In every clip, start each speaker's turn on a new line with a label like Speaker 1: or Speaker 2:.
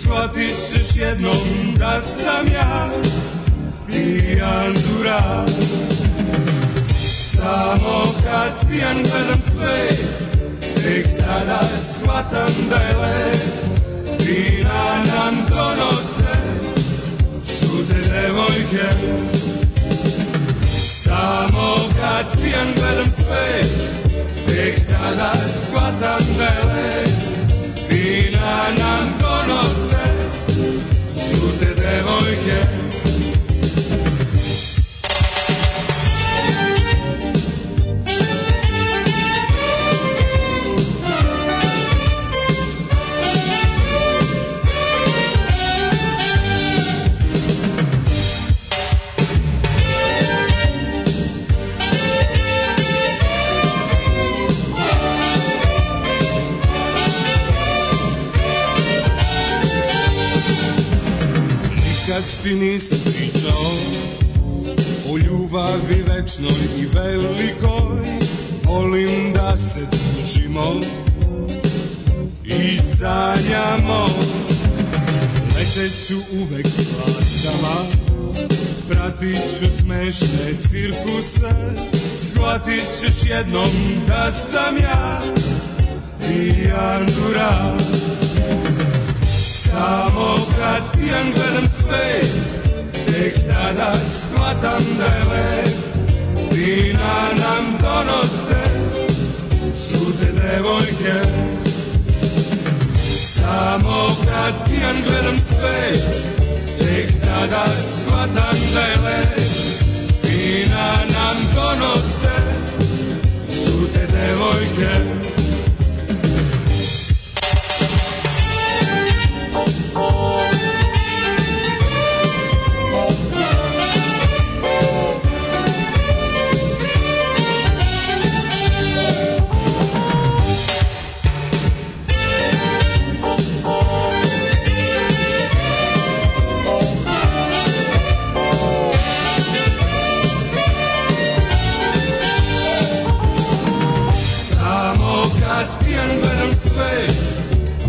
Speaker 1: shvatit ćeš jednom da sam ja pijan durak Samo kad pijan gledam sve, tek tada shvatam da je lep Vina nam donose šute devojke Samo kad pijan gledam sve, tek tada shvatam da je lep Vina nam donose žute devojke Nikad ti nisam pričao O ljubavi večnoj i velikoj Volim da se družimo I sanjamo Leteću uvek s vlastama Pratit ću smešne cirkuse Shvatit ćeš jednom da sam ja Pijan durak samo kad pijan gledam sve Tek tada shvatam da je lep Vina nam donose Žute devojke Samo kad pijan gledam sve Tek tada shvatam da je lep Vina nam donose Žute devojke Samo kad pijan gledam sve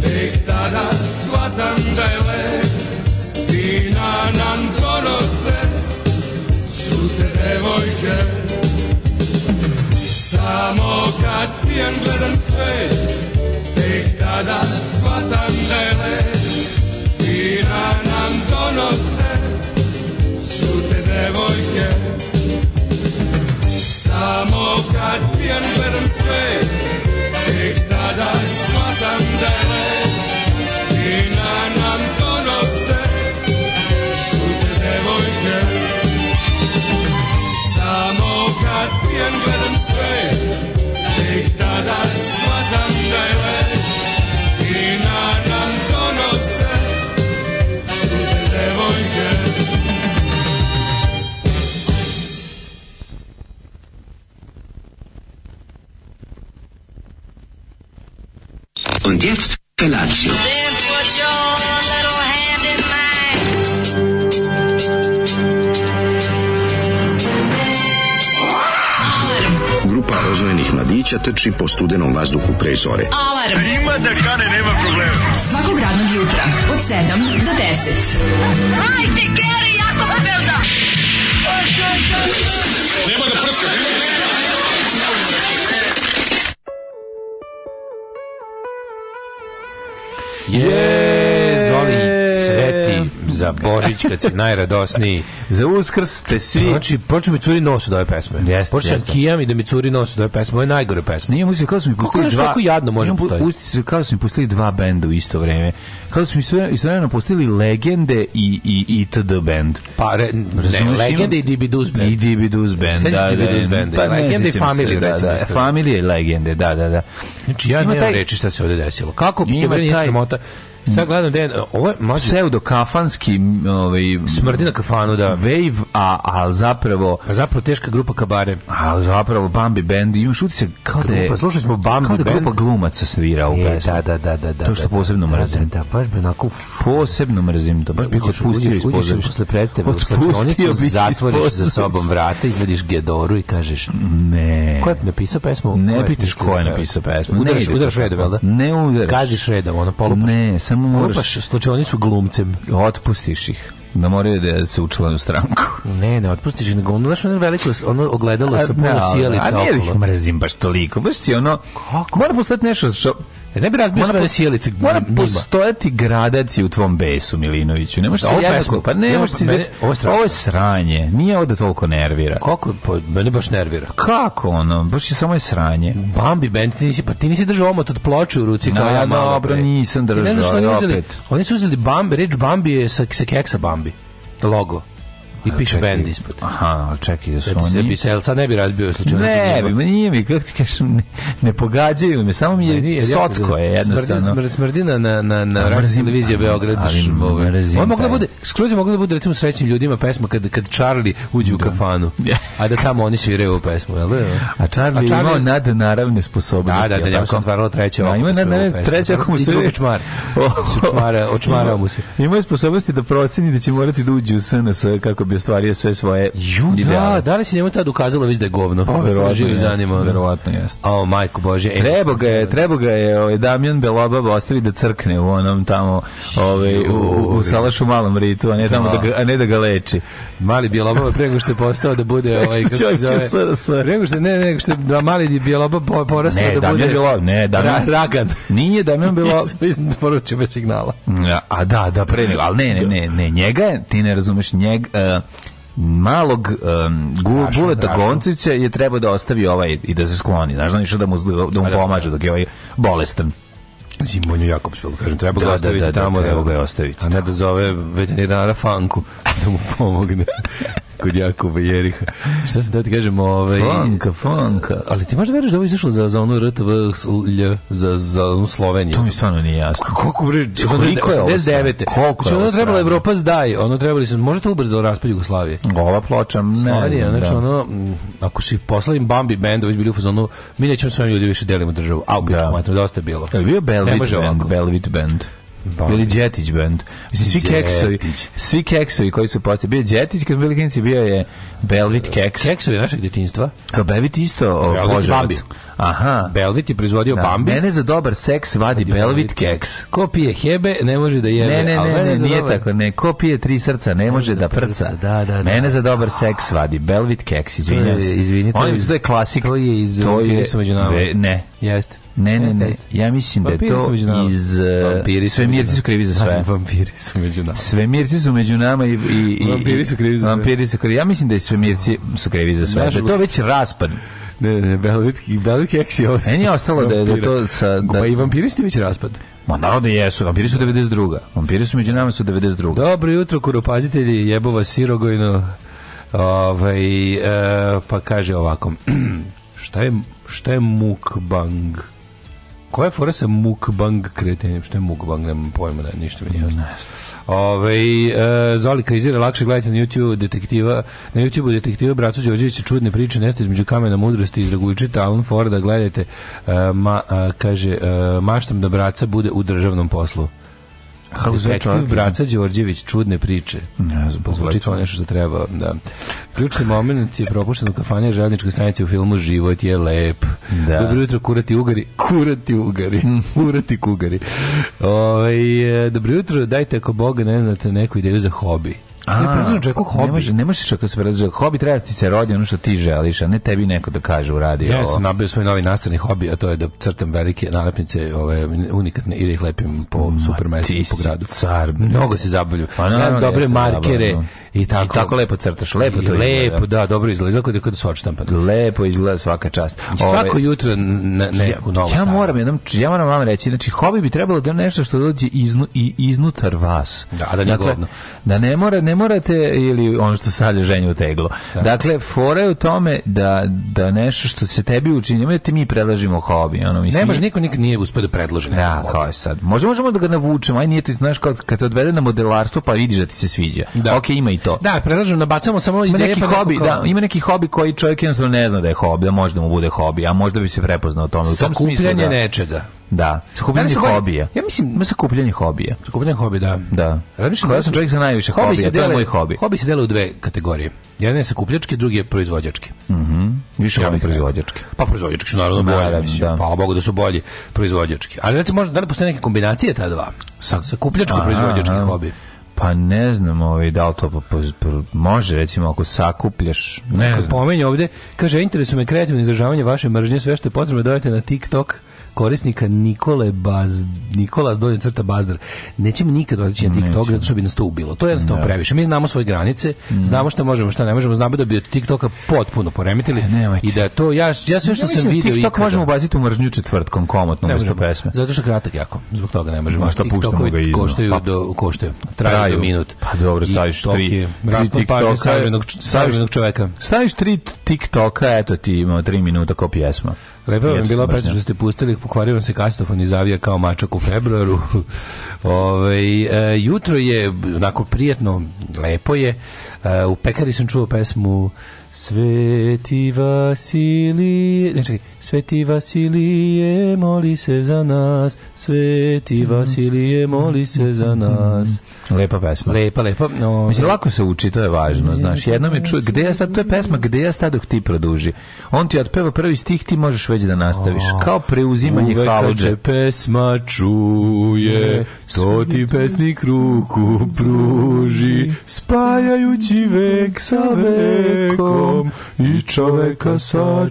Speaker 1: Tek tada shvatam da je lep Vina nam donose Žute devojke Samo kad pijan gledam sve Tek tada shvatam da je lep Vina nam donose Žute devojke samo kad pijan gledam sve Tek tada shvatam da je lep Vina nam donose Šute devojke Samo kad pijan gledam sve Tek tada shvatam da je lep Vina nam donose Šute devojke
Speaker 2: Und jetzt Felatio.
Speaker 3: Then put your little hand in mine.
Speaker 4: Grupa rozvojenih mladića trči po studenom vazduhu pre zore.
Speaker 5: Alarm. Ima da kane, nema problema. Svakog radnog jutra, od 7 do 10.
Speaker 6: Hajde, Geri, jako se belda!
Speaker 7: Je, Zoli, sveti za Božić kad si najradosniji.
Speaker 8: Za uskrs te svi...
Speaker 7: Znači, počeo mi curi nos od ove pesme.
Speaker 8: Jeste,
Speaker 7: Počeo sam
Speaker 8: jeste.
Speaker 7: kijam i da mi curi nos od ove pesme. Ovo je najgore pesma.
Speaker 8: Nije muzika, kao su mi pustili
Speaker 7: nešto
Speaker 8: dva...
Speaker 7: tako jadno može
Speaker 8: Imam pu-
Speaker 7: postojati?
Speaker 8: utisak kao su mi pustili dva benda u isto vreme. Kao su mi sve- istovremeno pustili Legende i, i, i TD band.
Speaker 7: Pa, re, ne,
Speaker 8: Razumeš,
Speaker 7: legende
Speaker 8: imam-
Speaker 7: i Dibidus band.
Speaker 8: I Dibidus band,
Speaker 7: Sećaš
Speaker 8: da, da.
Speaker 7: Dibidus banda?
Speaker 8: Pa ne,
Speaker 7: Legende i
Speaker 8: sjećam se,
Speaker 7: Familije,
Speaker 8: da,
Speaker 7: recimo,
Speaker 8: da,
Speaker 7: isto.
Speaker 8: Familije i Legende, da, da, da.
Speaker 7: Znači, ja
Speaker 8: Ima
Speaker 7: nemam
Speaker 8: taj-
Speaker 7: reći šta se ovde desilo. Kako
Speaker 8: Ima
Speaker 7: bi nije
Speaker 8: taj-
Speaker 7: sramota? Sad gledam da je, ovo je, može,
Speaker 8: Pseudokafanski, m, ovaj...
Speaker 7: smrdi na kafanu, da.
Speaker 8: Wave, a, a zapravo...
Speaker 7: A zapravo teška grupa kabare.
Speaker 8: A zapravo Bambi Band, imaš utisak kao da je...
Speaker 7: Grupa, slušali smo Bambi
Speaker 8: Kao da grupa
Speaker 7: Band.
Speaker 8: glumaca svira u
Speaker 7: E,
Speaker 8: pesmi.
Speaker 7: da, da, da, da, da.
Speaker 8: To što
Speaker 7: da, da,
Speaker 8: posebno
Speaker 7: da,
Speaker 8: mrzim.
Speaker 7: Da, da, baš bi onako
Speaker 8: Posebno mrzim to. Baš bih
Speaker 7: Uđeš-
Speaker 8: otpustio
Speaker 7: uđeš-
Speaker 8: iz
Speaker 7: uđeš
Speaker 8: pozorišta.
Speaker 7: posle predstave u
Speaker 8: Otpustio
Speaker 7: slačonicu,
Speaker 8: bih iz
Speaker 7: zatvoriš za
Speaker 8: pozorišta.
Speaker 7: sobom vrata, izvadiš Gedoru i kažeš
Speaker 8: Ne.
Speaker 7: Ko je napisao pesmu?
Speaker 8: Ne
Speaker 7: Ko je
Speaker 8: pitaš
Speaker 7: smislio
Speaker 8: ko je
Speaker 7: pesmu?
Speaker 8: napisao pesmu. Ne
Speaker 7: Udaraš,
Speaker 8: ide
Speaker 7: udaraš
Speaker 8: to.
Speaker 7: redom, jel da?
Speaker 8: Ne udaraš.
Speaker 7: Gaziš redom, ono polupaš.
Speaker 8: Ne, samo tamo moraš,
Speaker 7: Lupaš slučajnicu glumcem.
Speaker 8: otpustiš ih da moraju da se učlane u stranku.
Speaker 7: Ne, ne, otpustiš ih na glumcu. Znaš, ono veliko, ono ogledalo sa puno
Speaker 8: ali-
Speaker 7: sjelica
Speaker 8: a ne ih
Speaker 7: okolo.
Speaker 8: mrzim baš toliko. Baš si ono, mora postojati nešto što...
Speaker 7: E, Ne bi razbio
Speaker 8: Mora,
Speaker 7: sve
Speaker 8: po-
Speaker 7: sjelice
Speaker 8: mora
Speaker 7: njima.
Speaker 8: postojati gradacije u tvom besu, Milinoviću. Ne možeš se
Speaker 7: Ovo
Speaker 8: jednako-
Speaker 7: pesmu?
Speaker 8: Pa ne
Speaker 7: Ne,
Speaker 8: možeš se...
Speaker 7: mene-
Speaker 8: izgledati-
Speaker 7: ovo je strašno.
Speaker 8: Ovo je sranje. Nije ovde toliko nervira.
Speaker 7: Koliko, pa, mene baš nervira.
Speaker 8: Kako ono? Baš je samo je sranje.
Speaker 7: Bambi band, ti nisi, pa ti nisi držao omot od ploče u ruci
Speaker 8: No,
Speaker 7: kao ja malo
Speaker 8: dobro,
Speaker 7: pre.
Speaker 8: nisam
Speaker 7: Ti ne znaš
Speaker 8: držao,
Speaker 7: šta oni
Speaker 8: ali
Speaker 7: uzeli,
Speaker 8: opet.
Speaker 7: Oni su uzeli Bambi, reč Bambi je sa, sa keksa Bambi, logo. I piše band ispod.
Speaker 8: Aha, ali čekaj, da su
Speaker 7: Sad se
Speaker 8: oni...
Speaker 7: bi se, jel sad ne bi razbio slučajno?
Speaker 8: Ne, bi, ma nije mi, kako ti kažem, ne, ne pogađaju me, samo mi je socko je jednostavno.
Speaker 7: Smrdi, smrdina na, na, na
Speaker 8: A,
Speaker 7: radio
Speaker 8: mrzim-
Speaker 7: televizije
Speaker 8: a,
Speaker 7: Beograd.
Speaker 8: ali
Speaker 7: š- ovaj.
Speaker 8: mrzim
Speaker 7: Ovo je moglo da
Speaker 8: taj.
Speaker 7: bude, skroz je moglo da bude recimo srećnim ljudima pesma kad, kad Charlie uđe u kafanu. A da tamo oni sviraju ovu pesmu, jel da?
Speaker 8: A Charlie je imao nadnaravne sposobnosti.
Speaker 7: Da, da, da,
Speaker 8: jel
Speaker 7: njemu
Speaker 8: tako?
Speaker 7: se otvaralo treće
Speaker 8: Da,
Speaker 7: oko.
Speaker 8: ima nadnaravne-
Speaker 7: čuo,
Speaker 8: treće oko mu
Speaker 7: I
Speaker 8: se
Speaker 7: drugo
Speaker 8: vidi.
Speaker 7: čmar. Očmara, očmarao mu se.
Speaker 8: Ima je sposobnosti da proceni da će morati da uđe u SNS kako bi ostvario sve svoje
Speaker 7: Ju, da,
Speaker 8: ideale.
Speaker 7: da li se njemu tad ukazalo već da je govno?
Speaker 8: Pa,
Speaker 7: To
Speaker 8: verovatno
Speaker 7: živi
Speaker 8: jeste,
Speaker 7: zanima. ono.
Speaker 8: verovatno jeste.
Speaker 7: O, majko Bože. e,
Speaker 8: Treba ga je, treba ga je ovaj Damjan Belobab ostavi da crkne u onom tamo ovaj, u, u, u Salašu malom ritu, a ne, tamo da ga, a ne da ga leči.
Speaker 7: Mali Bjelobaba pre nego što je postao da bude ovaj kako se
Speaker 8: Čovjek će
Speaker 7: zove.
Speaker 8: SRS.
Speaker 7: Pre nego što je- ne, ne, nego što je da mali Bjelobaba po- porastao
Speaker 8: Ne,
Speaker 7: da
Speaker 8: Damjan
Speaker 7: bude.
Speaker 8: Bjelobab, ne, Damjan-
Speaker 7: Ra- Ragan.
Speaker 8: Nije Damjan Belobab,
Speaker 7: Mislim da poruči bez signala.
Speaker 8: Ja, A da, da, pre nego, ali ne, ne, ne, ne, njega, je, ti ne razumeš, njeg, e, malog um, gu,
Speaker 7: Rašu,
Speaker 8: Buleta
Speaker 7: Rašu.
Speaker 8: Goncevća je trebao da ostavi ovaj i da se skloni, znaš, da ništa da mu, da mu pomaže dok je ovaj bolestan.
Speaker 7: Zimonju Jakobsvilu, kažem, treba
Speaker 8: Da,
Speaker 7: ga
Speaker 8: da,
Speaker 7: ostaviti
Speaker 8: da, da,
Speaker 7: tamo.
Speaker 8: treba ga je ostaviti
Speaker 7: A ne da zove veterinara Fanku da mu pomogne kod Jakuba Jeriha. Šta se da ti kažem, ovaj...
Speaker 8: Fanka, fanka.
Speaker 7: Ali ti možda veruješ da je ovo izašlo za, za ono RTV, lj, za, za onu Sloveniju?
Speaker 8: To mi stvarno nije jasno.
Speaker 7: Koliko bre,
Speaker 8: Koliko je ovo
Speaker 7: 89.
Speaker 8: sranje? Koliko je
Speaker 7: Znači, ono
Speaker 8: ovo
Speaker 7: trebalo
Speaker 8: sranje?
Speaker 7: Evropa zdaj, ono trebali su, možete ubrzao raspad Jugoslavije.
Speaker 8: Ova ploča, ne
Speaker 7: Slovenija,
Speaker 8: znam,
Speaker 7: znači
Speaker 8: da.
Speaker 7: ono, m, ako si poslali Bambi band, već bili u fazonu, mi nećemo svojim ljudi više delimo državu. Au, pičku
Speaker 8: Da.
Speaker 7: mater, dosta je bilo.
Speaker 8: Je li bio
Speaker 7: Ne
Speaker 8: Belvit
Speaker 7: može
Speaker 8: band?
Speaker 7: ovako.
Speaker 8: Belvit band.
Speaker 7: Band.
Speaker 8: Ili Đetić band. Mislim, svi
Speaker 7: Đetić.
Speaker 8: keksovi, svi keksovi koji su postali. Bio je Đetić kad smo bili klinici, bio je Belvit keks.
Speaker 7: Keksovi našeg djetinjstva,
Speaker 8: Kao Belvit isto o,
Speaker 7: Belvit
Speaker 8: Ložovac.
Speaker 7: Bambi.
Speaker 8: Aha.
Speaker 7: Belvit je proizvodio
Speaker 8: Da,
Speaker 7: Bambi.
Speaker 8: Mene za dobar seks vadi Belvit
Speaker 7: Belvit
Speaker 8: keks.
Speaker 7: Ko pije hebe, ne može da jebe.
Speaker 8: Ne, ne,
Speaker 7: ali
Speaker 8: ne,
Speaker 7: mene
Speaker 8: ne,
Speaker 7: za
Speaker 8: nije
Speaker 7: dobar-
Speaker 8: tako. Ne, ko pije tri srca ne može da prca.
Speaker 7: da, da, da.
Speaker 8: Mene za dobar seks vadi Belvit keks, izvinjam
Speaker 7: To je-
Speaker 8: se.
Speaker 7: izvinite,
Speaker 8: Oni
Speaker 7: to je-
Speaker 8: mislim, to je klasik.
Speaker 7: to je iz Vampiri su među nama.
Speaker 8: Ve- Ne.
Speaker 7: Jeste.
Speaker 8: Ne, ne,
Speaker 7: Jeste,
Speaker 8: ne.
Speaker 7: jeste.
Speaker 8: Ja mislim da je
Speaker 7: Vampiri
Speaker 8: to
Speaker 7: su među nama.
Speaker 8: iz... eh,
Speaker 7: Vampiri su
Speaker 8: Svemirci
Speaker 7: među
Speaker 8: su krivi za
Speaker 7: nama.
Speaker 8: sve.
Speaker 7: Vampiri su među nama.
Speaker 8: Svemirci su među nama i... i, i
Speaker 7: Vampiri su krivi za sve.
Speaker 8: Vampiri su krivi. Ja mislim da je svemirci su krivi za sve. Da je to
Speaker 7: Nažalost.
Speaker 8: već raspad.
Speaker 7: Ne, ne, Belvitki, Belvitki eks je ovaj- ovo.
Speaker 8: Meni je ostalo da je da je to sa... Da,
Speaker 7: Pa i vampiri su ti već raspad.
Speaker 8: Ma naravno jesu, vampiri su 92. Vampiri su među nama su 92.
Speaker 7: Dobro jutro, kuropazitelji, jebova sirogojno. Ovaj, e, pa kaže ovako. šta, je, šta je mukbang? Koja je fora sa mukbang kretenjem? Šta je mukbang? Nemam pojma, ne, ništa mi nije jasno. Ove, e, Zoli krizira, lakše gledajte na YouTube detektiva, na YouTube detektiva Bracu Đorđevića čudne priče, nešto između kamena mudrosti iz Draguljčita, Alan Forda, gledajte, e, ma, a, kaže, e, maštam da braca bude u državnom poslu.
Speaker 8: Kako se zove
Speaker 7: Detektiv
Speaker 8: čovjek?
Speaker 7: Braca Đorđević, čudne priče.
Speaker 8: Ne znam,
Speaker 7: Zvuči kao nešto što treba, da. Ključni moment je propušten u kafanije željezničkoj stanici u filmu Život je lep.
Speaker 8: Da.
Speaker 7: Dobro jutro, kurati ugari. Kurati ugari. kurati kugari. Ovaj, e, dobro jutro, dajte ako Boga ne znate neku ideju za hobi.
Speaker 8: A,
Speaker 7: ne, predlažem čovjeku
Speaker 8: Ne
Speaker 7: hobi.
Speaker 8: može, ne može čovjek da se predraže. Hobi treba da ti se rodi ono što ti želiš, a ne tebi neko da kaže uradi
Speaker 7: Ja
Speaker 8: ovo.
Speaker 7: sam nabio svoj novi nastavni hobi, a to je da crtam velike nalepnice, ove unikatne i da ih lepim po supermestu
Speaker 8: ti
Speaker 7: i po
Speaker 8: si
Speaker 7: gradu.
Speaker 8: car, bre.
Speaker 7: Mnogo se zabavljam.
Speaker 8: Pa naravno
Speaker 7: Gledam
Speaker 8: da
Speaker 7: dobre
Speaker 8: jeste
Speaker 7: markere
Speaker 8: zabavno.
Speaker 7: i tako.
Speaker 8: I tako lepo crtaš, lepo to
Speaker 7: lepo,
Speaker 8: izgleda.
Speaker 7: da, dobro izgleda. Izgleda kod su odštampano.
Speaker 8: Lepo izgleda svaka čast.
Speaker 7: Svako
Speaker 8: Ove,
Speaker 7: jutro na, neku novu
Speaker 8: ja
Speaker 7: stavim.
Speaker 8: moram jednom ja moram vam reći znači hobi bi trebalo da je nešto što dođe iznu, i iznutar vas Dakle,
Speaker 7: Da, da nije govno.
Speaker 8: da ne mora ne morate ili ono što sad je ženje u teglo dakle fora je u tome da, da nešto što se tebi učini nemoj da ti mi predlažimo hobi ono mislim
Speaker 7: Ne može, niko nikad nije uspio da predloži neko
Speaker 8: Da,
Speaker 7: hobi.
Speaker 8: kao je sad. Možda možemo da ga navučemo, aj nije to, znaš, kao kad te odvede na modelarstvo, pa vidiš da ti se sviđa.
Speaker 7: Da.
Speaker 8: Ok, ima i to.
Speaker 7: Da, predlažem, nabacamo samo
Speaker 8: Ima
Speaker 7: ideje.
Speaker 8: neki
Speaker 7: pa neko
Speaker 8: hobi,
Speaker 7: kao-
Speaker 8: da, ima neki hobi koji čovjek jednostavno ne zna da je hobi, da možda mu bude hobi, a možda bi se prepoznao ono, u tome. U tom smislu,
Speaker 7: Sakupljanje
Speaker 8: da.
Speaker 7: nečega.
Speaker 8: Da, sakupljanje
Speaker 7: Meni su hobi-
Speaker 8: hobija.
Speaker 7: ja mislim-
Speaker 8: ima sakupljanje hobija.
Speaker 7: Sakupljanje hobi, da.
Speaker 8: Da.
Speaker 7: Razmišljam
Speaker 8: Kao ja
Speaker 7: da
Speaker 8: sam
Speaker 7: su-
Speaker 8: čovjek sa najviše
Speaker 7: hobi
Speaker 8: hobija,
Speaker 7: se
Speaker 8: to je
Speaker 7: dele,
Speaker 8: moj hobi. Mhm.
Speaker 7: Hobi se dele u dve kategorije. Jedan je sakupljački, drugi je proizvođački.
Speaker 8: Više
Speaker 7: Ja
Speaker 8: ja
Speaker 7: bih rekao.
Speaker 8: proizvođačke.
Speaker 7: Pa proizvođački su naravno bolji,
Speaker 8: Naravno,
Speaker 7: mislim.
Speaker 8: da.
Speaker 7: Hvala Bogu da su bolji proizvođački. Ali recimo, možda, da li postoje neke kombinacije ta dva? Sa, sa kupljačko-proizvođački
Speaker 8: Aha.
Speaker 7: hobi.
Speaker 8: Pa ne znam, ovaj, da li to po- po- po- može, recimo, ako sakupljaš, ne znam.
Speaker 7: Pomenje ovde, kaže, interesuje me kreativno izražavanje vaše mržnje, sve što je potrebno dodajte na TikTok korisnika Nikole Baz, Nikola Donja crta Bazdar. Nećemo nikad otići na TikTok zato što bi nas to ubilo. To je jednostavno previše. Mi znamo svoje granice,
Speaker 8: Mm.
Speaker 7: znamo šta možemo, šta ne možemo, znamo da bi od TikToka potpuno poremetili
Speaker 8: E, nemojte.
Speaker 7: i da je to ja ja sve što
Speaker 8: Ja
Speaker 7: sam
Speaker 8: mislim,
Speaker 7: video
Speaker 8: TikTok možemo ubaciti u mržnju četvrtkom komotno umesto
Speaker 7: možemo.
Speaker 8: pesme.
Speaker 7: Zato što je kratak jako. Zbog toga ne možemo.
Speaker 8: Ma šta puštamo
Speaker 7: TikTokovi
Speaker 8: ga izno?
Speaker 7: koštaju
Speaker 8: Pa-
Speaker 7: do koštaju. Traju, do minut.
Speaker 8: Pa dobro, staviš
Speaker 7: I toliki
Speaker 8: tri.
Speaker 7: je Raspad
Speaker 8: tri
Speaker 7: pažnje
Speaker 8: TikToka,
Speaker 7: savremenog, savremenog čoveka.
Speaker 8: Staviš tri TikToka, eto ti ima tri minuta ko pjesma.
Speaker 7: Lepo vam Pa je
Speaker 8: Jesu,
Speaker 7: bila
Speaker 8: baš
Speaker 7: pesma
Speaker 8: ne.
Speaker 7: što ste pustili, pokvario vam se kastofon i zavija kao mačak u februaru. Ove, e, jutro je onako prijetno, lepo je. E, u pekari sam čuo pesmu Sveti Vasili... Ne, čekaj. Sveti Vasilije, moli se za nas. Sveti
Speaker 8: Mhm.
Speaker 7: Vasilije, moli se za nas.
Speaker 8: Lepa pesma.
Speaker 7: Lepa, lepa. No,
Speaker 8: Mislim, lako se uči, to je važno, znaš. Jednom je čuje, gde ja stadoh, to je pesma, gde ja stadoh ti produži. On ti otpeva prvi stih, ti možeš već da nastaviš. Kao preuzimanje
Speaker 7: Uvek kad
Speaker 8: haludže.
Speaker 7: se pesma čuje, to ti pesnik ruku pruži, spajajući vek sa vekom i čoveka sa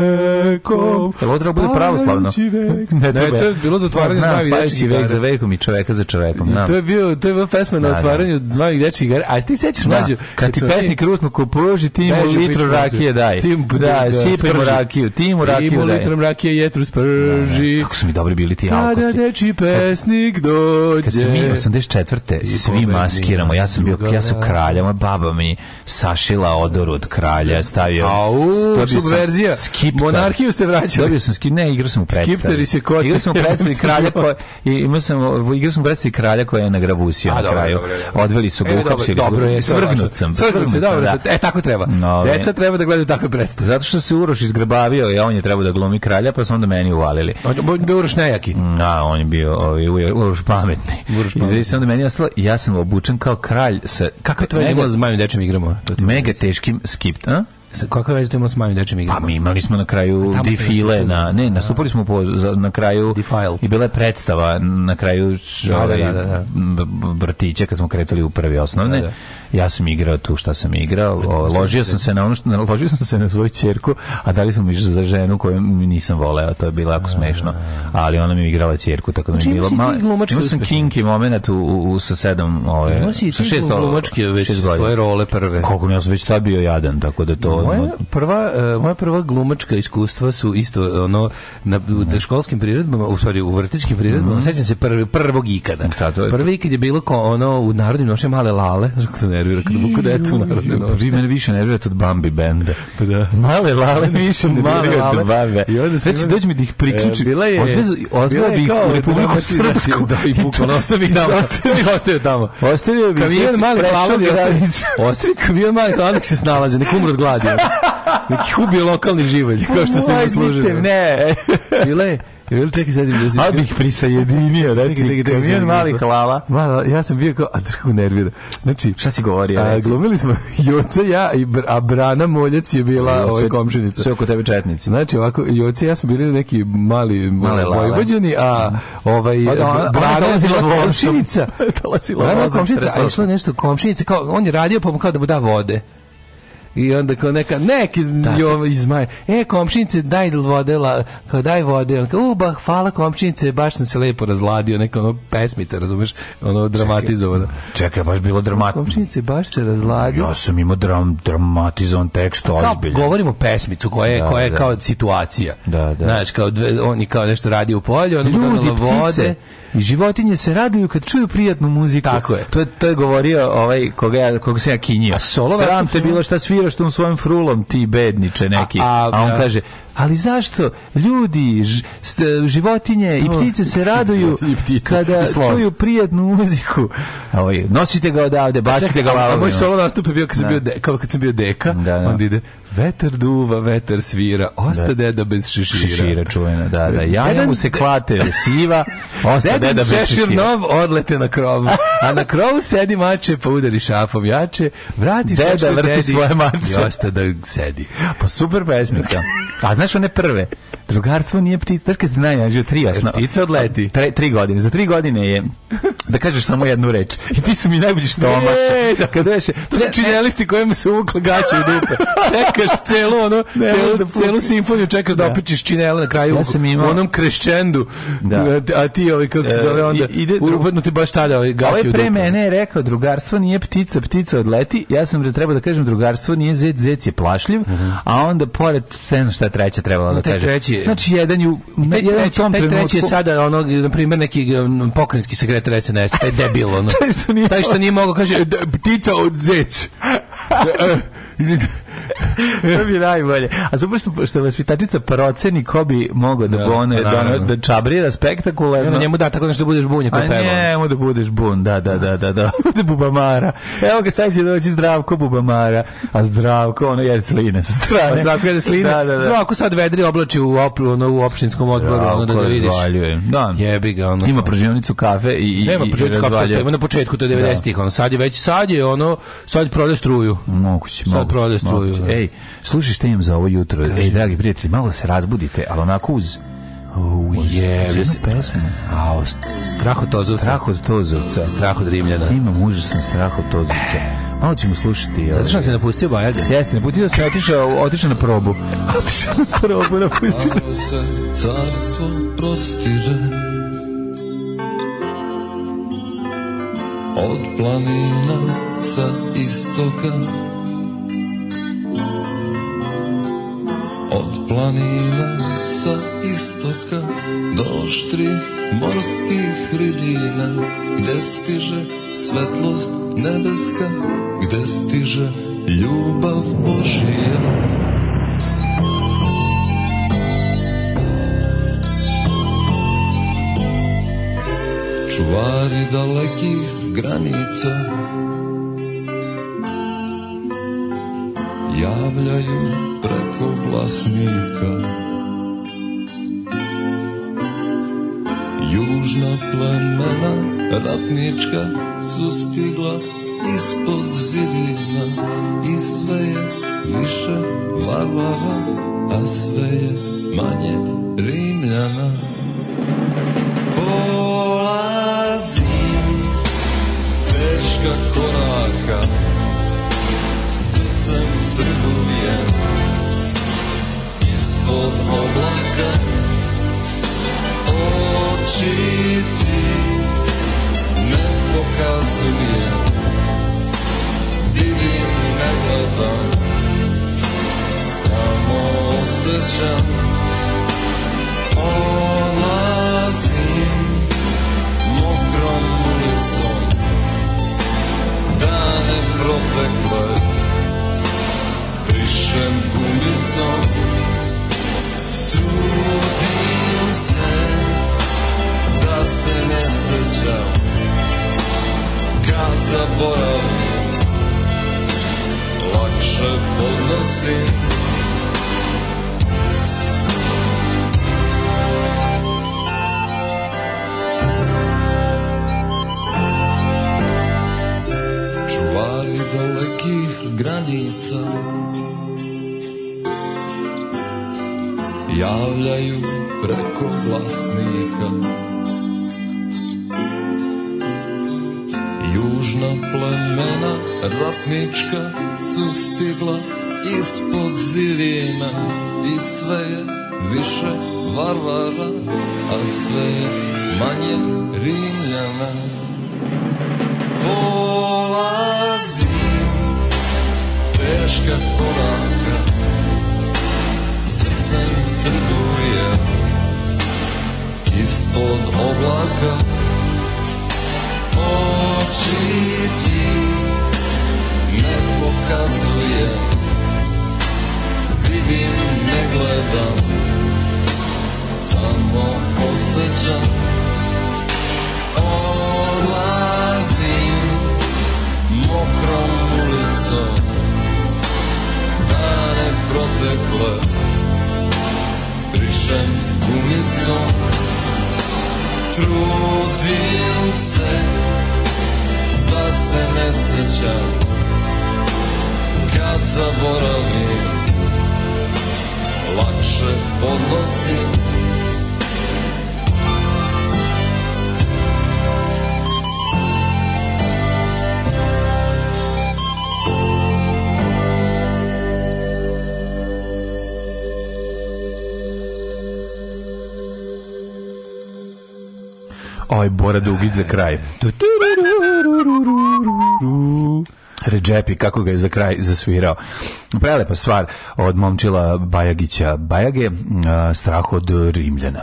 Speaker 7: čovekom.
Speaker 8: Jel ovo treba bude pravoslavno?
Speaker 7: Spajajući vek- Ne, to je bilo zatvaranje
Speaker 8: Znam,
Speaker 7: znavih
Speaker 8: spajajući
Speaker 7: dečjih
Speaker 8: vek
Speaker 7: igara.
Speaker 8: za vekom i čoveka za čovekom.
Speaker 7: I
Speaker 8: znam.
Speaker 7: To je bio to je bila pesma na
Speaker 8: Da, da.
Speaker 7: otvaranju znavih dečjih igara. A jesi ti sećaš
Speaker 8: Da.
Speaker 7: mlađu?
Speaker 8: Kad ti
Speaker 7: smo mi-
Speaker 8: pesnik rutno kupruži, ti mu
Speaker 7: Beži u
Speaker 8: litru
Speaker 7: pičku
Speaker 8: rakije
Speaker 7: mater.
Speaker 8: daj.
Speaker 7: Tim,
Speaker 8: Da, sipaj mu
Speaker 7: sprži.
Speaker 8: rakiju, ti mu
Speaker 7: I mu
Speaker 8: rakiju daj.
Speaker 7: litrom rakije jetru sprži.
Speaker 8: Kako su mi dobri bili ti
Speaker 7: Kada
Speaker 8: alkosi.
Speaker 7: deči pesnik dođe.
Speaker 8: Kad smo mi 84. svi
Speaker 7: pobedni.
Speaker 8: maskiramo, ja sam bio, ja sam
Speaker 7: Druga.
Speaker 8: kralj, moja baba mi sašila odor od kralja, stavio...
Speaker 7: Au,
Speaker 8: dobio sam
Speaker 7: subverzija.
Speaker 8: skiptar.
Speaker 7: Monarhiju ste vraćali.
Speaker 8: Dobio sam skip, ne, igrao sam u predstavi.
Speaker 7: Skipteri se kote.
Speaker 8: Igrao sam u predstavi kralja koja, i imao sam, igrao sam u predstavi kralja koja je nagrabusio
Speaker 7: A,
Speaker 8: na
Speaker 7: dobro,
Speaker 8: kraju.
Speaker 7: dobro, dobro.
Speaker 8: Odveli su ga,
Speaker 7: E, dobro,
Speaker 8: uhapsili.
Speaker 7: dobro je. sve važno.
Speaker 8: Svrgnut sam.
Speaker 7: Svrgnut sam, dobro.
Speaker 8: da.
Speaker 7: E, tako treba.
Speaker 8: No, ove.
Speaker 7: Deca treba da gledaju takve predstave.
Speaker 8: Zato što se Uroš izgrabavio i on je trebao da glumi kralja, pa su onda meni uvalili.
Speaker 7: On je bio Uroš Nejaki.
Speaker 8: A, on je bio ovaj, u- Uroš pametni.
Speaker 7: Uroš
Speaker 8: I
Speaker 7: pametni.
Speaker 8: znači se onda meni ostalo, ja sam obučen kao kralj sa... Kako je
Speaker 7: To je bilo s manjim dečim igramo. To ti-
Speaker 8: mega teškim skipt, a?
Speaker 7: Sa- Kako je veze to imalo s manjim dečim
Speaker 8: Pa
Speaker 7: igramo?
Speaker 8: mi imali smo na kraju
Speaker 7: tamo ste
Speaker 8: defile
Speaker 7: nastupili.
Speaker 8: na ne, nastupali smo po, za- na kraju
Speaker 7: Defile.
Speaker 8: i bila je predstava na kraju š-
Speaker 7: Da, da,
Speaker 8: ovaj,
Speaker 7: da, da, da.
Speaker 8: b- b- vrtića kad smo kretali u prvi osnovne.
Speaker 7: Da, da.
Speaker 8: Ja sam igrao tu šta sam igrao, o, ložio sam se na ono što ložio sam se na svoju ćerku, a dali smo mi za ženu koju nisam voleo, to je bilo jako smešno. Ali ona mi je igrala ćerku, tako da mi je
Speaker 7: Znači,
Speaker 8: bilo
Speaker 7: imaš i ti
Speaker 8: malo.
Speaker 7: glumački
Speaker 8: Imao sam
Speaker 7: uspeh.
Speaker 8: kinki momenat u, u, u sa sedam, ove,
Speaker 7: Imao si i
Speaker 8: sa
Speaker 7: ti
Speaker 8: šest,
Speaker 7: glumačke već
Speaker 8: šest godina.
Speaker 7: svoje role prve.
Speaker 8: Koliko mi ja sam već tad bio jadan, tako da to...
Speaker 7: Moja prva, e, moja prva glumačka iskustva su isto ono na, u- na školskim priredbama, u stvari u vrtićkim priredbama. Sećam se prvi, prvog ikada.
Speaker 8: Šta Mhm. to je?
Speaker 7: Prvi ikad je bilo ko, ono u narodnim nošnje male lale, znaš kako se nervira kad buku decu u narodne nošnje.
Speaker 8: pa Vi mene više nervirate od Bambi benda.
Speaker 7: Pa da.
Speaker 8: Male lale više
Speaker 7: Male
Speaker 8: nervirate
Speaker 7: lale.
Speaker 8: od Bambi.
Speaker 7: I onda sam
Speaker 8: Sve će
Speaker 7: imao-
Speaker 8: doći mi da ih
Speaker 7: E,
Speaker 8: priključim.
Speaker 7: bila je-
Speaker 8: Odvezu,
Speaker 7: bila
Speaker 8: odveo
Speaker 7: je
Speaker 8: bih
Speaker 7: kao
Speaker 8: u Republiku
Speaker 7: dramatizacija,
Speaker 8: Srpsku.
Speaker 7: da, i bukvalno ostavio ih tamo.
Speaker 8: Ostavio ih-
Speaker 7: Ostavio tamo.
Speaker 8: Ostavio bih
Speaker 7: Kamion mali
Speaker 8: prešao
Speaker 7: hlavovi ostavi,
Speaker 8: granicu.
Speaker 7: ostavi kamion mali hlavovi nek se snalaze, nek umre od gladi. ono. Nek ih ubije lokalni živalj, kao što se mi služi.
Speaker 8: Ulazite, Ne.
Speaker 7: Bila je, ili čekaj sad da se-
Speaker 8: A bih prisajedinio,
Speaker 7: Čekaj, čekaj,
Speaker 8: znači,
Speaker 7: čekaj,
Speaker 8: kamion
Speaker 7: sad
Speaker 8: malih
Speaker 7: nešto.
Speaker 8: lava.
Speaker 7: Mala, ja sam bio kao, a znaš kako nervira. Znači,
Speaker 8: Šta si govorio?
Speaker 7: a,
Speaker 8: reci?
Speaker 7: glumili smo Joca, ja, i, Br- a Brana Moljac je bila
Speaker 8: Sve-
Speaker 7: ove komšinica.
Speaker 8: Sve oko tebe četnici.
Speaker 7: Znači ovako, Joci i ja smo bili neki mali ono,
Speaker 8: Male lale.
Speaker 7: vojvođani, a ovaj,
Speaker 8: Pa da, ona- ona
Speaker 7: Brana je
Speaker 8: dolazila
Speaker 7: bila
Speaker 8: vozom.
Speaker 7: komšinica.
Speaker 8: Dolazila
Speaker 7: Brana je
Speaker 8: vozom,
Speaker 7: komšinica, a
Speaker 8: tresla.
Speaker 7: išla nešto komšinica, kao, on je radio pa mu kao da mu da vode. I onda kao neka, neki iz, jo, iz Maja, e komšinice daj vode, la, kao daj vode, on kao, uba, hvala komšinice, baš sam se lepo razladio, neka ono pesmica, razumeš, ono dramatizovana.
Speaker 8: Čekaj, baš bilo dramatno.
Speaker 7: Komšinice, baš se razladio.
Speaker 8: Ja sam imao dram, dramatizovan tekst,
Speaker 7: Kao,
Speaker 8: ozbiljan.
Speaker 7: govorimo pesmicu koja je,
Speaker 8: Da,
Speaker 7: koja je
Speaker 8: da.
Speaker 7: kao situacija.
Speaker 8: Da, da.
Speaker 7: Znaš, kao dve, on je kao nešto radi u polju, on mu
Speaker 8: Ljudi,
Speaker 7: donela vode.
Speaker 8: ptice i životinje se raduju kad čuju prijatnu muziku.
Speaker 7: Tako je.
Speaker 8: To je, to je govorio ovaj koga ja koga se ja kinjio.
Speaker 7: A solo
Speaker 8: Sram
Speaker 7: version
Speaker 8: te
Speaker 7: filma?
Speaker 8: bilo šta sviraš tom svojim frulom ti bedniče neki.
Speaker 7: A-
Speaker 8: A,
Speaker 7: a-
Speaker 8: on
Speaker 7: a-
Speaker 8: kaže Ali zašto ljudi, ž- st- životinje i ptice se raduju
Speaker 7: životinje i ptice.
Speaker 8: kada
Speaker 7: I slon.
Speaker 8: čuju prijatnu muziku? Ovaj, Nosite ga odavde, bacite ga u
Speaker 7: Pa a moj
Speaker 8: alavinu.
Speaker 7: solo nastup je bio kad sam bio, de, kao kad sam bio deka,
Speaker 8: Da, da.
Speaker 7: onda ide vetar duva, vetar svira, osta
Speaker 8: Da.
Speaker 7: deda bez šešira.
Speaker 8: Šešira čuvena, da, da. Jaja
Speaker 7: Jedan-
Speaker 8: mu se klate siva, osta
Speaker 7: Dedin
Speaker 8: deda bez
Speaker 7: šešir
Speaker 8: šešira.
Speaker 7: nov odlete na krovu, a na krovu sedi mače pa udari šapom jače, vrati
Speaker 8: Deda
Speaker 7: šešir
Speaker 8: vrti
Speaker 7: dedi
Speaker 8: svoje mače.
Speaker 7: i osta da sedi.
Speaker 8: Pa super pesmica. A znaš one prve? Drugarstvo nije ptica. Znaš kad ste najnađu tri jasno.
Speaker 7: Ptica odleti.
Speaker 8: Tre, tri godine. Za tri godine je da kažeš samo jednu reč. I ti su mi najbolji što omaš.
Speaker 7: E, da.
Speaker 8: Kad reše,
Speaker 7: To su činjelisti kojima se uvukla gaće u dupe. Čekaš celu, ono,
Speaker 8: Ne možeš da
Speaker 7: celu,
Speaker 8: pustiš.
Speaker 7: celu simfoniju, čekaš da,
Speaker 8: Da.
Speaker 7: opičiš činele na kraju
Speaker 8: Ja sam imao-
Speaker 7: u onom krešćendu.
Speaker 8: Da.
Speaker 7: A ti, ovaj, kako se
Speaker 8: E,
Speaker 7: zove, onda,
Speaker 8: i- ide dru-
Speaker 7: upadnu ti baš tada ovaj, gaće
Speaker 8: Ovaj
Speaker 7: u dupe.
Speaker 8: pre mene je rekao drugarstvo nije ptica, ptica odleti. Ja sam da treba da kažem drugarstvo nije zec, zec je plašljiv, a onda pored ne znam šta je treća trebala da
Speaker 7: Taj
Speaker 8: kaže.
Speaker 7: treći je-
Speaker 8: Znači jedan ju
Speaker 7: Taj
Speaker 8: jedan u
Speaker 7: treći,
Speaker 8: tom
Speaker 7: taj treći je
Speaker 8: trenutku-
Speaker 7: sada ono, na primjer, neki um, pokrajinski sekretar SNS, taj debil, ono.
Speaker 8: Taj što nije-
Speaker 7: taj što nije mogao, kaže, "D- ptica od zec.
Speaker 8: to bi najbolje. A super što, što vaspitačica proceni ko bi mogao da,
Speaker 7: Da, pa
Speaker 8: bone, da, ono
Speaker 7: naravno.
Speaker 8: da čabrira
Speaker 7: I
Speaker 8: spektakularno.
Speaker 7: onda Ono, njemu da tako nešto da budeš bunja
Speaker 8: A
Speaker 7: koji peva.
Speaker 8: njemu da budeš bun, da, da, da, da, da, bude bubamara. Evo ga, sad će doći zdravko bubamara, a zdravko, ono, jede sline sa strane.
Speaker 7: A Pa Zdravko jede sline.
Speaker 8: Da, da, da.
Speaker 7: Zdravko sad vedri oblači u, opru, ono, u opštinskom odboru, ono da ga
Speaker 8: Zdravko
Speaker 7: vidiš.
Speaker 8: razvaljuje. Da.
Speaker 7: Jebi ga, ono.
Speaker 8: Ima pržionicu kafe i, i
Speaker 7: Nema
Speaker 8: i
Speaker 7: prođe kako
Speaker 8: razvaljuje.
Speaker 7: ima na početku to je 90-ih, ono sad je već sad je ono sad prodaje struju.
Speaker 8: Moguće,
Speaker 7: Sad
Speaker 8: moguće,
Speaker 7: prodaje struju,
Speaker 8: moguće.
Speaker 7: da.
Speaker 8: Ej, slušaj šta imam za ovo jutro. Ej, dragi prijatelji, malo se razbudite, ali onako uz...
Speaker 7: Oh
Speaker 8: Jebe
Speaker 7: jebe
Speaker 8: se
Speaker 7: se.
Speaker 8: pesmu.
Speaker 7: Ao, strah od tozovca.
Speaker 8: Strah od tozovca.
Speaker 7: Strah od Rimljana.
Speaker 8: Imam užasan strah od tozovca.
Speaker 7: E.
Speaker 8: Malo ćemo slušati. ovaj-
Speaker 7: Zato što nas je napustio Bajaga.
Speaker 8: Jeste, naputio se, otišao, otišao na probu. Otišao na probu, napustio.
Speaker 6: Malo se carstvo prostiže Od planina sa istoka Od planina sa istoka Do štrih morskih ridina Gde stiže svetlost nebeska Gde stiže ljubav Božija čuvari dalekih granica javljaju preko glasnika južna plemena ratnička su stigla ispod zidina i sve je više varvara a sve je manje rimljana Polazim Teška koraka Srcem trgujem Ispod oblaka Oči ti Ne pokazuje Divim ne gledam Samo osjećam Olazim mokrom ulicom Dane protekle Pišem gumicom Trudim se Da se ne sećam Kad zaboravim Lakše podnosim čuvari dalekih granica javljaju preko vlasnika južna plemena ratnička su stigla ispod zidina i sve je više varvara a sve je manje rimljana Polazi teška koraka Srcem trguje ispod oblaka Oči ti ne pokazuje Vidim, ne gledam
Speaker 1: srećan Kad zaboravim Lakše podnosim
Speaker 8: Oj, Ovaj Bora Dugić za kraj. Redžepi, kako ga je za kraj zasvirao. Prelepa stvar od momčila Bajagića Bajage, a, strah od Rimljana.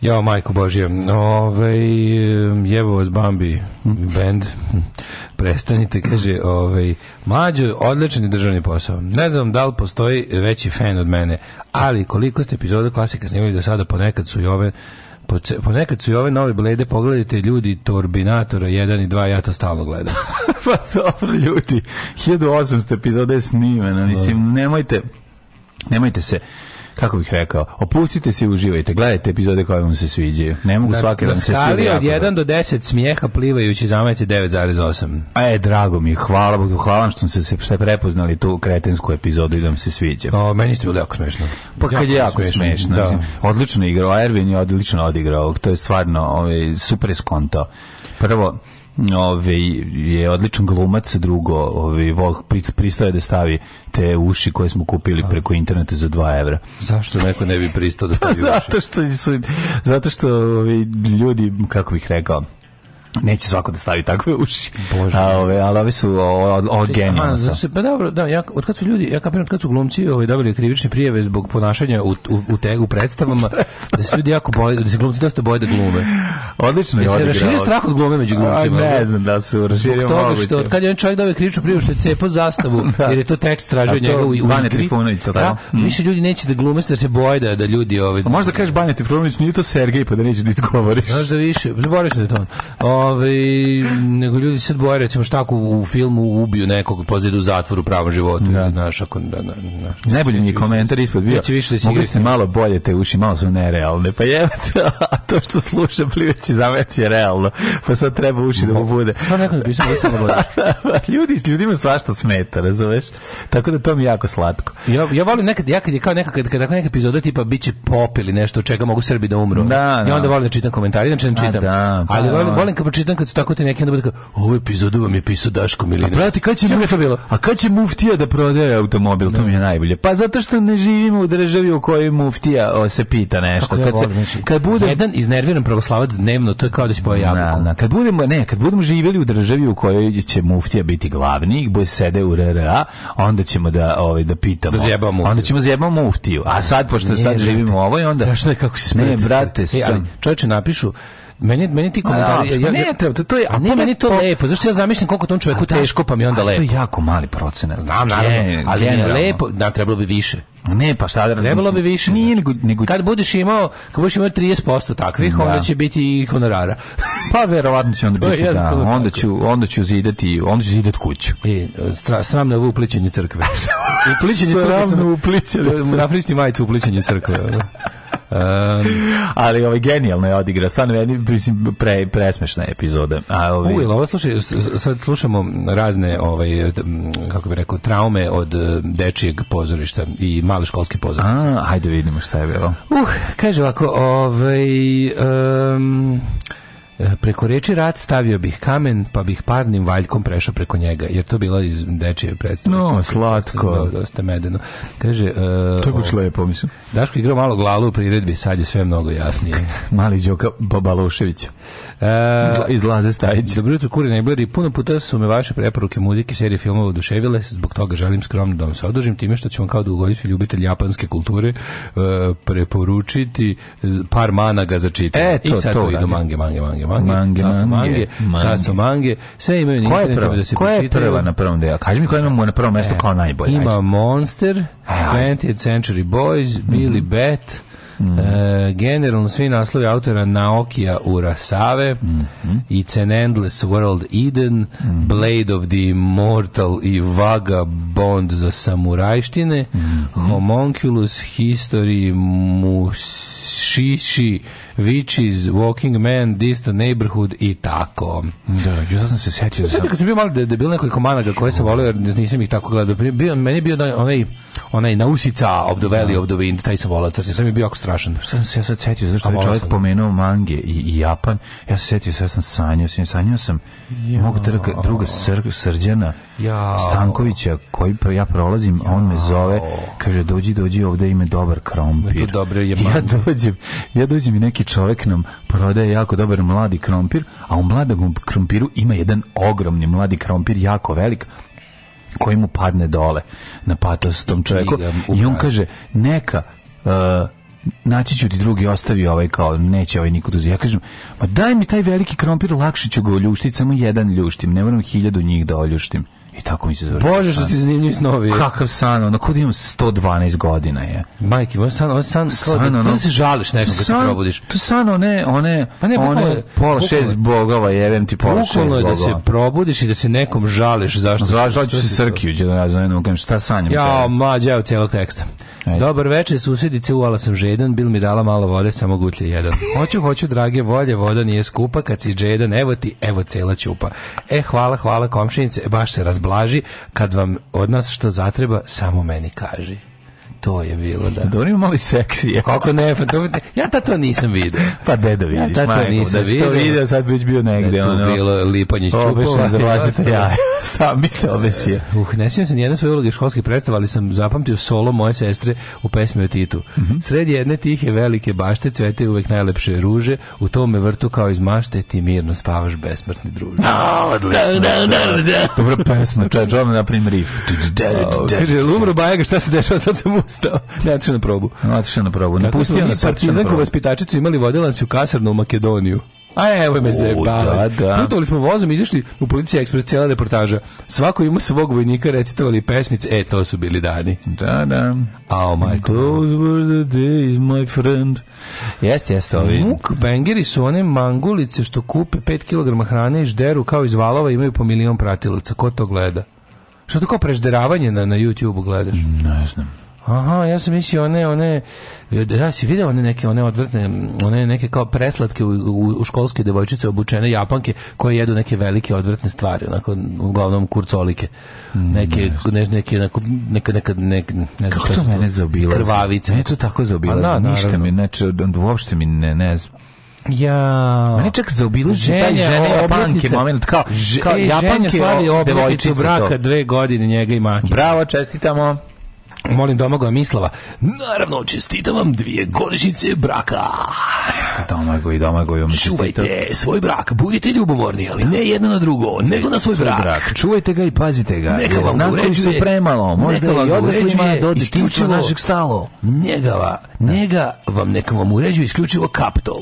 Speaker 7: Jao, majko Božje, ovaj, jevo vas Bambi, band, prestanite, kaže, ovaj, mlađo, odličan je državni posao. Ne znam da li postoji veći fan od mene, ali koliko ste epizoda klasika snimali do sada, ponekad su i ove poce- ponekad su i ove nove blede, pogledajte ljudi Turbinatora 1 i 2, ja to stalno gledam.
Speaker 8: pa dobro, ljudi, 1800 epizoda je snimena, mislim, nemojte, nemojte se, kako bih rekao, opustite se i uživajte, gledajte epizode koje vam se sviđaju. Ne mogu svake
Speaker 7: Znači, na
Speaker 8: vam se
Speaker 7: skali
Speaker 8: sviđa.
Speaker 7: od 1 do 10 smijeha plivajući zameci 9,8.
Speaker 8: E, drago mi, je, hvala Bogu, hvala vam što ste se ste prepoznali tu kretensku epizodu i da vam se sviđa.
Speaker 7: O, meni ste bilo jako smešno.
Speaker 8: Pa kad je jako smešno.
Speaker 7: Da.
Speaker 8: mislim, Odlično igrao, Ervin je odlično odigrao, to je stvarno ovaj, super skonto. Prvo, ovaj, je odličan glumac, drugo, ovaj, Vogue pri- pristao je da stavi te uši koje smo kupili preko interneta za 2 evra.
Speaker 7: Zašto neko ne bi pristao da stavi uši?
Speaker 8: zato što su, zato što ovaj, ljudi, kako bih rekao, neće svako da stavi takve uši.
Speaker 7: Bože.
Speaker 8: A, ove, ali ovi su o, o, o,
Speaker 7: Aha,
Speaker 8: genijalno. stvarno.
Speaker 7: zato se, pa dobro, da, ja, od kad su ljudi, ja kapiram, od kad su glumci ovaj, dobili krivične prijeve zbog ponašanja u, u, u tegu predstavama, da se ljudi jako boje, da se glumci dosta boje da glume.
Speaker 8: Odlično je
Speaker 7: Da se
Speaker 8: odigrao.
Speaker 7: raširio strah od glume među glumcima.
Speaker 8: A,
Speaker 7: ono.
Speaker 8: ne znam da su
Speaker 7: Zbog
Speaker 8: raširio
Speaker 7: toga
Speaker 8: moguće.
Speaker 7: što od kad je on čovjek dobio krivičnu prijavu što je cepao zastavu, jer je to tekst tražio
Speaker 8: A to
Speaker 7: njega u, u
Speaker 8: Vanja
Speaker 7: igri.
Speaker 8: Trifunović, jel'
Speaker 7: da,
Speaker 8: tako? Mm.
Speaker 7: više ljudi neće da glume jer se boje da, da ljudi ovaj,
Speaker 8: A Možda kažeš Banja Trifunović, nije to Sergej, pa da neće da izgovoriš.
Speaker 7: Znaš da više, zaboravio sam da je to on. Ove, nego ljudi se boje, recimo šta ako u filmu ubiju nekog, pozdrav u zatvoru u pravom životu.
Speaker 8: Da.
Speaker 7: Da. Znaš, ako, da, da, znaš.
Speaker 8: Najbolji mi je komentar ispod bio.
Speaker 7: Neće više da se
Speaker 8: Mogli
Speaker 7: igrati.
Speaker 8: ste malo bolje te uši, malo su nerealne. Pa jebate, a to što sluša pliveći zamec je realno. Pa sad treba uši da mu bude.
Speaker 7: Sam neko napisao da sam gledao.
Speaker 8: Ljudi, s ljudima svašta smeta, razumeš? Tako da to mi je jako slatko.
Speaker 7: Ja, ja volim nekad, ja kad je kao neka, kad, kad tako neka epizoda tipa bit će pop ili nešto od čega mogu Srbi da umru.
Speaker 8: Da,
Speaker 7: I
Speaker 8: da.
Speaker 7: onda volim da čitam komentari, znači ne
Speaker 8: A,
Speaker 7: čitam.
Speaker 8: da, pa
Speaker 7: Ali volim,
Speaker 8: da.
Speaker 7: volim kad pročitam kad su tako te neki, onda bude kao, ovu epizodu vam je pisao Daško Milinović.
Speaker 8: Brate, kad će
Speaker 7: Kako je to bilo?
Speaker 8: A kad će muftija da prodaje automobil? To mi je najbolje. Pa zato što ne živimo u državi u kojoj muftija o, se pita nešto.
Speaker 7: Kako ja
Speaker 8: kad, se-
Speaker 7: volim, znači,
Speaker 8: kad bude
Speaker 7: Jedan iznerviran pravoslavac dnevno, to je kao da će pojaviti.
Speaker 8: Na, na, kad budemo, ne, kad budemo živjeli u državi u kojoj će muftija biti glavni, bude sede u RRA, onda ćemo da, ovaj, da pitamo.
Speaker 7: Da zjebamo muftiju.
Speaker 8: Onda ćemo zajebamo muftiju. A sad, pošto sad
Speaker 7: brate,
Speaker 8: živimo ovo i onda...
Speaker 7: Strašno je kako se
Speaker 8: Ne,
Speaker 7: smete.
Speaker 8: brate,
Speaker 7: E, ali
Speaker 8: sam-
Speaker 7: čoveče napišu, meni, meni ti komentari...
Speaker 8: da, ne, to- to- to je-
Speaker 7: A ne,
Speaker 8: to-
Speaker 7: meni to
Speaker 8: to-
Speaker 7: lepo, zašto ja zamišljam koliko tom čoveku
Speaker 8: Da,
Speaker 7: teško, pa mi onda
Speaker 8: a To je
Speaker 7: lepo.
Speaker 8: jako mali procenat.
Speaker 7: Znam, naravno,
Speaker 8: Gen-
Speaker 7: ali mi je
Speaker 8: generalno.
Speaker 7: lepo, da, trebalo bi više.
Speaker 8: Ne, pa šta da radim,
Speaker 7: Trebalo bi
Speaker 8: mislim,
Speaker 7: više.
Speaker 8: Nije,
Speaker 7: znači.
Speaker 8: nego, nego
Speaker 7: Kad budeš imao, kad budeš imao 30% takvih,
Speaker 8: Da.
Speaker 7: onda će biti i honorara.
Speaker 8: pa verovatno će onda
Speaker 7: To je
Speaker 8: biti, da,
Speaker 7: jednostavno
Speaker 8: onda
Speaker 7: tako.
Speaker 8: ću, onda ću zidati, onda ću zidati kuću.
Speaker 7: I, stra, sramno je ovo upličenje crkve. upličenje crkve sam...
Speaker 8: Sramno uplićenje crkve.
Speaker 7: Naprišti majicu upličenje crkve. ono. Um,
Speaker 8: Ali ovaj genijalno je odigra, stvarno meni mislim pre presmešna epizoda. A ovaj
Speaker 7: Ujel, ovo slušaj, s- s- sad slušamo razne, ovaj, t- m, kako bih rekao, traume od eh, dečijeg pozorišta i male školske pozorišta.
Speaker 8: A, hajde vidimo šta je bilo.
Speaker 7: Uh, kaže ovako, ovaj, em, e, preko reči rad stavio bih kamen, pa bih parnim valjkom prešao preko njega, jer to bila iz dečije predstave.
Speaker 8: No, slatko.
Speaker 7: Da, Dosta medeno. Kaže, e,
Speaker 8: To je
Speaker 7: o-
Speaker 8: baš lepo, mislim.
Speaker 7: Daško igrao malo glalu u priredbi, sad je sve mnogo jasnije.
Speaker 8: Mali Đoka Babalušević.
Speaker 7: E,
Speaker 8: Izla- Izlaze Stajić.
Speaker 7: Dobro jutro, kurine i bleri. Puno puta su me vaše preporuke muzike, serije, filmova oduševile, zbog toga želim skromno da vam se odužim time što ću vam kao dugogodišnji ljubitelj japanske kulture e, preporučiti z- par managa za čitanje.
Speaker 8: E, to-
Speaker 7: I sad
Speaker 8: to
Speaker 7: to idu
Speaker 8: uradim.
Speaker 7: mange, mange, mange, mange,
Speaker 8: Mange,
Speaker 7: sasu
Speaker 8: mange,
Speaker 7: mange, sasu mange, sve imaju na
Speaker 8: Ko je
Speaker 7: internetu
Speaker 8: prva?
Speaker 7: da se
Speaker 8: Ko je
Speaker 7: pročitaju.
Speaker 8: prva na prvom delu? Kaži mi ko imamo na prvom mestu kao najbolje.
Speaker 7: E, Ima
Speaker 8: Ajde. E,
Speaker 7: Monster,
Speaker 8: ajde. Mhm.
Speaker 7: 20th Century Boys, Billy Bat, e, generalno svi naslovi autora Naokija Urasave,
Speaker 8: Mhm.
Speaker 7: It's an Endless World Eden, Blade of the Immortal i Vagabond za
Speaker 8: Mhm.
Speaker 7: samurajštine, Homunculus History Mushishi Witches, Walking Man, Distant Neighborhood i tako.
Speaker 8: Da, ja sam se setio.
Speaker 7: Sada kad sam bio malo de- debil nekoliko managa koje sam volio jer nisam ih tako gledao. Pri- Bio, meni je bio onaj, onaj, onaj Nausica of the Valley of the Wind, taj sam volao crti, sam mi je bio jako strašan.
Speaker 8: sam se ja sad setio, zašto je
Speaker 7: volao
Speaker 8: čovjek
Speaker 7: sam.
Speaker 8: pomenuo mange i, i Japan, ja se setio, sad sam sanjao, sam, sanjao sam mog drga, druga sr, srđana
Speaker 7: Jao.
Speaker 8: Stankovića, koji pro- ja prolazim, a on me zove, kaže, dođi, dođi, ovde ima dobar krompir.
Speaker 7: Ima tu dobre je
Speaker 8: ja
Speaker 7: mange.
Speaker 8: dođem, ja dođem i neki čovjek nam prodaje jako dobar mladi krompir, a u mladom krompiru ima jedan ogromni mladi krompir, jako velik, koji mu padne dole na patos tom čovjeku
Speaker 7: ga
Speaker 8: i on
Speaker 7: ubraja.
Speaker 8: kaže neka e, naći ću ti drugi ostavi ovaj kao neće ovaj nikud uzeti ja kažem ma daj mi taj veliki krompir lakše ću ga oljuštiti samo jedan ljuštim ne moram hiljadu njih da oljuštim i tako mi se završi
Speaker 7: Bože što
Speaker 8: san.
Speaker 7: ti zanimljivi snovi.
Speaker 8: kakav san ono kod imam 112 godina je
Speaker 7: Majke, moj san, on san, kao da,
Speaker 8: ono-
Speaker 7: to da se žališ nekom kad se
Speaker 8: San-
Speaker 7: probudiš.
Speaker 8: to san one one
Speaker 7: Pa ne, bukvalno
Speaker 8: one
Speaker 7: je-
Speaker 8: pola
Speaker 7: bukvalno je-
Speaker 8: šest bogova jevem ti pola šest
Speaker 7: Bukvalno je da se
Speaker 8: bogova
Speaker 7: probudiš i da se nekom žališ zašto.
Speaker 8: Zvažat
Speaker 7: što
Speaker 8: ću se
Speaker 7: si-
Speaker 8: Srkijuć, da ja zovem, kažem, šta sanjam?
Speaker 7: Ja,
Speaker 8: tebe?
Speaker 7: mlađa, evo cijelog teksta.
Speaker 8: Ajde.
Speaker 7: Dobar večer, susjedice, uvala sam žedan, bil mi dala malo vode, samo gutlje jedan. Hoću, hoću, drage volje, voda nije skupa, kad si žedan, evo ti, evo cela ćupa. E, hvala, hvala, komšinice, baš se razblaži, kad vam od nas što zatreba, samo meni kaži. To je bilo, da.
Speaker 8: Dobro ima malo i seksije.
Speaker 7: Kako ne, pa to- ja tad to nisam vidio.
Speaker 8: Pa gde da vidiš,
Speaker 7: Ja tad to
Speaker 8: majko,
Speaker 7: nisam
Speaker 8: da si to
Speaker 7: vidio.
Speaker 8: video, sad bi već bio negde,
Speaker 7: Da je tu
Speaker 8: ono.
Speaker 7: bilo lipanje iz čupova
Speaker 8: Obešen za
Speaker 7: i
Speaker 8: vlastite
Speaker 7: ostalo.
Speaker 8: jaje. Sam mi se obesio.
Speaker 7: Uh, ne sjećam se nijedne svoje uloge školskih predstava, ali sam zapamtio solo moje sestre u pesmi o Titu.
Speaker 8: Mhm.
Speaker 7: Sred jedne tihe velike bašte cvete uvek najlepše ruže, u tome vrtu kao iz mašte ti mirno spavaš besmrtni druže.
Speaker 8: odlično. Dobra pesma, čovječ, ono naprim riff.
Speaker 7: O, Kaže, Lumro Bajega, šta se dešava, sad sam ustao. Ne, otišao na probu.
Speaker 8: Otišao na probu,
Speaker 7: Napustio
Speaker 8: napustio
Speaker 7: mi
Speaker 8: na
Speaker 7: partizanku vaspitačicu imali vodilac u kasarnu u Makedoniju. A evo me
Speaker 8: U,
Speaker 7: zebali.
Speaker 8: da, da.
Speaker 7: Putovali smo vozom, izašli u policiji ekspres cijela reportaža. Svako ima svog vojnika, recitovali pesmice. E, to su bili dani.
Speaker 8: Da, da.
Speaker 7: Ao, majko.
Speaker 8: Those were the days, my friend. Jeste, jeste, ovi.
Speaker 7: Mukbangeri su one mangulice što kupe 5 kg hrane i žderu kao iz valova i imaju po milion pratilaca. Ko to gleda? Što to kao prežderavanje na, na YouTube-u gledaš?
Speaker 8: Ne znam.
Speaker 7: Aha, ja sam mislio one, one, da si vidio one neke, one odvrtne, one neke kao preslatke u, u, u školske devojčice obučene japanke koje jedu neke velike odvrtne stvari, onako, uglavnom kurcolike. Neke, ne, neke, onako, neka, neka, neka, ne znam
Speaker 8: Mm, Kako
Speaker 7: šta
Speaker 8: to
Speaker 7: su
Speaker 8: mene zaobilazi?
Speaker 7: Krvavice.
Speaker 8: Mene to tako zaobilazi.
Speaker 7: A da,
Speaker 8: Ništa
Speaker 7: naravno.
Speaker 8: mi, znači, uopšte mi ne, ne znam.
Speaker 7: Ja.
Speaker 8: Meni čak zaobilazi taj
Speaker 7: Ženja,
Speaker 8: žene
Speaker 7: obljetnica.
Speaker 8: japanke moment, kao,
Speaker 7: Ž-
Speaker 8: kao
Speaker 7: e,
Speaker 8: japanke
Speaker 7: Ženja slavi
Speaker 8: o-
Speaker 7: obljetnicu
Speaker 8: devojčice
Speaker 7: braka
Speaker 8: to.
Speaker 7: dve godine njega i Maki.
Speaker 8: Bravo, čestitamo.
Speaker 7: Molim domagoja Mislava. Naravno, čestitam vam dvije godišnjice braka.
Speaker 8: Domagoj, domagoj, um, čuvajte
Speaker 7: Čuvajte svoj brak, budite ljubomorni, ali ne jedno na drugo, nego na svoj, brak.
Speaker 8: brak. Čuvajte ga i pazite ga.
Speaker 7: Neka
Speaker 8: jer
Speaker 7: vam ga
Speaker 8: znakovi su
Speaker 7: uređuje-
Speaker 8: premalo, možda
Speaker 7: neka
Speaker 8: i
Speaker 7: vam ga
Speaker 8: odraslima
Speaker 7: uređuje
Speaker 8: do detinjstva
Speaker 7: isključivo-
Speaker 8: našeg stalo.
Speaker 7: Njegava, njega vam neka vam uređuje isključivo kapitol.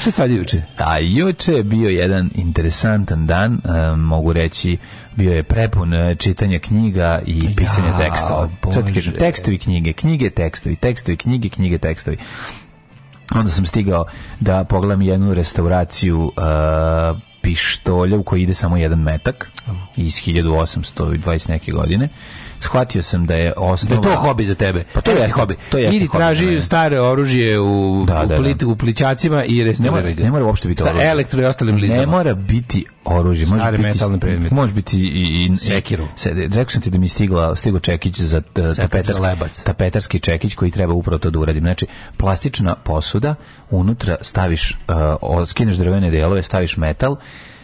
Speaker 7: Šta sad juče?
Speaker 8: A juče je bio jedan interesantan dan, e, mogu reći, bio je prepun e, čitanja knjiga i pisanja
Speaker 7: Jao,
Speaker 8: tekstova. Sad ti kažem,
Speaker 7: Bože.
Speaker 8: tekstovi knjige, knjige tekstovi, tekstovi knjige, knjige tekstovi. Onda sam stigao da pogledam jednu restauraciju e, pištolja u kojoj ide samo jedan metak iz 1820 neke godine. Shvatio sam da je
Speaker 7: Da je
Speaker 8: osnova...
Speaker 7: to hobi za tebe.
Speaker 8: Pa to
Speaker 7: Jeste
Speaker 8: jeste-
Speaker 7: E, hobi.
Speaker 8: to jeste
Speaker 7: Idi
Speaker 8: hobi
Speaker 7: traži
Speaker 8: za mene.
Speaker 7: stare oružje u,
Speaker 8: Da,
Speaker 7: u,
Speaker 8: da,
Speaker 7: plit-
Speaker 8: da.
Speaker 7: u plićacima i restauriraj
Speaker 8: Ne
Speaker 7: ga.
Speaker 8: mora- ne mora uopšte biti
Speaker 7: Sa
Speaker 8: oružje.
Speaker 7: elektro i ostalim
Speaker 8: Ne
Speaker 7: lizama.
Speaker 8: mora biti oružje, može
Speaker 7: Stari
Speaker 8: biti
Speaker 7: metalni predmet.
Speaker 8: Može biti i, i
Speaker 7: Sekiru.
Speaker 8: Se, rekao sam ti da mi je stigla stigo čekić za t-
Speaker 7: za
Speaker 8: tapetarski,
Speaker 7: lebac.
Speaker 8: tapetarski čekić koji treba upravo to da uradim. Znači, plastična posuda, unutra staviš, uh, o- skineš drvene delove, staviš metal,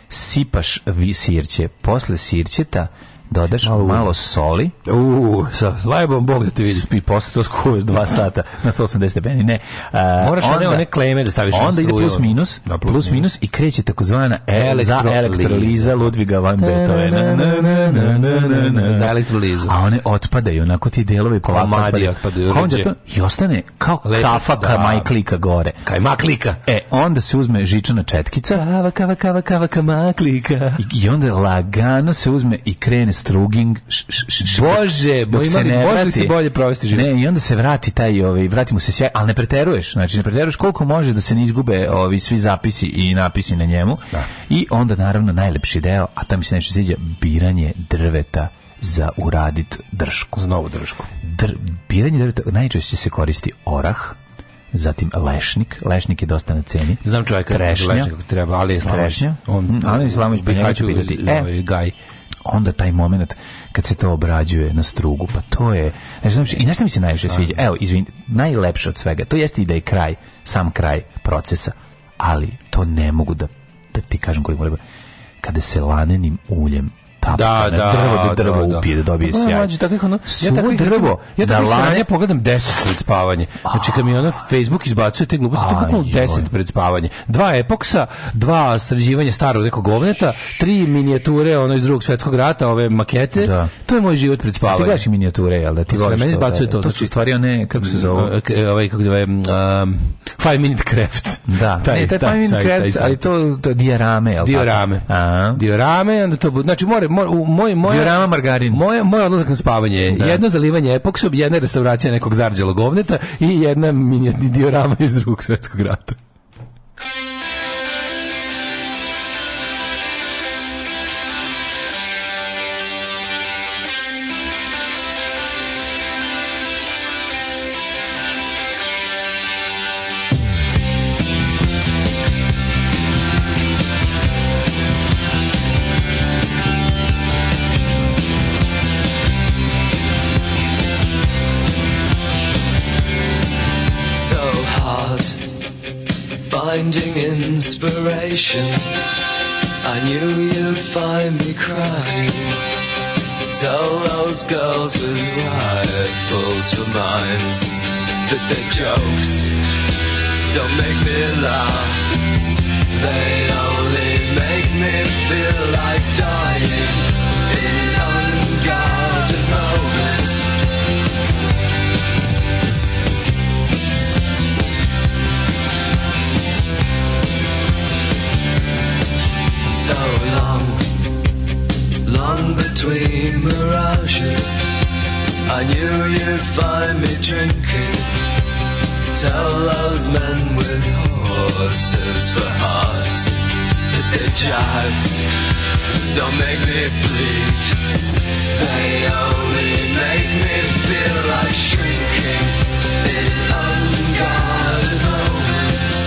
Speaker 8: sipaš vi sirće, posle sirćeta dodaš malo, soli
Speaker 7: U, sa lajbom Bog da te vidi.
Speaker 8: i posle to skuvaš dva sata na 180 stepeni. Ne, a,
Speaker 7: Moraš one- one kleme da staviš na
Speaker 8: Onda ide
Speaker 7: struju.
Speaker 8: plus minus,
Speaker 7: Da,
Speaker 8: plus,
Speaker 7: plus
Speaker 8: minus. i kreće takozvana
Speaker 7: Elektro-
Speaker 8: za elektroliza Ludviga van Beethovena.
Speaker 7: Za elektrolizu.
Speaker 8: A one otpadaju, onako ti delovi polako
Speaker 7: Komadi otpadaju,
Speaker 8: Komadi
Speaker 7: rđe.
Speaker 8: otpadaju I ostane kao
Speaker 7: Lepo,
Speaker 8: kafa
Speaker 7: da.
Speaker 8: ka majklika gore.
Speaker 7: Kaj maklika.
Speaker 8: E, onda se uzme žičana četkica
Speaker 7: Kava, kava, kava, kava, kava, klika.
Speaker 8: i, i onda lagano se uzme i krene struging. š- š- š- š-
Speaker 7: Bože,
Speaker 8: dok
Speaker 7: moj
Speaker 8: se
Speaker 7: mali,
Speaker 8: ne
Speaker 7: može li
Speaker 8: vrati.
Speaker 7: si bolje provesti život?
Speaker 8: Ne, i onda se vrati taj, ovaj, vrati mu se sjaj, ali ne preteruješ, znači ne preteruješ koliko može da se ne izgube ovi svi zapisi i napisi na njemu. I onda naravno najlepši deo, a to mi se nešto sviđa, biranje drveta za uradit dršku.
Speaker 7: Za novu dršku.
Speaker 8: Dr, biranje drveta najčešće se koristi orah, zatim Lešnik. Lešnik je dosta na ceni.
Speaker 7: Znam čovjeka
Speaker 8: Trešnja.
Speaker 7: Trešnja, kako treba, Ali Islamović.
Speaker 8: Trešnja. Mm, Ali Islamović, pa njega ću pitati. E.
Speaker 7: E, gaj.
Speaker 8: onda taj moment kad se to obrađuje na strugu, pa to je... Znači, znači, I nešto mi se najviše sviđa? Evo, izvinite, najlepše od svega, to jeste i da je kraj, sam kraj procesa, ali to ne mogu da, da ti kažem koliko lepo. Kada se lanenim uljem tapa na
Speaker 7: Da, da,
Speaker 8: drvo, da drvo
Speaker 7: da, da.
Speaker 8: upije, da dobije
Speaker 7: Pa,
Speaker 8: sjaj.
Speaker 7: mlađe, takvih ono, ja
Speaker 8: Svo
Speaker 7: takvih,
Speaker 8: drvo,
Speaker 7: ja
Speaker 8: da
Speaker 7: takvih
Speaker 8: lane...
Speaker 7: sranja pogledam 10 pred spavanje. Znači, kad mi ono Facebook izbacuje te gluposti, to je bukvalno
Speaker 8: Aj,
Speaker 7: 10
Speaker 8: joj.
Speaker 7: pred spavanje. Dva epoksa, dva sređivanja starog nekog govneta, tri minijature, ono iz drugog svjetskog rata, ove makete.
Speaker 8: Da.
Speaker 7: To je moj život pred
Speaker 8: Pa Ti
Speaker 7: spavanje.
Speaker 8: gledaš i minijature, jel da ti
Speaker 7: Pa,
Speaker 8: voliš
Speaker 7: meni
Speaker 8: da-
Speaker 7: izbacuje to,
Speaker 8: To su
Speaker 7: znači-
Speaker 8: stvari one, kako se zovu?
Speaker 7: K- ovaj kako se zove um, Five Minute Crafts.
Speaker 8: Da, taj, ne, taj, taj,
Speaker 7: sajt, taj sajt.
Speaker 8: ali to, to je diorame, jel
Speaker 7: Diorame.
Speaker 8: Tako? Aha.
Speaker 7: Diorame, onda to bude. Znači, more, more, u- moj, moj,
Speaker 8: Diorama margarin.
Speaker 7: Moje, moj odlazak na spavanje je jedno zalivanje epoksom, jedna restauracija nekog zarđelog govneta i jedna mini diorama iz drugog svjetskog rata.
Speaker 9: so hard finding inspiration. I knew you'd find me crying. Tell those girls with rifles for minds that their jokes don't make me laugh. They only make me feel like dying in unguarded moments. so long, long between mirages. I knew you'd find me drinking. Tell those men with horses for hearts that their jibes don't make me bleed. They only make me feel like shrinking in unguarded moments.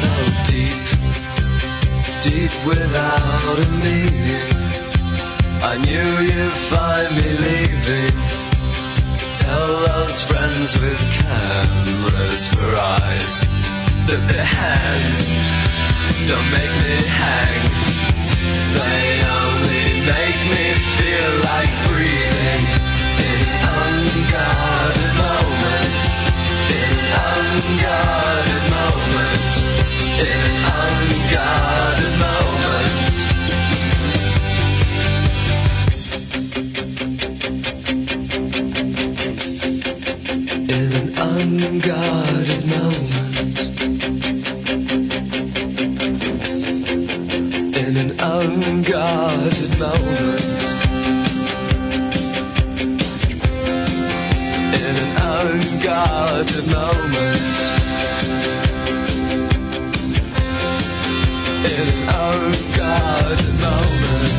Speaker 9: so deep, deep without a meaning. I knew you'd find me leaving. Tell those friends with cameras for eyes that their hands don't make me hang. They only make me feel like breathing in unguarded moments. In unguarded moments. In unguarded moments. In an unguarded moment. In an unguarded moment. in an unguarded moment. In an unguarded moment. In an unguarded moment. In an unguarded moment. In an unguarded moment.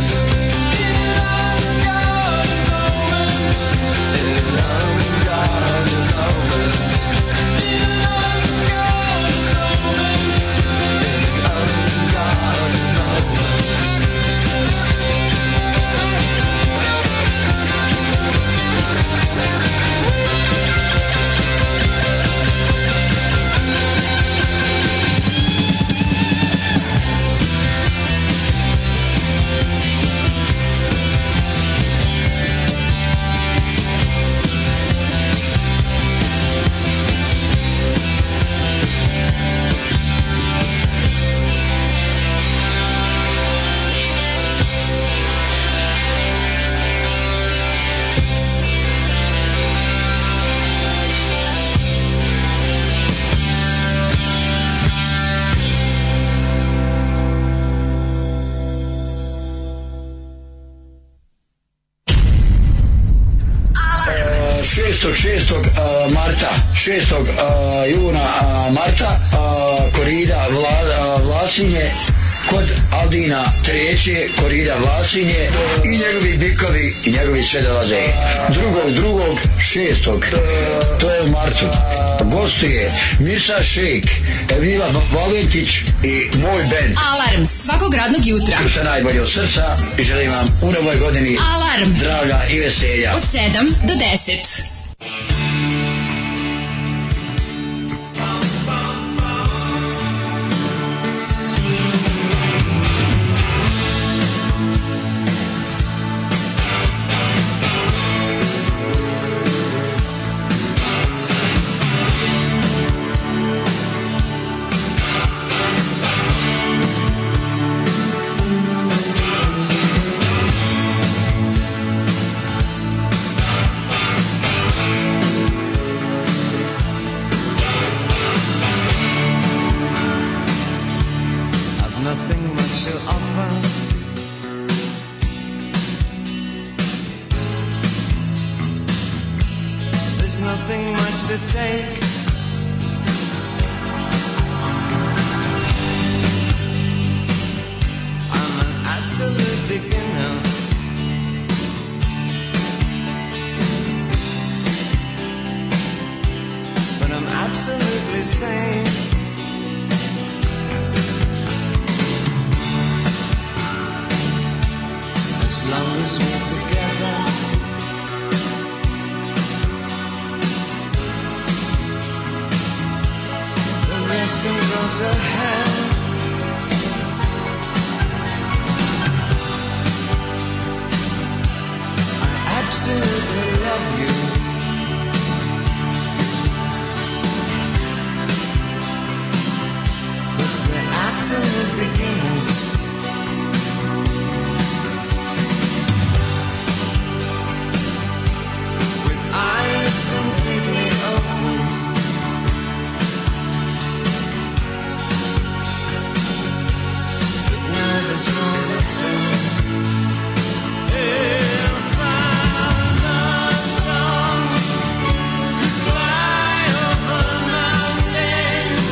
Speaker 10: isto 6. a, marta, 6. a, juna a, marta, a, korida Vla, a, Vlasinje, kod Aldina treće, korida Vlasinje i njegovi bikovi i njegovi sve dolaze. Drugog, drugog, šestog, to je u martu. Gostuje Mirsa Šejk, Evila Valentić i moj band.
Speaker 5: Alarm svakog radnog jutra.
Speaker 10: Sve najbolje od srca i želim vam u novoj godini
Speaker 5: Alarm
Speaker 10: zdravlja i veselja.
Speaker 5: od 7 do 10.
Speaker 1: I've nothing much to offer. There's nothing much to take. I'm an absolute beginner. But I'm absolutely sane. as long as we're together. The rest can go to hell. I absolutely love you. But we're absolute beginners. with eyes completely open. But now the sun is down. If our love song could fly over mountains,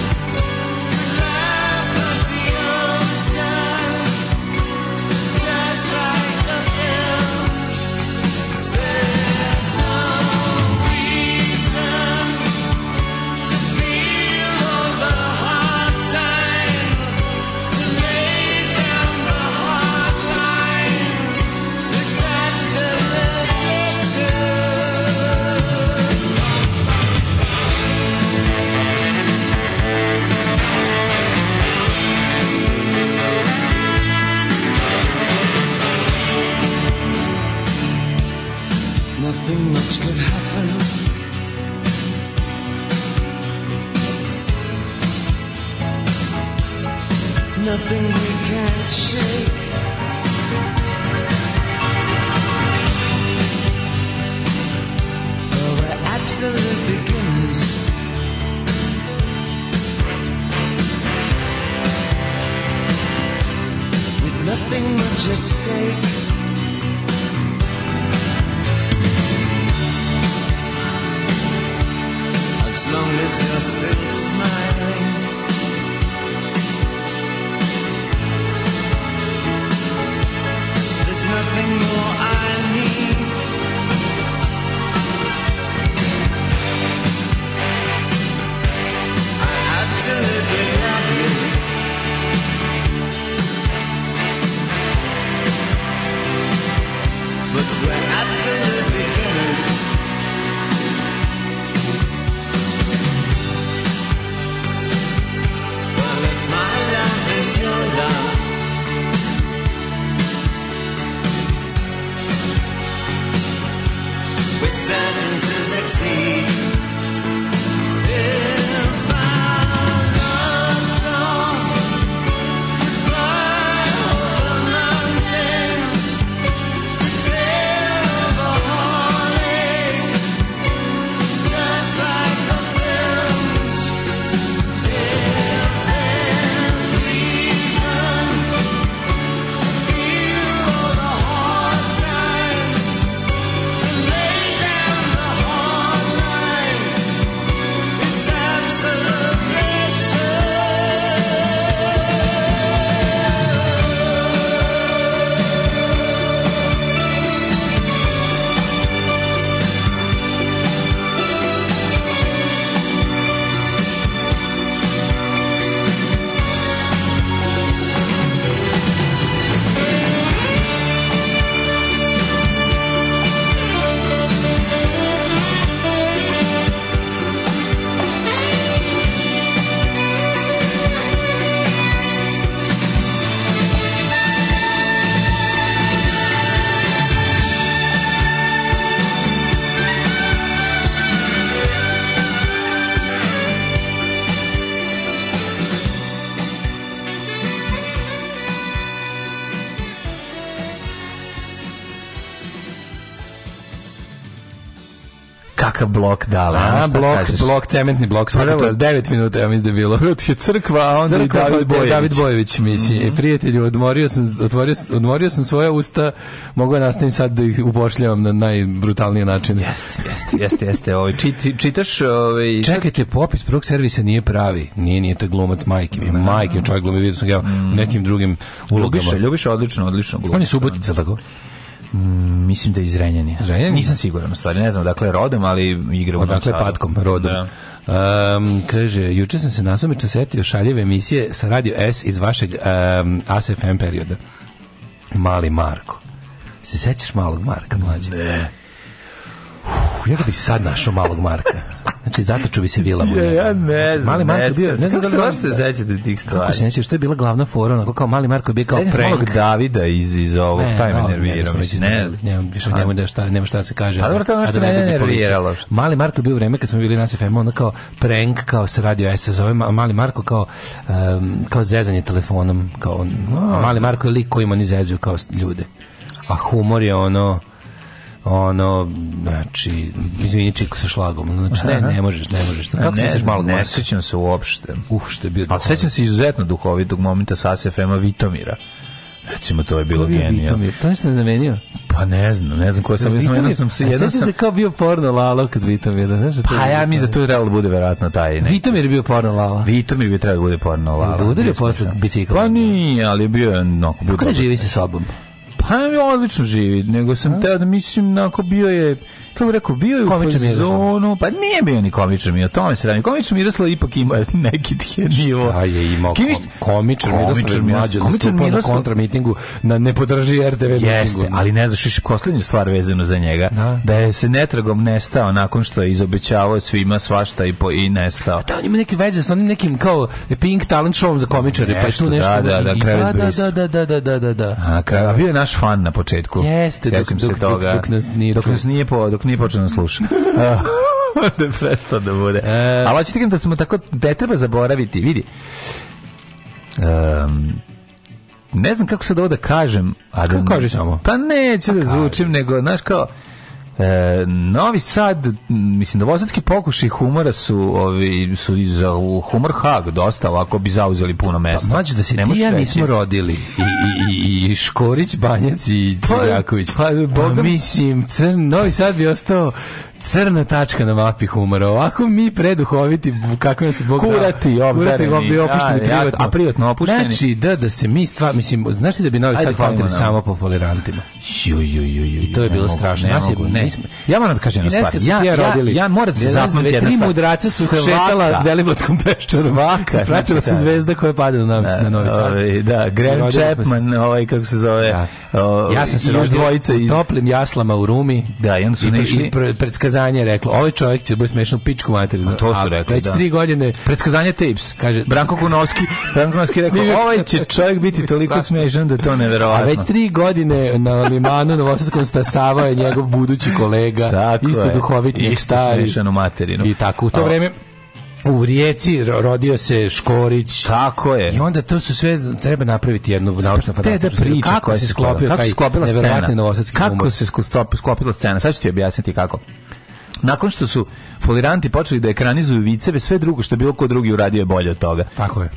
Speaker 1: laugh at the ocean, just like the hills. There's no reason to feel all the hard times, to lay down the hard lines. It's absolutely true. nothing much could happen. Nothing we can't shake. For we're absolute beginners. With nothing much at stake. as long as you're still smiling. There's nothing more I need. I absolutely love you. But we're absolute beginners. Well, if my love is your love,
Speaker 8: kakav blok dala.
Speaker 7: A,
Speaker 8: ono, šta
Speaker 7: blok,
Speaker 8: kažeš?
Speaker 7: blok, cementni blok, svaka
Speaker 8: Prvo-
Speaker 7: čast, 9 minuta, ja mislim da je bilo.
Speaker 8: Prvo ti je crkva, a onda
Speaker 7: Crkva,
Speaker 8: i David
Speaker 7: David
Speaker 8: Bojević. Mhm.
Speaker 7: David Bojević, mislim. E, prijatelju, odmorio sam, otvorio, sam- odmorio sam svoja usta, mogu ja nastavim sad da ih upošljavam na najbrutalniji način.
Speaker 8: Jeste, jeste, jeste, jeste. Ovaj, čit, čitaš... Ovaj,
Speaker 7: Čekajte, popis prvog servisa nije pravi. Nije, nije to glumac majke mi. Majke mi čovjek glumi, vidio sam ga u nekim drugim ulogama.
Speaker 8: Mm. Ljubiša, Ljubiša, odlično, odlično. glumi.
Speaker 7: On je Subotica, tako?
Speaker 8: Mislim da je iz Renjanina.
Speaker 7: Renjanina?
Speaker 8: Nisam siguran, u stvari, ne znam odakle je rodom, ali igra u Novom
Speaker 7: Odakle
Speaker 8: Sadu.
Speaker 7: patkom, rodom.
Speaker 8: Da.
Speaker 7: Um, kaže, juče sam se nasumično setio šaljeve emisije sa Radio S iz vašeg um, ASFM perioda. Mali Marko. Se sećaš malog Marka, mlađe? Ne. Uf, ja ga bi sad našao malog Marka. Znači, zatoču bi se vila mu.
Speaker 8: Ja ne znam,
Speaker 7: Mali Marko je
Speaker 8: ne
Speaker 7: bio,
Speaker 8: znam,
Speaker 7: ne znam
Speaker 8: kako
Speaker 7: da li
Speaker 8: se
Speaker 7: on-
Speaker 8: baš se sećate tih stvari.
Speaker 7: Kako se nećeš, to je bila glavna fora, onako kao mali Marko je bio kao
Speaker 8: Sećam se
Speaker 7: prank.
Speaker 8: malog Davida iz, iz ovog, taj me nervirao, mislim, ne znam.
Speaker 7: Nemam više nema da šta, nema šta da se kaže.
Speaker 8: A dobro, to je ono
Speaker 7: a
Speaker 8: što
Speaker 7: da ne
Speaker 8: mene
Speaker 7: dođe policija.
Speaker 8: nerviralo.
Speaker 7: Mali Marko je bio u vreme kad smo bili na SFM, ono kao prank, kao se radio SS, zove ma- mali Marko kao em, kao zezanje telefonom, kao on, a mali Marko je lik kojim oni zezuju kao s- ljude. A humor je ono ono, znači, izvini čiko sa šlagom, znači, ne, ne možeš, ne možeš, kako se
Speaker 8: Ne
Speaker 7: sećaš
Speaker 8: znam,
Speaker 7: malog
Speaker 8: Ne
Speaker 7: Marka?
Speaker 8: sećam se uopšte.
Speaker 7: Uf, što je bio
Speaker 8: A sećam se izuzetno duhovitog momenta sa SFM-a Vitomira. Recimo, to je bilo genijalno.
Speaker 7: Vitomir, to nešto je zamenio?
Speaker 8: Pa ne znam, ne znam ko je sam,
Speaker 7: Vitomir,
Speaker 8: jednom sam se,
Speaker 7: a
Speaker 8: jednom
Speaker 7: sećaš
Speaker 8: sam...
Speaker 7: se kao bio porno lalo kad Vitomir, znaš da to je
Speaker 8: Pa ja
Speaker 7: Vitomir?
Speaker 8: mi za to je trebalo da bude verovatno taj neki.
Speaker 7: Vitomir je bio porno lala.
Speaker 8: Vitomir bi trebalo da bude porno lala.
Speaker 7: Da udario
Speaker 8: Bio smešan.
Speaker 7: posle bicikla?
Speaker 8: Pa nije, ali bio je onako... bio
Speaker 7: Kako ne
Speaker 8: dobar.
Speaker 7: živi sa sobom?
Speaker 8: Pa on odlično živi, nego sam teo da mislim, onako bio je, kako bih rekao, bio je
Speaker 7: Komičan
Speaker 8: u
Speaker 7: Miroslav.
Speaker 8: fazonu, pa nije bio ni komičan Miroslav, o tome se radi. Komičan Miroslav ipak ima neki tijenivo.
Speaker 7: A je imao
Speaker 8: Kim-
Speaker 7: kom- komičar Miroslav je
Speaker 8: Komičan
Speaker 7: mlađe
Speaker 8: Miroslav- komičan
Speaker 7: nastupao na
Speaker 8: Miroslav-
Speaker 7: kontramitingu na ne podrži RTV mitingu.
Speaker 8: Jeste, ali ne znaš više poslednju stvar vezanu za njega,
Speaker 7: Da.
Speaker 8: da, je se netragom nestao nakon što je izobećavao svima svašta i, po, i nestao.
Speaker 7: Da, on ima neke veze sa onim nekim kao Pink Talent Showom za komičare, pa je
Speaker 8: Nešto,
Speaker 7: tu
Speaker 8: da,
Speaker 7: nešto.
Speaker 8: da,
Speaker 7: i-
Speaker 8: da,
Speaker 7: i-
Speaker 8: Kreves
Speaker 7: da,
Speaker 8: Bris.
Speaker 7: da, da, da, da, da, da, da.
Speaker 8: A, ka- a bio je naš fan na početku.
Speaker 7: Jeste, dok-
Speaker 8: Sjećam
Speaker 7: dok-
Speaker 8: se
Speaker 7: dok-
Speaker 8: toga,
Speaker 7: dok nas nije
Speaker 8: dok
Speaker 7: čuo.
Speaker 8: nas nije, po, dok nije počeo nas sluša. da je prestao da bude.
Speaker 7: E.
Speaker 8: Ali hoćete kažem da smo tako, ne treba zaboraviti, vidi. Em, ne znam kako sad ovo da kažem. A da,
Speaker 7: Kako kaži samo?
Speaker 8: Pa neću da zvučim, nego, znaš kao, E, Novi Sad, m, mislim, novosadski pokušaj humora su, ovi, su i za u humor hag dosta, ovako bi zauzeli puno mesta.
Speaker 7: Pa Mlađe da se
Speaker 8: Ne
Speaker 7: ti i
Speaker 8: možeš
Speaker 7: ja
Speaker 8: reći.
Speaker 7: nismo rodili. I, i, i, i Škorić, Banjac i
Speaker 8: Pa-
Speaker 7: Cvrljaković.
Speaker 8: pa, Boga mi-
Speaker 7: mislim, crn, Novi Sad bi ostao crna tačka na mapi humora. Ovako mi preduhoviti, kako nas je Bog dao.
Speaker 8: Kurati, obdareni.
Speaker 7: Kurati, obdareni, opušteni
Speaker 8: Da, jasno,
Speaker 7: privatno.
Speaker 8: a privatno opušteni.
Speaker 7: Znači, da, da se mi stvar, mislim, znaš li da bi Novi
Speaker 8: Ajde,
Speaker 7: Sad
Speaker 8: hvala
Speaker 7: pamtili
Speaker 8: nam.
Speaker 7: samo po tolerantima?
Speaker 8: Ju, ju, ju, ju,
Speaker 7: I to je
Speaker 8: ne
Speaker 7: bilo
Speaker 8: mogu,
Speaker 7: strašno.
Speaker 8: Ne
Speaker 7: Nas je-
Speaker 8: mogu, ne.
Speaker 7: nismo-
Speaker 8: Ja moram da kažem jednu stvar. Ja, ja, ja, moram da se zapamtiti jedna
Speaker 7: Tri
Speaker 8: stvar.
Speaker 7: mudraca su
Speaker 8: Svaka-
Speaker 7: šetala Veliblatskom peščarom.
Speaker 8: Svaka,
Speaker 7: Pratila
Speaker 8: znači,
Speaker 7: su
Speaker 8: da.
Speaker 7: zvezda koja pada na, Novi- na Novi Sad.
Speaker 8: Ovaj, da, Graham
Speaker 7: Rodili smo se.
Speaker 8: Chapman, ovaj, kako se zove. ovaj,
Speaker 7: ja sam se
Speaker 8: i još
Speaker 7: rodio
Speaker 8: dvojica
Speaker 7: u
Speaker 8: iz...
Speaker 7: toplim jaslama u Rumi.
Speaker 8: Da, i onda su
Speaker 7: I,
Speaker 8: naišli-
Speaker 7: i pre, predskazanje je reklo, ovaj čovjek će biti smešan u pičku materinu.
Speaker 8: A Pa to su
Speaker 7: A
Speaker 8: rekli,
Speaker 7: Već
Speaker 8: da.
Speaker 7: tri godine
Speaker 8: Predskazanje tapes.
Speaker 7: Kaže-
Speaker 8: Branko Kunovski, Branko Kunovski je
Speaker 7: Snimio-
Speaker 8: rekao, ovaj će čovjek biti toliko smešan da je to
Speaker 7: A
Speaker 8: neverovatno.
Speaker 7: već tri godine na limanu na Vosarskom stasavao je njegov budući kolega,
Speaker 8: Tako
Speaker 7: isto
Speaker 8: je.
Speaker 7: duhovitnik,
Speaker 8: Isto
Speaker 7: stari.
Speaker 8: smešan u materinu.
Speaker 7: I tako, u to
Speaker 8: A-
Speaker 7: vreme u Rijeci ro- rodio se Škorić.
Speaker 8: Tako je.
Speaker 7: I onda to su sve, z- treba napraviti jednu naučno
Speaker 8: Te da
Speaker 7: fantastičnu seriju.
Speaker 8: priča
Speaker 7: Kako
Speaker 8: koja
Speaker 7: se sklopio
Speaker 8: kako se
Speaker 7: taj
Speaker 8: sklopila
Speaker 7: neverovatni
Speaker 8: scena
Speaker 7: novosadski
Speaker 8: kako
Speaker 7: humor?
Speaker 8: se sku- sklop- sklopila scena sad ću ti objasniti kako nakon što su foliranti počeli da ekranizuju viceve sve drugo što je bilo ko drugi uradio je bolje od toga
Speaker 7: Tako je.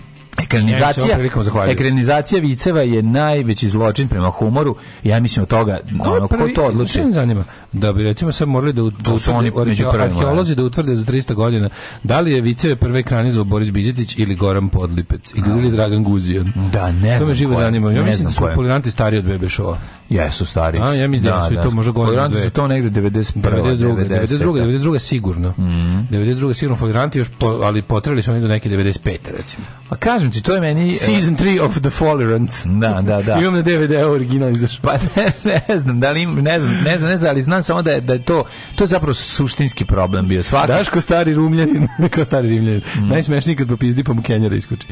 Speaker 7: Ja im se ovom
Speaker 8: Ekranizacija,
Speaker 7: prilikom zahvaljujem.
Speaker 8: ekranizacija viceva je najveći zločin prema humoru. Ja mislim od toga, ko, ono, ko to odluči?
Speaker 7: Što me zanima? Da bi recimo sad morali da, ut- da
Speaker 8: su
Speaker 7: utvrde-
Speaker 8: oni
Speaker 7: arheo-
Speaker 8: među prvima,
Speaker 7: arheolozi da utvrde za 300 godina da li je viceve prve ekranizovao Boris Bizetić ili Goran Podlipec ili, ili Dragan Guzijan.
Speaker 8: Da, ne
Speaker 7: To
Speaker 8: znam
Speaker 7: me živo
Speaker 8: ko je,
Speaker 7: zanima.
Speaker 8: ne
Speaker 7: Ja mislim
Speaker 8: znam
Speaker 7: da su
Speaker 8: ko je.
Speaker 7: poliranti stariji od Bebe Showa.
Speaker 8: Jesu stari.
Speaker 7: A, ja mislim da su i to možda godinu,
Speaker 8: Foliranti
Speaker 7: dve.
Speaker 8: su to negde 91.
Speaker 7: 92. 92.
Speaker 8: 90.
Speaker 7: 92. sigurno.
Speaker 8: Mhm.
Speaker 7: 92. sigurno foliranti još, po, ali potrali su oni do neke 95. recimo.
Speaker 8: Pa kažem ti, to je meni... e,
Speaker 7: 3 of the Follerants.
Speaker 8: Da, da, da.
Speaker 7: Imam na DVD-u original izašao.
Speaker 8: Pa ne, ne znam, da li im, ne znam, ne znam, ne znam, ali znam samo da je, da je to, to je zapravo suštinski problem bio. Svaki Mm.
Speaker 7: Daško stari rumljanin, kao stari rimljanin. Najsmešniji kad popizdi pa mu Kenjara iskuči.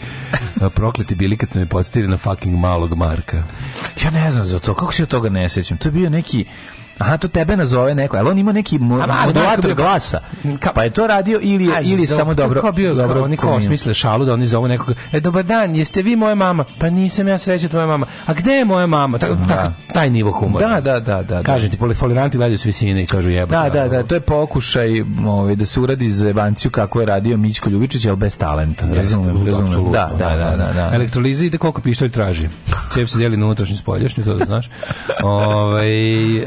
Speaker 7: A, Prokleti bili kad sam me podsjetili na fucking malog Marka.
Speaker 8: Ja ne znam za to, kako se ja toga ne sjećam. To je bio neki Aha, to tebe nazove neko. Ali on ima neki mo
Speaker 7: A, ma, ali Marko
Speaker 8: modulator
Speaker 7: bio-
Speaker 8: glasa.
Speaker 7: Ka-
Speaker 8: Pa je to radio ili, je-
Speaker 7: A,
Speaker 8: ili je
Speaker 7: zov-
Speaker 8: samo dobro.
Speaker 7: Kao bio, dobro, oni kao
Speaker 8: kombinu-
Speaker 7: osmisle šalu da oni zovu nekog. E, dobar dan, jeste vi moja mama? Pa nisam ja sreća tvoja mama. A gde je moja mama? Tako, tako, taj nivo
Speaker 8: Da,
Speaker 7: humora.
Speaker 8: da, da, da.
Speaker 7: Kažem ti, polifoliranti gledaju s visine i kažu jeba.
Speaker 8: Da, da, da, to je pokušaj ovaj, da se uradi za Evanciju kako je radio Mićko Ljubičić, ali bez talenta. Razumem, razumem. Da, da, da, da, da.
Speaker 7: Elektroliza ide koliko pištolj traži. Cep se deli na unutrašnju i spoljašnju, to da znaš. Ovaj, e,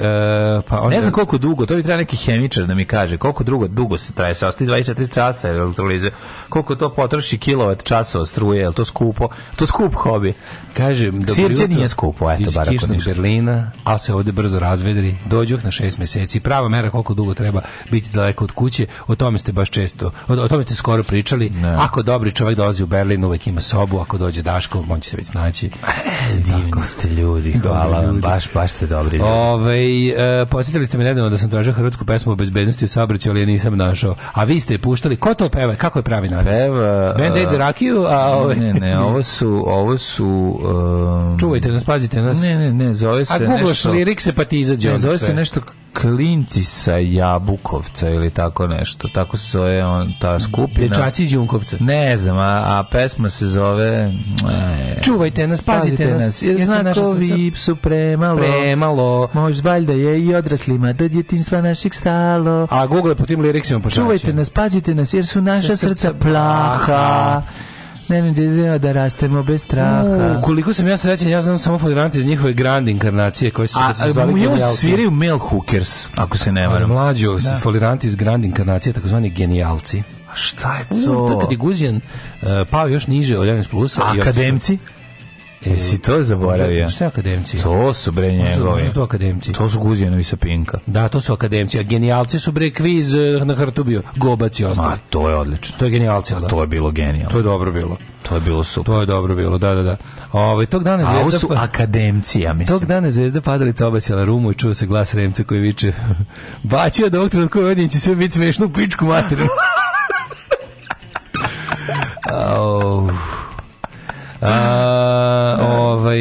Speaker 7: pa onda,
Speaker 8: Ne znam koliko dugo, to bi trebao neki hemičar da mi kaže, koliko drugo, dugo se traje sastoji, 24 časa elektrolize, koliko to potroši kilovat časova struje, je li to skupo? To je skup hobi.
Speaker 7: Kažem, dobro
Speaker 8: Sirće
Speaker 7: jutro.
Speaker 8: nije skupo, eto,
Speaker 7: Iz
Speaker 8: bar ako
Speaker 7: kišnog
Speaker 8: ništa.
Speaker 7: Berlina, ali se ovde brzo razvedri. Dođoh na šest meseci. Prava mera koliko dugo treba biti daleko od kuće. O tome ste baš često, o, o tome ste skoro pričali. Ako dobri čovjek dolazi u Berlin, uvek ima sobu. Ako dođe Daško, on će se već snaći.
Speaker 8: E, Divni ste ljudi, hvala vam, baš, baš ste dobri ljudi.
Speaker 7: Ove, e, podsjetili ste me nedavno da sam tražio hrvatsku pesmu o bezbednosti u saobraćaju, ali je nisam našao. A vi ste je puštali. Ko to peva? Kako je pravi naziv?
Speaker 8: Peva,
Speaker 7: Band Aid
Speaker 8: e,
Speaker 7: za rakiju, a ovaj, ove...
Speaker 8: Ne, ne, ovo su, ovo su... um,
Speaker 7: Čuvajte nas, pazite nas.
Speaker 8: Ne, ne, ne, zove se
Speaker 7: a googlaš
Speaker 8: nešto...
Speaker 7: lirikse pa ti izađe.
Speaker 8: Ne,
Speaker 7: ono
Speaker 8: zove
Speaker 7: sve.
Speaker 8: se nešto Klinci sa Jabukovca ili tako nešto. Tako se zove on, ta skupina.
Speaker 7: Dečaci iz Junkovca.
Speaker 8: Ne znam, a, a pesma se zove... e,
Speaker 7: Čuvajte nas, pazite, nas.
Speaker 8: jer
Speaker 7: jer sam naša
Speaker 8: znakovi su premalo.
Speaker 7: Premalo.
Speaker 8: Možda valjda je i odraslima do djetinstva naših stalo.
Speaker 7: A google po tim liriksima po
Speaker 8: Čuvajte nas, pazite nas, jer su naša
Speaker 7: Sa srca
Speaker 8: srca plaha. Mm. Ne, ne, ne, da rastemo bez straha.
Speaker 7: U, koliko sam ja srećen, ja znam samo flagrante iz njihove grand inkarnacije koje su,
Speaker 8: A,
Speaker 7: da su zvali
Speaker 8: u njemu
Speaker 7: genijalci.
Speaker 8: sviraju Mel Hookers, ako se ne
Speaker 7: Ali
Speaker 8: varam.
Speaker 7: mlađo, da. foliranti iz Grand Inkarnacije, takozvani genijalci.
Speaker 8: A šta je
Speaker 7: U, to kad je Guzijan e, pao još niže od 11 plusa. i otišao-
Speaker 8: Akademci? Jesi to zaboravio?
Speaker 7: Šta je akademci?
Speaker 8: To su bre
Speaker 7: Što
Speaker 8: njegovi.
Speaker 7: su to akademci?
Speaker 8: To su Guzijanovi sa Pinka.
Speaker 7: Da, to su akademci. A genijalci su bre kviz e, na hrtu bio. Gobac i ostali.
Speaker 8: Ma, to je odlično.
Speaker 7: To je genijalci, ali da?
Speaker 8: To je bilo
Speaker 7: To
Speaker 8: genijalno.
Speaker 7: je dobro bilo.
Speaker 8: To je bilo super.
Speaker 7: To je dobro bilo, da, da, da. Ove, tog dana
Speaker 8: A ovo
Speaker 7: zvezda...
Speaker 8: su
Speaker 7: pa-
Speaker 8: akademci, ja mislim.
Speaker 7: Tog dana je zvezda padalica obasjala rumu i čuo se glas Remca koji viče Baći od ovog trenutka ovaj odnjen će sve biti smešno u pičku materinu. Au. A, ovaj,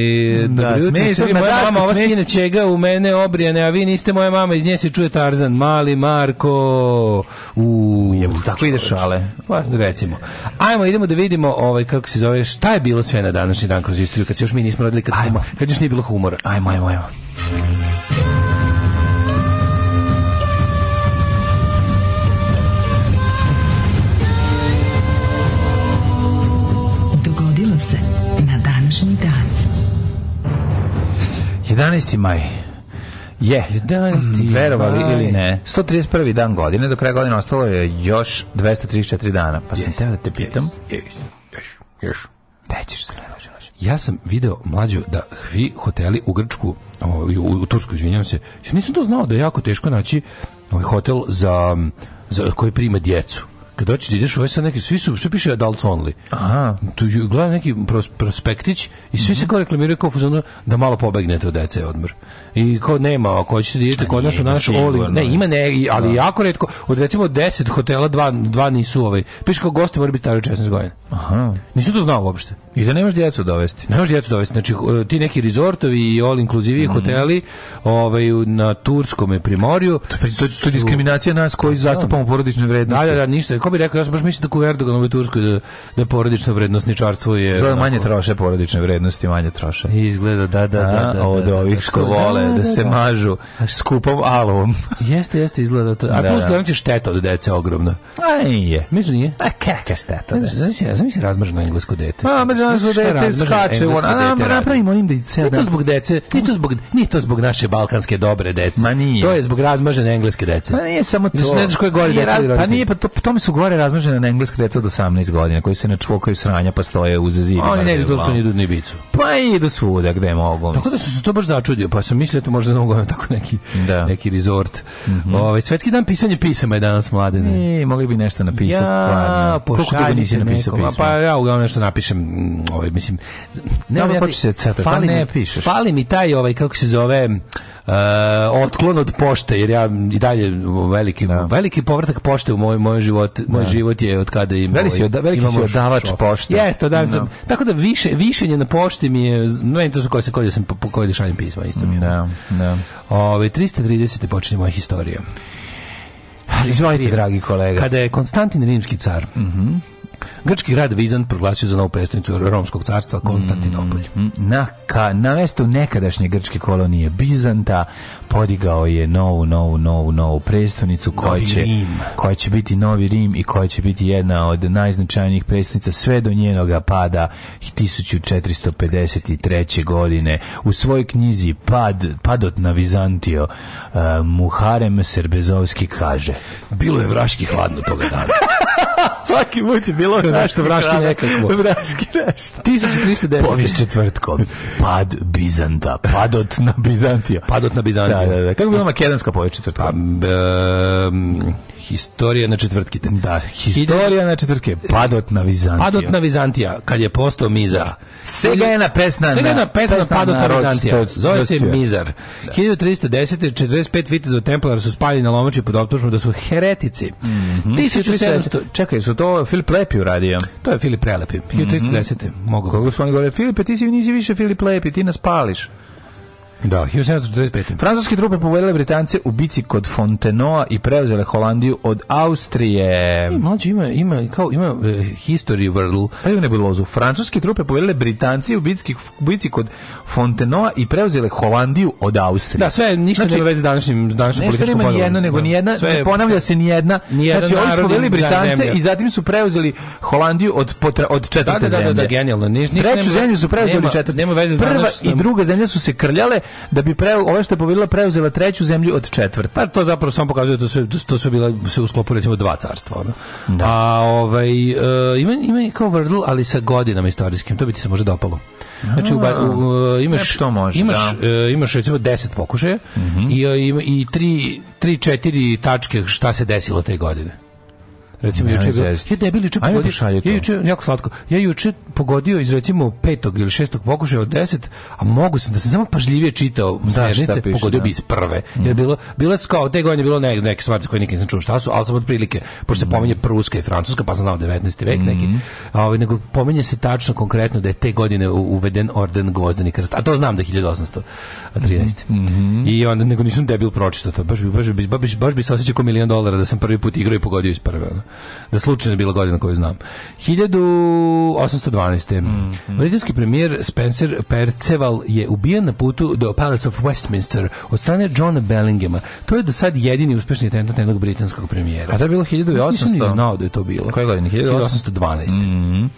Speaker 7: dobro jutro,
Speaker 8: smešan,
Speaker 7: ste vi
Speaker 8: ma
Speaker 7: moja
Speaker 8: Daško,
Speaker 7: mama, ova
Speaker 8: smešan.
Speaker 7: skine čega u mene obrijane, a vi niste moja mama, iz nje se čuje Tarzan, mali Marko, u...
Speaker 8: Jebote, tako ide šale.
Speaker 7: Pa, recimo. Ajmo, idemo da vidimo ovaj, kako se zove, šta je bilo sve na današnji dan kroz istoriju, kad se još mi nismo rodili, kad, huma, kad još nije bilo humora.
Speaker 8: Ajmo, ajmo, ajmo.
Speaker 5: Dogodilo se na današnji dan.
Speaker 8: 11. maj. Je, Mm,
Speaker 7: 11.
Speaker 8: verovali
Speaker 7: maj.
Speaker 8: ili ne, 131. dan godine, do kraja godine ostalo je još 234 dana. Pa sam teo da te pitam, gde ćeš se gledati?
Speaker 7: Ja sam video mlađu da vi hoteli u Grčku, o, u, u Tursku, izvinjam se, ja nisam to znao da je jako teško naći ovaj hotel za, za koji prima djecu. Kad dođeš da ideš u ovaj sad neki, svi su, sve piše adults only.
Speaker 8: Aha. Mhm.
Speaker 7: Tu ju- gledam neki pros- prospektić i svi se kao reklamiraju kao u fazonu da malo pobegnete od dece odmor. I kao nema, ako hoćete da idete kod nas u
Speaker 8: nije,
Speaker 7: naš
Speaker 8: sigurno.
Speaker 7: all in- ne, ima ne, ali jako retko, od recimo 10 hotela, dva, dva nisu ovaj. Piše kao gosti moraju biti stariji od 16 godina.
Speaker 8: Aha.
Speaker 7: Nisam to znao uopšte.
Speaker 8: I da nemaš djecu dovesti.
Speaker 7: Ne može djecu dovesti. Znači, eh, ti neki rezortovi i all
Speaker 8: Mhm.
Speaker 7: inclusive hoteli ovaj, u- na Turskom je primorju. Pa
Speaker 8: To, to, to je diskriminacija nas koji zastupamo porodične
Speaker 7: Da,
Speaker 8: vrednosti.
Speaker 7: da, da, ništa. Ko bi rekao, ja sam baš mislim tako u Erdoganovoj Turskoj da, da porodično vrednostničarstvo je...
Speaker 8: Zove
Speaker 7: onako-
Speaker 8: manje troše porodične vrednosti, manje troše.
Speaker 7: Izgleda, da, da, da. da,
Speaker 8: A,
Speaker 7: da,
Speaker 8: od
Speaker 7: da, da,
Speaker 8: ovih što vole da se mažu skupom alovom.
Speaker 7: Jeste, jeste, izgleda to. A
Speaker 8: Da,
Speaker 7: plus
Speaker 8: da.
Speaker 7: gledam će šteta od dece ogromna.
Speaker 8: A nije.
Speaker 7: Mislim da nije.
Speaker 8: A kakve ste to? da?
Speaker 7: Znaš, znaš, znaš, razmrženo englesko dete.
Speaker 8: Mama znaš
Speaker 7: Znaš šta
Speaker 8: Pa, ono dete
Speaker 7: razmrženo
Speaker 8: skače,
Speaker 7: englesko
Speaker 8: ona, a,
Speaker 7: dete radi?
Speaker 8: napravimo onim da i ceo
Speaker 7: Nije to
Speaker 8: dan.
Speaker 7: zbog dece, nije to zbog, nije to zbog naše balkanske dobre dece.
Speaker 8: Ma nije.
Speaker 7: To je zbog razmažene engleske dece.
Speaker 8: Pa nije samo to.
Speaker 7: Ili su ne znaš koje gore
Speaker 8: Nije
Speaker 7: dece
Speaker 8: raz-
Speaker 7: ili
Speaker 8: Pa
Speaker 7: roditelji.
Speaker 8: nije, pa to, po tome su gore razmažene na engleske deca od 18 godina, koji se ne čvokaju sranja pa stoje uz zidima.
Speaker 7: Oni ne idu
Speaker 8: glavom.
Speaker 7: to ni idu ni bicu.
Speaker 8: Pa idu svuda gde mogu.
Speaker 7: Tako da su se to baš začudio, pa sam mislio da to možda znamo gledam tako neki,
Speaker 8: Da.
Speaker 7: neki resort. ovaj, svetski dan pisanje pisama je danas mladene.
Speaker 8: mislim. E, mogli bi nešto napisati stvarno. Koliko dugo
Speaker 7: pošaljite
Speaker 8: nisi napisao
Speaker 7: nekom, a
Speaker 8: pismo?
Speaker 7: Pa ja uglavnom nešto napišem, mm, ovaj, mislim... z-
Speaker 8: Dobro,
Speaker 7: ja ti-
Speaker 8: počeš se crtati, pa
Speaker 7: fali
Speaker 8: ne
Speaker 7: mi-
Speaker 8: pišeš.
Speaker 7: Fali mi taj, ovaj, kako se zove, uh, ovaj, otklon od pošte, jer ja i dalje veliki, veliki povratak pošte u moj, moj život, moj život je od kada im
Speaker 8: Veliki si oda- veliki si odavač pošte.
Speaker 7: Jeste, odavač.
Speaker 8: No.
Speaker 7: Tako da više višenje na pošti mi je meni to su koje se koje da sam po- po koje da šaljem pisma isto mi je.
Speaker 8: Da, da.
Speaker 7: Ove 330 počinje moja historija.
Speaker 8: Izvolite, dragi kolega.
Speaker 7: Kada je Konstantin rimski car, Mhm. grčki grad Vizant proglasio za novu prestonicu romskog carstva Konstantinopolj.
Speaker 8: na, ka, na mestu nekadašnje grčke kolonije Bizanta podigao je novu, novu, novu, novu prestonicu koja
Speaker 7: Novi
Speaker 8: će,
Speaker 7: Rim.
Speaker 8: koja će biti Novi Rim i koja će biti jedna od najznačajnijih prestonica sve do njenoga pada 1453. godine. U svojoj knjizi Pad, Padot na Vizantio eh, Muharem Serbezovski kaže
Speaker 7: Bilo je vraški hladno toga dana.
Speaker 8: Svaki put je bilo
Speaker 7: Nešto vraški nekakvo.
Speaker 8: Vraški nešto.
Speaker 7: 1310.
Speaker 8: Povijest četvrtkom. Pad Bizanta. Padot na Bizantija.
Speaker 7: Padot na Bizantiju.
Speaker 8: Da, da, da. Kako bi bila makedonska povijest četvrtkom?
Speaker 7: Ehm, Pa, historija na četvrtkite.
Speaker 8: da, historija na četvrtke. Padot na Bizantija.
Speaker 7: Padot na Vizantija, kad je postao Mizar.
Speaker 8: Svega jedna pesna
Speaker 7: Svega
Speaker 8: na-
Speaker 7: jedna pesna,
Speaker 8: pesna
Speaker 7: Padot na
Speaker 8: na rod
Speaker 7: Vizantija.
Speaker 8: sto-
Speaker 7: Zove se
Speaker 8: stotio.
Speaker 7: Mizar. 1310. 45 vitezova templara su spaljeni na lomači pod optužbom da su heretici.
Speaker 8: Mhm.
Speaker 7: 1700...
Speaker 8: Čekaj, su to Filip Lepi uradio?
Speaker 7: To je Filip Prelepi. 1310. Mogu.
Speaker 8: Kako Mhm. su oni govorili, Filipe, ti si, nisi više Filip Lepi, ti nas pališ.
Speaker 7: Da, 1745.
Speaker 8: Francuske trupe povedale Britance u bici kod Fontenoa i preuzele Holandiju od Austrije.
Speaker 7: E, Mlađi ima, ima, kao, ima e, history vrl.
Speaker 8: Pa je u nebulozu. Francuske trupe povedale Britanci u bitki, bitci kod Fontenoa i preuzele Holandiju od Austrije.
Speaker 7: Da, sve ništa
Speaker 8: Znači,
Speaker 7: nema veze s današnjim današnjim
Speaker 8: Nešto
Speaker 7: političkom
Speaker 8: nema ni
Speaker 7: podjelom.
Speaker 8: jedna, nego
Speaker 7: Da.
Speaker 8: ni jedna,
Speaker 7: Sve
Speaker 8: ne
Speaker 7: je-
Speaker 8: ponavlja se ni jedna.
Speaker 7: Nijedan
Speaker 8: Znači, oni
Speaker 7: narod
Speaker 8: su
Speaker 7: je
Speaker 8: bili Britance
Speaker 7: zemlja.
Speaker 8: i zatim su preuzeli Holandiju od, potra, od četvrte
Speaker 7: Da, da, da, da,
Speaker 8: zemlje.
Speaker 7: da, genijalno. Niš, ništa
Speaker 8: Treću
Speaker 7: nema-
Speaker 8: zemlju su preuzeli
Speaker 7: nema-
Speaker 8: četvrte.
Speaker 7: Nema veze s
Speaker 8: Prva
Speaker 7: današnjom-
Speaker 8: i druga zemlja su se krljale da bi pre, ova što je pobedila preuzela treću zemlju od četvrte.
Speaker 7: Pa to zapravo samo pokazuje da to sve da su- to sve bila se u sklopu recimo dva carstva, ono. A ovaj e, ima ima i kao vrdl, ali sa godinama istorijskim, to bi ti se može dopalo. Znači u, ba- u, e, imaš
Speaker 8: nešto može, Mhm.
Speaker 7: imaš e, imaš recimo 10 pokušaja i e, ima- i 3 3 4 tačke šta se desilo te godine. Recimo
Speaker 8: Ne,
Speaker 7: juče je bilo,
Speaker 8: zezno.
Speaker 7: ja debil juče
Speaker 8: Ajme,
Speaker 7: pogodio,
Speaker 8: pošalji to.
Speaker 7: ja juče, jako slatko, ja juče pogodio iz recimo petog ili šestog pokušaja od deset, a mogu sam da sam samo pažljivije čitao smernice,
Speaker 8: šta piše,
Speaker 7: pogodio
Speaker 8: da. Mhm.
Speaker 7: bi iz prve. Jer bilo, bilo je kao, te godine bilo ne, neke stvari za koje nikad nisam čuo šta su, ali sam otprilike, pošto
Speaker 8: Mhm.
Speaker 7: se pominje Pruska i Francuska, pa sam znao 19. vek neki, a ovaj, nego pominje se tačno konkretno da je te godine u- uveden orden gvozdeni krst, a to znam da je 1813.
Speaker 8: Mm-hmm.
Speaker 7: I onda, nego nisam debil pročitao to, baš bi, baš bi, baš, bi- baš bi se osjećao ko milion dolara da sam prvi put igrao i pogodio iz prve, ono. da slučajno je bila godina koju znam. 1812.
Speaker 8: Mm-hmm.
Speaker 7: Britanski premijer Spencer Perceval je ubijen na putu do Palace of Westminster od strane Johna Bellinghama. To je do sad jedini uspešni atentat jednog britanskog premijera.
Speaker 8: A to je bilo 1800?
Speaker 7: Nisam ni znao da je to bilo.
Speaker 8: Koje godine? Mhm. 1800?
Speaker 7: 1812.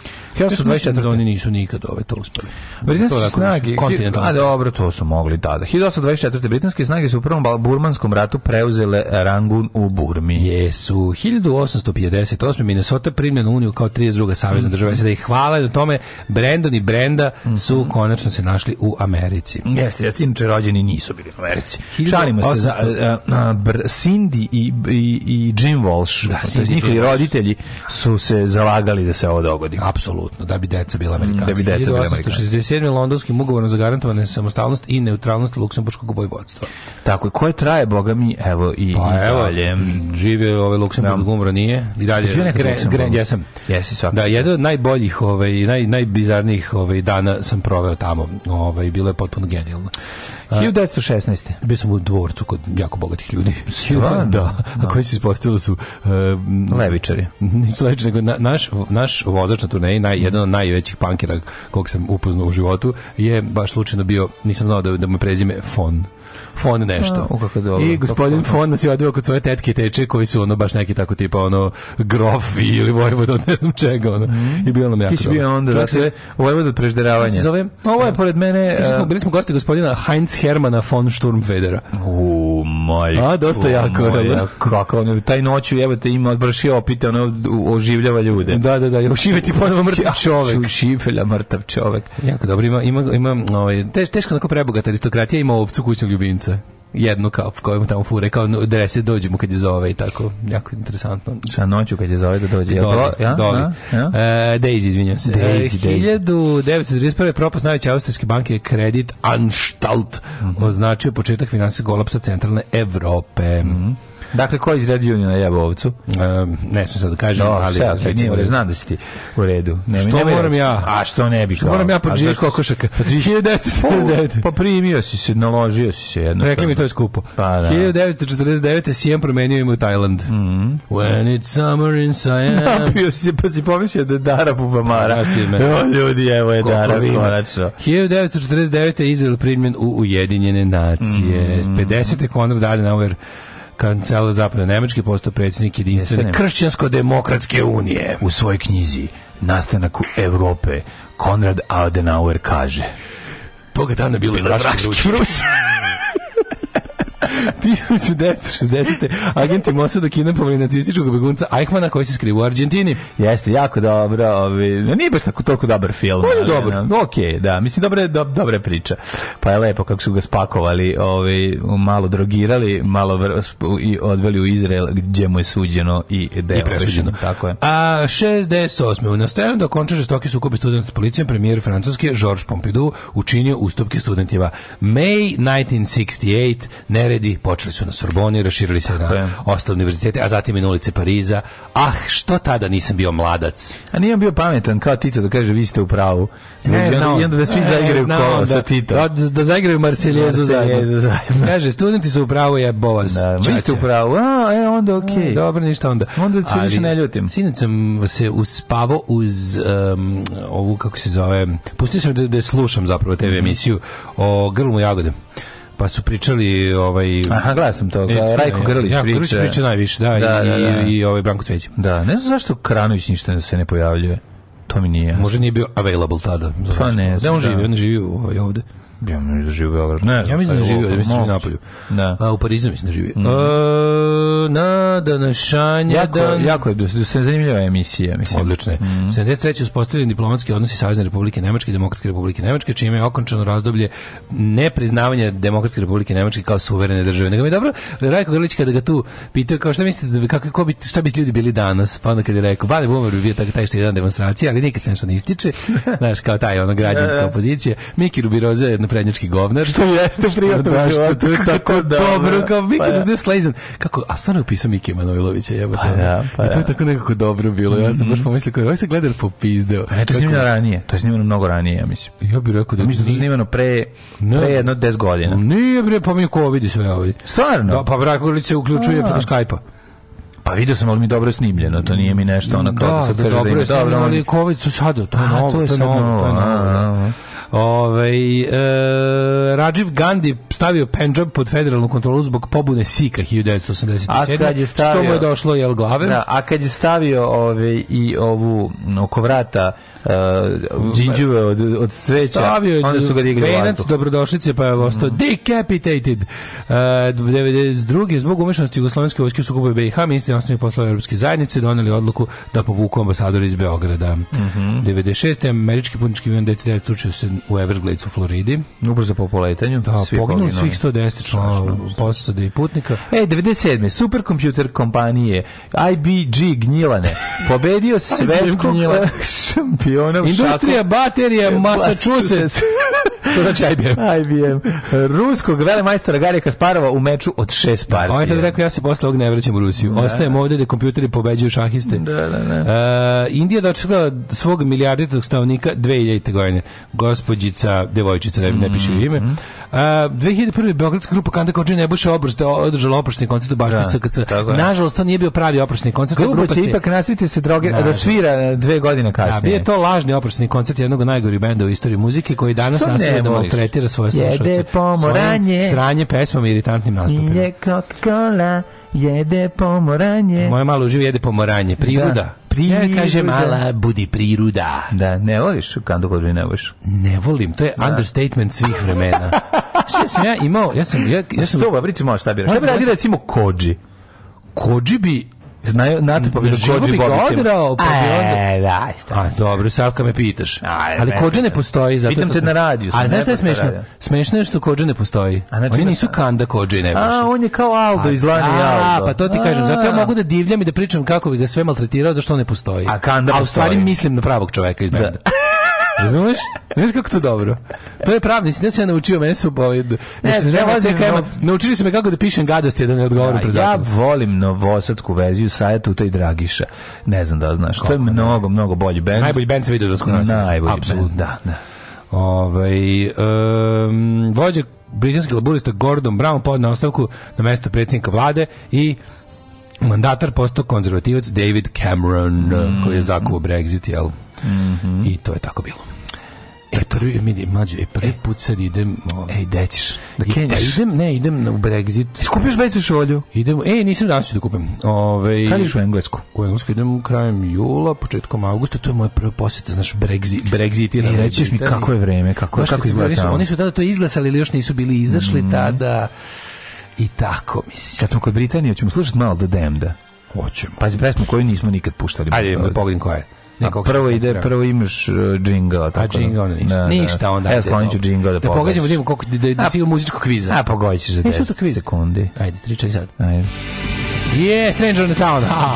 Speaker 7: Ja sam mislim da oni nisu nikad ove to uspeli. To je
Speaker 8: Britanske
Speaker 7: onako
Speaker 8: snage,
Speaker 7: kontinentalna
Speaker 8: a dobro, to su mogli tada. 1824. Britanske snage su u prvom Bal- burmanskom ratu preuzele Rangun u Burmi.
Speaker 7: Jesu. 1858. Minnesota primljena u Uniju kao 32.
Speaker 8: Mm.
Speaker 7: savjezna država SAD i hvala na tome Brandon i Brenda su konačno se našli u Americi.
Speaker 8: Mhm. Jeste, jeste, inače rođeni nisu bili u Americi.
Speaker 7: 1800.
Speaker 8: Šalimo se za eh, a, a, br- Cindy i, i, i Jim Walsh,
Speaker 7: Da,
Speaker 8: to jest
Speaker 7: Cindy i Jim
Speaker 8: njihovi
Speaker 7: Walsh.
Speaker 8: roditelji su se zalagali da se ovo dogodi. Mm,
Speaker 7: Apsolutno, da bi deca bila Amerikanci.
Speaker 8: eh, Da bi deca bila Amerikanci.
Speaker 7: 1867. londonskim ugovorom zagarantovana je samostalnost i neutralnost luksemburškog vojvodstva.
Speaker 8: Tako je, koje traje, boga mi, evo i,
Speaker 7: Pa
Speaker 8: i
Speaker 7: evo,
Speaker 8: dalje.
Speaker 7: žive ovaj Luksemburg,
Speaker 8: Da.
Speaker 7: umro nije. I dalje,
Speaker 8: Jesi bio nekad u
Speaker 7: Gre-
Speaker 8: Luksemburgu?
Speaker 7: Gre- jesam.
Speaker 8: Jesi, svakako.
Speaker 7: Da, jedan od najboljih, ovaj, naj, najbizarnijih ovaj, dana sam proveo tamo. Ovaj, bilo je potpuno genijalno.
Speaker 8: 1916.
Speaker 7: Bio sam u dvorcu kod jako bogatih ljudi.
Speaker 8: Stvarno?
Speaker 7: Da, a koji se ispostavili su... e, m,
Speaker 8: Levičari.
Speaker 7: Nisu levičari, nego na- naš, naš vozač na turneji, naj, jedan od najvećih pankera kog sam upoznao u životu, je baš slučajno bio, nisam znao da, da mu je prezime Fon. Fon nešto.
Speaker 8: A, u kako dobro,
Speaker 7: I gospodin
Speaker 8: kako
Speaker 7: Fon nas je odveo kod svoje tetke i teče koji su ono baš neki tako tipa ono grof ili vojvod od ne znam čega ono. I bio nam jako
Speaker 8: Mhm. Ti si bio
Speaker 7: dobro.
Speaker 8: onda,
Speaker 7: Čovjek
Speaker 8: dakle,
Speaker 7: se-
Speaker 8: vojvod od prežderavanja.
Speaker 7: se zove-
Speaker 8: Ovo je pored mene...
Speaker 7: Išli smo, bili smo gosti gospodina Heinz Hermana von Sturmfedera.
Speaker 8: U, majko.
Speaker 7: A, dosta jako,
Speaker 8: moja,
Speaker 7: dobro.
Speaker 8: Kako, ono, taj noću, evo te ima odbršio opite, ono, u- oživljava ljude.
Speaker 7: Da, da, da, još iveti ponovo mrtav čovek.
Speaker 8: Ču- Šifelja, mrtav čovek.
Speaker 7: Jako dobro, ima, ima, ima ovaj, teš, teško onako prebogata aristokratija, ima ovcu kućnog ljubimca. Jednu kao, koju mu tamo fure, kao no, drese dođe mu kad je zove i tako, jako interesantno.
Speaker 8: Šta noću kad je zove da dođe? Jel
Speaker 7: Dobri,
Speaker 8: to- ja?
Speaker 7: dobri.
Speaker 8: Ja? Ja?
Speaker 7: E, Daisy, izvinjam se.
Speaker 8: Daisy,
Speaker 7: E,
Speaker 8: Daisy.
Speaker 7: 1931. propast najveće austrijske banke je kredit
Speaker 8: Mhm.
Speaker 7: Anstalt, označio početak finansijskog kolapsa centralne Evrope.
Speaker 8: Dakle, ko iz Red Uniona jeba ovcu?
Speaker 7: Um, ne smijem sad da kažem,
Speaker 8: No,
Speaker 7: ali...
Speaker 8: ali sve, okay, nije, u redu, znam da si ti u redu. Ne,
Speaker 7: Što
Speaker 8: ne bi-
Speaker 7: moram ja?
Speaker 8: A što ne bi?
Speaker 7: Što moram ja podživjeti kokošaka? 1969.
Speaker 8: Pa primio si se, naložio si se jedno.
Speaker 7: Rekli mi to je skupo.
Speaker 8: Pa da.
Speaker 7: 1949. Sijem promenio im u Tajland.
Speaker 8: Mhm.
Speaker 7: When it's summer in Siam.
Speaker 8: Napio si se, pa si pomislio da je Dara Bubamara.
Speaker 7: Znaš ti me.
Speaker 8: Evo ljudi, evo je
Speaker 7: Koliko
Speaker 8: Dara,
Speaker 7: vi ima?
Speaker 8: konačno.
Speaker 7: 1949. je Izrael primljen u Ujedinjene nacije.
Speaker 8: Mhm.
Speaker 7: 50. Konrad Adenauer kancelar zapadne Nemačke postao predsjednik jedinstvene
Speaker 8: Jesene.
Speaker 7: kršćansko-demokratske unije.
Speaker 8: U svojoj knjizi Nastanak u Evrope Konrad Adenauer kaže
Speaker 7: Boga dana bilo je
Speaker 8: Vraški vruć.
Speaker 7: 1960. agenti Mosada kidnapovali nacističkog begunca Eichmana koji se skriva u Argentini.
Speaker 8: Jeste, jako dobro. Ovi, nije baš tako toliko dobar film.
Speaker 7: On je
Speaker 8: ali,
Speaker 7: dobar.
Speaker 8: ono, ok, da. Mislim, dobra je, do, dobra je priča. Pa je lepo kako su ga spakovali, ovi, malo drogirali, malo vr, i odveli u Izrael gdje mu je suđeno i deo.
Speaker 7: I presuđeno.
Speaker 8: Tako je.
Speaker 7: A 68. U nastojanju da okonča žestoki sukob studenta s policijom, premijer Francuske Georges Pompidou učinio ustupke studentima. May 1968 neredi počeli su na Sorboni, raširili se
Speaker 8: Tako
Speaker 7: na
Speaker 8: je.
Speaker 7: ostale univerzitete, a zatim i na ulice Pariza. Ah, što tada nisam bio mladac?
Speaker 8: A nije on bio pametan kao Tito da kaže vi ste u pravu. I onda- I onda da svi
Speaker 7: E,
Speaker 8: zaigraju
Speaker 7: znao
Speaker 8: kola
Speaker 7: da-
Speaker 8: sa Tito.
Speaker 7: Da, da zaigraju Marseljezu zajedno.
Speaker 8: Marseljezu zajedno.
Speaker 7: Kaže, studenti su u pravu, je bovas.
Speaker 8: Da, vi ste
Speaker 7: čače.
Speaker 8: u pravu. A, e, onda okej.
Speaker 7: Dobro, ništa onda.
Speaker 8: Onda se više ne ljutim.
Speaker 7: Sinac sam se uspavao uz em, ovu, kako se zove, pustio sam da, da slušam zapravo
Speaker 8: Mhm.
Speaker 7: TV emisiju o grlu jagode. Pa su pričali ovaj...
Speaker 8: Aha, gledao sam to.
Speaker 7: E, fino,
Speaker 8: Rajko Grlić
Speaker 7: Jako Grlić
Speaker 8: priča.
Speaker 7: priča najviše, da,
Speaker 8: Da,
Speaker 7: i,
Speaker 8: da, da.
Speaker 7: i, i ovaj Branko Cveće.
Speaker 8: Da, ne znam zašto Kranović ništa se ne pojavljuje. To mi nije.
Speaker 7: Možda nije bio available tada.
Speaker 8: Pa ne
Speaker 7: Da
Speaker 8: znam,
Speaker 7: on
Speaker 8: da.
Speaker 7: živi, on živi ovaj, ovde.
Speaker 8: Ja mislim da živi u Beogradu. Ne,
Speaker 7: Ja mislim da
Speaker 8: šta je
Speaker 7: živi
Speaker 8: ovo,
Speaker 7: ovde, mislim da živi
Speaker 8: moguće.
Speaker 7: na polju.
Speaker 8: Da.
Speaker 7: A, u Parizu mislim da živi.
Speaker 8: Ну,
Speaker 7: E, na današanje
Speaker 8: Mhm. Jako,
Speaker 7: dan-
Speaker 8: jako je da se zanimljiva emisija, mislim.
Speaker 7: Odlično je.
Speaker 8: Mhm.
Speaker 7: 73. uspostavljen diplomatski odnosi Savezne republike Nemačke i Demokratske republike Nemačke, čime je okončano razdoblje nepriznavanja Demokratske republike Nemačke kao suverene države. Nego mi je dobro, Rajko Grlić kada ga tu pitao, kao šta mislite, da bi- kako, ko bi, šta bi ljudi bili danas? Pa onda kada je rekao, Bane Bumer bi bio tako taj što je jedan demonstracija, ali nikad se nešto ne ističe. Znaš, kao taj ono građanska opozicija. Miki Rubiroza je prednjački govnar. Što
Speaker 8: jeste u privatnom
Speaker 7: da, što
Speaker 8: životu,
Speaker 7: to je
Speaker 8: kako
Speaker 7: tako
Speaker 8: dobro.
Speaker 7: dobro, kao Miki
Speaker 8: Pa ja.
Speaker 7: Rubiroza je slazan. Kako, a stvarno je upisao Miki Manojlovića, jebote. ono.
Speaker 8: Pa ja, pa
Speaker 7: I to je
Speaker 8: ja.
Speaker 7: tako nekako dobro bilo. Ja
Speaker 8: Mhm.
Speaker 7: sam baš pomislio kao, ovaj se gleda popizdeo.
Speaker 8: Ne, to je snimljeno Pa ranije. To je snimljeno mnogo ranije, ja mislim.
Speaker 7: Ja bih rekao da
Speaker 8: Ja mislim da je to
Speaker 7: nije,
Speaker 8: snimljeno pre,
Speaker 7: Ne.
Speaker 8: pre jedno 10 godina.
Speaker 7: nije bre, pa mi ko vidi sve ovi.
Speaker 8: Stvarno?
Speaker 7: Da, pa Braković se uključuje preko Skype-a.
Speaker 8: Pa vidio sam, ali mi je dobro snimljeno. To nije mi nešto ono kao da, se kaže
Speaker 7: dobro
Speaker 8: da
Speaker 7: je
Speaker 8: ima
Speaker 7: snimljeno,
Speaker 8: dobro.
Speaker 7: ali Covid su sada, to je
Speaker 8: A,
Speaker 7: novo,
Speaker 8: to je sad
Speaker 7: novo, to je
Speaker 8: novo,
Speaker 7: novo.
Speaker 8: a,
Speaker 7: da.
Speaker 8: a,
Speaker 7: Ovaj, e, Rajiv Gandhi stavio Pendžab pod federalnu kontrolu zbog pobune Sika 1987.
Speaker 8: A kad je stavio-
Speaker 7: Što mu je došlo, jel, glave?
Speaker 8: Da, a kad je stavio ove i ovu m, oko vrata uh, džinđuve od, od cveća,
Speaker 7: Stavio je
Speaker 8: onda su ga digli u
Speaker 7: venac
Speaker 8: vazduh. Mhm.
Speaker 7: dobrodošlice pa je ostao decapitated. Uh, 92. zbog umešanosti Jugoslovenske vojske u sukobu BiH, ministri osnovnih poslova Europske zajednice doneli odluku da povuku ambasadora iz Beograda.
Speaker 8: Mhm.
Speaker 7: 96. američki putnički avion DC-9 slučio se u Everglades u Floridi.
Speaker 8: Ubrzo po poletanju.
Speaker 7: Da,
Speaker 8: svi
Speaker 7: poginuli
Speaker 8: poginuli.
Speaker 7: svih 110 članova posade i putnika.
Speaker 8: E, 97. Superkompjuter kompanije IBG Gnjilane pobedio svetskog
Speaker 7: Gnjilane.
Speaker 8: šampiona u šaku.
Speaker 7: Industrija baterija Massachusetts.
Speaker 8: Massachusetts.
Speaker 7: to znači IBM.
Speaker 8: IBM. Ruskog velemajstora Garija Kasparova u meču od šest partija.
Speaker 7: Ovaj tad rekao ja se posle ovog ne vraćam u Rusiju. Ostajem ovdje gde kompjuteri pobeđuju šahiste.
Speaker 8: Da, da, da.
Speaker 7: E, Indija dočekala svog milijarditog stanovnika 2000. godine. Gospodjica, devojčica, ne, ne piše joj ime.
Speaker 8: Mhm,
Speaker 7: E, 2001. Beogradska grupa Kanda Kođe Nebojša Obrste održala oprošni koncert u Bašti
Speaker 8: Da,
Speaker 7: SKC.
Speaker 8: tako je.
Speaker 7: Nažalost, to nije bio pravi oprošni koncert. ta
Speaker 8: Grupa će ipak nastaviti se droge, da
Speaker 7: Nažalost.
Speaker 8: svira e, dve godine
Speaker 7: Da, bio
Speaker 8: kasnije.
Speaker 7: je to lažni oprošni koncert jednog od najgorih benda u istoriji muzike koji danas
Speaker 8: Što ne
Speaker 7: nastavlja da
Speaker 8: voliš?
Speaker 7: maltretira svoje
Speaker 8: Jede
Speaker 7: slušalce.
Speaker 8: pomoranje.
Speaker 7: Svojim Sranje pesmama i iritantnim nastupima.
Speaker 8: Pije Coca-Cola, jede pomoranje.
Speaker 7: Moja mala uživa jede pomoranje. Priruda.
Speaker 8: E. Da, priruda.
Speaker 7: Ja kaže mala, budi priruda.
Speaker 8: Da, ne voliš Kandu Kođe ne voliš.
Speaker 7: Ne volim, to je understatement svih vremena. Šta sam ja imao? Ja sam, ja, ja sam,
Speaker 8: Što ba, pričamo šta bi Šta bi
Speaker 7: Možda-
Speaker 8: radi recimo Kođi?
Speaker 7: kođi bi
Speaker 8: Znaju, znate pa bi
Speaker 7: Živo
Speaker 8: Kođi
Speaker 7: bi ga
Speaker 8: Bobićem.
Speaker 7: odrao, pa bi onda-
Speaker 8: E, da, isto.
Speaker 7: A, dobro, sad kad me pitaš.
Speaker 8: Aj,
Speaker 7: Ali
Speaker 8: ne,
Speaker 7: kođe ne
Speaker 8: ne.
Speaker 7: postoji. Zato
Speaker 8: Pitam
Speaker 7: to
Speaker 8: te
Speaker 7: smo-
Speaker 8: na radiju,
Speaker 7: A
Speaker 8: sam
Speaker 7: znaš šta je
Speaker 8: ne
Speaker 7: smešno?
Speaker 8: postoji radio.
Speaker 7: Smešno je što kođe ne postoji.
Speaker 8: A znači
Speaker 7: Oni
Speaker 8: da-
Speaker 7: nisu kanda kođe i ne
Speaker 8: A, on je kao Aldo iz Lani
Speaker 7: A,
Speaker 8: Aldo.
Speaker 7: pa to ti kažem, zato ja
Speaker 8: A.
Speaker 7: mogu da divljam i da pričam kako bi ga sve maltretirao, zašto on ne postoji.
Speaker 8: A kanda
Speaker 7: u stvari
Speaker 8: postoji.
Speaker 7: mislim na pravog čoveka iz benda. Razumeš? Znaš kako to dobro? To je pravni, ne sam ja naučio, mene su ovaj, ne, ne, vozim, kajma, naučili su me kako da pišem gadosti, da ne odgovorim
Speaker 8: Ja,
Speaker 7: pred
Speaker 8: ja
Speaker 7: zakonom.
Speaker 8: volim novosadsku verziju Saja Tuta i Dragiša. Ne znam da li znaš. to je mnogo, mnogo bolji bend.
Speaker 7: Najbolji band se vidio da skoro nasilje.
Speaker 8: Najbolji bend,
Speaker 7: Apsolutno.
Speaker 8: da, da.
Speaker 7: Ovaj um, vođa britanski laburista Gordon Brown podneo ostavku na mesto predsjednika vlade i mandatar postao konzervativac David Cameron
Speaker 8: Mm.
Speaker 7: koji je zakuvao Brexit, jel?
Speaker 8: Mhm.
Speaker 7: I to je tako bilo. E, prvi, mi, mlađe, e, prvi put sad idem... Ej, gde ćeš? Da
Speaker 8: kenjaš?
Speaker 7: idem, ne, idem na- u Brexit.
Speaker 8: Skupiš već u šolju?
Speaker 7: Idem, e, nisam danas ću da kupim. Ove,
Speaker 8: Kad ideš u Englesku?
Speaker 7: u Englesku idem krajem jula, početkom augusta, to je moja prva posjeta, znaš, Brexit, Brexitiran.
Speaker 8: I E, rećeš mi kako je vreme, kako,
Speaker 7: Znaš,
Speaker 8: kako
Speaker 7: kako
Speaker 8: izgleda tamo. Mhm.
Speaker 7: Oni su tada to izglasali ili još nisu bili izašli tada i tako, mislim.
Speaker 8: Kad smo kod Britanije, ćemo slušati malo do Demda. Hoćemo. Pazi, pesmu koju nismo nikad puštali.
Speaker 7: Ajde, da pogledam koja je.
Speaker 8: A
Speaker 7: Nekog
Speaker 8: prvo
Speaker 7: sam
Speaker 8: ide,
Speaker 7: napravio.
Speaker 8: prvo imaš uh, džingla.
Speaker 7: A džinga onda ništa. ništa onda.
Speaker 8: Evo,
Speaker 7: ajde,
Speaker 8: sklonit ću
Speaker 7: dobro.
Speaker 8: džingla da
Speaker 7: Da
Speaker 8: pogledaš.
Speaker 7: pogađamo, da vidimo koliko, da, da, da sigurno muzičkog kviza.
Speaker 8: A pogodit ćeš za
Speaker 7: Ne, što
Speaker 8: 10
Speaker 7: to kviz?
Speaker 8: sekundi.
Speaker 7: Ajde, tri, četiri sad.
Speaker 8: Ajde.
Speaker 7: Yeah, Stranger in the Town. Ha.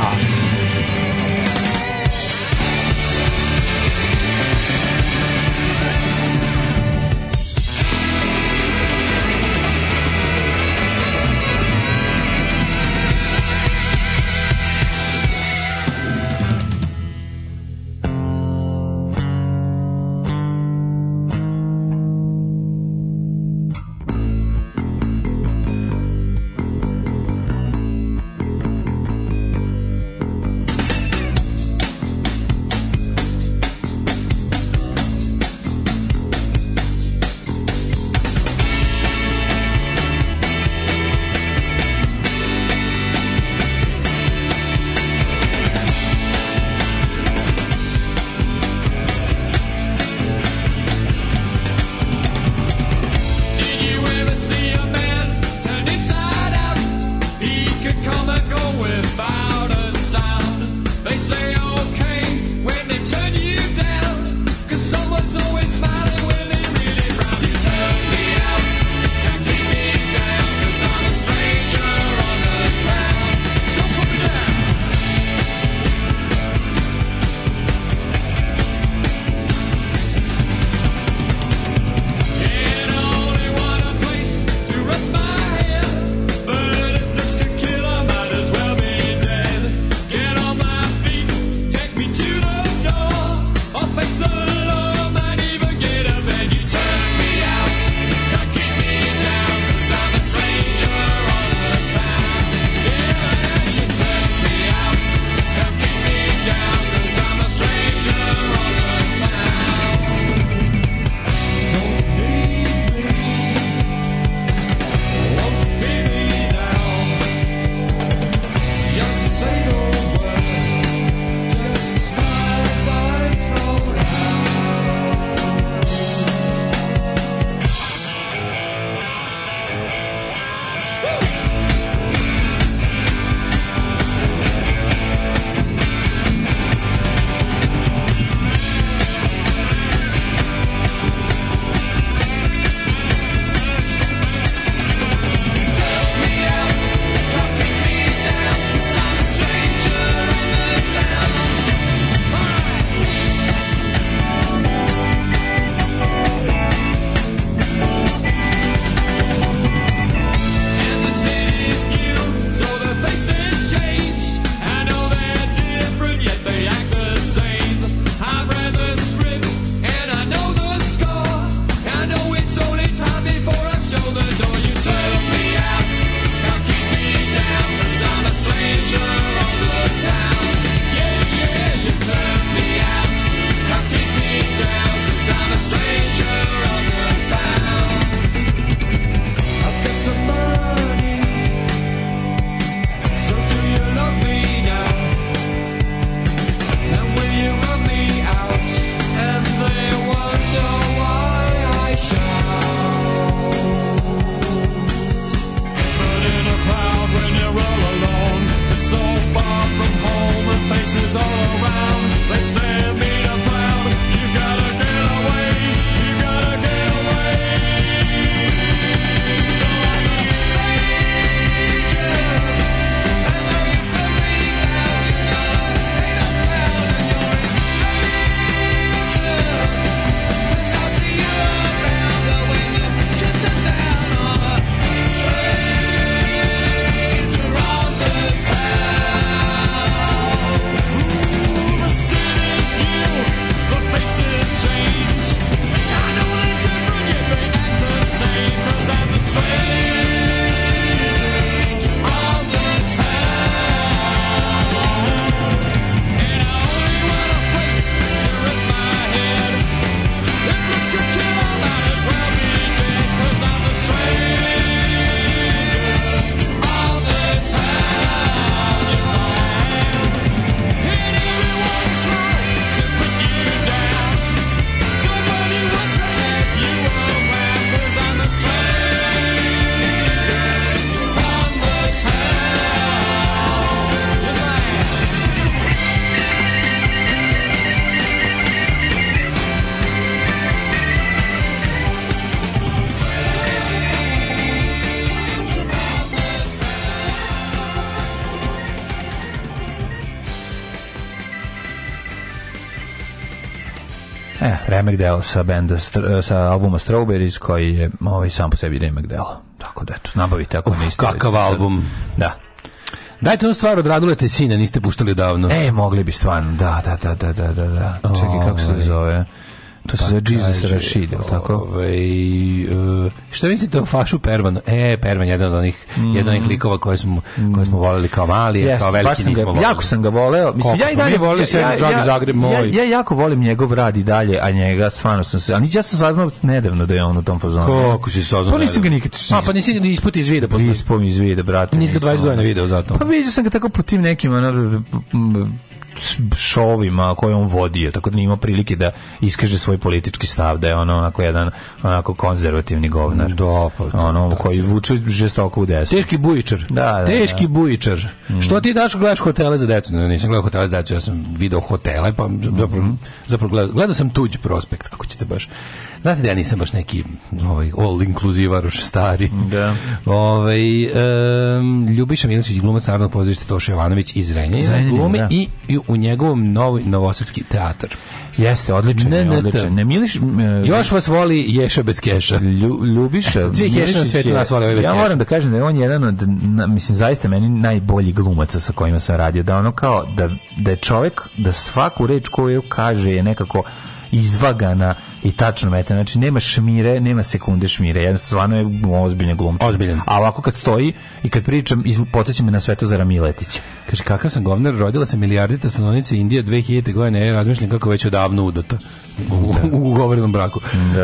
Speaker 8: E, remek deo sa, benda, str- e, sa albuma Strawberries koji je ovaj, sam po sebi remek deo. Tako da, eto, nabavite ako niste.
Speaker 7: kakav
Speaker 8: već sad.
Speaker 7: album.
Speaker 8: Da.
Speaker 7: Dajte onu stvar od Radule Tesine, niste puštali davno.
Speaker 8: E, mogli bi stvarno, da, da, da, da, da, da, da. Čekaj, kako se to
Speaker 7: Ovaj.
Speaker 8: zove? Pa To se zove Jesus
Speaker 7: Kaže,
Speaker 8: Rashid, jel tako?
Speaker 7: Ovaj, e, šta mislite o Fašu Pervanu? E, Pervan je jedan od onih, jedan od onih likova koje smo, koje smo volili kao mali, a
Speaker 8: Mm. Jeste,
Speaker 7: kao
Speaker 8: baš
Speaker 7: veliki
Speaker 8: sam
Speaker 7: nismo
Speaker 8: ga,
Speaker 7: volili.
Speaker 8: jako sam ga voleo. Mislim,
Speaker 7: Koliko
Speaker 8: ja i
Speaker 7: smo mi
Speaker 8: dalje
Speaker 7: volili sve na Dragi Zagreb moj.
Speaker 8: Ja, ja jako volim njegov rad i dalje, a njega stvarno sam se... Ali ja sam saznao nedavno da je on u tom fazonu.
Speaker 7: Kako si saznao?
Speaker 8: Pa nisam ga nikad...
Speaker 7: A, pa nisi ga ni isput iz vida poznao.
Speaker 8: Ispom iz vida, brate.
Speaker 7: Nisi ga 20
Speaker 8: nisam.
Speaker 7: godina video zato.
Speaker 8: Pa vidio sam ga tako po tim nekim ono, m, šovima koje on vodio, tako da nije imao prilike da iskaže svoj politički stav, da je ono onako jedan onako konzervativni govnar.
Speaker 7: Da, pa-
Speaker 8: Ono
Speaker 7: da,
Speaker 8: koji vuče žestoko u desno.
Speaker 7: Teški bujičar.
Speaker 8: Da, da, Mm.
Speaker 7: Teški
Speaker 8: da.
Speaker 7: bujičar. Što ti daš gledaš hotele za decu? Ne, nisam gledao hotele za decu, ja sam video hotele, pa zapravo, zapravo gledao, gledao sam tuđ prospekt, ako ćete baš. Znate da ja nisam baš neki ovaj, all inkluzivaroš stari.
Speaker 8: Da.
Speaker 7: Ovaj, em, Ljubiša Milicić, glumac Narodnog pozorišta Toša Jovanović iz Renjanina,
Speaker 8: Zrenjanina,
Speaker 7: glumi
Speaker 8: da.
Speaker 7: i, i u njegovom novi, novosadski teatar.
Speaker 8: Jeste, odličan,
Speaker 7: Ne,
Speaker 8: je,
Speaker 7: ne, te.
Speaker 8: odličan. Ne, miliš,
Speaker 7: Još vas voli Ješa bez keša.
Speaker 8: Lju, Ljubiša
Speaker 7: Svi Heša na
Speaker 8: Milišić
Speaker 7: svetu
Speaker 8: je-
Speaker 7: nas vole, ovaj bez
Speaker 8: Ja
Speaker 7: Heša.
Speaker 8: moram da kažem da je on jedan od na, mislim zaista meni najbolji glumaca sa kojima sam radio da ono kao da da je čovjek da svaku reč koju kaže je nekako izvagana i tačno meta. Znači nema šmire, nema sekunde šmire. Jednostavno je ozbiljan glumac.
Speaker 7: Ozbiljan.
Speaker 8: A ovako kad stoji i kad pričam iz- podsjeća me na Svetozara Miletića.
Speaker 7: Kaže, kakav sam govnar, rodila sam milijardita stanovnice Indije 2000. godine, ja razmišljam kako već odavno udata u, u ugovorenom braku.
Speaker 8: Da.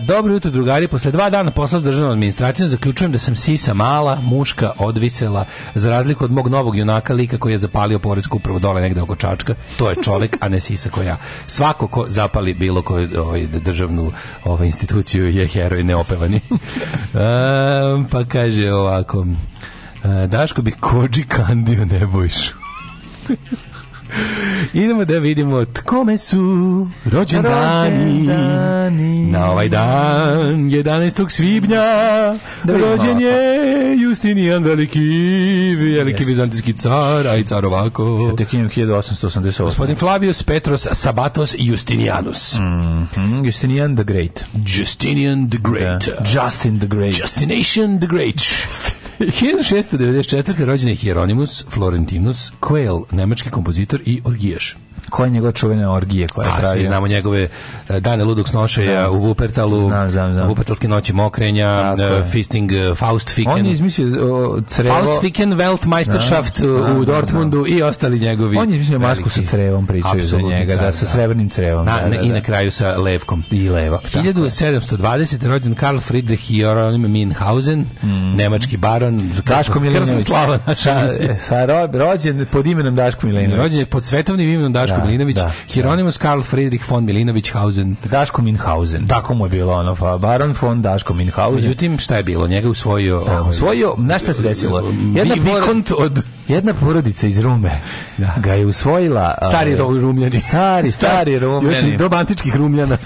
Speaker 7: E, dobro jutro, drugari, posle dva dana posla s državnom administracijom zaključujem da sam sisa mala, muška, odvisela, za razliku od mog novog junaka lika koji je zapalio poredsku upravo dole negde oko Čačka, to je čovek, a ne sisa koja. Svako ko zapali bilo koju ovaj, državnu ovaj, instituciju je heroj neopevani. E, pa kaže ovako, e, Daško bi kođi kandio nebojšu. Idemo da vidimo tkome su rođendani.
Speaker 8: Rođendani.
Speaker 7: Na ovaj dan, 11. svibnja,
Speaker 8: Da vidimo.
Speaker 7: rođen je Justinijan Veliki, veliki vizantijski car, a i car ovako.
Speaker 8: Tek je 1888.
Speaker 7: Gospodin Flavius Petros Sabatos Justinianus.
Speaker 8: Mhm, Justinian the Great.
Speaker 7: Justinian the Great.
Speaker 8: Justin the Great.
Speaker 7: Destination the Great. 1694. rođen je Hieronymus Florentinus Quayle, nemački kompozitor i orgijaš.
Speaker 8: Koja je njegova čuvena orgije koja je
Speaker 7: A, svi
Speaker 8: pravio?
Speaker 7: znamo njegove e, dane ludog snošaja u Vupertalu,
Speaker 8: Znam, znam, znam.
Speaker 7: Vupertalske noći mokrenja,
Speaker 8: Tako je.
Speaker 7: e, Fisting e, Faustfiken.
Speaker 8: On je izmislio o, crevo...
Speaker 7: Faustfiken Weltmeisterschaft
Speaker 8: Da, da,
Speaker 7: u
Speaker 8: da,
Speaker 7: Dortmundu i ostali njegovi.
Speaker 8: On je izmislio masku sa
Speaker 7: veliki-
Speaker 8: crevom, pričaju za
Speaker 7: Apsolutni
Speaker 8: njega,
Speaker 7: car,
Speaker 8: da, sa srebrnim crevom.
Speaker 7: Na,
Speaker 8: da, da,
Speaker 7: na- I
Speaker 8: da.
Speaker 7: na kraju sa levkom.
Speaker 8: I levak, tako je.
Speaker 7: 1720. rođen Karl Friedrich Hieronym Minhausen, nemački baron,
Speaker 8: Mm. Daško
Speaker 7: krsna
Speaker 8: Milinović.
Speaker 7: slava naša
Speaker 8: Sa, sa ro, rođen pod imenom Daško Milinović.
Speaker 7: Rođen je pod svetovnim imenom Daško
Speaker 8: Da,
Speaker 7: Milinović,
Speaker 8: da, da.
Speaker 7: Hieronymus Karl Friedrich von Milinović Hausen.
Speaker 8: Daško Minhausen. Tako mu je bilo ono, pa Baron von Daško Minhausen.
Speaker 7: Međutim, šta je bilo? Njega usvojio...
Speaker 8: Da,
Speaker 7: ovaj,
Speaker 8: usvojio, znaš šta se desilo? Jedna,
Speaker 7: Jedna
Speaker 8: porod,
Speaker 7: vikont od
Speaker 8: jedna porodica iz Rume ga je usvojila...
Speaker 7: stari
Speaker 8: ovaj,
Speaker 7: ro- rumljani.
Speaker 8: Stari, stari Rumljani.
Speaker 7: Još i doba antičkih rumljana.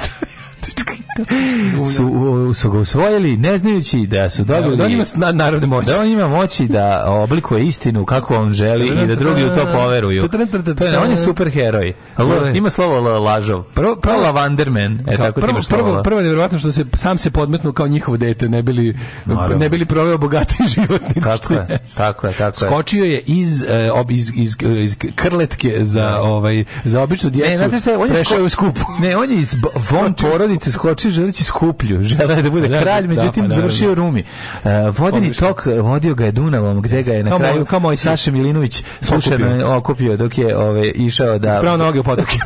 Speaker 8: su, u- su ga usvojili ne znajući da su dobili...
Speaker 7: Da, on ima na, narodne moći.
Speaker 8: da on ima moći da oblikuje istinu kako on želi i da drugi u to poveruju. To je, on je super heroj. L, ima slovo L, lažov. Prvo, prvo Lavanderman. E,
Speaker 7: Kao
Speaker 8: tako ti
Speaker 7: prvo,
Speaker 8: imaš slovo
Speaker 7: prvo,
Speaker 8: L.
Speaker 7: prvo je nevjerovatno što se sam se podmetnu kao njihovo dete, ne bili,
Speaker 8: Naravno.
Speaker 7: ne bili proveo bogati život. nego
Speaker 8: Tako
Speaker 7: što
Speaker 8: je,
Speaker 7: jeste.
Speaker 8: tako je, tako je.
Speaker 7: Skočio je iz, e, ob, iz, iz, iz krletke za, ovaj, za običnu djecu.
Speaker 8: Ne, znate šta, je, on je
Speaker 7: prešao
Speaker 8: sko-
Speaker 7: je u skupu.
Speaker 8: Ne, on je iz b- von porodice skočio želeći skuplju. Želeo je da bude
Speaker 7: Da,
Speaker 8: kralj,
Speaker 7: da,
Speaker 8: međutim
Speaker 7: pa naravno.
Speaker 8: završio u Rumi. E, vodeni tok e, vodio ga je Dunavom, gde ga je na
Speaker 7: Kao moj-
Speaker 8: kraju
Speaker 7: kao moj sin.
Speaker 8: Saša Milinović slučajno okupio dok je ove, išao da
Speaker 7: Pravo noge u potoke.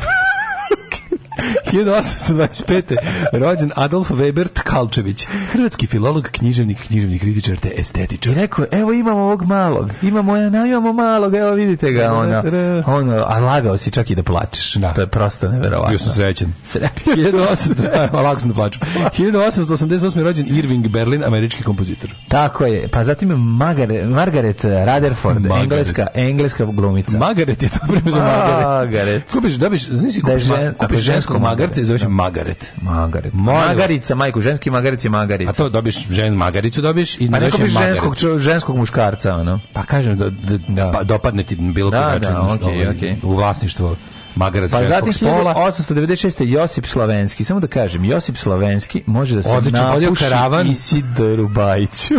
Speaker 7: 1825. rođen Adolf Weber Tkalčević, hrvatski filolog, književnik, književni kritičar te estetičar.
Speaker 8: I rekao, je, evo imamo ovog malog, imamo, ja, imamo malog, evo vidite ga, ono, ono, a lagao si čak i da plačeš,
Speaker 7: Da.
Speaker 8: to je prosto neverovatno.
Speaker 7: Bio sam srećen.
Speaker 8: Srećan.
Speaker 7: 1800, a, lako sam da plačem. 1888. rođen Irving Berlin, američki kompozitor.
Speaker 8: Tako je, pa zatim je Margaret, Margaret Rutherford,
Speaker 7: Margaret.
Speaker 8: engleska, engleska glumica.
Speaker 7: Magaret je to vreme za Magaret.
Speaker 8: Margaret.
Speaker 7: Kupiš, dobiš, znaš si
Speaker 8: Da je
Speaker 7: kupiš, ma-
Speaker 8: žen- ako
Speaker 7: kupiš
Speaker 8: je
Speaker 7: ženskog
Speaker 8: žensko
Speaker 7: magarca i zoveš je
Speaker 8: da.
Speaker 7: Magaret.
Speaker 8: Margaret.
Speaker 7: Molim vas.
Speaker 8: Magarica, majku, ženski magaric je
Speaker 7: A
Speaker 8: magarica.
Speaker 7: to dobiš žen magaricu dobiš i
Speaker 8: Pa
Speaker 7: zoveš
Speaker 8: neko
Speaker 7: je
Speaker 8: bi
Speaker 7: Magaret.
Speaker 8: ženskog, čo- ženskog muškarca, ono.
Speaker 7: Pa kažem da, da,
Speaker 8: Da.
Speaker 7: pa dopadne ti na bilo
Speaker 8: Da,
Speaker 7: koji način
Speaker 8: da,
Speaker 7: ono,
Speaker 8: okej,
Speaker 7: ovaj,
Speaker 8: okej.
Speaker 7: u vlasništvo magarac
Speaker 8: Pa zatim
Speaker 7: ženskog spola.
Speaker 8: 1896. Josip Slavenski, samo da kažem, Josip Slavenski može da se
Speaker 7: Odlično, vodio
Speaker 8: napuši
Speaker 7: karavan.
Speaker 8: Isidoru Bajiću.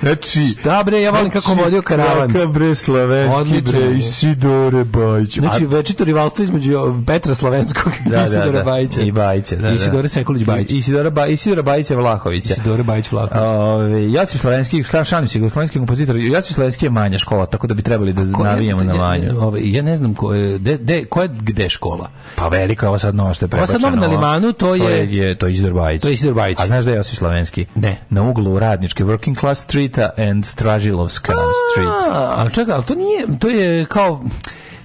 Speaker 8: znači,
Speaker 7: Da bre, ja volim kako
Speaker 8: znači,
Speaker 7: vodio karavan.
Speaker 8: Kakav bre Slavenski
Speaker 7: Odlično
Speaker 8: bre
Speaker 7: je.
Speaker 8: Isidore Bajiću.
Speaker 7: Znači,
Speaker 8: A-
Speaker 7: večito rivalstvo između Petra Slavenskog i da, Isidora Bajića.
Speaker 8: I Bajića, da, da.
Speaker 7: Isidora Sekulić Bajić.
Speaker 8: Isidora, ba, Isidora Bajića Vlahovića.
Speaker 7: Isidora Bajić Vlahović.
Speaker 8: Ove, Josip Slavenski, slav šalim se, jugoslovenski kompozitor, Josip Slavenski je manja škola, tako da bi trebali da
Speaker 7: Ko je-
Speaker 8: navijamo na
Speaker 7: ja-
Speaker 8: manju.
Speaker 7: ovaj, Ja ne znam ko je, de, de, ko je, gde je škola?
Speaker 8: Pa velika, ova sad nova što je
Speaker 7: Ova
Speaker 8: prebačena.
Speaker 7: sad nova na Limanu, to
Speaker 8: To
Speaker 7: je...
Speaker 8: je, to je Isidor Bajić.
Speaker 7: To je Isidor Bajić.
Speaker 8: A znaš da je Josip Slavenski?
Speaker 7: Ne.
Speaker 8: Na uglu radničke Working Class Streeta and Stražilovska Street.
Speaker 7: A, ali čekaj, ali to nije, to je kao...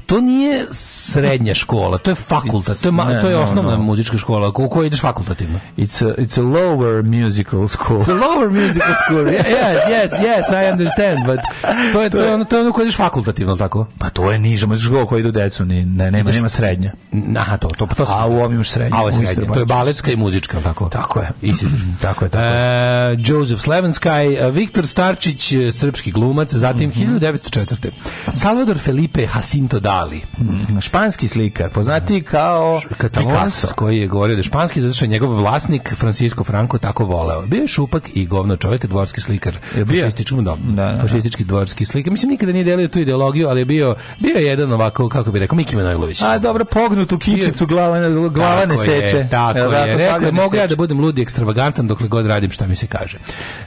Speaker 7: To nije srednja škola, to je fakultat, to je, ma-
Speaker 8: Ne,
Speaker 7: to je
Speaker 8: no,
Speaker 7: osnovna
Speaker 8: no.
Speaker 7: muzička škola u kojoj ideš fakultativno.
Speaker 8: It's a, it's a lower musical school.
Speaker 7: It's a lower musical school. Yeah, Yes, yes, yes, I understand, but to je, to je ono, to je ono koje ideš fakultativno, jel tako?
Speaker 8: Pa to je niža, možeš go koji idu decu, ni, ne, nema, nema srednja.
Speaker 7: Aha, to, pa to, to,
Speaker 8: A u ovom imaš srednju.
Speaker 7: A ovo je
Speaker 8: u
Speaker 7: srednje.
Speaker 8: Isidor
Speaker 7: To je
Speaker 8: Bajiću.
Speaker 7: baletska i muzička, jel tako?
Speaker 8: Tako je. tako je, tako je.
Speaker 7: E, Joseph Slevenskaj, e, Viktor Starčić, e, srpski glumac, zatim
Speaker 8: Mhm.
Speaker 7: 1904. Salvador Felipe Jacinto Dali,
Speaker 8: Španski slikar, poznati kao
Speaker 7: katalonski
Speaker 8: Mhm. Picasso.
Speaker 7: koji je govorio da je španski, zato što je njegov vlasnik Francisco Franco tako voleo. Bio je šupak i govno čovjek, dvorski slikar.
Speaker 8: Je bio?
Speaker 7: Fašistički, da,
Speaker 8: Da, da,
Speaker 7: fašistički dvorski slikar. Mislim, nikada nije delio tu ideologiju, ali je bio, bio je jedan ovako, kako bi rekao, Miki Manojlović.
Speaker 8: A dobro, pognutu kičicu, glava, ne- glava ne
Speaker 7: Tako je,
Speaker 8: seče.
Speaker 7: Tako
Speaker 8: Jel
Speaker 7: je. Rekao je,
Speaker 8: svaka ne
Speaker 7: mogu ja
Speaker 8: seče.
Speaker 7: da budem ludi ekstravagantan dokle god radim šta mi se kaže.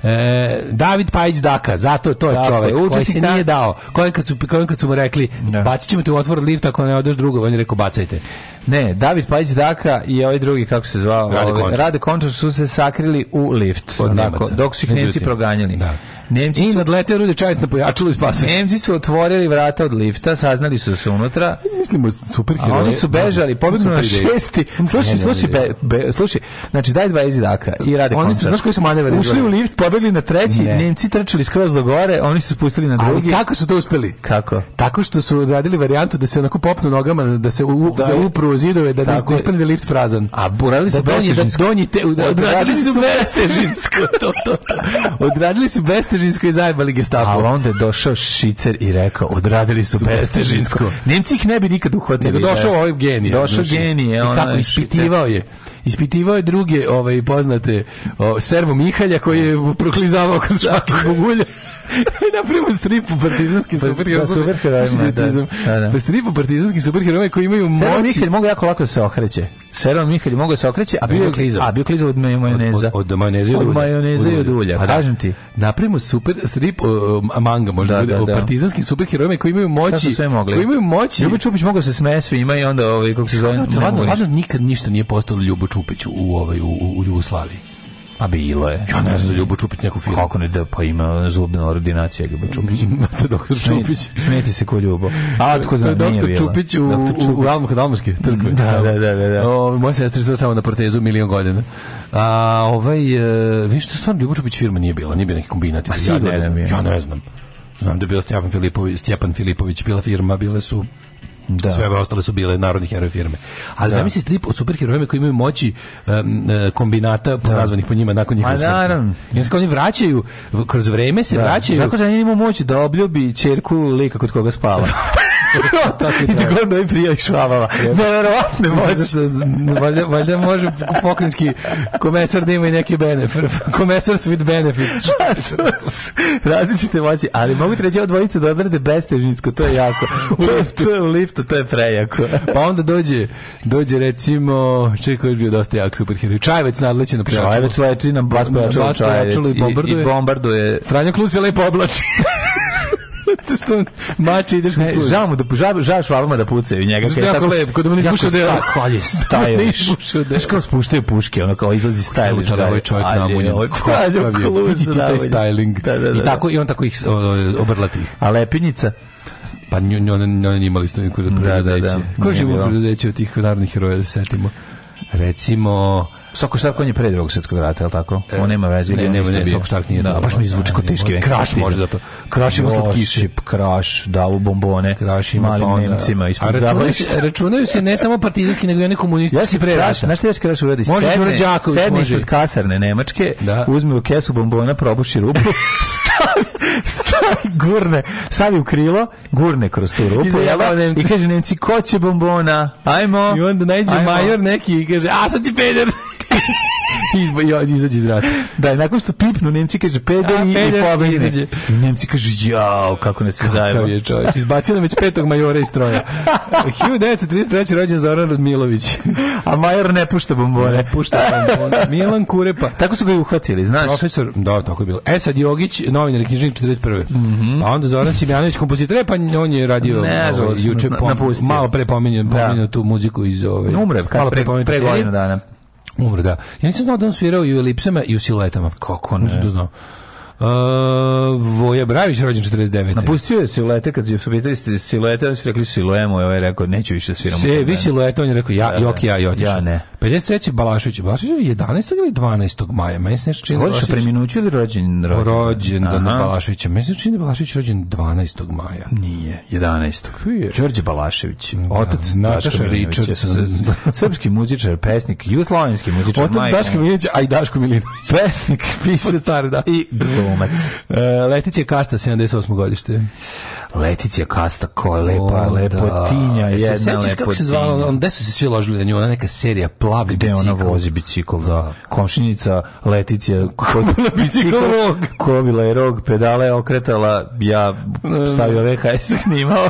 Speaker 7: E, David Pajić Daka, zato to je
Speaker 8: Tako
Speaker 7: čovjek
Speaker 8: je,
Speaker 7: koji
Speaker 8: učesnik
Speaker 7: se
Speaker 8: dan-
Speaker 7: nije dao. Koji kad su, koji kad su mu rekli, bacit ćemo te u otvor lifta ako ne odeš drugo, on je rekao bacajte.
Speaker 8: Ne, David Pajić Daka i ovaj drugi, kako se zvao,
Speaker 7: Rade
Speaker 8: ovaj,
Speaker 7: Končar.
Speaker 8: Rade Končar su se sakrili u lift.
Speaker 7: Od
Speaker 8: onako,
Speaker 7: Nemaca.
Speaker 8: dok su ih Nemci
Speaker 7: Međutim,
Speaker 8: proganjali.
Speaker 7: da.
Speaker 8: Nemci
Speaker 7: I
Speaker 8: su,
Speaker 7: nadleteo Rudi Čajt na pojačalu i spasao.
Speaker 8: Nemci su otvorili vrata od lifta, saznali su se unutra,
Speaker 7: Mislimo super
Speaker 8: a oni su bežali, pobjegli na pa šesti. Slušaj,
Speaker 7: Genijalna
Speaker 8: slušaj,
Speaker 7: ideja.
Speaker 8: be, be, slušaj, znači daj dva izidaka i rade
Speaker 7: Oni su,
Speaker 8: koncert.
Speaker 7: znaš koji su manevri
Speaker 8: Ušli u
Speaker 7: izveli?
Speaker 8: lift, pobegli na treći,
Speaker 7: Ne.
Speaker 8: Nemci trčali skroz do gore, oni su spustili na drugi.
Speaker 7: Ali kako su to uspeli?
Speaker 8: Kako?
Speaker 7: Tako što su radili varijantu da se onako popnu nogama, da se u, da,
Speaker 8: Da.
Speaker 7: upru u zidove, da ne
Speaker 8: Tako je.
Speaker 7: ispadne lift prazan.
Speaker 8: A burali
Speaker 7: da
Speaker 8: su
Speaker 7: donji, da
Speaker 8: bestežinsko.
Speaker 7: donji te, da, odradili
Speaker 8: Odradili
Speaker 7: su
Speaker 8: su
Speaker 7: bestežinsko. to, to, to. Odradili su bestežinsko i zajebali
Speaker 8: Ali
Speaker 7: gestapo.
Speaker 8: onda je došao šicer i rekao, odradili su bestežinsko. Nemci ih ne bi nikad uhvatili.
Speaker 7: Nego došao
Speaker 8: da.
Speaker 7: ovaj genije.
Speaker 8: Došao
Speaker 7: znači.
Speaker 8: genije.
Speaker 7: I
Speaker 8: ono,
Speaker 7: tako,
Speaker 8: znaš,
Speaker 7: ispitivao je. Ispitivao je druge ovaj, poznate o, servo Mihalja koji je proklizavao kroz šake bugulje. I napravimo strip u partizanskim
Speaker 8: Pa- pa
Speaker 7: superherojima.
Speaker 8: superherojima,
Speaker 7: Slušaj,
Speaker 8: da,
Speaker 7: idiotizam.
Speaker 8: da, da.
Speaker 7: Pa strip u partizanskim superherojima koji imaju
Speaker 8: Seron
Speaker 7: moći.
Speaker 8: Mihalj mogu jako lako da se okreće. Seron Mihalj mogu da se okreće, a bio
Speaker 7: Bio
Speaker 8: je
Speaker 7: je klizav.
Speaker 8: A bio je klizav od maj- majoneza.
Speaker 7: Od, od majoneza i od ulja.
Speaker 8: Od majoneza i od ulja,
Speaker 7: Pa da.
Speaker 8: kažem ti.
Speaker 7: Napravimo super strip o, o, manga, možda
Speaker 8: Da,
Speaker 7: bude,
Speaker 8: da,
Speaker 7: o
Speaker 8: da.
Speaker 7: partizanskim superherojima koji imaju
Speaker 8: Šta
Speaker 7: moći.
Speaker 8: su sve mogli?
Speaker 7: Koji imaju moći.
Speaker 8: Ljubo Čupić mogao se smeje svima i onda, ovaj, kako se zove,
Speaker 7: Ladno,
Speaker 8: ne
Speaker 7: ladno,
Speaker 8: mogu
Speaker 7: ladno,
Speaker 8: ništa.
Speaker 7: nikad ništa nije postalo Ljubo Čupiću u, ovaj, u, u, u Jugoslaviji.
Speaker 8: A bilo je.
Speaker 7: Ja ne znam za Ljubo Čupić neku firmu.
Speaker 8: Kako ne da, pa ima zubna ordinacija Ljubo Čupić.
Speaker 7: Imate doktor Čupić.
Speaker 8: Smeti- Smeti se ko Ljubo. A, tko
Speaker 7: To
Speaker 8: zna,
Speaker 7: je
Speaker 8: nije
Speaker 7: doktor
Speaker 8: bila.
Speaker 7: Čupić u,
Speaker 8: Doktor
Speaker 7: u, u Almu- Almarske crkve.
Speaker 8: Da, da, da, da, da.
Speaker 7: O, moja sestra je sad samo na protezu milion godina. A ovaj, e, vidiš, to stvarno Ljubo Čupić firma nije bila, nije bio neki kombinat.
Speaker 8: Ma, sigurno
Speaker 7: ja ne
Speaker 8: je
Speaker 7: znam.
Speaker 8: bio.
Speaker 7: Ja ne znam. Znam da je bila Stjepan Filipović, Stjepan Filipović bila firma, bile su da. sve ove ostale su bile narodni heroje firme. Ali zamisli strip o superherojima koji imaju moći em, e, kombinata nazvanih po njima nakon njihove smrti.
Speaker 8: naravno.
Speaker 7: I onda se kao oni vraćaju, v- kroz vreme se vraćaju.
Speaker 8: Tako da nije imao moć da obljubi čerku lika kod koga spava. I tako onda i prija i švabava. Neverovatne moći.
Speaker 7: Zato što valjda, valjda može pokrinjski komesar da ima i neki benefit. Komesar with benefits.
Speaker 8: Različite moći, ali mogu ti reći ova dvojica da odrade bestežinsko, to je jako. U liftu, u liftu, to je prejako.
Speaker 7: Pa onda dođe, dođe recimo, čekaj koji je bio dosta jak superheroj. Čajvec nadleće na pojačalu.
Speaker 8: Čajevec leti na bas pojačalo
Speaker 7: Bas pojačalo i bombarduje.
Speaker 8: I bombarduje.
Speaker 7: Franjo Klus se lepo oblači. Zato što mače ideš
Speaker 8: Ne, žao mu da žao, žao švabama da pucaju i njega.
Speaker 7: Zato što
Speaker 8: kad
Speaker 7: je jako lep, kod da mu ne
Speaker 8: jako
Speaker 7: ispušta delo.
Speaker 8: sta- ali je
Speaker 7: Da mu ne
Speaker 8: stajališ.
Speaker 7: ispušta delo.
Speaker 8: Znaš kao spuštaju puške, ono kao izlazi stajališ.
Speaker 7: Ali ovaj čovjek namunjen.
Speaker 8: Franjo
Speaker 7: Kakav je,
Speaker 8: Kluz
Speaker 7: vidi ti taj
Speaker 8: namunjen.
Speaker 7: styling.
Speaker 8: Da, da, da.
Speaker 7: I, tako, I on tako ih o, obrlati ih.
Speaker 8: A lepinjica?
Speaker 7: Pa nju, nju, nju, nju, nju imali ste neko da preduzeće. Da, da, da. Ko
Speaker 8: Nije
Speaker 7: živi u
Speaker 8: bilo.
Speaker 7: preduzeće od tih narodnih heroja da se setimo? Recimo... E,
Speaker 8: Soko Štark on je pre drugog svjetskog rata, je li tako? On nema veze. ili
Speaker 7: Ne,
Speaker 8: on
Speaker 7: ne,
Speaker 8: isto
Speaker 7: ne,
Speaker 8: bio?
Speaker 7: Soko Štark nije
Speaker 8: Da,
Speaker 7: to.
Speaker 8: baš mi zvuči kao teški
Speaker 7: Kraš može za to. Kraš ima slatkiše.
Speaker 8: Kraš, da, u bombone.
Speaker 7: Kraš ima
Speaker 8: Malim
Speaker 7: pa onda-
Speaker 8: Nemcima
Speaker 7: A
Speaker 8: ispod
Speaker 7: računaju se-
Speaker 8: zabavišta.
Speaker 7: Računaju se ne samo partizanski, nego i oni komunistički.
Speaker 8: Ja si pre
Speaker 7: Kraš,
Speaker 8: Kraš, znaš šta ja si Kraš uradi?
Speaker 7: Može
Speaker 8: Sedne-
Speaker 7: Đuro Đaković,
Speaker 8: Sedne
Speaker 7: može.
Speaker 8: ispod kasarne Nemačke,
Speaker 7: Da.
Speaker 8: uzme u kesu bombona, probuši rupu, stavi, stavi, gurne, stavi u krilo, gurne kroz tu rupu,
Speaker 7: zajebao
Speaker 8: jel da?
Speaker 7: Nemce.
Speaker 8: i kaže Nemci, ko će bombona? Ajmo.
Speaker 7: I onda najde
Speaker 8: ajmo."
Speaker 7: major neki i kaže, a sad si peder. I, i, i izađe iz rata.
Speaker 8: Da, i nakon što pipnu, Nemci kaže peder
Speaker 7: A,
Speaker 8: i, i
Speaker 7: peder,
Speaker 8: pobegne.
Speaker 7: izađe.
Speaker 8: I Nemci kaže, jao, kako nas se
Speaker 7: Kakav
Speaker 8: zajeba.
Speaker 7: je čovjek. Izbacio nam već petog majora iz stroja. 1933. rođen Zoran Radmilović.
Speaker 8: A Major ne pušta bombone.
Speaker 7: Pušta bombone. Milan Kurepa.
Speaker 8: Tako su ga i uhvatili, znaš.
Speaker 7: Profesor, da, tako je bilo. Esad E, Jogić, novinar i knjižnik 41. Pa onda Zoran Simjanović, kompozitor, e, pa on je radio
Speaker 8: Nažalost,
Speaker 7: ovaj, juče,
Speaker 8: na-
Speaker 7: pom-
Speaker 8: napustio.
Speaker 7: malo pre pominjao
Speaker 8: Da.
Speaker 7: pominjao tu muziku iz ove.
Speaker 8: Umre, kad
Speaker 7: malo
Speaker 8: pre,
Speaker 7: pominjao
Speaker 8: pre
Speaker 7: seriju.
Speaker 8: godinu dana.
Speaker 7: Umro, da. Ja nisam znao da on svirao i u elipsama i u siluetama. Kako ne? Nisam to znao. Uh, Voja Bravić, rođen 49.
Speaker 8: Napustio je silete, kad su pitali ste silete, oni su rekli siluje mu, i ovaj je rekao, neću više da sviram. u
Speaker 7: Se,
Speaker 8: tom
Speaker 7: vi
Speaker 8: bendu."
Speaker 7: silueta, on je rekao, ja,
Speaker 8: Da, da.
Speaker 7: jok, ja, i otišao.
Speaker 8: Ja ne.
Speaker 7: 53. Balašević. Balašević je 11. ili 12. maja? Meni se nešto čini da
Speaker 8: Voliš o
Speaker 7: Balašević-
Speaker 8: preminuću ili rođen?
Speaker 7: rođen da
Speaker 8: Aha.
Speaker 7: Balaševića. Meni se čini da je Balašević rođen 12. maja.
Speaker 8: Nije, 11.
Speaker 7: je?
Speaker 8: Đorđe Balašević, otac Daška
Speaker 7: Da, Nataša
Speaker 8: Milinovića,
Speaker 7: Richardson.
Speaker 8: s- s- srpski muzičar, pesnik, jugoslovenski muzičar,
Speaker 7: Otac
Speaker 8: majka
Speaker 7: Daško
Speaker 8: mu-
Speaker 7: Milinović, a i Daško Milinović.
Speaker 8: pesnik, pisac
Speaker 7: stari, da.
Speaker 8: i glumac.
Speaker 7: E, Leticija Kasta, 78. godište.
Speaker 8: Leticija Kasta, ko je lepa,
Speaker 7: O,
Speaker 8: Pa, lepotinja,
Speaker 7: Pa, da. E, se
Speaker 8: jedna
Speaker 7: sećaš kako se zvala, on, gde su se svi ložili na nju, ona neka serija Plavni
Speaker 8: gde
Speaker 7: bicikl.
Speaker 8: ona vozi bicikl, da. Komšinica Leticija kod
Speaker 7: bicikl rog.
Speaker 8: Kobila je rog, pedale je okretala, ja stavio VHS i snimao.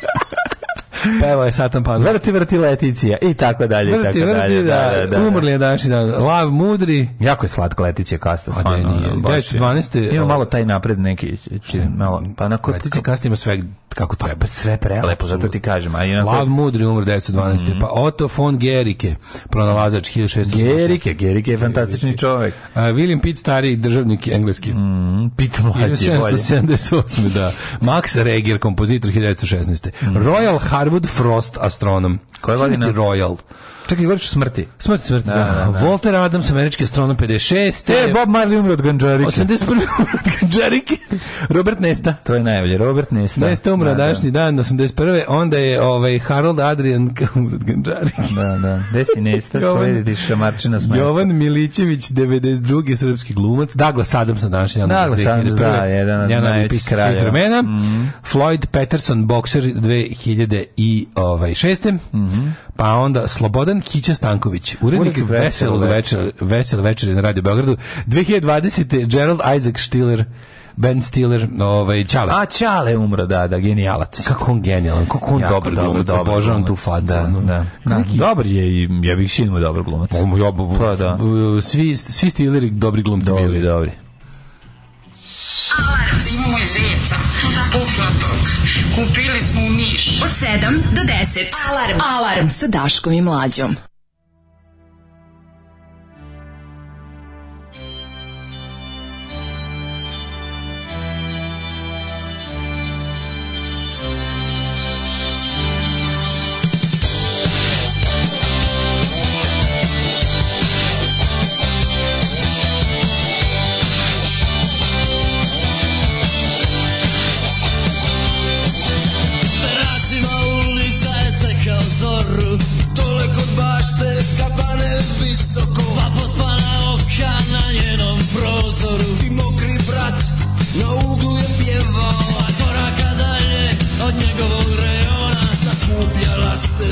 Speaker 8: Pa
Speaker 7: Pevao je Satan Panu.
Speaker 8: Vrti, vrti Leticija i tako dalje, i tako
Speaker 7: Vrti,
Speaker 8: dalje.
Speaker 7: vrti,
Speaker 8: Da, da, da.
Speaker 7: Umrli je današnji dan. Lav, mudri.
Speaker 8: Jako je slatka Leticija Kasta,
Speaker 7: A
Speaker 8: stvarno.
Speaker 7: da, nije.
Speaker 8: ono, baš je.
Speaker 7: 1912.
Speaker 8: Ima malo taj napred neki, či, malo, pa onako,
Speaker 7: Leticija Kasta ima sve kako treba.
Speaker 8: sve prelepo, zato ti kažem. A onako, Mhm.
Speaker 7: Lav Mudri umro 1912. Pa Otto von Gericke, pronalazač 1686.
Speaker 8: Gerike, Gerike je fantastični čovjek.
Speaker 7: A, William Pitt, stari državnik engleski.
Speaker 8: Pit mlađe, bolje.
Speaker 7: 1778. da. Max Reger, kompozitor 1916. Royal Harwood Frost, astronom.
Speaker 8: Mhm. Koja
Speaker 7: Šta
Speaker 8: godina?
Speaker 7: neki Royal.
Speaker 8: Čekaj, vrč smrti.
Speaker 7: Smrt, smrt, da.
Speaker 8: da, da.
Speaker 7: Walter Adams, američki astronom 56.
Speaker 8: E, Bob Marley umre od ganđarike.
Speaker 7: 81. Jerike. Robert Nesta.
Speaker 8: To je najbolje. Robert Nesta.
Speaker 7: Nesta umra
Speaker 8: Da, da.
Speaker 7: današnji dan 81. Onda je ovaj Harold Adrian Kamurad Ganđarik.
Speaker 8: Da, da. Gde si Nesta?
Speaker 7: Jovan-
Speaker 8: Slediti šamarčina s majstom.
Speaker 7: Jovan Milićević, 92. srpski glumac. Douglas Adams na današnji ono, dan.
Speaker 8: Douglas Adams,
Speaker 7: 2001..
Speaker 8: da, jedan od Mhm.
Speaker 7: Jedan
Speaker 8: najvećih
Speaker 7: pisac svih
Speaker 8: kraljeva.
Speaker 7: vremena. Floyd Patterson, bokser 2006. ovaj,
Speaker 8: mhm.
Speaker 7: Pa onda Slobodan Hića Stanković, urednik
Speaker 8: Urednik
Speaker 7: Veselog
Speaker 8: Veselog
Speaker 7: večera, Vesel večera na Radio Beogradu. 2020. Gerald Isaac Stiller, Ben Stiller, ovaj, Čale.
Speaker 8: A, Ćale umro, da, da, genijalac.
Speaker 7: Kako on genijalan, kako on
Speaker 8: Jako
Speaker 7: dobar glumac,
Speaker 8: dobar
Speaker 7: obožavam tu
Speaker 8: glumac.
Speaker 7: facu.
Speaker 8: Da,
Speaker 7: ono.
Speaker 8: da.
Speaker 7: Kako
Speaker 8: Da,
Speaker 7: neki-
Speaker 8: Dobar je i, ja bih sinu je dobar glumac.
Speaker 7: Omo, ja, bu-
Speaker 8: Pa, da.
Speaker 7: bu- Svi, svi stileri dobri glumci
Speaker 8: Dobri,
Speaker 7: bili.
Speaker 8: dobri.
Speaker 3: Imamo i zeca, puknatog. Kupili smo u Niš.
Speaker 5: Od 7 do 10. Alarm. Alarm sa Daškom i Mlađom.
Speaker 1: Prašima ulica je čekao zoru Dole kod bašte kabane visoko Dva pospana oka na njenom prozoru I mokri brat na uglu je pjevao A koraka dalje od njegovog reona Sakupljala se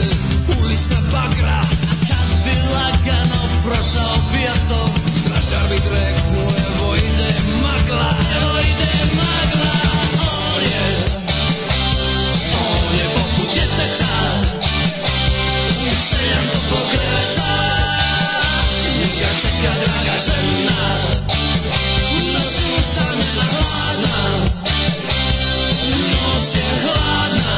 Speaker 1: ulična bagra A kad bi lagano prošao pijacom Stražar bi dreknuo evo ide magla Evo ide magla On je on je poput djeteta Željan toplog kreveta Njega čeka draga žena Noć je usamljena hladna Noć je hladna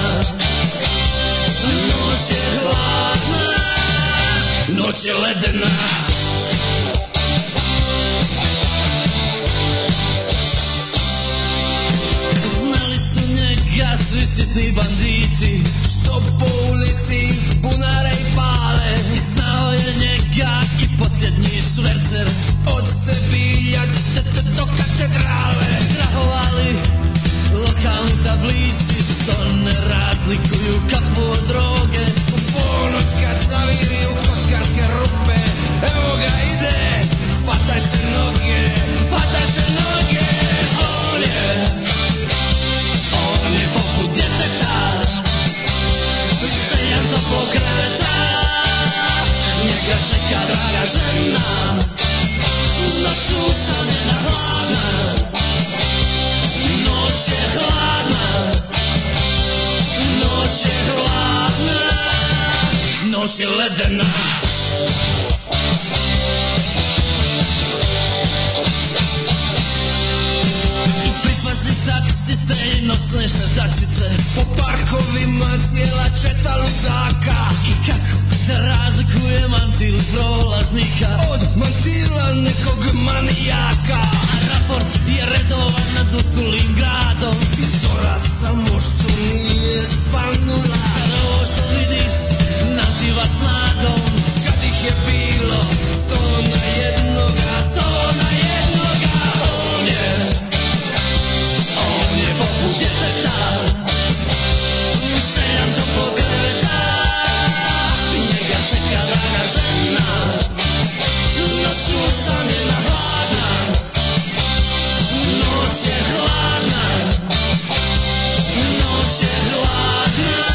Speaker 1: Noć je hladna Noć je ledena Znali su njega svi sitni banditi Što po ulici bunare i pale I znao je njega i posljednji švercer Od Sebilja d- d- do katedrale Strahovali lokalni tablići Što ne razlikuju kafu od droge U ponoć kad zaviri u kockarske rupe Evo ga ide, fataj se noge Fataj se noge, on je čeka draga žena Noću usamljena hladna Noć je hladna Noć je hladna Noć je ledena Pripazi taksiste i nosne šetačice Po parkovima cijela četa ludaka I kako da razlikujem mantil prolaznika Od mantila nekog manijaka A raport je redovan nad uskulim gradom I zora samo što nije spanula Kada ovo što vidiš nazivaš nadom Kad ih je bilo sto na jednoga Sto na jednoga On je on je poput djeteta Sedam do pokreta Njega čeka draga žena Noću usamljena hladna Noć je hladna Noć je hladna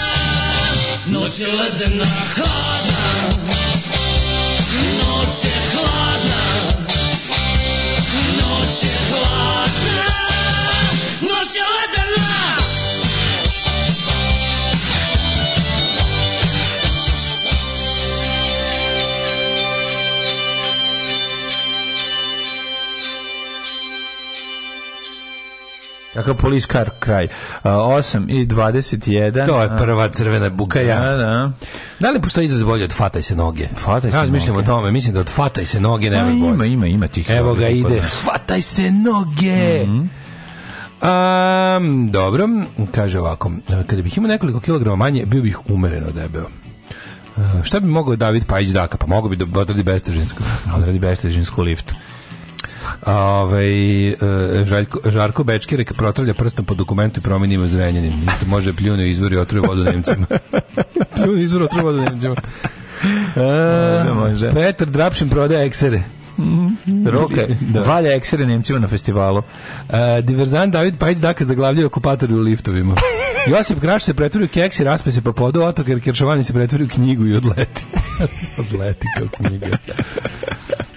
Speaker 1: Noć je ledena hladna Noć je hladna Noć je hladna Noć je ledena
Speaker 8: Kakav police car kraj. A, 8 i 21.
Speaker 7: To je prva crvena bukaja.
Speaker 8: Da, da.
Speaker 7: Da li postoji izraz bolje od fataj se noge?
Speaker 8: Fataj se
Speaker 7: Razmišljam
Speaker 8: noge.
Speaker 7: o tome, mislim da od fataj se noge
Speaker 8: A,
Speaker 7: nema bolje.
Speaker 8: ima, ima, ima tih.
Speaker 7: Evo ga
Speaker 8: ljudi kod
Speaker 7: ide,
Speaker 8: nas. Mhm.
Speaker 7: fataj se noge! Am, dobro, kaže ovako, kada bih imao nekoliko kilograma manje, bio bih umereno debeo. E, Šta bi mogao David Pajić Daka? Pa mogao bi da odradi bestežinsko.
Speaker 8: Odradi bestežinsku lift.
Speaker 7: Ovaj e, Žaljko, Žarko Bečkirek protrlja prstom po dokumentu i promeni ime Zrenjanin. Isto može pljunu izvor i otruje vodu Nemcima. pljunu izvor otruje vodu Nemcima.
Speaker 8: da, može.
Speaker 7: Petar Drapšin prodaje eksere.
Speaker 8: Roka, valja eksere Nemcima na festivalu.
Speaker 7: E, diverzant David Pajić Daka zaglavljaju okupatori u liftovima. Josip Graš se pretvori u keks i raspe se po podu otok, jer Keršovani se pretvori u knjigu i odleti. odleti kao knjiga.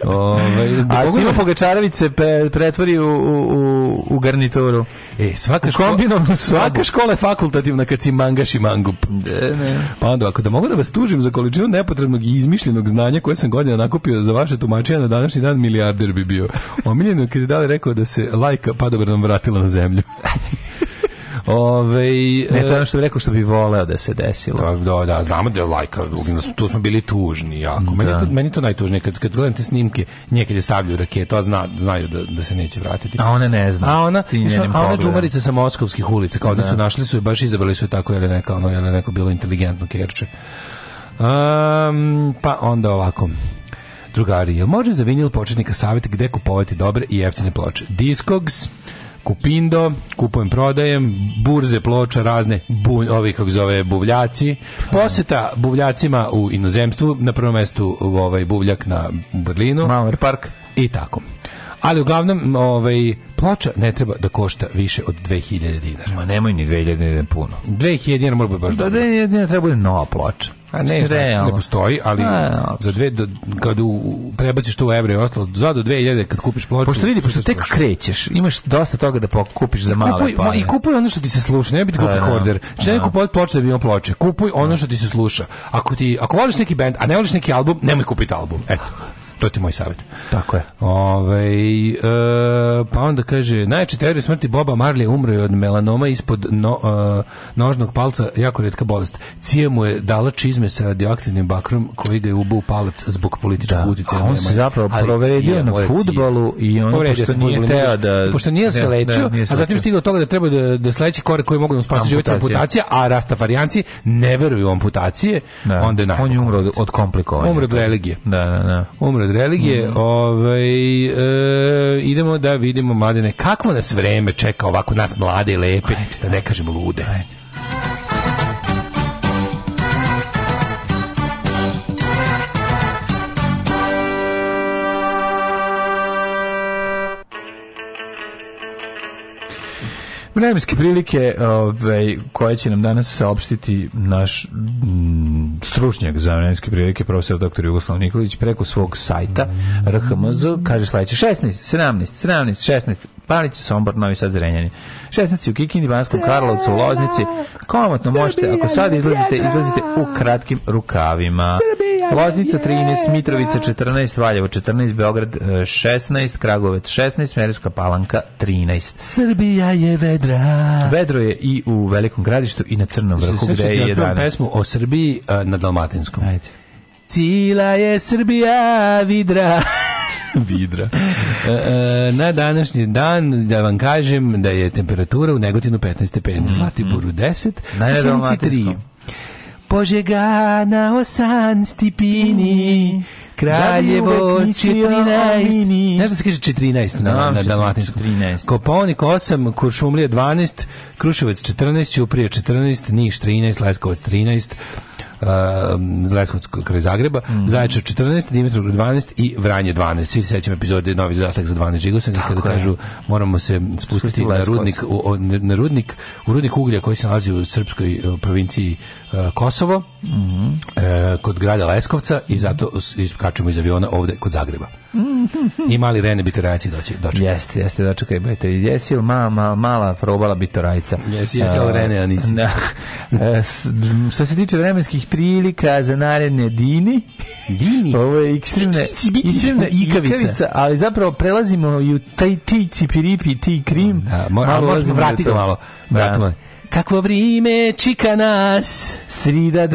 Speaker 7: Ove,
Speaker 8: A Simo Pogačarević se pe- pretvori u, u, u, u garnituru.
Speaker 7: E, svaka,
Speaker 8: U
Speaker 7: škola,
Speaker 8: kombinovanu sobu.
Speaker 7: svaka škola je fakultativna kad si mangaš i mangup. Pa onda, ako da mogu da vas tužim za količinu nepotrebnog i izmišljenog znanja koje sam godina nakupio za vaše tumačenje na današnji dan, milijarder bi bio. Omiljeno je kad je dali rekao da se lajka padobranom vratila na zemlju. Ove,
Speaker 8: Ne, to je ono što bi rekao što bi voleo da se desilo.
Speaker 7: Da, Pa, da, da, znamo da je lajka, uglavnom smo- tu smo bili tužni jako. Meni, je to, meni je to najtužnije, kad, kad gledam te snimke, nje kad je stavljaju raketu, a zna, znaju da, da se neće vratiti.
Speaker 8: A ona ne zna.
Speaker 7: A ona,
Speaker 8: Ti
Speaker 7: znaš,
Speaker 8: njenim
Speaker 7: a ona
Speaker 8: pogledom.
Speaker 7: džumarica sa moskovskih ulica, kao da su našli su je, baš izabrali su je tako, jer je neka, ono, jer je neko bilo inteligentno kerče. Um, pa onda ovako. Drugari, jel može za vinil početnika savjet gde kupovati dobre i jeftine ploče? Discogs, Kupindo, kupujem, prodajem, burze ploča razne, bu, ovi kako zove buvljaci. Poseta buvljacima u inozemstvu, na prvom mestu ovaj buvljak na u Berlinu
Speaker 8: Mauer Park.
Speaker 7: i tako. Ali uglavnom, ovaj, ploča ne treba da košta više od 2000 dinara.
Speaker 8: Ma nemoj ni 2000 puno.
Speaker 7: 2000 dinara mora biti baš
Speaker 8: Da,
Speaker 7: dobro.
Speaker 8: da, da, da treba bude nova ploča.
Speaker 7: A ne, znači, ne postoji, ali
Speaker 8: A,
Speaker 7: za dve, do, kad u, prebaciš to u evre i ostalo, za do 2000 kad kupiš ploču...
Speaker 8: Pošto vidi, pošto tek
Speaker 7: slušaš.
Speaker 8: krećeš, imaš dosta toga da pok- kupiš za male
Speaker 7: Kupuj,
Speaker 8: pare.
Speaker 7: I kupuj ono što ti se sluša, ne bi ti
Speaker 8: Pa,
Speaker 7: kupi
Speaker 8: da.
Speaker 7: horder. Znači, ne kupuj ploče da bi imao ploče. Kupuj ono što ti se sluša. Ako, ti, ako voliš neki band, a ne voliš neki album, nemoj kupiti album. Eto, to ti je moj savjet.
Speaker 8: Tako je.
Speaker 7: Ovaj, Ove, e, pa onda kaže, najjače teorije smrti Boba Marley umro je od melanoma ispod no, e, nožnog palca, jako redka bolest. Cija mu je dala čizme sa radioaktivnim bakrom koji ga je ubao u palac zbog političkog
Speaker 8: Da,
Speaker 7: utjecaja.
Speaker 8: a on se
Speaker 7: Nemaca.
Speaker 8: zapravo
Speaker 7: Ali
Speaker 8: provredio
Speaker 7: Cija
Speaker 8: na
Speaker 7: mu je Cija.
Speaker 8: fudbalu i on
Speaker 7: Povredio
Speaker 8: pošto
Speaker 7: se
Speaker 8: nije
Speaker 7: fudbalom,
Speaker 8: teo
Speaker 7: Ono, nije-
Speaker 8: da
Speaker 7: Pošto nije se
Speaker 8: da, da,
Speaker 7: lečio,
Speaker 8: nije se
Speaker 7: a zatim
Speaker 8: lečio.
Speaker 7: stigao do toga da treba da, da sledeći korak koji mogu da mu spasi život je
Speaker 8: Amputacija.
Speaker 7: amputacija, a rastafarijanci ne veruju u amputacije,
Speaker 8: Da.
Speaker 7: onda je
Speaker 8: on
Speaker 7: najbolje.
Speaker 8: je umro od, od komplikovanja.
Speaker 7: Umro od religije.
Speaker 8: Da, da, da.
Speaker 7: Umre od religije. Ovaj, e, idemo da vidimo mladene. Kakvo nas vreme čeka ovako nas mlade i lepe, da ne kažemo lude.
Speaker 8: Vremenske prilike ovaj, koje će nam danas saopštiti naš mm, stručnjak za vremenske prilike, profesor dr. Jugoslav Nikolić, preko svog sajta RHMZ, kaže sledeće, 16, 17, 17, 16, Palić, Sombor, Novi Sad, Zrenjanin. 16 u Kikindi, Banskom Karlovcu, u Loznici. Komotno možete, ako sad izlazite, izlazite u kratkim rukavima. Loznica 13, Mitrovica 14, Valjevo 14, Beograd 16, Kragovec 16, Smerska Palanka 13.
Speaker 7: Srbija je vedra.
Speaker 8: Vedro je i u Velikom gradištu i na Crnom vrhu
Speaker 7: Sve ću
Speaker 8: gde
Speaker 7: ti
Speaker 8: je
Speaker 7: otpevam
Speaker 8: 11.
Speaker 7: pesmu o Srbiji a, na Dalmatinskom.
Speaker 8: Ajde.
Speaker 7: Cila je Srbija vidra.
Speaker 8: Vidra.
Speaker 7: E, e, na današnji dan, da vam kažem da je temperatura u Negotinu 15 stepeni, Zlatiboru 10,
Speaker 8: Na
Speaker 7: u Sjenici
Speaker 8: Dalmatinskom.
Speaker 7: 3. Požega na osan stipini, Kraljevo
Speaker 8: Da bi uvek mislio o
Speaker 7: 14.
Speaker 8: mini.
Speaker 7: Znaš da se kaže 14 na,
Speaker 8: Znam,
Speaker 7: na
Speaker 8: 14,
Speaker 7: dalmatinskom?
Speaker 8: 14.
Speaker 7: Koponik 8, Kuršumlija 12, Kruševac 14, Ćuprija 14, Niš 13, Leskovac 13, uh, Leskovac kraj Zagreba,
Speaker 8: Mhm.
Speaker 7: Zaječar 14, Dimitrovgrad 12 i Vranje 12. Svi se sećamo epizode Novi zaslak za 12 žigosa, kada kažu moramo se spustiti na
Speaker 8: Leskovac.
Speaker 7: rudnik, u, o- na rudnik, u rudnik uglja koji se nalazi u srpskoj e, provinciji e, Kosovo,
Speaker 8: Mhm.
Speaker 7: e, kod grada Leskovca i zato us- iskačemo iz aviona ovde kod Zagreba.
Speaker 8: Mhm.
Speaker 7: I mali Rene Bitorajaci doći, doći.
Speaker 8: Jeste, jeste, dočekaj, bajte, jesi li ma, ma, mala probala bitorajca?
Speaker 7: Jesi, jesi, ali
Speaker 8: E,
Speaker 7: Rene, a nisi.
Speaker 8: Da. E, s- m, što se tiče vremenskih prilika za naredne dini,
Speaker 7: Dini.
Speaker 8: ovo je ekstremne,
Speaker 7: Tici, biti,
Speaker 8: ekstremna
Speaker 7: ikavica.
Speaker 8: ikavica, ali zapravo prelazimo i u taj ti cipiripi, ti krim.
Speaker 7: Da, mo- a
Speaker 8: malo
Speaker 7: možemo
Speaker 8: ulazimo
Speaker 7: vratiti
Speaker 8: u to.
Speaker 7: ga malo.
Speaker 8: Da.
Speaker 7: Vratimo. Kakvo vrime čika nas,
Speaker 8: Srida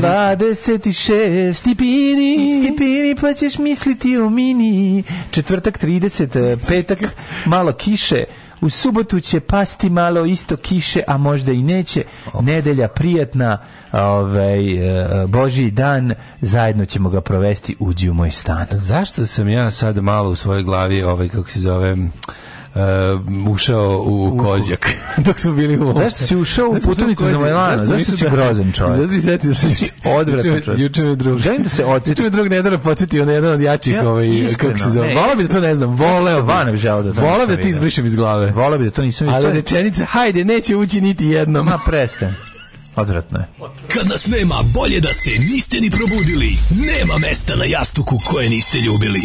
Speaker 8: 26,
Speaker 7: stipini.
Speaker 8: Stipini pa ćeš misliti o mini. Četvrtak 30, eh, petak malo kiše. U subotu će pasti malo isto kiše, a možda i neće. Nedelja prijatna, ovaj, eh, Božji dan, zajedno ćemo ga provesti, uđi u moj stan.
Speaker 7: Zašto sam ja sad malo u svojoj glavi, ovaj, kako se zove, m, e, ušao u kozjak dok smo bili u
Speaker 8: Zašto si ušao u putunicu za Majlana? Zašto si grozan čovjek?
Speaker 7: Zato i setio sam se.
Speaker 8: odvratan
Speaker 7: Juče me-
Speaker 8: čovjek.
Speaker 7: Juče me drug.
Speaker 8: Želim da se odsjetim.
Speaker 7: Juče me drug Nedara podsjetio na jedan od jačih,
Speaker 8: Ja,
Speaker 7: ovaj,
Speaker 8: iskreno,
Speaker 7: kako se zove.
Speaker 8: ne.
Speaker 7: Volao bi da to ne znam. Voleo bi.
Speaker 8: Stvarno bi želeo da to
Speaker 7: Voleo
Speaker 8: nisam
Speaker 7: bi da to
Speaker 8: vidio.
Speaker 7: izbrišem iz glave.
Speaker 8: Volao bi da to nisam
Speaker 7: Ali
Speaker 8: vidio.
Speaker 7: rečenica, hajde, neće ući niti jednom.
Speaker 8: Ma prestajem. Odvratno je.
Speaker 1: Kad nas nema, bolje da se niste ni probudili. Nema mesta na jastuku koje niste ljubili.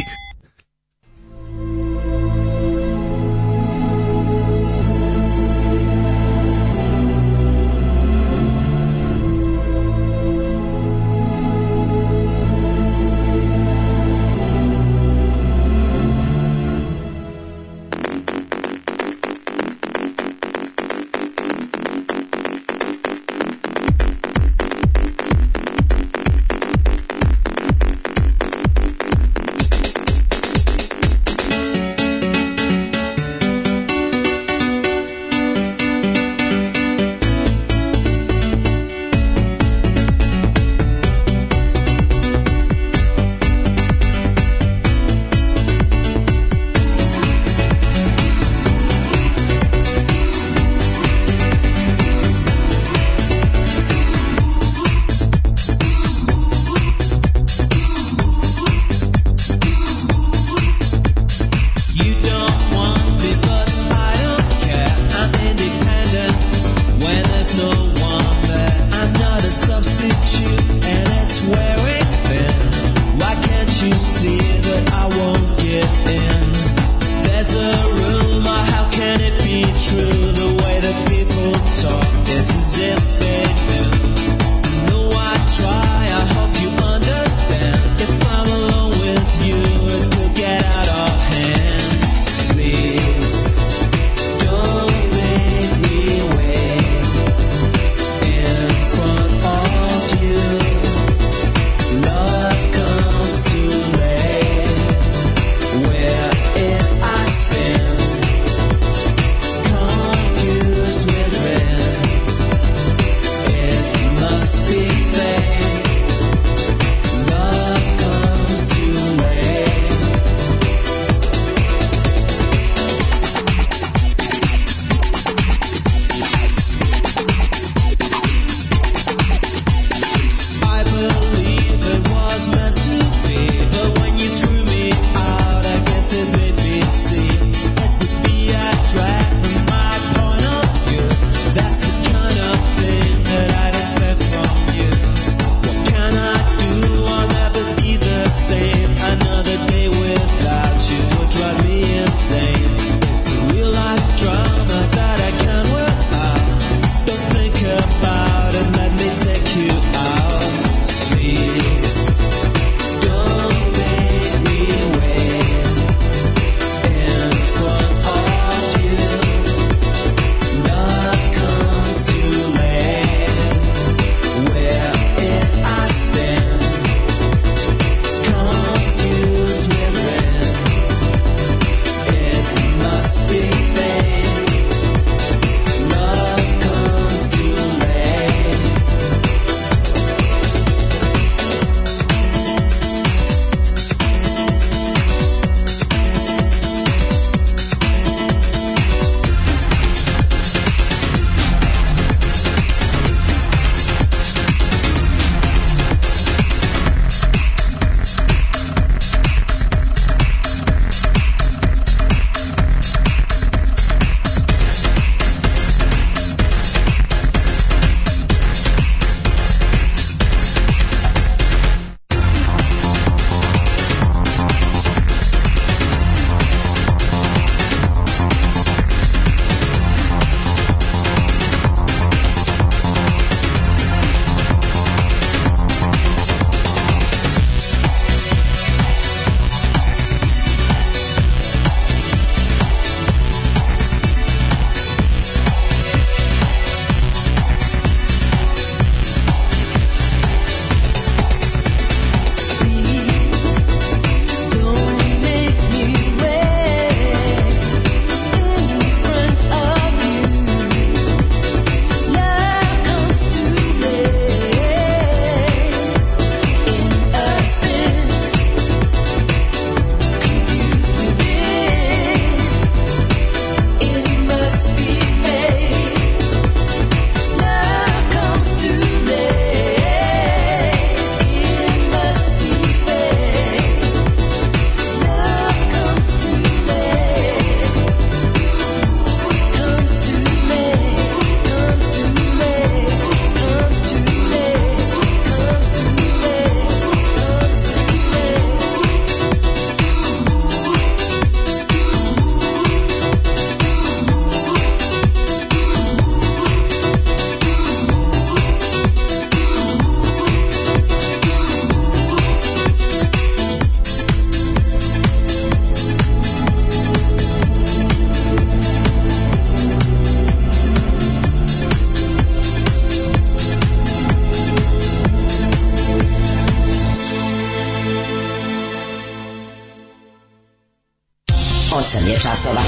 Speaker 11: 8 je časova.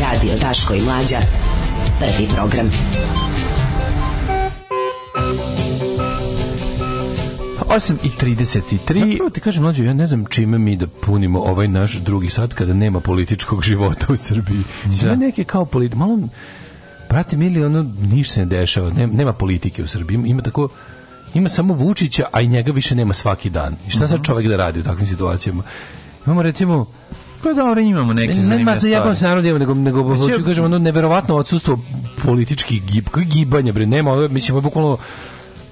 Speaker 11: Radio Daško i Mlađa. Prvi program.
Speaker 8: 8 i 33.
Speaker 7: Ja prvo ti kažem, mlađo, ja ne znam čime mi da punimo ovaj naš drugi sat kada nema političkog života u Srbiji. Sve
Speaker 8: Da.
Speaker 7: neke kao politi... Malo, brate mili, ono, ništa se ne dešava. Nema, nema politike u Srbiji. Ima- Ima tako ima samo Vučića, a i njega više nema svaki dan. I šta
Speaker 8: Mhm.
Speaker 7: sad čovek da radi u takvim situacijama? Imamo recimo
Speaker 8: Pa dobro, imamo neke
Speaker 7: ne, ne, ma
Speaker 8: zanimljive
Speaker 7: zajebam se
Speaker 8: stvari. Pa
Speaker 7: narod, evo, nego, nego
Speaker 8: Mislim,
Speaker 7: hoću
Speaker 8: ja-
Speaker 7: kažem, ono neverovatno odsustvo političkih gib, koji gibanja, bre, nema, ovo, je, mislim, ovo je bukvalno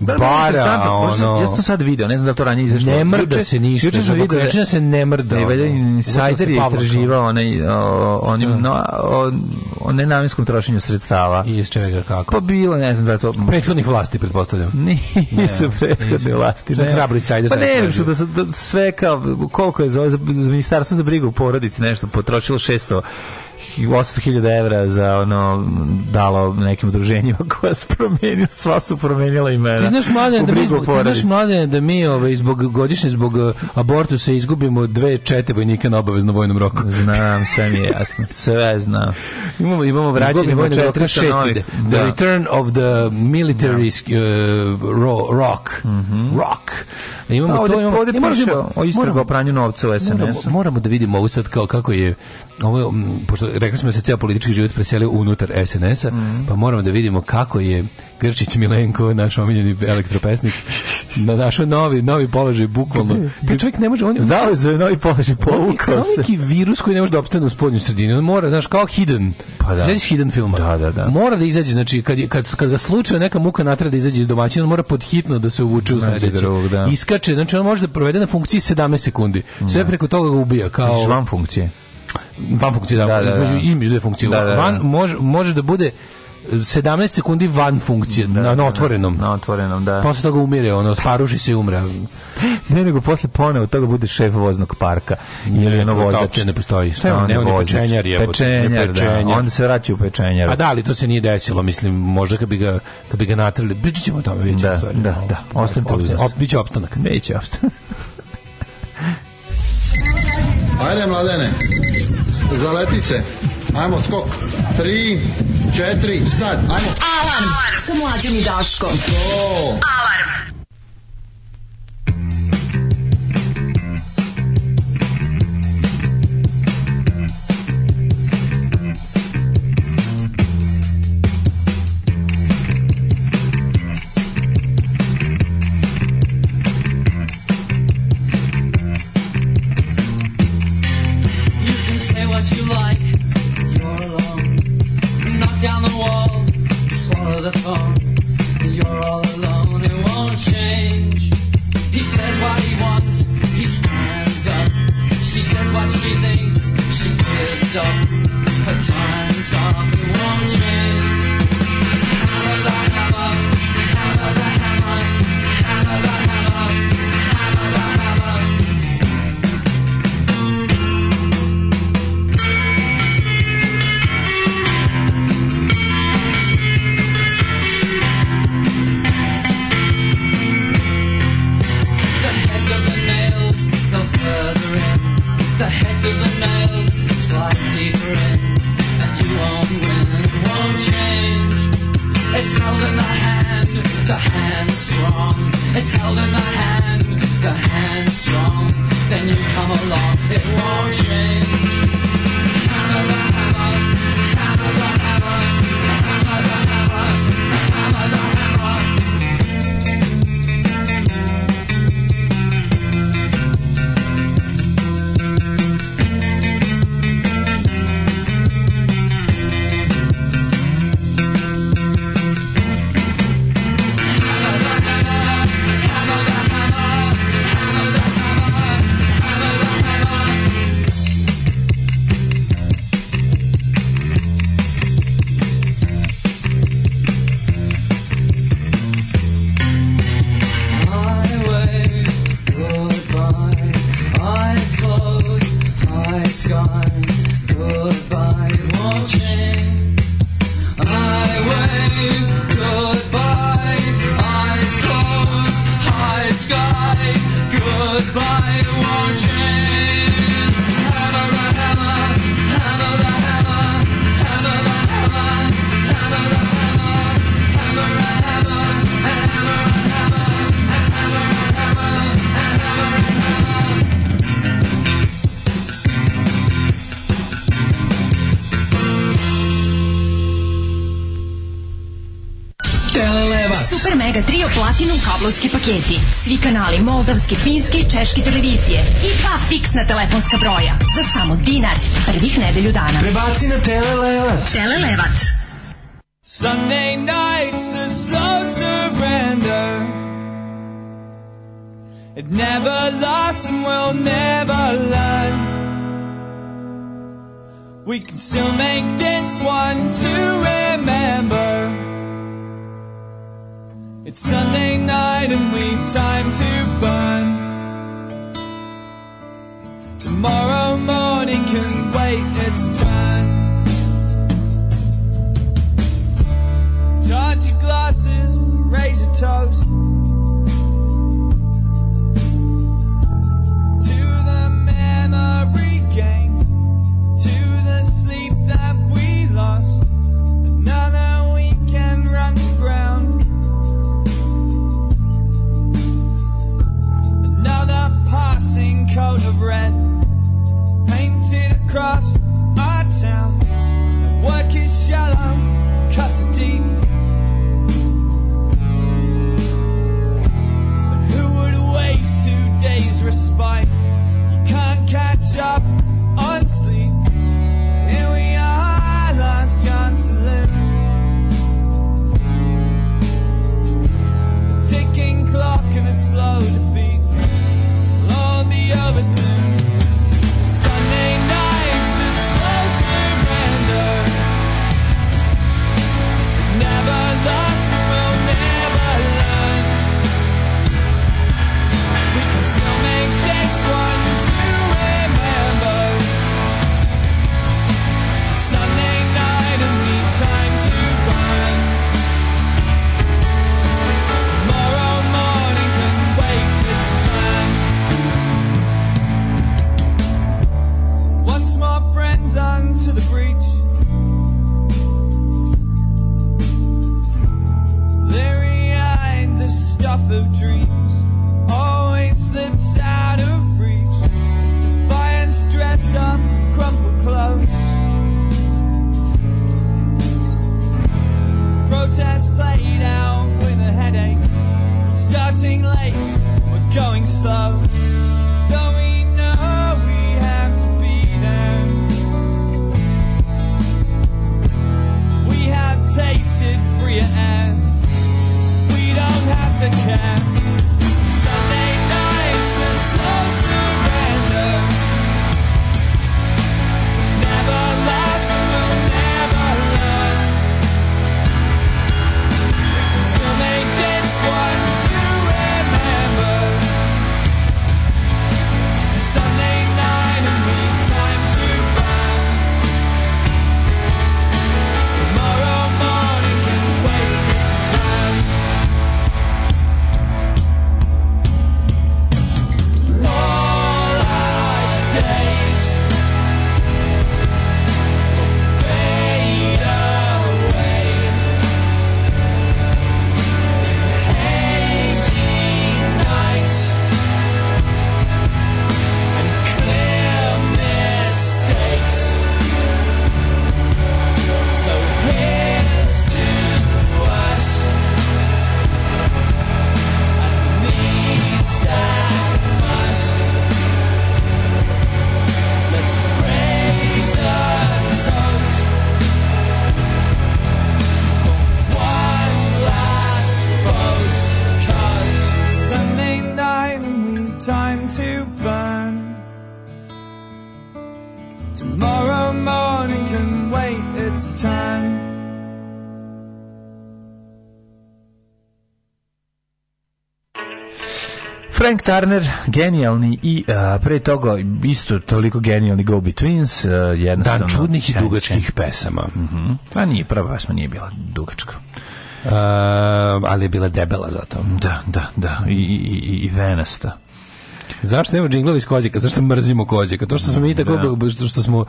Speaker 8: Da, da,
Speaker 7: bara,
Speaker 8: interesantno, možda sam-
Speaker 7: ono...
Speaker 8: Ja sam to sad video, ne znam da li to ranije izašlo.
Speaker 7: Ne mrda
Speaker 8: Juče-
Speaker 7: se ništa,
Speaker 8: Juče sam
Speaker 7: za
Speaker 8: video
Speaker 7: Bokovičina se ne mrda,
Speaker 8: Ne,
Speaker 7: ono.
Speaker 8: valjda
Speaker 7: Uhvatio se
Speaker 8: Insider je
Speaker 7: Pavlaka.
Speaker 8: istraživao onaj, o, onim, no, o, o nenamjenskom trošenju sredstava.
Speaker 7: I iz čega
Speaker 8: Pa
Speaker 7: kako?
Speaker 8: bilo, ne znam da je to...
Speaker 7: Prethodnih vlasti, pretpostavljam.
Speaker 8: Nisu prethodne vlasti.
Speaker 7: Šta
Speaker 8: Ne.
Speaker 7: hrabro insider
Speaker 8: Pa
Speaker 7: sad
Speaker 8: ne, nego
Speaker 7: tražio?
Speaker 8: su da, su- da sve kao, koliko je za, ovo- za, za ministarstvo za brigu u porodici nešto potrošilo 600 800.000 evra za ono dalo nekim udruženjima koja su promenila, sva su promenila imena.
Speaker 7: Ti znaš mlade
Speaker 8: u
Speaker 7: da mi
Speaker 8: E, brigu o
Speaker 7: zbog, ti znaš
Speaker 8: porodici.
Speaker 7: mlade da mi ovaj zbog godišnje zbog eh, abortusa izgubimo dve čete vojnika na obaveznom vojnom roku.
Speaker 8: Znam, sve mi je jasno. Sve znam.
Speaker 7: Imamo imamo vraćanje
Speaker 8: Izgubimo
Speaker 7: vojnog roka
Speaker 8: 400
Speaker 7: 6
Speaker 8: novih.
Speaker 7: ide.
Speaker 8: Da.
Speaker 7: The return of the military eh, ro- rock. Rock. Imamo
Speaker 8: Mhm. A
Speaker 7: to
Speaker 8: ovdje,
Speaker 7: imamo.
Speaker 8: ovdje
Speaker 7: Ne, moramo da
Speaker 8: piše
Speaker 7: imamo-
Speaker 8: o istragu
Speaker 7: moramo-
Speaker 8: o pranju novca u
Speaker 7: Moramo,
Speaker 8: SNS-u.
Speaker 7: moramo da vidimo ovo sad kao kako je ovo je, mm, pošto rekli smo da se ceo politički život preselio unutar SNS-a,
Speaker 8: Mhm.
Speaker 7: pa moramo da vidimo kako je Grčić Milenko, naš omiljeni elektropesnik, na našo novi novi položaj bukvalno. Pa čovjek ne može on
Speaker 8: Zauzeo je novi položaj, povukao
Speaker 7: kao
Speaker 8: se.
Speaker 7: neki virus koji ne može da opstane u spoljnoj sredini. On mora, znaš, kao hidden.
Speaker 8: Pa da.
Speaker 7: Sećaš hidden filma.
Speaker 8: Da, da, da.
Speaker 7: Mora da izađe, znači, kad, je- kad, kad ga slučajno neka muka natrada da izađe iz domaćina, on mora podhitno da se uvuče u
Speaker 8: Nađe
Speaker 7: sledeći.
Speaker 8: drugog, da.
Speaker 7: Iskače, znači on može da provede na funkciji 17 sekundi. Sve preko toga ga ubija. Kao,
Speaker 8: Žvan funkcije.
Speaker 7: van funkcije, da,
Speaker 8: Da, da, da.
Speaker 7: između, između dve funkcije.
Speaker 8: Da, da, da.
Speaker 7: Van može, može da bude 17 sekundi van funkcije, na, na otvorenom.
Speaker 8: Na otvorenom, da.
Speaker 7: Posle toga umire, ono, sparuši se i umre.
Speaker 8: Ne, nego posle ponovo toga bude šef voznog parka. Ili ono
Speaker 7: to
Speaker 8: vozač.
Speaker 7: uopće ne postoji. Šta je
Speaker 8: Ono
Speaker 7: on, ne, on je
Speaker 8: vozač.
Speaker 7: pečenjar, jebote,
Speaker 8: Pečenjar,
Speaker 7: je pečenjar.
Speaker 8: da. Onda se vraća u pečenjar.
Speaker 7: A da, ali to se nije desilo, mislim, možda kad bi ga, kad bi ga natrali, pričat ćemo o tome, vidjet ćemo
Speaker 8: Da,
Speaker 7: stvari.
Speaker 8: da, da. Ostanite uz nas.
Speaker 7: Op- Biće opstanak.
Speaker 8: Neće opstati.
Speaker 10: Ajde, mladene. Zaleti se. Ajmo, skok. Tri, četiri, sad. Ajmo.
Speaker 11: Alarm sa Mlađom i Daškom.
Speaker 6: Alarm.
Speaker 1: You can say what you like, you're alone. Knock down the wall, swallow the phone. You're all alone, it won't change. He says what he wants, he stands up. She says what she thinks, she gives up. Her time's up, it won't change. Hammer the hammer, hammer the hammer, hammer the hammer, hammer the hammer. The heads of the nails go further in. The heads of the nails slide deeper in. And you won't win, it won't change. It's held in the hand, the hand's strong. It's held in the hand, the hand's strong. Then you come along, it won't change. Hammer the hammer, hammer the hammer, hammer the hammer, hammer the hammer.
Speaker 12: Mega Trio Platinum kablovski paketi. Svi kanali moldavske, finske i češke televizije. I dva fiksna telefonska broja. Za samo dinar. Prvih nedelju dana.
Speaker 13: Prebaci na Telelevat.
Speaker 12: Telelevat.
Speaker 14: Sunday nights a slow surrender. It never lasts and will never learn. We can still make this one to remember. It's Sunday night and we've time to burn. Tomorrow morning can wait its turn. Charge your glasses, raise a toast. To the memory game sleep that we lost. Another weekend runs ground. Another passing coat of red painted across our town. The work is shallow, cuts deep. But who would waste two days' respite? You can't catch up on sleep. Here we are, lost Johnson. Ticking clock and a slow defeat. We'll all be over soon. Sunday nights a slow surrender. Never lost, we'll never learn. We can still make this one to remember. Sunday night and need time to run. Tomorrow morning can wait its time. So once more, friends, onto the breach. Leery eyed, the stuff of dreams always slips out of reach. Defiance dressed up, in crumpled clothes. protest played out with a headache. We're starting late, we're going slow. Though we know we have to be there. We have tasted freer air. We don't have to care. Sunday nights a slow surrender. Never last, we'll never learn. We'll make this one to remember. Sunday night and we've time to run. Tomorrow morning can wait its time. All our days will fade away. time to burn. Tomorrow morning can wait its time.
Speaker 8: Frank Turner, genijalni i uh, pre toga isto toliko genijalni Go Betweens, uh, jednostavno...
Speaker 7: Dan čudnih i dugačkih pesama. Mm
Speaker 8: -hmm. Pa nije, prva pesma nije bila dugačka.
Speaker 7: Uh, ali je bila debela zato.
Speaker 8: Da, da, da. I, i, i venasta.
Speaker 7: Zašto nema džinglova iz Kozjeka? Zašto mrzimo Kozjeka? To što smo mi tako da. što smo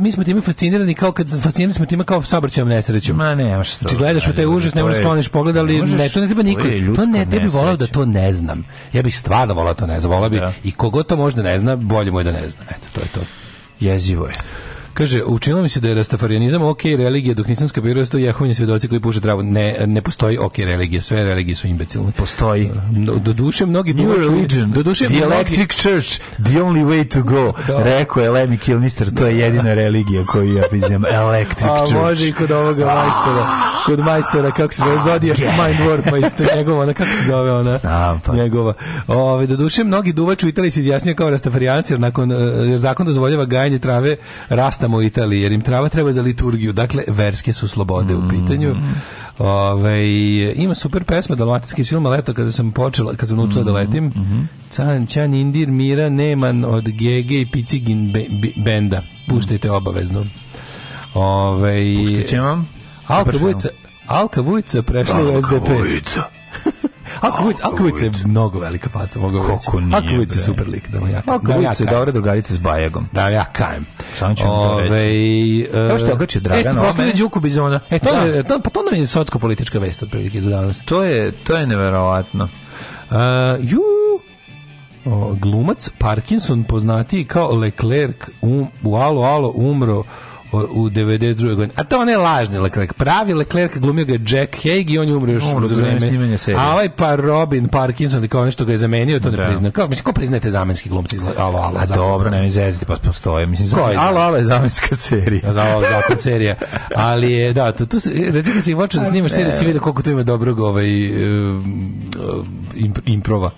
Speaker 7: mi smo time fascinirani kao kad fascinirani smo time kao saobraćajnom nesrećom.
Speaker 8: Ma ne, E, što.
Speaker 7: Ti Znači, gledaš u taj užas, ne možeš skloniš pogled, ali ne, to ne treba niko. To ne, ne bih volao da to ne znam. Ja bih stvarno volao to ne znam. Volao bih i kogo to možda ne zna, bolje mu je da ne zna. Eto, to je to.
Speaker 8: Jezivo je.
Speaker 7: Kaže, učinilo mi se da je rastafarijanizam ok religija, dok nisam skapirao da su to jehovini svjedoci koji puše travu. Ne, ne postoji ok religija, sve religije su imbecilne.
Speaker 8: Postoji.
Speaker 7: No, do duše, mnogi
Speaker 8: New religion,
Speaker 7: do duše,
Speaker 8: the electric
Speaker 7: mnogi...
Speaker 8: church, the only way to go. Da. Rekao je Lemmy Kilmister, to je jedina religija koju ja priznam, electric
Speaker 7: A,
Speaker 8: church.
Speaker 7: A može i kod ovoga majstora, kod majstora, kako se zove, Zodiac yeah. Mind War, pa isto njegova, ona, kako se zove ona,
Speaker 8: A, pa.
Speaker 7: njegova. Ove, do duše, mnogi duvač u Italiji se izjasnio kao rastafarijanci, jer, nakon, e, jer zakon dozvoljava gajanje trave rastamo u Italiji, jer im trava treba za liturgiju. Dakle, verske su slobode mm. u pitanju. Ove, ima super pesma dalmatinski film Leto kada sam počela, kada sam naučila mm. da letim. Mm -hmm. Can, Can, Indir, Mira, Neman od GG i Picigin be, be, benda. Puštajte obavezno. Ove,
Speaker 8: Puštajte vam.
Speaker 7: Alka Vujca, Alka Vujca prešla u SDP. Alkovic, Alkovic je mnogo velika faca, mogu reći.
Speaker 8: Kako nije,
Speaker 7: Alkovic je super lik, da mu ja.
Speaker 8: Alkovic je dobra drugarica s Bajagom.
Speaker 7: Da, ja kajem. Ovaj,
Speaker 8: Samo
Speaker 7: e,
Speaker 8: ću vam to reći. Evo što je okačio Dragan.
Speaker 7: Jeste, postavlja Đuku Bizona. E, to, da. je, to, pa to nam je socko-politička vest, otprilike, za danas.
Speaker 8: To je, to je neverovatno.
Speaker 7: Uh, ju, o, glumac Parkinson poznatiji kao Leclerc um, u Alo Alo umro u 92. godine. A to ne lažni Leclerc. Pravi Leclerc glumio ga je Jack Haig i on je umro još
Speaker 8: umro za vreme.
Speaker 7: A ovaj pa Robin Parkinson ili kao nešto ga je zamenio, to ne da. priznao. Kao, mislim, ko priznajete zamenski glumci? Alo, alo,
Speaker 8: A dobro, ne mi zezite, pa postoje. Mislim,
Speaker 7: ko je?
Speaker 8: Alo, alo je zamenska serija.
Speaker 7: Za alo, zakon serija. Ali je, da, tu, tu recimo kad si vočan snimaš seriju, si vidio koliko tu ima dobrog ovaj, uh, imp, improva.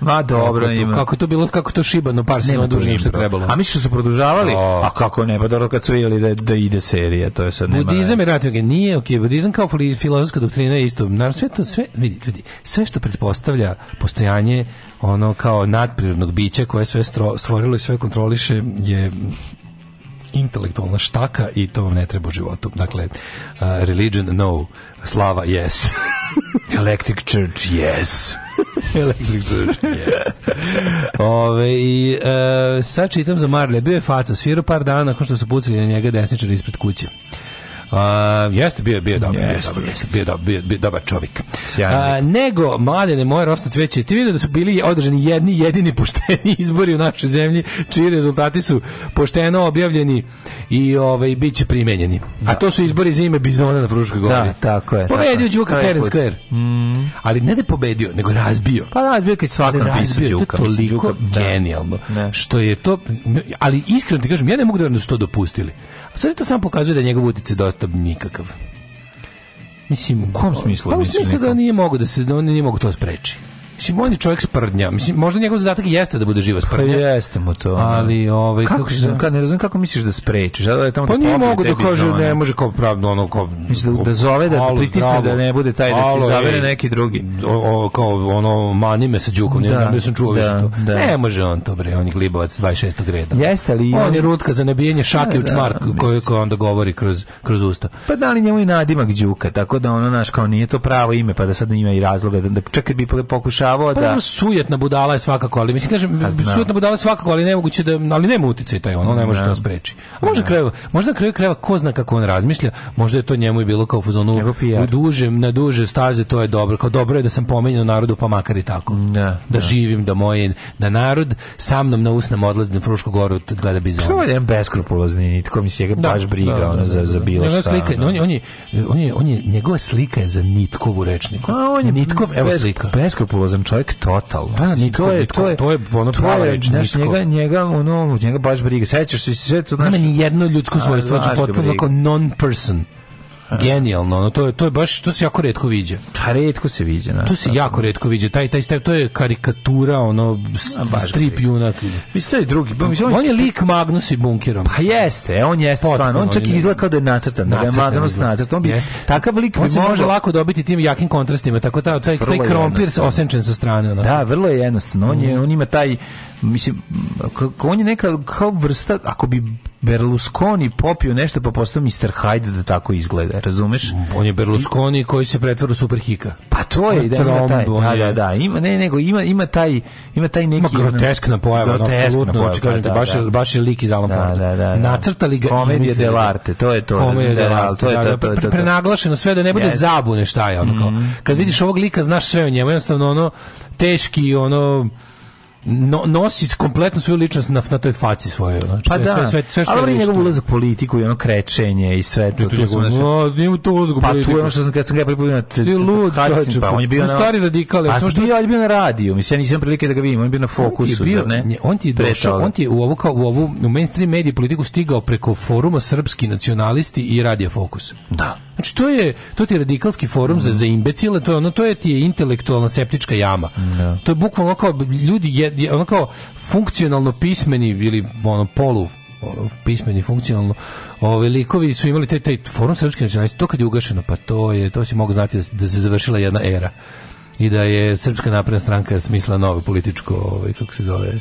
Speaker 8: Ma dobro,
Speaker 7: kako,
Speaker 8: ima.
Speaker 7: Kako to bilo, kako to šibano, par sezona duže nego što trebalo.
Speaker 8: A misliš da su produžavali? O. A kako ne, pa dobro kad su vidjeli da, da ide serija, to je sad nema.
Speaker 7: Budizam je ratio, nije, ok, budizam kao filozofska doktrina je isto. Naravno, sve to, sve, vidi, vidi, sve što pretpostavlja postojanje ono kao nadprirodnog bića koje sve stro, stvorilo i sve kontroliše je intelektualna štaka i to vam ne treba u životu. Dakle, uh, religion no, slava yes.
Speaker 8: Electric church yes.
Speaker 7: Electric Church, yes. Ove, i, e, sad čitam za Marle. Bio je faca, svirao par dana nakon što su pucali na njega desničari ispred kuće. A, jeste, bio, bio dobar, jeste, bio, dobar, jeste, bio, dobar, bio, bio dobar čovjek. A, nego, mladene, moje rosno cveće, ti vidio da su bili održani jedni, jedini pošteni izbori u našoj zemlji, čiji rezultati su pošteno objavljeni i ovaj, bit će primenjeni. Da. A to su izbori za ime Bizona na Fruškoj gori.
Speaker 8: Da, tako je.
Speaker 7: Pobedio Đuka Fair and
Speaker 8: put.
Speaker 7: Square. Mm. Ali ne da je pobedio, nego razbio.
Speaker 8: Pa razbio kad svaka napisao Đuka.
Speaker 7: To je toliko Đuka, genijalno. Da. Što je to, ali iskreno ti kažem, ja ne mogu da vam da su to dopustili. A sve to samo pokazuje da je njegov utjecaj dosta nikakav. Mislim,
Speaker 8: u kom smislu?
Speaker 7: Pa u smislu da nije mogu da se da on nije mogu to spreči. Mislim, on je čovjek sprdnja. Mislim, možda njegov zadatak jeste da bude živa sprdnja.
Speaker 8: Pa jeste mu to.
Speaker 7: Ali, ovaj,
Speaker 8: kako, kako da... Ka, ne znam kako misliš da sprečiš. Da, da je tamo
Speaker 7: pa
Speaker 8: da
Speaker 7: nije mogu da kaže, ne može kao pravno, ono, kao...
Speaker 8: Mislim, da, da zove, da, da pritisne, zdravo, da ne bude taj, da se zavere neki drugi.
Speaker 7: O, o, kao, ono, mani me sa Đukom, ne znam da sam čuo da, više to. Da. Ne može on to, bre, on je glibovac 26. reda.
Speaker 8: Jeste, ali...
Speaker 7: On je rutka za nebijenje šake u čmar, koju ko onda govori kroz, kroz usta.
Speaker 8: Pa da li njemu i nadimak Đuka, tako da ono, naš, kao nije to pravo ime, pa da sad ima i razloga, da, da čak bi pokušao
Speaker 7: da pa, sujetna budala je svakako, ali mislim kažem
Speaker 8: Pa
Speaker 7: sujetna budala je svakako, ali nemoguće da ali nema uticaj taj ono, ne može da spreči. A možda kraju, možda kraju kreva ko zna kako on razmišlja, možda je to njemu i bilo kao fuzonu u dužem, na duže staze to je dobro, kao dobro je da sam pomenjen narodu pa makar i tako.
Speaker 8: Ne,
Speaker 7: da
Speaker 8: ne.
Speaker 7: živim da moje da narod sa mnom na usnom odlazi na Frušku goru gleda bizon.
Speaker 8: To je ovaj jedan beskrupulozni, nitko mi se baš da, briga da, ono, za za bilo ono.
Speaker 7: šta. Slika, no. on, je, on, je, on, je, on je njegova slika je za Nitkovu rečniku.
Speaker 8: A on je
Speaker 7: Nitkov, evo slika.
Speaker 8: Beskrupulozan čovjek total.
Speaker 7: Da, nitko, to je nitko, to je to je ono prava reč,
Speaker 8: znaš, njega njega ono njega baš briga. Sećaš se sve to
Speaker 7: znači. Nema ni jedno ljudsko svojstvo, znači potpuno kao non person. Genijalno, ono, to je to je baš to se jako retko viđa.
Speaker 8: A Pa retko se viđa, na.
Speaker 7: To se jako retko viđa. Taj taj step to je karikatura, ono strip junak.
Speaker 8: Vi ste i drugi,
Speaker 7: pa mislim on je lik Magnus i bunkerom.
Speaker 8: Pa jeste, on jeste stvarno, on čak i izgleda kao da je nacrtan, da je Magnus nacrtan. Bi takav lik
Speaker 7: on se može lako dobiti tim jakim kontrastima, tako taj taj krompir osenčen sa strane, ono. Mm.
Speaker 8: Da, vrlo je jednostavno. On je on ima taj mislim, on je neka kao vrsta, ako bi Berlusconi popio nešto pa postao Mr. Hyde da tako izgleda, razumeš?
Speaker 7: On je Berlusconi koji se pretvara u superhika.
Speaker 8: Pa to je, da, ima taj, da, da, da, ima, ne, nego, ima, ima taj, ima taj neki... ono-
Speaker 7: Ima groteskna pojava, apsolutno, znači, kažem da, baš, baš je lik iz Alan
Speaker 8: da, da, da,
Speaker 7: Nacrtali ga...
Speaker 8: Komedija dell'arte, to je to.
Speaker 7: Komedija dell'arte, to je to, Prenaglašeno sve da ne bude zabune šta
Speaker 8: Mhm.
Speaker 7: je, ono kao. Kad vidiš ovog lika, znaš sve o njemu, jednostavno ono, teški, ono, no, nosi kompletno svoju ličnost na, na toj faci svojoj. Znači,
Speaker 8: pa da, sve, sve, sve što ali je njegov ulazak politiku i ono krećenje i sve to.
Speaker 7: Tu, tu, no, nije to ulazak
Speaker 8: pa tu je ono što sam, kad sam ga pripomenuo.
Speaker 7: Ti je lud, čovječe.
Speaker 8: Pa, on je bio
Speaker 7: on
Speaker 8: na,
Speaker 7: stari radikal.
Speaker 8: Pa što što... bio, on je bio na radiju, mislim, ja nisam prilike da ga vidim, on je bio na fokusu.
Speaker 7: On ti je,
Speaker 8: bio, ne?
Speaker 7: On ti je došao, on ti je u ovu, kao, u ovu u mainstream mediju politiku stigao preko foruma Srpski nacionalisti i Radija Fokus.
Speaker 8: Da.
Speaker 7: Znači to je to ti je radikalski forum mm. za za imbecile, to je ono to je ti je intelektualna septička jama. Mm. To je bukvalno kao ljudi je, je ono kao funkcionalno pismeni ili ono polu ono, pismeni funkcionalno ove likovi su imali taj taj forum srpske nacionalnosti to kad je ugašeno pa to je to se mogu znati da, da se završila jedna era i da je srpska napredna stranka smisla novo političko ovaj kako se zove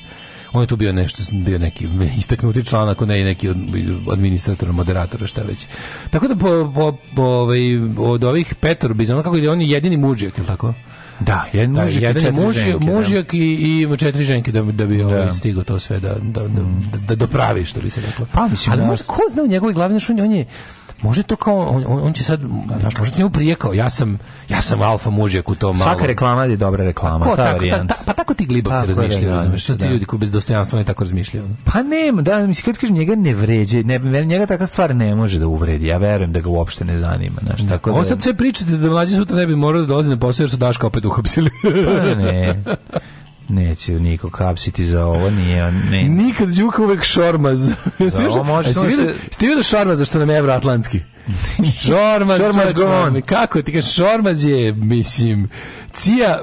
Speaker 7: on je tu bio nešto bio neki istaknuti član ako ne i neki od administratora moderatora šta već tako da po, po, po ovaj, od ovih Petar Bizon kako je on je jedini mužjak je tako
Speaker 8: da, jedan
Speaker 7: da, mužjak, jedan mužjak, mužjak i, i četiri ženke da, da bi ovaj stigao to sve da, da, da, da dopravi, što bi se reklo.
Speaker 8: Mm. Pa, mislim,
Speaker 7: Ali da, možda, ko zna u njegovoj glavi, znaš, on je, on je Može to kao on, on će sad znaš možda njemu prijekao ja sam ja sam alfa mužjak u tom
Speaker 8: Svaka reklama je dobra reklama,
Speaker 7: Ko, ta tako, ta, ta, pa tako ti glibavci razmišljaju, razumeš? Što ti ljudi koji bez dostojanstva ne tako razmišljaju. ono.
Speaker 8: Pa nema, da mislim kad kažem njega ne vređe, ne njega takva stvar ne može da uvredi. Ja verujem da ga uopšte ne zanima, znaš, tako
Speaker 7: da. On sad sve pričate da mlađi sutra ne bi morao da dolazi na posao jer su Daška opet uhapsili.
Speaker 8: pa ne. Neće niko kapsiti za ovo, nije on... Ne.
Speaker 7: Nikad Đuka uvek šormaz. Za ovo može... Ste vidio šormaz zašto nam je evroatlantski? šormaz, šormaz govon. Kako ti kažeš, šormaz je, mislim, Cija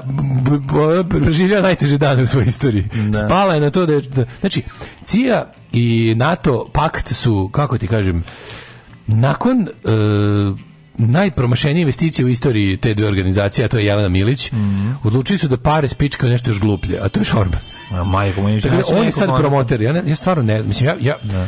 Speaker 7: preživlja najteže dane u svojoj istoriji. Da. Spala je na to da je... Da, znači, Cija i NATO pakt su, kako ti kažem, nakon... Uh, najpromašenije investicije u istoriji te dve organizacije, a to je Jelena Milić, mm -hmm. odlučili su da pare spičkaju nešto još gluplje, a to je Šorbas.
Speaker 8: A majko, meni
Speaker 7: dakle, on je sad mani... promoter, ja, ne, ja stvarno ne znam, mislim, ja, ja, ja.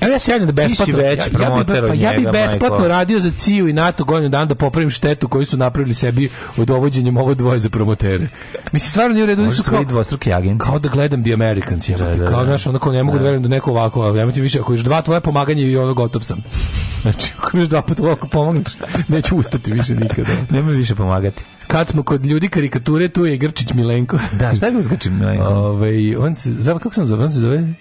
Speaker 7: Evo ja se javljam da besplatno,
Speaker 8: već
Speaker 7: ja, ja, bi, pa, ja bi besplatno majko. radio za Ciju i NATO godinu dana da popravim štetu koju su napravili sebi od ovođenjem ovo dvoje za promotere. Mislim, stvarno nije u redu,
Speaker 8: su kao, dvostruki agent.
Speaker 7: kao da gledam The Americans, ja, da, da, da, kao, znaš, onako ne mogu da, verujem da neko ovako, ja ti više, ako još dva tvoje pomaganje i ono gotov sam. Znači, ako mi još dva puta ovako pomogneš, neću ustati više nikada.
Speaker 8: Nemoj više pomagati
Speaker 7: kad smo kod ljudi karikature, tu je Grčić Milenko.
Speaker 8: Da, šta je bio s Grčić Milenko?
Speaker 7: Ove, on se, zove, kako se zove? On se zove?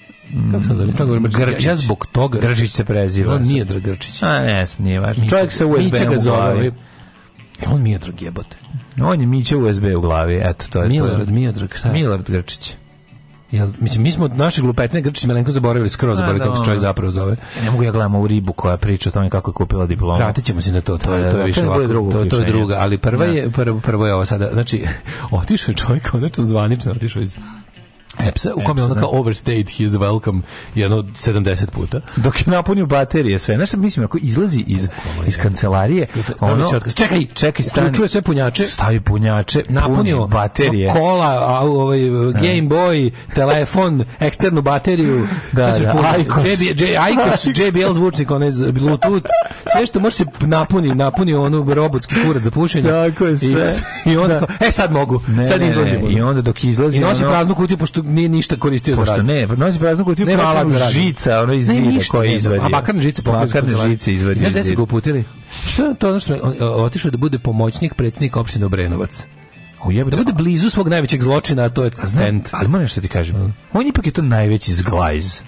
Speaker 7: Kako se zove? Stavno govorim, Grčić. Ja, ja zbog toga...
Speaker 8: Grčić se preziva.
Speaker 7: On nije drag Grčić.
Speaker 8: A ne, nije važno. Čovjek sa USB-om u glavi.
Speaker 7: E, On mi je drag jebote.
Speaker 8: On je Miće USB u glavi, eto, to je
Speaker 7: Milard,
Speaker 8: to.
Speaker 7: Milorad, šta je?
Speaker 8: Milorad Grčić.
Speaker 7: Jel,
Speaker 8: Pa
Speaker 7: mislim, mi smo od naše glupetne Grčić Milenko zaboravili, skoro zaboravili kako se
Speaker 8: ono.
Speaker 7: čovjek zapravo zove.
Speaker 8: Ne mogu ja gledam ovu ribu koja priča o tome kako je kupila diplomu.
Speaker 7: Vratit ćemo se na to, to je, to je više ovako. To, to je druga, ali prva je, prvo, prvo je ovo sada. Znači, otišao je čovjek, konačno zvanično otišao iz Epsa, u kome je ono kao overstayed his welcome ono jedno 70 puta.
Speaker 8: Dok je napunio baterije sve. Znaš šta mislim, ako izlazi iz, iz kancelarije, ono...
Speaker 7: Pa Čekaj,
Speaker 8: čekaj, stani.
Speaker 7: Uključuje sve punjače.
Speaker 8: Stavi punjače,
Speaker 7: napunio
Speaker 8: baterije. E.
Speaker 7: Kola, a, ovaj, Game Boy, telefon, eksternu bateriju.
Speaker 8: da,
Speaker 7: da, Icos. JB, J, Icos, JBL zvučnik, onaj Bluetooth. Sve što može se napuni, napuni onu robotski kurac za pušenje.
Speaker 8: Tako je sve.
Speaker 7: I, i onda, e sad mogu,
Speaker 8: ne,
Speaker 7: sad izlazimo.
Speaker 8: I onda dok izlazi... ono-
Speaker 7: I nosi praznu kutiju, pošto nije ništa koristio
Speaker 8: Pošto
Speaker 7: za rad.
Speaker 8: ne, nosi praznu kutiju
Speaker 7: Nema
Speaker 8: pravi
Speaker 7: alat za rad.
Speaker 8: žica, ono iz
Speaker 7: Ne,
Speaker 8: zida
Speaker 7: ništa
Speaker 8: koje
Speaker 7: nema.
Speaker 8: izvadi.
Speaker 7: A bakarne žice pokušaju
Speaker 8: Bakarne
Speaker 7: kancelarije.
Speaker 8: žice izvadi
Speaker 7: Znaš gde
Speaker 8: iz
Speaker 7: su
Speaker 8: zida.
Speaker 7: ga uputili? Što je to ono što je on- o- otišao da bude pomoćnik predsjednika opštine Obrenovac?
Speaker 8: U jebote,
Speaker 7: Da bude blizu svog najvećeg zločina, a to je Mm. stand.
Speaker 8: Ali moram nešto ti kažem. On ipak je to najveći zglajz.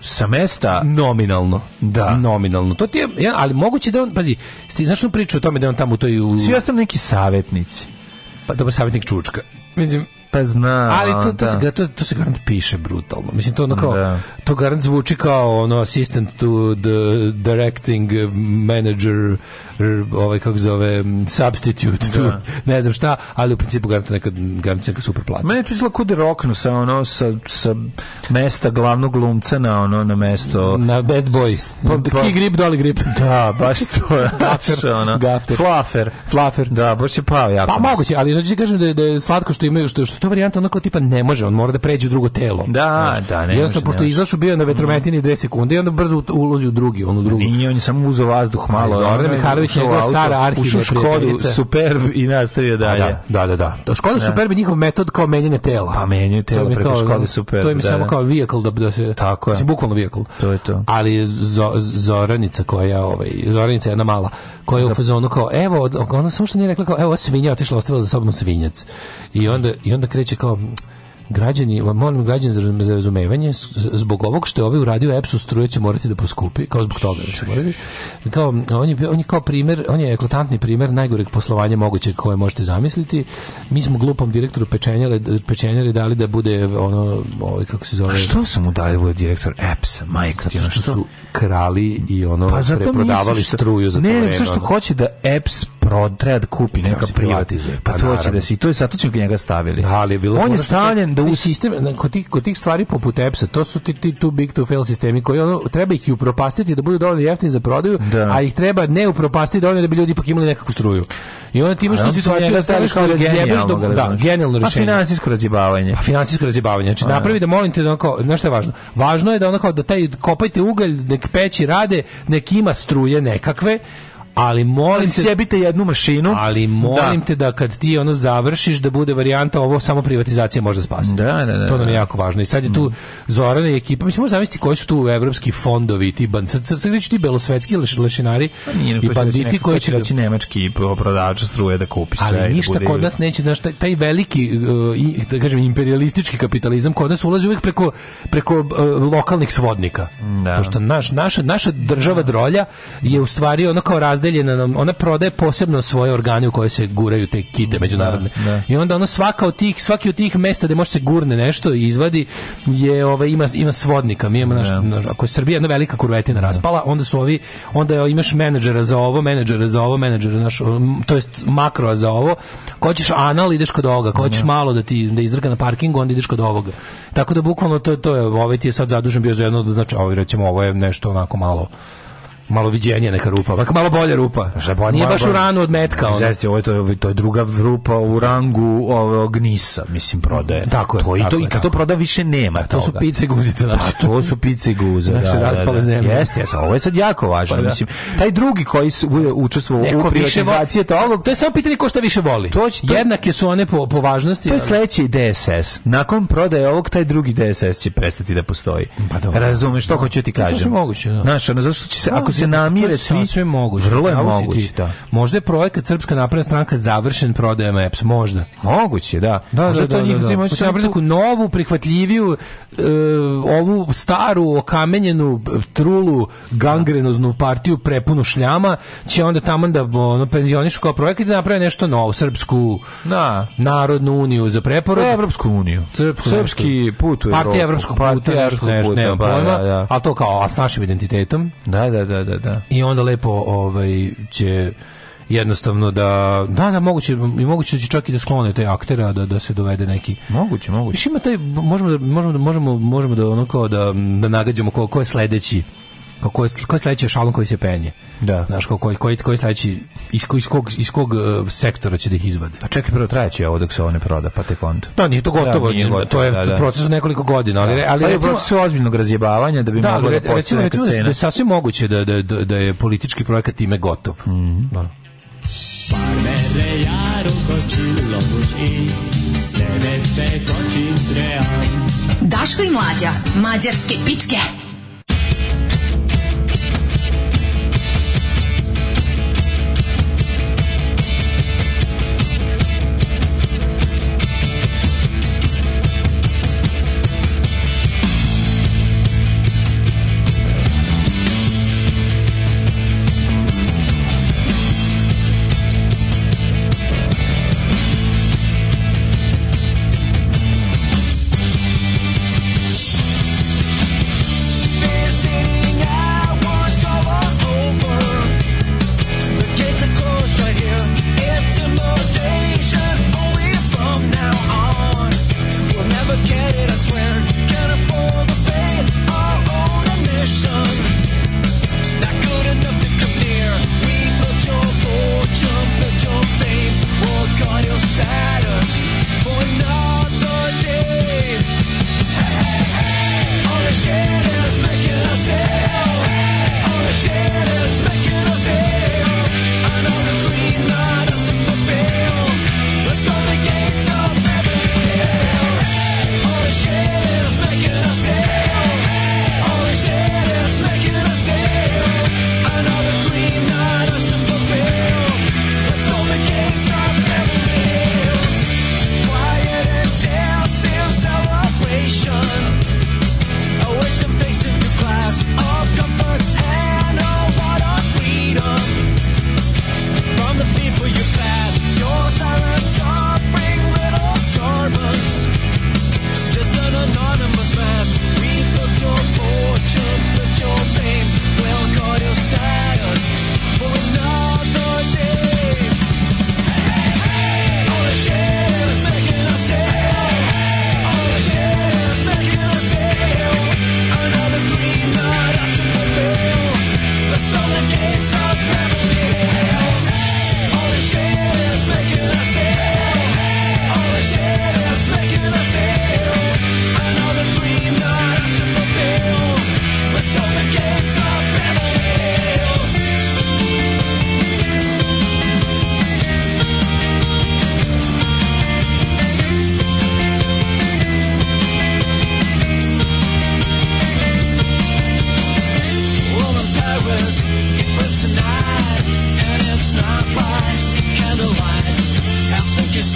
Speaker 8: Sa mesta...
Speaker 7: Nominalno.
Speaker 8: Da.
Speaker 7: Nominalno. To ti je, ja, ali moguće da on, pazi, sti, znaš što priču o tome da je on tamo u toj... U,
Speaker 8: Svi ostali neki savjetnici.
Speaker 7: pa, dobar savjetnik Čučka. Mislim,
Speaker 8: Pa znam.
Speaker 7: ali to, to,
Speaker 8: da.
Speaker 7: se, ga- to, to se garant piše brutalno. Mislim, to ono kao,
Speaker 8: Da.
Speaker 7: to garant zvuči kao ono assistant to the directing manager, r- ovaj kako zove, m, substitute, to, ne znam šta, ali u principu garant neka, garant neka super plata.
Speaker 8: Mene je to izgleda kod roknu sa ono sa, sa mesta glavnog glumca na ono na mesto
Speaker 7: Na best boy.
Speaker 8: Pa,
Speaker 7: The
Speaker 8: pa-
Speaker 7: key grip, dolly grip.
Speaker 8: da baš to je
Speaker 7: Gafter,
Speaker 8: znaš, ono,
Speaker 7: gafter.
Speaker 8: flafer
Speaker 7: Fluffer.
Speaker 8: da baš je pao jako
Speaker 7: Pa moguće, ali znači kažem da je, da je slatko što imaju što što to varijanta onako tipa ne može, on mora da pređe u drugo telo.
Speaker 8: da da ne može, ne
Speaker 7: Jednostavno, pošto je
Speaker 8: može. Mhm.
Speaker 7: izašao bio je na vetrometini dve sekunde i onda brzo ut- ulozi u drugi, on u drugu.
Speaker 8: Nije, on je samo uzeo vazduh malo.
Speaker 7: Ali Zorana
Speaker 8: ono,
Speaker 7: Mihajlović,
Speaker 8: ušao u
Speaker 7: njegova
Speaker 8: auto,
Speaker 7: stara arhivna
Speaker 8: Ušao u Škodu,
Speaker 7: prijateljica.
Speaker 8: superb i nastavio dalje.
Speaker 7: Da, da, da, da. To Škoda Superb je njihov metod kao menjanje tela.
Speaker 8: Pa menjaju telo
Speaker 7: To im je
Speaker 8: preko
Speaker 7: kao, ono,
Speaker 8: Škode Superb,
Speaker 7: To im je
Speaker 8: da,
Speaker 7: samo
Speaker 8: da.
Speaker 7: kao vehicle da, da se...
Speaker 8: Tako je.
Speaker 7: Mislim, bukvalno vehicle.
Speaker 8: To je to.
Speaker 7: Ali Zo- Zoranica koja je, ovaj, Zoranica je jedna mala, koja je u fazonu kao, evo, od- ono ona samo što nije rekla kao, evo, ova svinja je otišla, ostavila za sobom svinjac. I onda, i onda kreće kao, građani, molim građani za razumevanje, zbog ovog što je ovaj uradio EPS-u struje će morati da poskupi, kao zbog toga. Kao, on, je, on je kao primjer, on je eklatantni primjer najgoreg poslovanja mogućeg koje možete zamisliti. Mi smo glupom direktoru pečenjare, pečenjare dali da bude ono, ovaj, kako se zove... A
Speaker 8: što sam mu dali bude direktor EPS-a, majka ti? ono
Speaker 7: Zato što su krali i ono pa preprodavali što, struju za to ono.
Speaker 8: Ne, zato što hoće da EPS pro, treba da kupi treba neka privatizuje. Pa, to hoće da si, to je zato ću njega stavili.
Speaker 7: Da, ali je bilo
Speaker 8: on je stavljen da u
Speaker 7: sistem, kod tih, kod tih stvari poput EPS-a, to su ti, ti too big to fail sistemi koji ono, treba ih i upropastiti da budu dovoljno jeftini za prodaju, da. a ih treba ne upropastiti dovoljno da bi ljudi ipak imali nekakvu struju. I onda ti imaš tu situaciju da staviš kao razjebeš do, da, genijalno rešenje.
Speaker 8: A finansijsko razjebavanje.
Speaker 7: Pa finansijsko razjebavanje. Znači, napravi da molim te da onako, znaš što je važno? Važno je da onako da taj kopajte ugalj, nek peći rade, nek ima struje nekakve, ali molim te
Speaker 8: sjebite jednu mašinu
Speaker 7: ali molim da. te da kad ti ono završiš da bude varijanta ovo samo privatizacija može spasiti
Speaker 8: da, da, da,
Speaker 7: to nam je jako važno i sad je tu Zorana i ekipa mislim možemo zamisliti koji su tu evropski fondovi ti ban ti belosvetski lešinari i banditi koji će
Speaker 8: reći nemački prodavač struje da kupi sve
Speaker 7: ali ništa kod nas neće znaš, taj, veliki e, da kažem imperialistički kapitalizam kod nas ulazi uvijek preko preko e, lokalnih svodnika pošto naš naša naša država drolja je u stvari ono kao razde nam, ona prodaje posebno svoje organe u koje se guraju te kite međunarodne. Da, da. I onda ono svaka od tih, svaki od tih mesta gde može se gurne nešto i izvadi je ovaj ima ima svodnika. Mi imamo naš, naš, ako je Srbija jedna velika kurvetina raspala, onda su ovi onda imaš menadžera za ovo, menadžera za ovo, menadžera naš, to jest makro za ovo. Ko hoćeš anal ideš kod ovoga, ko hoćeš malo da ti da izdrga na parkingu, onda ideš kod ovoga. Tako da bukvalno to to je ovaj ti je sad zadužen bio za jedno, znači ovaj recimo ovo je nešto onako malo malo viđenje neka rupa, Bak, malo bolja rupa.
Speaker 8: Pa
Speaker 7: Bolj, Nije baš u ranu od metka.
Speaker 8: Ono. Znači, ovo je to, to je druga rupa u rangu ovog nisa, mislim, prodaje.
Speaker 7: Tako
Speaker 8: To,
Speaker 7: je. tako
Speaker 8: i, to, je, I kad to proda više nema
Speaker 7: To su pice i guzice naše.
Speaker 8: Pa, to su pice i guze.
Speaker 7: Naše da, raspale zemlje.
Speaker 8: Jeste, jeste. Ovo je sad jako važno. Pa, da. mislim, taj drugi koji su, bude učestvovao u privatizaciji
Speaker 7: to ovog... To je samo pitanje ko šta više voli.
Speaker 8: To će, to,
Speaker 7: Jednake su one po, po važnosti.
Speaker 8: To je sledeći DSS. Nakon prodaje ovog, taj drugi DSS će prestati da postoji.
Speaker 7: Pa dobro.
Speaker 8: Razumeš, što hoću ti kažem. To
Speaker 7: su moguće, da.
Speaker 8: Znaš, ono, zašto će se, ako se namire svi
Speaker 7: sve moguće.
Speaker 8: Vrlo je moguće, da.
Speaker 7: Možda je projekat Srpska napredna stranka završen prodajem EPS, možda.
Speaker 8: Moguće, da.
Speaker 7: Da, možda da, to da, njih da, Pa da. Možda napraviti neku novu, prihvatljiviju, e, ovu staru, okamenjenu, trulu, gangrenoznu partiju prepunu šljama, će onda tamo da ono, penzionišu kao projekat i da naprave nešto novo, Srpsku
Speaker 8: da.
Speaker 7: narodnu uniju za preporod.
Speaker 8: Evropsku uniju.
Speaker 7: Srpsku,
Speaker 8: Srpski put u Pa
Speaker 7: Evropu. Partija Evropskog puta, nešto, nešto, nemam pojma, ali to kao a s našim identitetom.
Speaker 8: Da, da, da, da, da.
Speaker 7: I onda lepo ovaj će jednostavno da da da moguće i moguće da će čak i da sklone te aktera da da se dovede neki
Speaker 8: moguće moguće.
Speaker 7: Više ima taj možemo da možemo da možemo možemo da ono kao da da nagađamo ko, ko je sledeći kao ko je, ko je sledeći šalon koji se penje.
Speaker 8: Da.
Speaker 7: Znaš, kao koji, koji, koji sledeći, iz, iz, kog, iz kog uh, sektora će da ih izvade.
Speaker 8: Pa čekaj, prvo trajeće ovo dok se ovo ne proda, pa tek onda.
Speaker 7: Da, nije to gotovo, da, nije gotovo to je da, da. proces nekoliko godina, ali, ali
Speaker 8: pa recimo... proces ozbiljnog razjebavanja da bi
Speaker 7: da,
Speaker 8: moglo da
Speaker 7: recimo, recimo, recimo da je sasvim moguće da, da, da, da je politički projekat time gotov. Mm
Speaker 8: -hmm. da. Parmere jaro kočilo i
Speaker 12: nevete kočim trean. Daško i mlađa, mađarske pičke.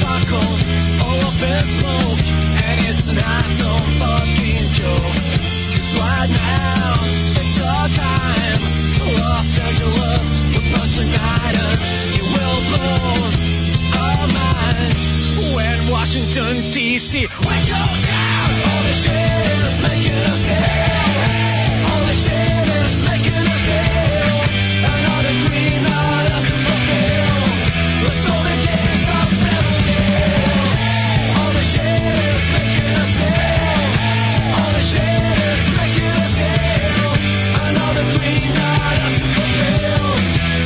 Speaker 1: alcohol, all up in smoke, and it's not some fucking joke. Cause right now, it's our time. Los Angeles, with much igniter, it will blow our minds. When Washington, D.C., we go down, all the shit is making us ill. All the shit is making us ill. Another dream, not us to fulfill. Let's hold it dance up, never give. All the shit is making us ill. All the shit is making us ill. Another dream, not us to fulfill.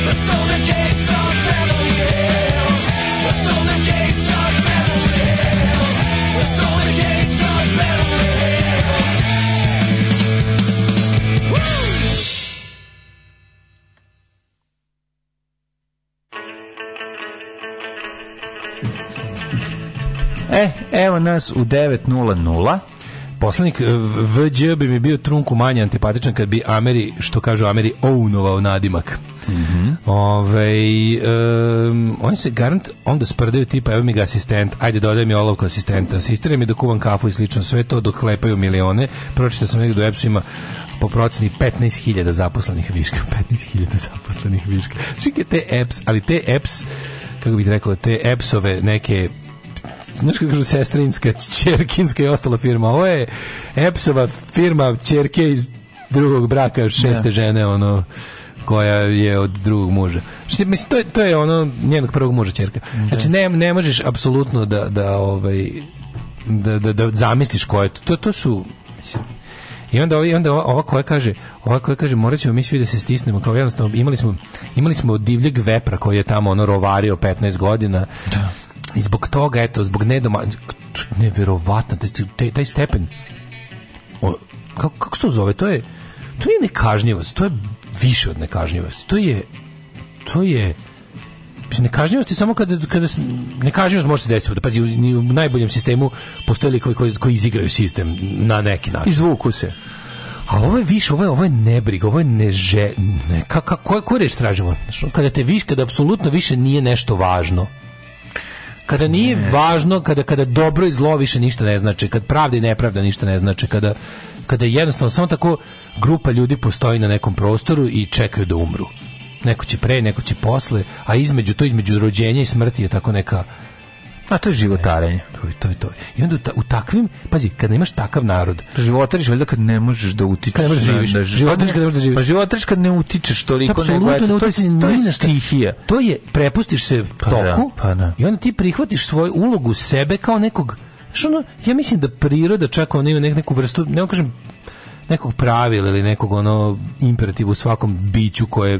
Speaker 1: Let's hold the gates up, never give. Let's hold the gates up, never give. Let's hold the gates up, never give. Woo!
Speaker 8: E, evo nas u 9.00.
Speaker 7: Poslanik Vđ bi mi bio trunku manje antipatičan kad bi Ameri, što kažu Ameri, ounovao nadimak. Mm -hmm. Ove, um, oni se garant onda sprdaju tipa evo mi ga asistent, ajde dodaj mi olovku asistenta, asistira mi da kuvam kafu i slično, sve to dok hlepaju milione. Pročitao sam negdje u EPS-u ima po proceni 15.000 zaposlenih viška. 15.000 zaposlenih viška. Čekaj te EPS, ali te EPS, kako bih rekao, te EPS-ove neke znaš kako kažu sestrinska, čerkinska i ostala firma. Ovo je Epsova firma čerke iz drugog braka, šeste žene, ono koja je od drugog muža. Što mislim to je, to je ono njenog prvog muža ćerka. Znači ne, ne možeš apsolutno da da ovaj da, da, da zamisliš ko je to. To, to su mislim, i onda, ovaj, onda ova, ova koja kaže, ova koja kaže, morat ćemo mi svi da se stisnemo, kao jednostavno, imali smo, imali smo divljeg vepra koji je tamo ono rovario 15 godina. Da. I zbog toga, eto, zbog nedoma... Neverovatno, taj, taj stepen... O, kako, kako se to zove? To je... To je nekažnjivost, to je više od nekažnjivosti. To je... To je... Mislim, nekažnjivost je samo kada, kada nekažnjivost može se desiti. Pazi, u, ni u najboljem sistemu postoje likovi koji, koji izigraju sistem na neki način.
Speaker 8: Izvuku se.
Speaker 7: A ovo je više, ovo je, ovo je nebriga, ovo je neže... Ne, ka, ka, koje, koje reč tražimo? Kada te viš, kada apsolutno više nije nešto važno kada nije ne. važno, kada kada dobro i zlo više ništa ne znači, kad pravda i nepravda ništa ne znači, kada kada jednostavno samo tako grupa ljudi postoji na nekom prostoru i čekaju da umru. Neko će pre, neko će posle, a između to između rođenja i smrti je tako neka
Speaker 8: a to je životarenje.
Speaker 7: To je to. Je, to. I onda u, ta, u takvim, pazi, kad nemaš takav narod,
Speaker 8: životariš valjda kad ne možeš da utičeš.
Speaker 7: Kad ne možeš da živiš. Životariš
Speaker 8: kad ne možeš da živiš. Pa životariš kad ne utičeš toliko
Speaker 7: Absolutno nego, ne utičeš
Speaker 8: to je, to je stihija.
Speaker 7: To je prepustiš se
Speaker 8: pa
Speaker 7: toku.
Speaker 8: Da, pa da.
Speaker 7: I onda ti prihvatiš svoju ulogu sebe kao nekog Znaš ono, ja mislim da priroda čak ona ima nek, neku vrstu, ne kažem nekog pravila ili nekog ono imperativu svakom biću koje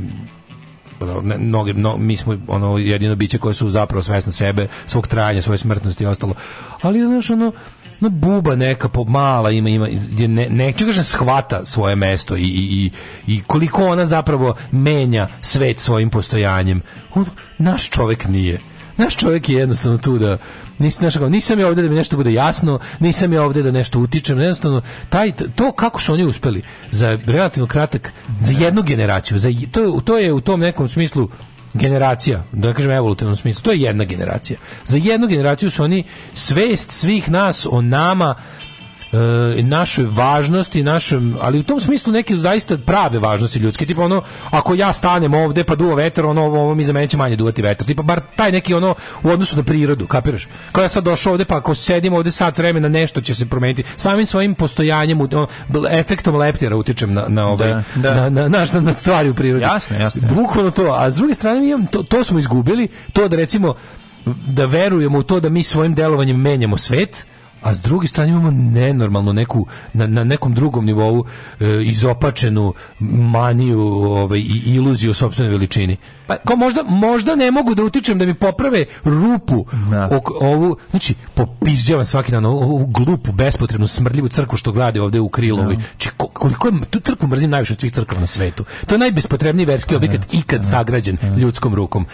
Speaker 7: ono, mnogi, no, mi smo ono jedino biće koje su zapravo svesne sebe, svog trajanja, svoje smrtnosti i ostalo. Ali znaš ono no buba neka po mala ima ima je ne neću kažem shvata svoje mesto i, i, i, koliko ona zapravo menja svet svojim postojanjem. On, naš čovjek nije. Naš čovjek je jednostavno tu da nisi naš, nisam ja ovdje da mi nešto bude jasno, nisam ja ovdje da nešto utičem, jednostavno taj to kako su oni uspeli za relativno kratak za jednu generaciju, za to, to je u tom nekom smislu generacija, da ne kažem evolutivnom smislu, to je jedna generacija. Za jednu generaciju su oni svest svih nas o nama e, našoj važnosti, našem, ali u tom smislu neke zaista prave važnosti ljudske, tipa ono, ako ja stanem ovdje pa duva vetar, ono, ovo, ovo mi za mene će manje duvati vetar, tipa bar taj neki ono u odnosu na prirodu, kapiraš? Kao ja sad došao ovdje, pa ako sedim ovdje sat vremena, nešto će se promijeniti, samim svojim postojanjem, ono, efektom leptira utičem na, na, ovaj,
Speaker 8: da, da.
Speaker 7: Na, na, na, na, stvari u prirodi.
Speaker 8: Jasno, jasno.
Speaker 7: Bukvalno to, a s druge strane mi imam, to, to smo izgubili, to da recimo da verujemo u to da mi svojim delovanjem menjamo svet, a s druge strane imamo nenormalno neku na, na nekom drugom nivou e, izopačenu maniju ovaj, i iluziju o sopstvenoj veličini. Pa, Kao možda, možda ne mogu da utičem da mi poprave rupu
Speaker 8: Da.
Speaker 7: ok, ovu, znači popižđavam svaki dan ovu, ovu glupu, bespotrebnu, smrdljivu crku što grade ovdje u Krilovi. Či, ko- koliko je, tu crku mrzim najviše od svih crkava na svetu. To je najbespotrebniji verski objekat ikad sagrađen ljudskom rukom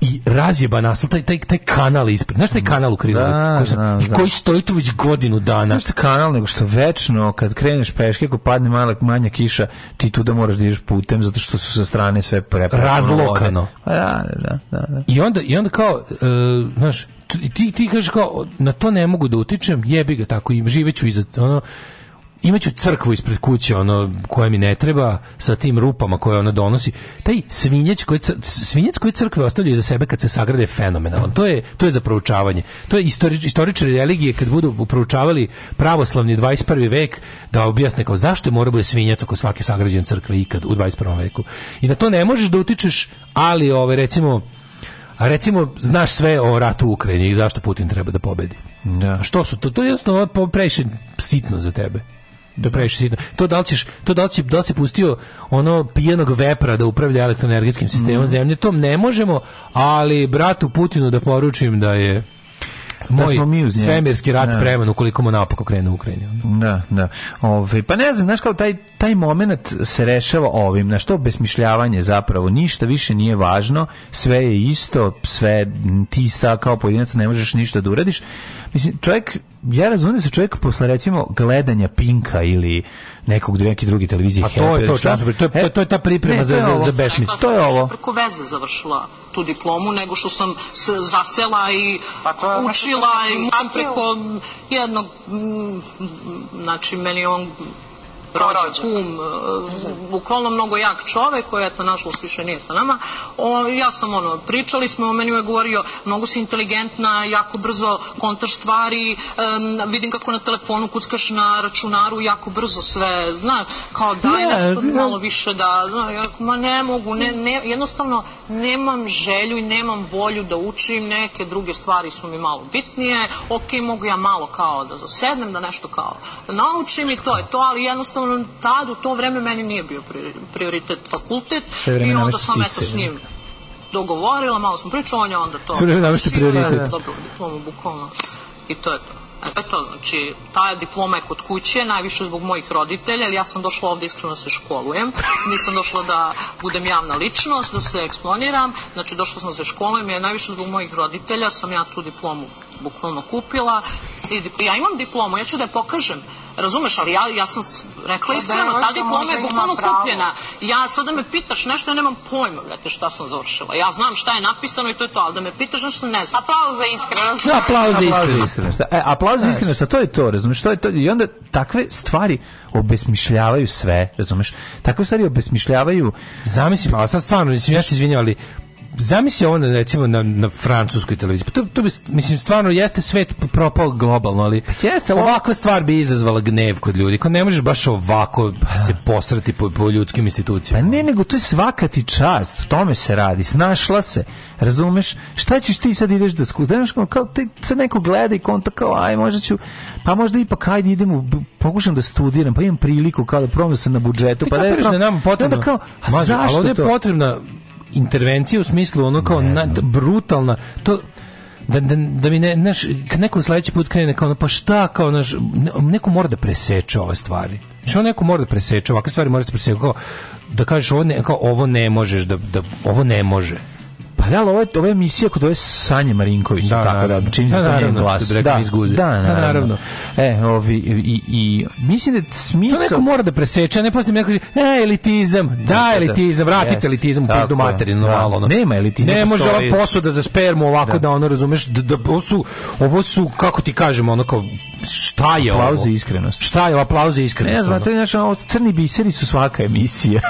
Speaker 7: i razjeba nas taj, taj, taj kanal ispred. Znaš taj kanal u Krilovi?
Speaker 8: Da,
Speaker 7: koji, sam-
Speaker 8: znam,
Speaker 7: i koji stoji tu već godinu dana.
Speaker 8: Znaš šta kanal, nego što večno, kad kreneš peške, ako padne mala, manja kiša, ti tu da moraš da ideš putem, zato što su sa strane sve prepravljeno.
Speaker 7: Razlokano.
Speaker 8: Da, da, da. da.
Speaker 7: I onda, i onda kao, e, znaš, ti, ti kažeš kao, na to ne mogu da utičem, jebi ga tako, im živeću iza, ono, imaću crkvu ispred kuće ono koja mi ne treba sa tim rupama koje ona donosi taj svinjec koji svinjec koji crkve ostavljaju za sebe kad se sagrade je fenomenalan to je to je za proučavanje to je istori, istoričari religije kad budu proučavali pravoslavni 21. vek da objasne kao zašto mora bude svinjac oko svake sagrađene crkve ikad u 21. veku i na to ne možeš da utičeš ali ove recimo a recimo, znaš sve o ratu u Ukrajini i zašto Putin treba da pobedi. Da. Što su to? To je jednostavno previše sitno za tebe da previše sitno. To da li ćeš, to da li, će, da li si pustio ono pijenog vepra da upravlja elektroenergetskim sistemom mm. zemlje, to ne možemo, ali bratu Putinu da poručim da je moj da mi svemirski rat da. spreman ukoliko mu napako krene u Ukrajinu.
Speaker 8: Da, da. Ove, pa ne znam, znaš kao taj, taj moment se rešava ovim, na što besmišljavanje zapravo, ništa više nije važno, sve je isto, sve ti sa kao pojedinac ne možeš ništa da uradiš. Mislim, čovjek ja razumijem se čovjek posle recimo gledanja Pinka ili nekog neki drugi televizije E,
Speaker 7: A to je to, šta? to, to, je, to je ta priprema ne, za, za, za besmis.
Speaker 8: To je ovo.
Speaker 15: Preko veze završila tu diplomu nego što sam se zasela i Pa to učila i sam preko jednog mm, znači meni on rođak, kum, e, bukvalno mnogo jak čovek koji je to nažalost više nije sa nama. O, ja sam ono, pričali smo, o meni je govorio, mnogo si inteligentna, jako brzo kontaš stvari, um, vidim kako na telefonu kuckaš na računaru, jako brzo sve, znaš, kao daj ne, nešto ne. malo više da, zna, ja, ma ne mogu, ne, ne, jednostavno nemam želju i nemam volju da učim, neke druge stvari su mi malo bitnije, ok, mogu ja malo kao da zasednem, da nešto kao naučim i to je to, ali jednostavno jednostavno tad u to vreme meni nije bio prioritet fakultet i onda sam eto s njim dogovorila, malo sam pričala, on je onda to
Speaker 7: sve vreme namešte prioritet
Speaker 15: dobila diplomu bukvalno i to je to Eto, znači, ta diploma je kod kuće, najviše zbog mojih roditelja, jer ja sam došla ovde iskreno se školujem, nisam došla da budem javna ličnost, da se eksploniram, znači došla sam se školujem, je najviše zbog mojih roditelja sam ja tu diplomu bukvalno kupila, i, ja imam diplomu, ja ću da je pokažem, Razumeš, ali ja, ja sam rekla iskreno, ta diploma je bukvalno kupljena. Ja sad da me pitaš nešto, ja nemam pojma, brate, šta sam završila. Ja znam šta je napisano i to je to, ali da me pitaš nešto, ne znam.
Speaker 16: Aplauz za iskrenost.
Speaker 8: Aplauz za iskrenost. E, aplauz za iskrenost, a to je to, razumeš, to je to. I onda takve stvari obesmišljavaju sve, razumeš? Takve stvari obesmišljavaju...
Speaker 7: Zamislim, ali sad stvarno, mislim, ja se izvinjam, ali zamisli ovo recimo na, na francuskoj televiziji. Pa To, to bi, mislim, stvarno jeste svet propao globalno, Pa ali
Speaker 8: jeste,
Speaker 7: ovakva stvar bi izazvala gnev kod ljudi. Ko ne možeš baš ovako se posrati po, po ljudskim institucijama.
Speaker 8: Pa ne, nego to je svaka ti čast. Tome se radi. Snašla se. Razumeš? Šta ćeš ti sad ideš da skuš? Znaš, ono, kao, te, sad neko gleda i konta kao, aj, možda ću, pa možda ipak, ajde, idem, u, pokušam da studiram, pa imam priliku kao da provam se na budžetu.
Speaker 7: Ti
Speaker 8: pa da
Speaker 7: je, na nama potrebno.
Speaker 8: Da kao, a Maži, zašto
Speaker 7: ali je
Speaker 8: to?
Speaker 7: potrebna intervencija u smislu ono kao nad, brutalna to da, da, da mi ne, naš, neko sledeći put krene kao, ono, pa šta, kao, naš, neko mora da preseče ove stvari. Što neko mora da preseče, ovakve stvari mora da preseče, kao, da kažeš ovo ne, kao, ovo ne možeš, da, da, ovo ne može.
Speaker 8: Pa da, ali ovo je, ovo je emisija kod ove Sanje Marinković, da, tako naravno. da, čim
Speaker 7: da, naravno,
Speaker 8: glas.
Speaker 7: Da, da, naravno.
Speaker 8: Da, naravno. E, ovi, i, i, mislim da smisla...
Speaker 7: To neko mora da preseče, a ne poslije neko kaže, e, elitizam, da, elitizam, vratite yes. elitizam, pizdu materinu, da. malo, ono.
Speaker 8: Nema elitizam.
Speaker 7: Ne može ova posuda za spermu ovako da, da ono, razumeš, da, da, ovo, su, ovo su, kako ti kažemo, ono kao, šta je
Speaker 8: aplauze
Speaker 7: ovo?
Speaker 8: iskrenost.
Speaker 7: Šta je aplauze iskrenost?
Speaker 8: Ne znam, to je znaš, ono, crni biseri su svaka emisija.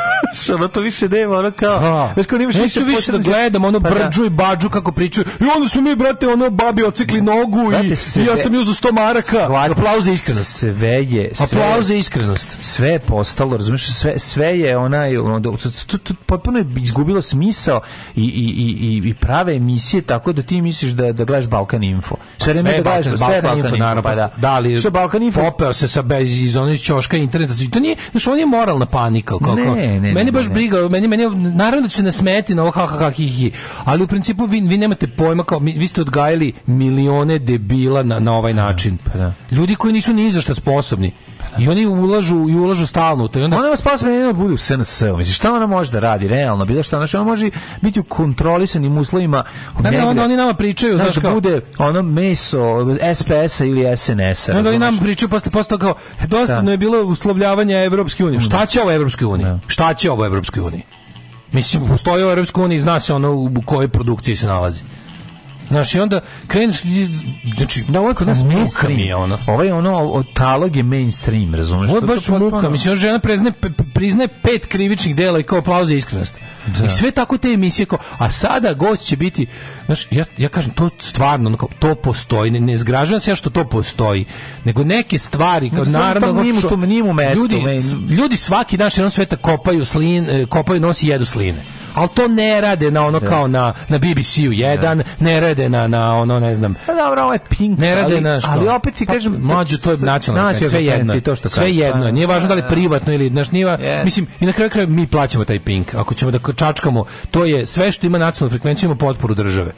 Speaker 8: Što to više nema, ono kao... Da. Znaš, kao nimaš
Speaker 7: više, više da gledam, ono pa brđu da. i bađu kako pričaju. I onda su mi, brate, ono, babi ocikli nogu brate, i, sve, i ja sam ju za sto maraka. Svar, aplauze iskrenost.
Speaker 8: Sve je...
Speaker 7: Sve, aplauze iskrenost.
Speaker 8: Sve je postalo, razumiješ, sve, sve je onaj... Ono, potpuno je izgubilo smisao i, i, i, i prave emisije tako da ti misliš da, da gledaš Balkan Info.
Speaker 7: Pa Sve vreme da gledaš Balkan, sve Balkan, Info, naravno, pa da. Da, ali
Speaker 8: što Balkan Info?
Speaker 7: Popeo se sa bez, iz onih ćoška interneta. To nije, znači, on je moralna panika. Kako, ne, ne, meni baš briga, meni, meni, naravno da će nasmeti na ovo ha, ha, ha, hi, hi ali u principu vi, vi nemate pojma kao vi ste odgajali milione debila na, na ovaj način.
Speaker 8: Pa da.
Speaker 7: Ljudi koji nisu ni za šta sposobni. Pa da. I oni ulažu i ulažu stalno u to. I onda
Speaker 8: ona vas spasme ne bude u SNS. Mislim šta ona može da radi realno, bilo šta, znači ona može biti u kontrolisanim uslovima.
Speaker 7: Da, ne, onda oni nama pričaju, znaš,
Speaker 8: kao, bude ono meso SPS-a ili SNS-a.
Speaker 7: Onda oni nama pričaju posle posle kao "E, dosta da. je bilo uslovljavanje Evropske unije. Šta će ovo Evropskoj uniji? Da. Šta će ovo Evropskoj uniji? Mislim, postoji u Europskoj uniji, zna se ono u kojoj produkciji se nalazi. Znaš, i onda kreneš, znači,
Speaker 8: da, uvijek kod nas muka mi je ono. Ovaj ono, o, talog je mainstream, razumeš?
Speaker 7: Ovo je baš to muka, mislim, ono žena prezne, priznaje pet krivičnih dela i kao aplauz za iskrenost. Da. I sve tako te emisije kao, a sada gost će biti, znaš, ja, ja kažem, to stvarno, ono kao, to postoji, ne, ne zgražavam se ja što to postoji, nego neke stvari, kao,
Speaker 8: Znam,
Speaker 7: naravno,
Speaker 8: tamo nimu, to nimu mesto,
Speaker 7: ljudi,
Speaker 8: men.
Speaker 7: ljudi svaki naš jednom sveta kopaju, slin, e, kopaju nosi i jedu sline ali to ne rade na ono kao na, na BBC-u 1, ne rade na, na ono, ne znam.
Speaker 8: Pa dobro, ovo je Pink,
Speaker 7: ne rade
Speaker 8: ali,
Speaker 7: na što.
Speaker 8: ali opet ti kažem...
Speaker 7: Pa, mlađu, to je nacionalno, sve, sve jedno.
Speaker 8: To što pa-
Speaker 7: sve jedno, nije važno da li privatno ili, znaš, nije, yeah. mislim, i na kraju kraja mi plaćamo taj Pink, ako ćemo da čačkamo, to je sve što ima nacionalnu frekvenciju, ima potporu države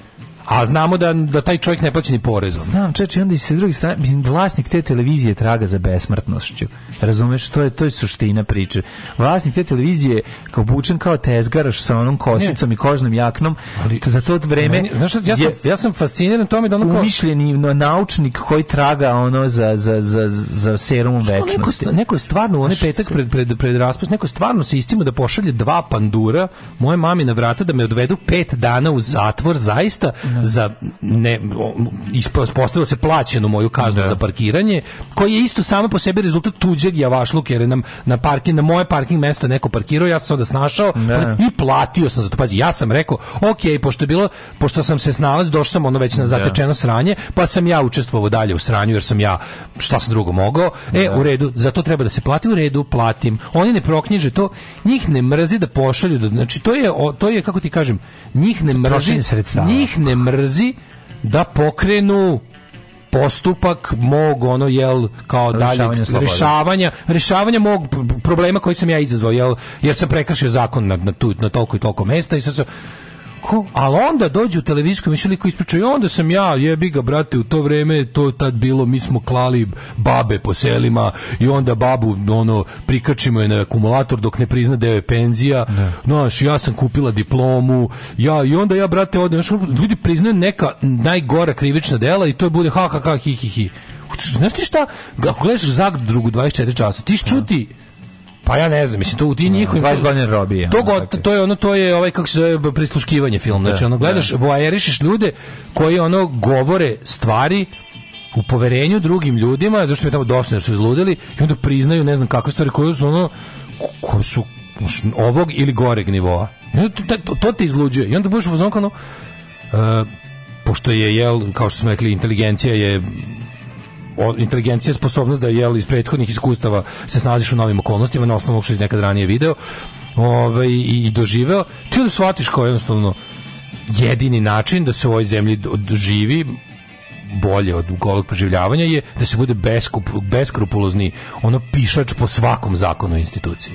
Speaker 7: a znamo da, da taj čovjek ne plaća ni porezom.
Speaker 8: Znam, čeče, onda i sa druge strane, mislim, vlasnik te televizije traga za besmrtnošću. Razumeš, to je, to je suština priče. Vlasnik te televizije kao bučen kao tezgaraš sa onom kosicom ne. i kožnom jaknom, ali za to vreme... Meni,
Speaker 7: znaš što, ja, sam, ja sam fasciniran tome da ono
Speaker 8: kao... Umišljeni naučnik koji traga ono za, za, za, za serumom večnosti.
Speaker 7: Neko, neko je stvarno, onaj petak pred, pred, pred raspust, neko je stvarno se istimo da pošalje dva pandura moje mami na vrata da me odvedu pet dana u zatvor, zaista za ne ispostavilo se plaćenu moju kaznu da. za parkiranje koji je isto samo po sebi rezultat tuđeg javašluka jer je nam na parking na moje parking mesto neko parkirao ja sam onda snašao da. i platio sam za to pazi ja sam rekao ok pošto je bilo pošto sam se snalaz došao sam ono već na zatečeno sranje pa sam ja učestvovao dalje u sranju jer sam ja šta sam drugo mogao e da. u redu za to treba da se plati u redu platim oni ne proknjiže to njih ne mrzi da pošalju znači to je to je kako ti kažem njih ne mrzi njih ne mrzi da pokrenu postupak mog ono jel kao daljeg rješavanja rješavanja mog problema koji sam ja izazvao jel jer sam prekršio zakon na na tu na toliko i toliko mesta i sad Ko? Ali onda dođu u televizijsku emisiju liko ispričaju, i onda sam ja, jebi ga brate, u to vreme to tad bilo, mi smo klali babe po selima i onda babu ono, prikačimo je na akumulator dok ne prizna da je penzija. Znaš, ja sam kupila diplomu, ja, i onda ja brate odem, ljudi priznaju neka najgora krivična dela i to bude ha ha ha hi hi hi. Znaš ti šta, ako gledaš zadrugu 24 časa, ti čuti pa ja ne znam, mislim to u ti njihovim
Speaker 8: 20 godina robije.
Speaker 7: To, god, to je ono to je ovaj kako se zove prisluškivanje film. Znači ono gledaš voajerišeš ljude koji ono govore stvari u poverenju drugim ljudima, zašto mi je tamo dosta jer su izludili i onda priznaju ne znam kakve stvari koje su ono koje su ovog ili goreg nivoa. To, to, te izluđuje. I onda budeš u zonkanu uh, pošto je jel kao što smo rekli inteligencija je inteligencija je sposobnost da je iz prethodnih iskustava se snalaziš u novim okolnostima na osnovu što si nekad ranije video ovaj, i, i doživeo ti onda shvatiš kao jednostavno jedini način da se u ovoj zemlji živi bolje od golog preživljavanja je da se bude beskup, beskrupulozni ono pišač po svakom zakonu instituciji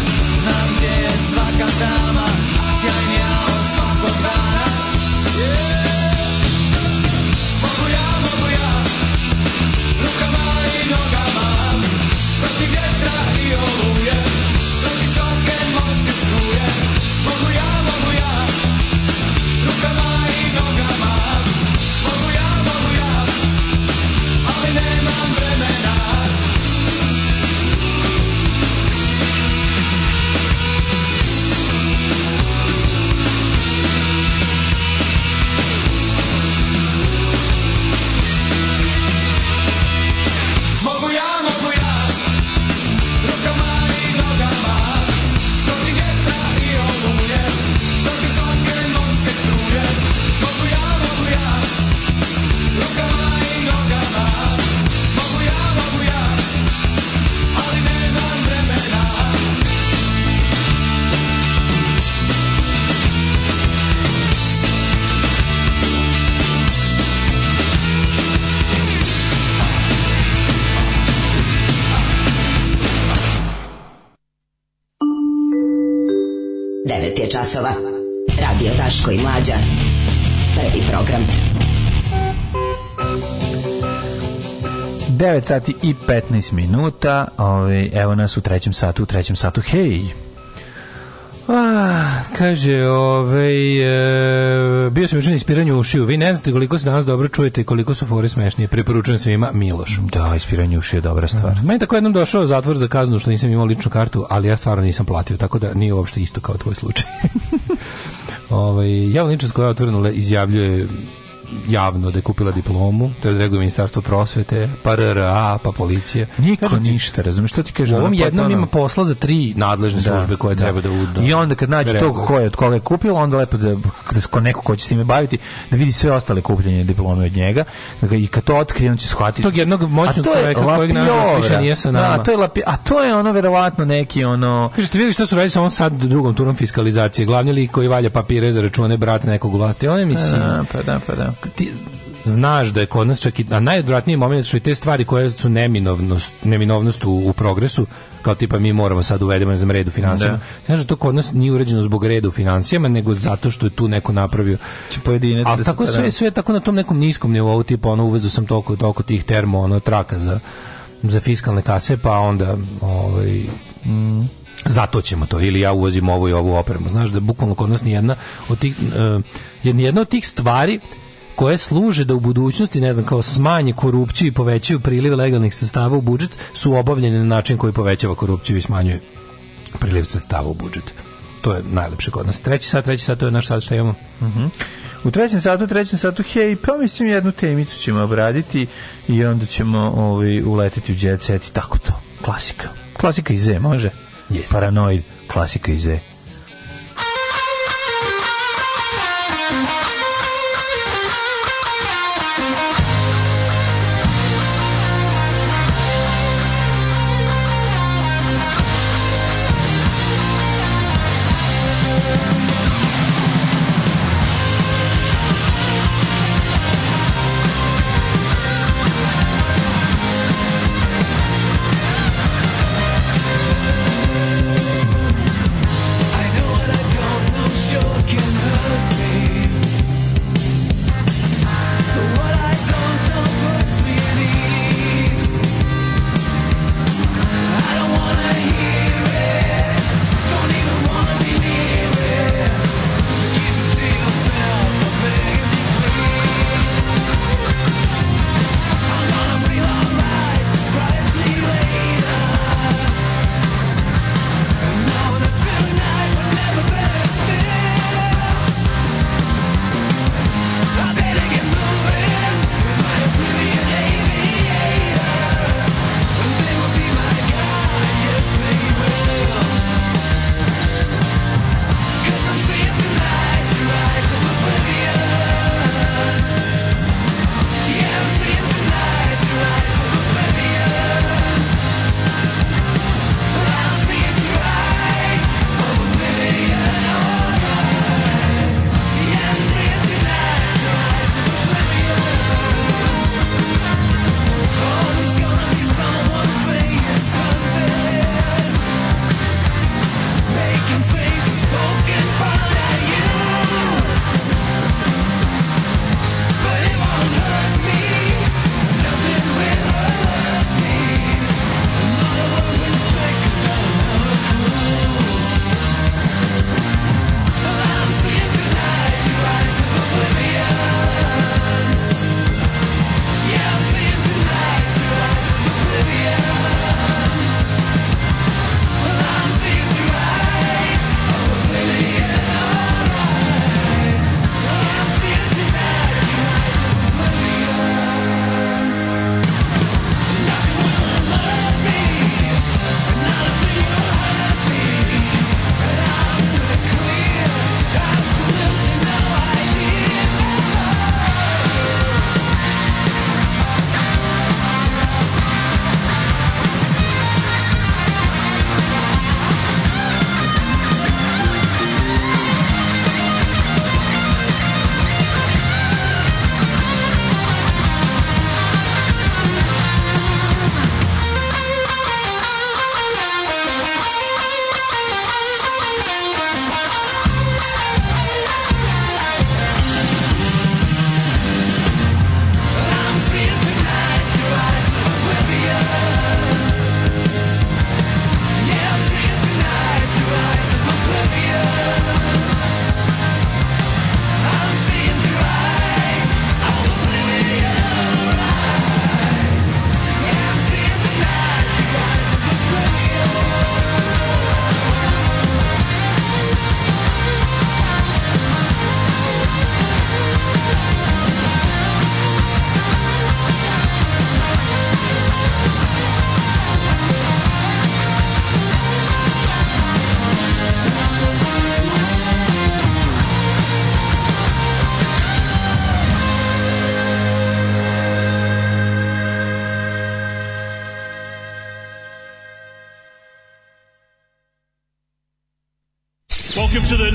Speaker 9: Sjajnija od svakog dana yeah! Mogu ja
Speaker 11: časova. Radio Daško i Mlađa. Prvi program.
Speaker 8: 9 sati i 15 minuta. Ove, evo nas u trećem satu, u trećem satu. Hej!
Speaker 7: Ah, kaže, ovaj, e, bio sam učin ispiranju ušiju. Vi ne znate koliko se danas dobro čujete i koliko su fore smešnije. Preporučujem svima Miloš.
Speaker 8: Da, ispiranje ušiju je dobra stvar.
Speaker 7: Meni je tako jednom došao zatvor za kaznu što nisam imao ličnu kartu, ali ja stvarno nisam platio, tako da nije uopšte isto kao tvoj slučaj. ovaj, javno ličnost koja je otvoreno izjavljuje javno da je kupila diplomu, to je odreaguje ministarstvo prosvete, pa RRA, pa policije.
Speaker 8: Niko ti, ništa, razumiješ što ti kaže?
Speaker 7: U ovom jednom ono... ima posla za tri nadležne da, službe koje da. treba da uda.
Speaker 8: I onda kad nađe tog ko je od koga je kupila, onda lepo da, da neko ko će s time baviti, da vidi sve ostale kupljenje diplome od njega, dakle, i kad to otkrije, on će shvatiti.
Speaker 7: Tog jednog moćnog čoveka kojeg nažalost više nije sa nama.
Speaker 8: Da, to je lapi, a to je ono verovatno neki ono...
Speaker 7: Kažete, vidjeli što su radili sa ovom sad drugom turom fiskalizacije, glavni lik koji valja papire za račune brate nekog u vlasti, on je mislim...
Speaker 8: Da, pa da, pa da
Speaker 7: ti znaš da je kod nas čak i a najodvratniji moment što i te stvari koje su neminovnost, neminovnost u, u progresu kao tipa mi moramo sad uvedemo znam red u financijama. Da. Znaš, to kod nas nije uređeno zbog reda u financijama, nego zato što je tu neko napravio.
Speaker 8: Če pojedine.
Speaker 7: A tako sve, sve tako na tom nekom niskom nivou, tipa ono uvezu sam toliko, toliko tih termo, ono, traka za, za fiskalne kase, pa onda ovaj, mm. Zato ćemo to ili ja uvozim ovu i ovu opremu. Znaš da bukvalno kod nas ni jedna od tih uh, jedna od tih stvari koje služe da u budućnosti, ne znam, kao smanje korupciju i povećaju priliv legalnih sredstava u budžet, su obavljene na način koji povećava korupciju i smanjuje priliv sredstava u budžet. To je najlepše kod nas. Treći sat, treći sat, to je naš sat što imamo.
Speaker 8: Uh -huh. U trećem satu, trećem satu, hej, pa mislim jednu temicu ćemo obraditi i onda ćemo ovaj, uletiti u jet set i tako to. Klasika. Klasika iz E, može?
Speaker 7: Yes.
Speaker 8: Paranoid, klasika iz E.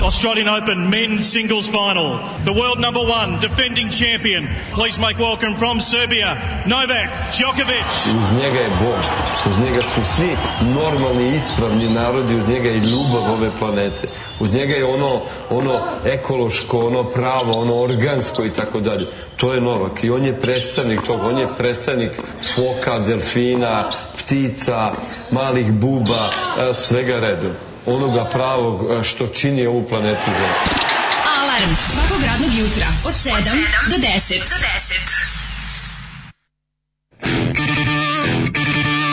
Speaker 15: Australian Open men's singles final. The world number one, defending champion. Please make welcome from Serbia, Novak Djokovic.
Speaker 10: Uz njega je Bog. Uz njega su svi normalni, ispravni narodi. Uz njega je ljubav ove planete. Uz njega je ono, ono ekološko, ono pravo, ono organsko i tako dalje. To je Novak i on je predstavnik tog. On je predstavnik foka, delfina, ptica, malih buba, e, svega redom onoga pravog e, što čini ovu planetu za.
Speaker 16: Alarm svakog radnog jutra od 7 do 10. Do 10.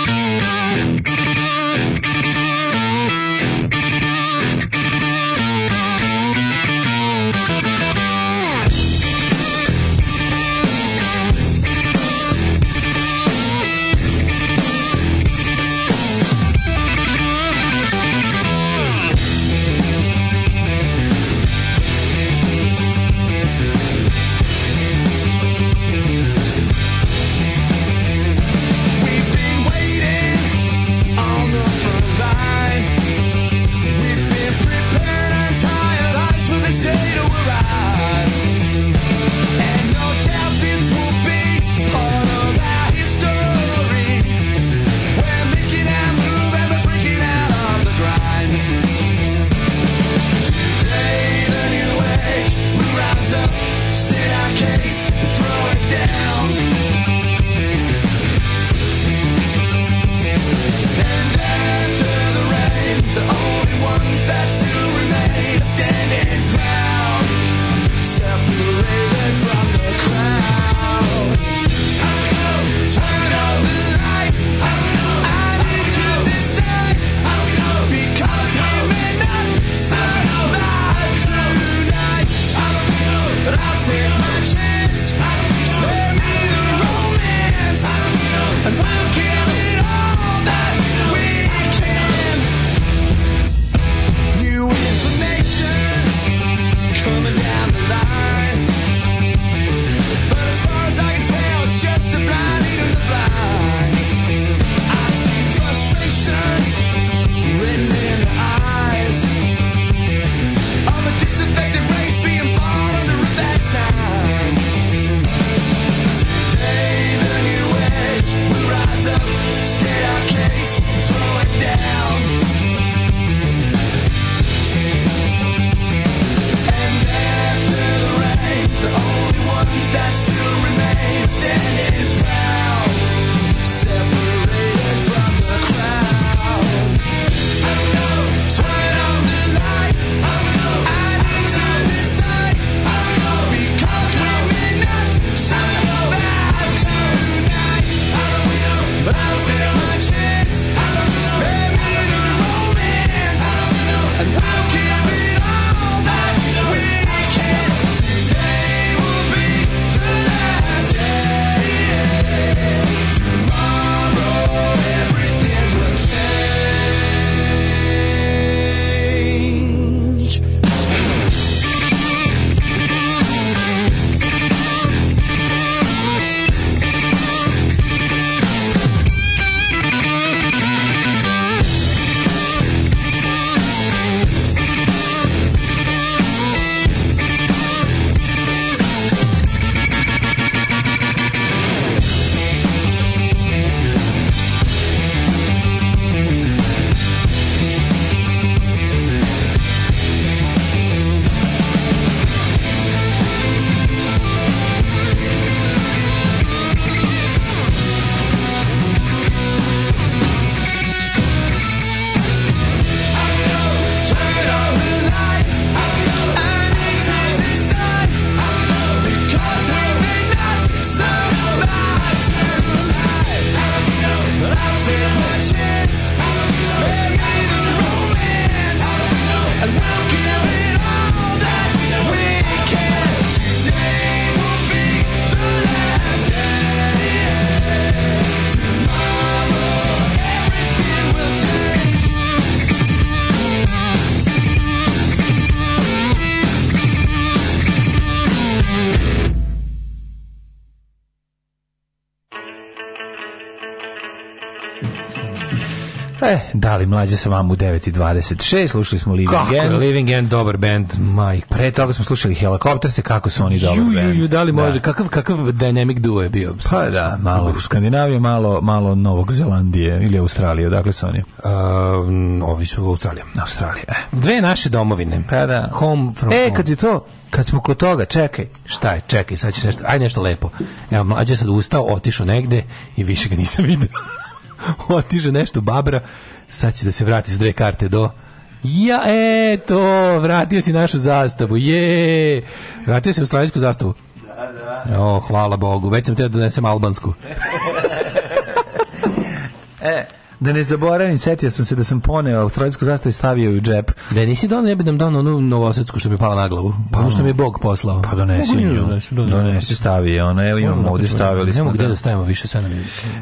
Speaker 8: E, da li mlađe sa vam u 9.26, slušali smo Living
Speaker 7: kako
Speaker 8: End.
Speaker 7: Kako Living End, dobar band, majko.
Speaker 8: Pre toga smo slušali Helikopter se, kako su oni dobar
Speaker 7: ju,
Speaker 8: band.
Speaker 7: Ju, ju, da li može, da. kakav, kakav dynamic duo je bio?
Speaker 8: Pa da, malo Skandinavije, malo, malo Novog Zelandije ili Australije, odakle su oni?
Speaker 7: Um, ovi su u Australiji.
Speaker 8: Australije, e.
Speaker 7: Dve naše domovine.
Speaker 8: Pa da.
Speaker 7: Home from
Speaker 8: e,
Speaker 7: home.
Speaker 8: kad je to, kad smo kod toga, čekaj.
Speaker 7: Šta je, čekaj, sad ćeš nešto, aj nešto lepo. Evo, mlađe je sad ustao, otišao negde i više ga nisam vidio. otiže nešto babra, sad će da se vrati s dve karte do... Ja, eto, vratio si našu zastavu, je! Vratio si australijsku zastavu.
Speaker 8: Da, da.
Speaker 7: O, hvala Bogu, već sam teo da donesem albansku.
Speaker 8: e, da ne zaboravim, setio sam se da sam poneo australijsku zastavu i stavio ju u džep.
Speaker 7: Da nisi donio, ne bi nam donio onu novosetsku što mi je pala na glavu. Pa ono što mi je Bog poslao.
Speaker 8: Pa donesi nju. Donesi, donesi stavi je ona. Evo imamo ovdje stavili.
Speaker 7: Nemo gde da stavimo više sve nam.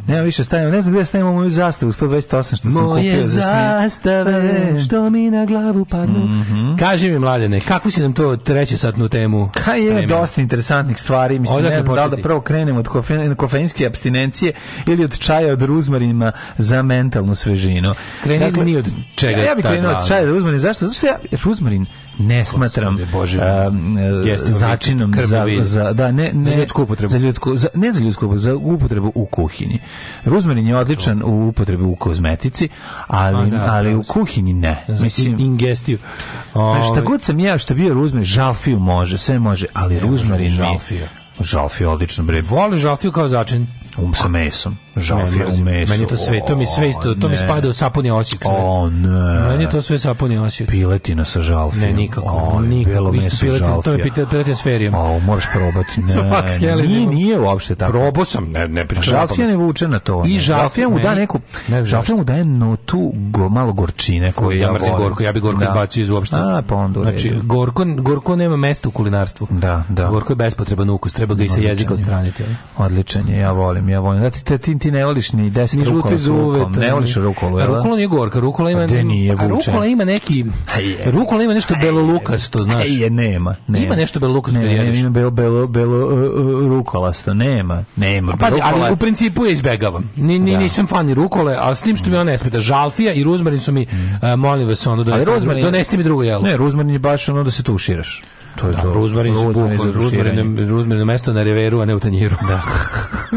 Speaker 8: Nema više stavimo. Ne znam gde da stavimo moju zastavu 128 što sam kupio
Speaker 7: Moje
Speaker 8: za
Speaker 7: zastave što mi na glavu padnu. Mm -hmm. Kaži mi mladene, kakvu si nam to treće satnu temu?
Speaker 8: Ka je dosta interesantnih stvari, mislim
Speaker 7: Odakle
Speaker 8: ne znam da li da
Speaker 7: početi?
Speaker 8: prvo krenemo od kofe, kofeinske abstinencije ili od čaja od ruzmarina za mentalnu svežinu. Dakle,
Speaker 7: Kreni ni od čega
Speaker 8: Ja, ja bih
Speaker 7: ta
Speaker 8: krenuo
Speaker 7: dva.
Speaker 8: od čaja od ruzmarina. Zašto? Zato što ja ruzmarin ne smatram
Speaker 7: Gospode Bože moj.
Speaker 8: um, e,
Speaker 7: Jeste
Speaker 8: začinom
Speaker 7: krvni
Speaker 8: za,
Speaker 7: vid.
Speaker 8: za, da, ne, ne,
Speaker 7: Za ljudsku upotrebu.
Speaker 8: Za ljudsku, za, ne za ljudsku upotrebu, za upotrebu u kuhinji. Ruzmarin je odličan u upotrebu u kozmetici, ali,
Speaker 7: A, da,
Speaker 8: ali
Speaker 7: pravo
Speaker 8: u kuhinji ne.
Speaker 7: Mislim,
Speaker 8: Mislim,
Speaker 7: Znači, ingestiju.
Speaker 8: Pa šta
Speaker 7: Ovaj,
Speaker 8: god sam ja što bio ruzmarin, žalfiju može, sve može, ali ruzmarin mi-
Speaker 7: žalfija.
Speaker 8: Žalfija je odlično bre.
Speaker 7: Voli žalfiju kao začin.
Speaker 8: Um sa mesom. Žalfija
Speaker 7: Meni-
Speaker 8: u mesu.
Speaker 7: Meni je to sve, to mi sve isto, to mi
Speaker 8: ne.
Speaker 7: spada u sapuni osjek. sve.
Speaker 8: O ne.
Speaker 7: Meni je to sve sapuni osjek.
Speaker 8: piletina sa žalfijom.
Speaker 7: Ne, nikako,
Speaker 8: Oj,
Speaker 7: nikako.
Speaker 8: Belo
Speaker 7: Isto
Speaker 8: meso sa
Speaker 7: piletina,
Speaker 8: žalfijom.
Speaker 7: to je pite- piletina s ferijom.
Speaker 8: O, moraš probati.
Speaker 7: Sa faks
Speaker 8: Ne,
Speaker 7: helizmom.
Speaker 8: nije, nije uopšte tako.
Speaker 7: Probao sam, ne, ne pričam.
Speaker 8: Žalfija ne vuče na to.
Speaker 7: I
Speaker 8: ne.
Speaker 7: žalfija
Speaker 8: mu da
Speaker 7: meni-
Speaker 8: neku,
Speaker 7: ne znam
Speaker 8: žalfija mu daje notu go, malo gorčine koju ja,
Speaker 7: ja mrzim
Speaker 8: volim.
Speaker 7: gorko, ja bi gorko
Speaker 8: Da.
Speaker 7: izbacio iz uopšte.
Speaker 8: A, pa onda u
Speaker 7: Znači,
Speaker 8: redu.
Speaker 7: gorko, gorko nema mesta u kulinarstvu.
Speaker 8: Da, da.
Speaker 7: Gorko je bespotreban ukus, treba ga i sa
Speaker 8: Odličan
Speaker 7: jezika
Speaker 8: je.
Speaker 7: odstraniti. ali.
Speaker 8: Odličan je, ja volim, ja volim. Da ti, te- ti, ti ne voliš ni
Speaker 7: Ni
Speaker 8: deset
Speaker 7: žuti
Speaker 8: rukola s
Speaker 7: zuve.
Speaker 8: rukom. Ne voliš rukolu, jel? da?
Speaker 7: Rukola nije gorka, rukola ima...
Speaker 8: A gde nije
Speaker 7: a
Speaker 8: vuče?
Speaker 7: Rukola ima neki...
Speaker 8: je.
Speaker 7: Rukola ima nešto belolukasto, znaš.
Speaker 8: E, je, nema, nema.
Speaker 7: Ima nešto belolukasto
Speaker 8: Ne,
Speaker 7: da jedeš.
Speaker 8: ne, ima belo, belo, belo uh, uh, rukolasto, nema, nema.
Speaker 7: Pa Pazi,
Speaker 8: Rukola-
Speaker 7: ali u principu je izbegavam. Ni, ni,
Speaker 8: Da.
Speaker 7: Nisam fan ni rukole, ali s tim što mi ona ne smeta. Žalfija i ruzmarin su mi, a, molim vas, ono, donesite, mi
Speaker 8: rozmarin
Speaker 7: drugo-
Speaker 8: je-
Speaker 7: donesite mi drugo jelo.
Speaker 8: Mm. Ne, ruzmarin je baš ono da se tuširaš. To je
Speaker 7: Da,
Speaker 8: to.
Speaker 7: Ruzmarin se
Speaker 8: je
Speaker 7: bukvalno,
Speaker 8: za
Speaker 7: Ruzmarin
Speaker 8: tuširanje.
Speaker 7: je Ruzmarin je mesto na reveru, a ne u tanjiru. Da.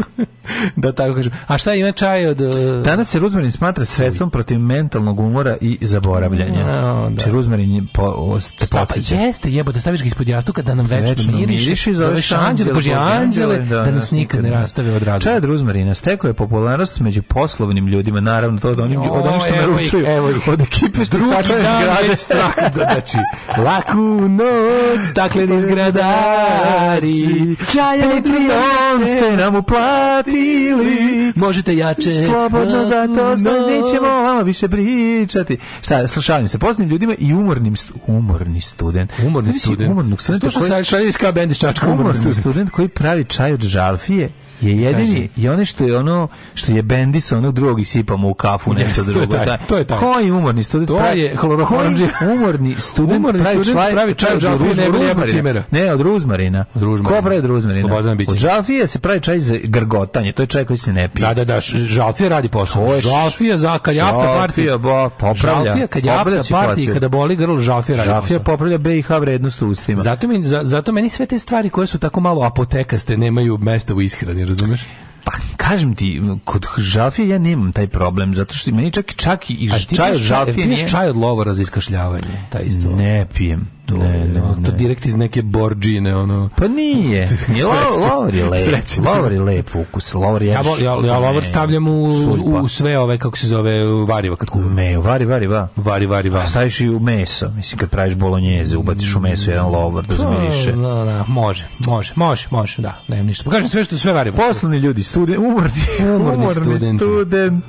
Speaker 7: da tako kažem. A šta ima čaj od... e,
Speaker 8: Danas se ruzmarin smatra sredstvom protiv mentalnog umora i zaboravljanja.
Speaker 7: A, da.
Speaker 8: Či ruzmarin je po, o, te
Speaker 7: Šta pa
Speaker 8: podsjeća.
Speaker 7: jeste, jebote, staviš ga ispod jastuka da nam večno,
Speaker 8: Večno miriši,
Speaker 7: miriši, zoveš anđele, bože anđele, da, nas nikad ne rastave od razloga.
Speaker 8: Čaj od ruzmarina stekao je popularnost među poslovnim ljudima, naravno to od onih, od onih što
Speaker 7: O, evo ih,
Speaker 8: naručuju,
Speaker 7: evo ih.
Speaker 8: od ekipe što
Speaker 7: Drugi
Speaker 8: staklene
Speaker 7: dan
Speaker 8: zgrade.
Speaker 7: već strah, da, znači, laku noć, stakleni zgradari, čaja od
Speaker 8: Patreon ste nam uplatili,
Speaker 7: možete jače,
Speaker 8: Slobodno za to
Speaker 7: laku
Speaker 8: nećemo o vama više pričati. Šta, slušalim se posnim ljudima i umornim stu, umorni student.
Speaker 7: Umorni
Speaker 8: Znači,
Speaker 7: student.
Speaker 8: Umornog studenta
Speaker 7: To što
Speaker 8: koji-
Speaker 7: sa šalje iz kao bendiš čačka umorni
Speaker 8: umorni
Speaker 7: student.
Speaker 8: student koji pravi čaj od žalfije je jedini i ono što je ono što je bendi sa onog drugog i sipamo u kafu
Speaker 7: Jeste,
Speaker 8: nešto
Speaker 7: to je
Speaker 8: drugo.
Speaker 7: taj,
Speaker 8: da.
Speaker 7: to je taj.
Speaker 8: Koji umorni student
Speaker 7: To
Speaker 8: pravi,
Speaker 7: je hloroformđija.
Speaker 8: koji umorni student
Speaker 7: Umorni
Speaker 8: pravi
Speaker 7: student
Speaker 8: čaj,
Speaker 7: pravi čaj od žalfije,
Speaker 8: ruž-
Speaker 7: ne bi jebao
Speaker 8: ruzmarina?
Speaker 7: cimera.
Speaker 8: Ne, od ruzmarina.
Speaker 7: Od ruzmarina.
Speaker 8: Ko pravi od ruzmarina?
Speaker 7: Slobodan Bićan.
Speaker 8: Od žalfije se pravi čaj za grgotanje, to je čaj koji se ne pije.
Speaker 7: Da, da, da, ž- žalfija radi
Speaker 8: To
Speaker 7: posao.
Speaker 8: je š-
Speaker 7: Žalfija za kad je after
Speaker 8: Žalfija,
Speaker 7: party.
Speaker 8: bo, popravlja.
Speaker 7: Žalfija kad je after
Speaker 8: Popravlja
Speaker 7: party i
Speaker 8: situaciju.
Speaker 7: kada boli grlo, žalfija radi
Speaker 8: Žalfija
Speaker 7: posao.
Speaker 8: popravlja BiH vrednost u ustima.
Speaker 7: Zato, mi, za- zato meni sve te stvari koje su tako malo apotekaste nemaju mesta u ishrani, razumeš?
Speaker 8: Pa, kažem ti, kod žalfije ja nemam taj problem, zato što meni čak, čak i
Speaker 7: A ti
Speaker 8: čaj od
Speaker 7: piješ čaj-
Speaker 8: žalfije
Speaker 7: piješ
Speaker 8: nije...
Speaker 7: čaj od lovora za iskašljavanje, taj isto.
Speaker 8: Ne pijem.
Speaker 7: to,
Speaker 8: ne,
Speaker 7: je,
Speaker 8: ne,
Speaker 7: ono, to
Speaker 8: ne.
Speaker 7: direkt iz neke borđine, ono.
Speaker 8: Pa nije. nije
Speaker 7: Srećno.
Speaker 8: lo, lovor je lep.
Speaker 7: Srećno.
Speaker 8: Lovor je lep ukus. Lovor je...
Speaker 7: Ja, vol- ja, ja lovor
Speaker 8: Ne, pa.
Speaker 7: stavljam u,
Speaker 8: suljpa.
Speaker 7: u sve ove, kako se zove, u variva kad kuvam.
Speaker 8: Me, vari, vari, va.
Speaker 7: Vari, vari, vari.
Speaker 8: A staviš i u meso. Mislim, kad praviš bolonjeze, ubaciš u meso jedan lovor da zamiriše.
Speaker 7: Da, da, može, može, može, može, da, nemam ništa. Pokažem sve što sve varimo.
Speaker 8: Poslani ljudi, student, umorni,
Speaker 7: Umorni
Speaker 8: umorni,
Speaker 7: studenti.
Speaker 8: student,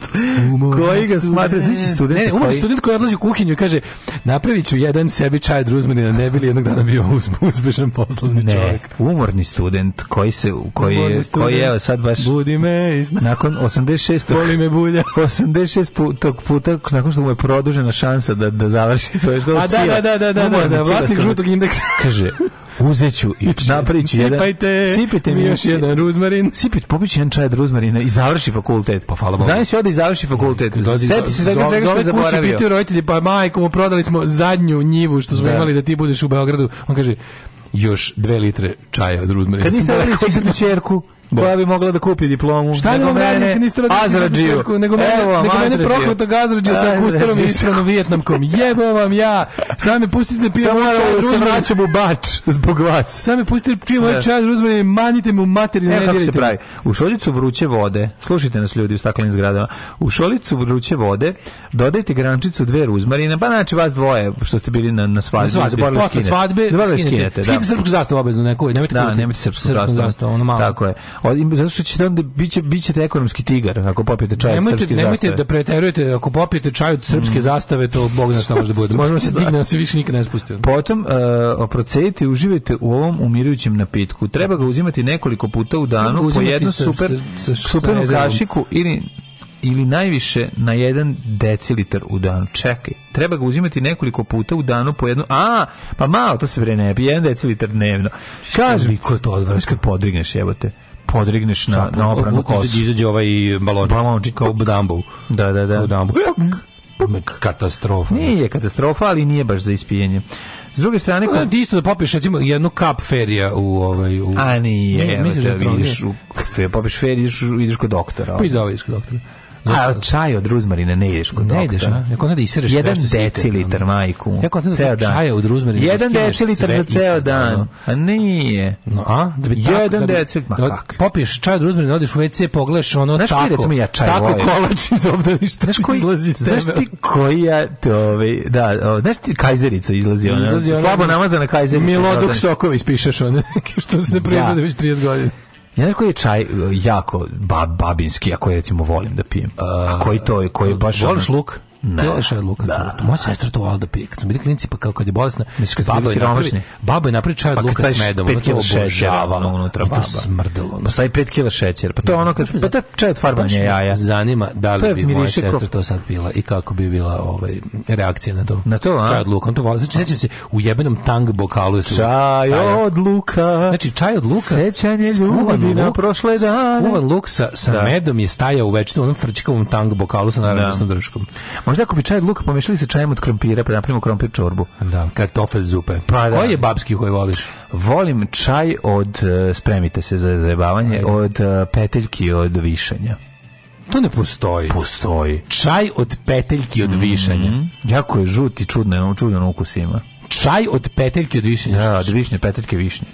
Speaker 8: koji ga smatra, znači student,
Speaker 7: Ne, ne, umorni student koji odlazi u kuhinju i kaže napravit ću jedan sebi čaj od ruzmanina, ne bi li jednog dana bio uz- uspešan poslovni
Speaker 8: ne,
Speaker 7: čovjek. Pa
Speaker 8: umorni student koji se, koji,
Speaker 7: Umorni
Speaker 8: je, koji
Speaker 7: student.
Speaker 8: je, evo sad baš,
Speaker 7: Budi me, i zna-
Speaker 8: nakon 86.
Speaker 7: boli me bulja.
Speaker 8: 86 putog puta nakon što mu je produžena šansa da da završi svoju školu.
Speaker 7: A da,
Speaker 8: Cila,
Speaker 7: da, da, da, da, da,
Speaker 8: umorni
Speaker 7: da,
Speaker 8: Cila
Speaker 7: vlasnik
Speaker 8: kaže-
Speaker 7: žutog indeksa.
Speaker 8: Kaže, uzeću i napraviću jedan...
Speaker 7: Sipajte,
Speaker 8: sipajte mi
Speaker 7: još jedan ruzmarin.
Speaker 8: Sipajte, popiću jedan čaj od ruzmarina i završi fakultet.
Speaker 7: Pa hvala Bogu.
Speaker 8: Znaš je ode i završi fakultet.
Speaker 7: Dođi,
Speaker 8: Sjeti se svega
Speaker 7: zove-
Speaker 8: svega što je
Speaker 7: zove kući
Speaker 8: zaboravio.
Speaker 7: pitaju roditelji, pa majko mu prodali smo zadnju njivu što smo
Speaker 8: Da.
Speaker 7: imali da ti budeš u Beogradu. On kaže, još dve litre čaja od ruzmarina.
Speaker 8: Kad niste
Speaker 7: Sam
Speaker 8: radili
Speaker 7: rekao,
Speaker 8: sisatu čerku,
Speaker 7: Da.
Speaker 8: koja bi mogla da kupi diplomu.
Speaker 7: Šta da
Speaker 8: nego
Speaker 7: vam radim kad niste rodili
Speaker 8: Azradžiju.
Speaker 7: Azradžiju? Nego mene,
Speaker 8: Evo vam
Speaker 7: nego mene
Speaker 8: Azradžiju.
Speaker 7: prokletog Azradžiju sa kustarom i
Speaker 8: Azradžiju.
Speaker 7: isranom vijetnamkom. Jebe vam ja! Sad me pustite da pijem
Speaker 8: Samo
Speaker 7: ovaj čaj
Speaker 8: da
Speaker 7: od
Speaker 8: se
Speaker 7: ruzmarina.
Speaker 8: vraćam u bač zbog vas.
Speaker 7: Sad me pustite da pijem ovaj
Speaker 8: Da.
Speaker 7: čaj od ruzmarina i manite mu materinu.
Speaker 8: Evo kako se pravi. U šoljicu vruće vode, slušajte nas ljudi u staklenim zgradama, u šoljicu vruće vode dodajte grančicu dve ruzmarine, pa znači vas dvoje što ste bili na, na svadbi. zaboravili
Speaker 7: posle
Speaker 8: skinete.
Speaker 7: svadbe,
Speaker 8: Zaboravili skinete, da.
Speaker 7: Skinite srpsku zastavu obavezno neku, nemojte
Speaker 8: Da,
Speaker 7: kupiti
Speaker 8: nemojte srpsku zastavu.
Speaker 7: ono malo.
Speaker 8: Tako je. O, im- zato što ćete onda, biće, bićete ekonomski tigar ako popijete čaj od
Speaker 7: Nemojte,
Speaker 8: srpske
Speaker 7: nemojte
Speaker 8: zastave. Mm.
Speaker 7: da preterujete, ako popijete čaj od srpske zastave, to Bog zna šta može da bude. Možemo se digne, da se više nikad ne spustio.
Speaker 8: Potom uh, procedite i uživajte u ovom umirujućem napitku. Treba ga uzimati nekoliko puta u
Speaker 7: Treba ga
Speaker 8: danu, po
Speaker 7: uzimati
Speaker 8: jednu
Speaker 7: sa-
Speaker 8: super,
Speaker 7: sa- sa-
Speaker 8: supernu
Speaker 7: sa jezerom.
Speaker 8: kašiku ili ili najviše na jedan decilitar u danu. Čekaj, treba ga uzimati nekoliko puta u danu po jednu... A, pa malo, to se bre ne bi, jedan decilitar dnevno. Kažem,
Speaker 7: Koliko je to odvratno?
Speaker 8: znaš kad podrigneš, jebote, podrigneš na,
Speaker 7: Sad,
Speaker 8: na opranu
Speaker 7: izađe-
Speaker 8: kosu.
Speaker 7: Izađe ovaj balončić,
Speaker 8: Balončić.
Speaker 7: kao Dumbo.
Speaker 8: Da, da,
Speaker 7: Kao
Speaker 8: da.
Speaker 7: Dumbo. Ma, Katastrofa.
Speaker 8: Nije katastrofa, ali nije baš za ispijenje. S druge strane,
Speaker 7: Ono ti isto da popiješ recimo jednu kap ferija u ovaj u
Speaker 8: A nije,
Speaker 7: Ne,
Speaker 8: evo
Speaker 7: misliš
Speaker 8: te,
Speaker 7: da je to ono?
Speaker 8: vidiš, u, fe, popiš fer, Pa ideš, u- ideš kod doktora. ono.
Speaker 7: Pa i za ovaj iskod doktora.
Speaker 8: A čaj od ruzmarine ne ideš kod doktora.
Speaker 7: Ne ideš, a? Jako ne da isereš sve
Speaker 8: Jedan
Speaker 7: što si
Speaker 8: decilitar,
Speaker 7: ite, ono.
Speaker 8: majku.
Speaker 7: Jako ne da
Speaker 8: ceo
Speaker 7: od
Speaker 8: dan.
Speaker 7: čaja od ruzmarine
Speaker 8: Jedan
Speaker 7: da skineš
Speaker 8: decilitar
Speaker 7: sve
Speaker 8: za ceo
Speaker 7: ite, ono.
Speaker 8: dan. A nije.
Speaker 7: No, a? Da bi tako,
Speaker 8: Jedan
Speaker 7: da bi-
Speaker 8: decilitar, ma
Speaker 7: da
Speaker 8: kakvi.
Speaker 7: Popiješ čaj od ruzmarine, odeš u WC, pogledaš ono
Speaker 8: Znaš koji,
Speaker 7: tako.
Speaker 8: recimo, ja čaj
Speaker 7: Tako
Speaker 8: volim?
Speaker 7: kolač iz ovde ništa
Speaker 8: Znaš koji,
Speaker 7: izlazi iz
Speaker 8: znaš
Speaker 7: tebe.
Speaker 8: ti koja, te, ovaj, da, o, znaš ti kajzerica izlazi, ona,
Speaker 7: Izlazi ono- ona-
Speaker 8: slabo namazana kajzerica.
Speaker 7: Miloduk sokovi ispišeš one, što se ne proizvode
Speaker 8: Da.
Speaker 7: već 30 godina.
Speaker 8: Ja znaš koji je čaj e, jako ba, babinski, a koji recimo volim da pijem. A koji to je, koji je baš...
Speaker 7: Voliš
Speaker 8: ono-
Speaker 7: luk? Ne. Ti voliš luk? Da. Moja sestra to volila da pije. Kad smo bili klinci, pa kao kad je bolesna,
Speaker 8: Misliš kad su
Speaker 7: baba
Speaker 8: bili
Speaker 7: je napravi-
Speaker 8: siromašni?
Speaker 7: Baba je napravi čaj od
Speaker 8: Pa kad
Speaker 7: luka
Speaker 8: staviš
Speaker 7: s medom.
Speaker 8: pet
Speaker 7: Ona to
Speaker 8: kila šećera,
Speaker 7: obožavala.
Speaker 8: ono, unutra,
Speaker 7: I to
Speaker 8: baba.
Speaker 7: smrdelo. ono.
Speaker 8: Postavi 5 kila šećera. Pa to je ono kad pa to je čaj od
Speaker 7: Baš
Speaker 8: farbanja
Speaker 7: me
Speaker 8: jaja.
Speaker 7: Zanima da
Speaker 8: To je
Speaker 7: li bi moja
Speaker 8: miriše ko-
Speaker 7: sestra to sad pila i kako bi bila ovaj reakcija na to.
Speaker 8: Na to, a?
Speaker 7: Čaj od luka. On to voli. Znači, sećam se, u jebenom tang bokalu je se
Speaker 8: Čaj
Speaker 7: stavio-
Speaker 8: od luka.
Speaker 7: Znači, čaj od luka,
Speaker 8: Sećanje
Speaker 7: skuvan
Speaker 8: ljubavi na
Speaker 7: luk-
Speaker 8: prošle dane.
Speaker 7: Skuvan luk sa, sa
Speaker 8: Da.
Speaker 7: medom je stajao u večnom onom frčkavom tang bokalu sa naranđastom drškom.
Speaker 8: Možda ako bi čaj od luka pomešali sa čajem od krompira, pa napravimo krompir čorbu.
Speaker 7: Da, kartofel zupe.
Speaker 8: Pa da.
Speaker 7: Koji je babski koji voliš?
Speaker 8: Volim čaj od, e, spremite se za zajebavanje, od e, peteljki od višanja.
Speaker 7: To ne postoji.
Speaker 8: Postoji. Mhm.
Speaker 7: Čaj od peteljki od višanja.
Speaker 8: Jako je žut i čudno, ono čudan ukus ima.
Speaker 7: Čaj od peteljki od višanja.
Speaker 8: Da, od višnje, peteljke višnje.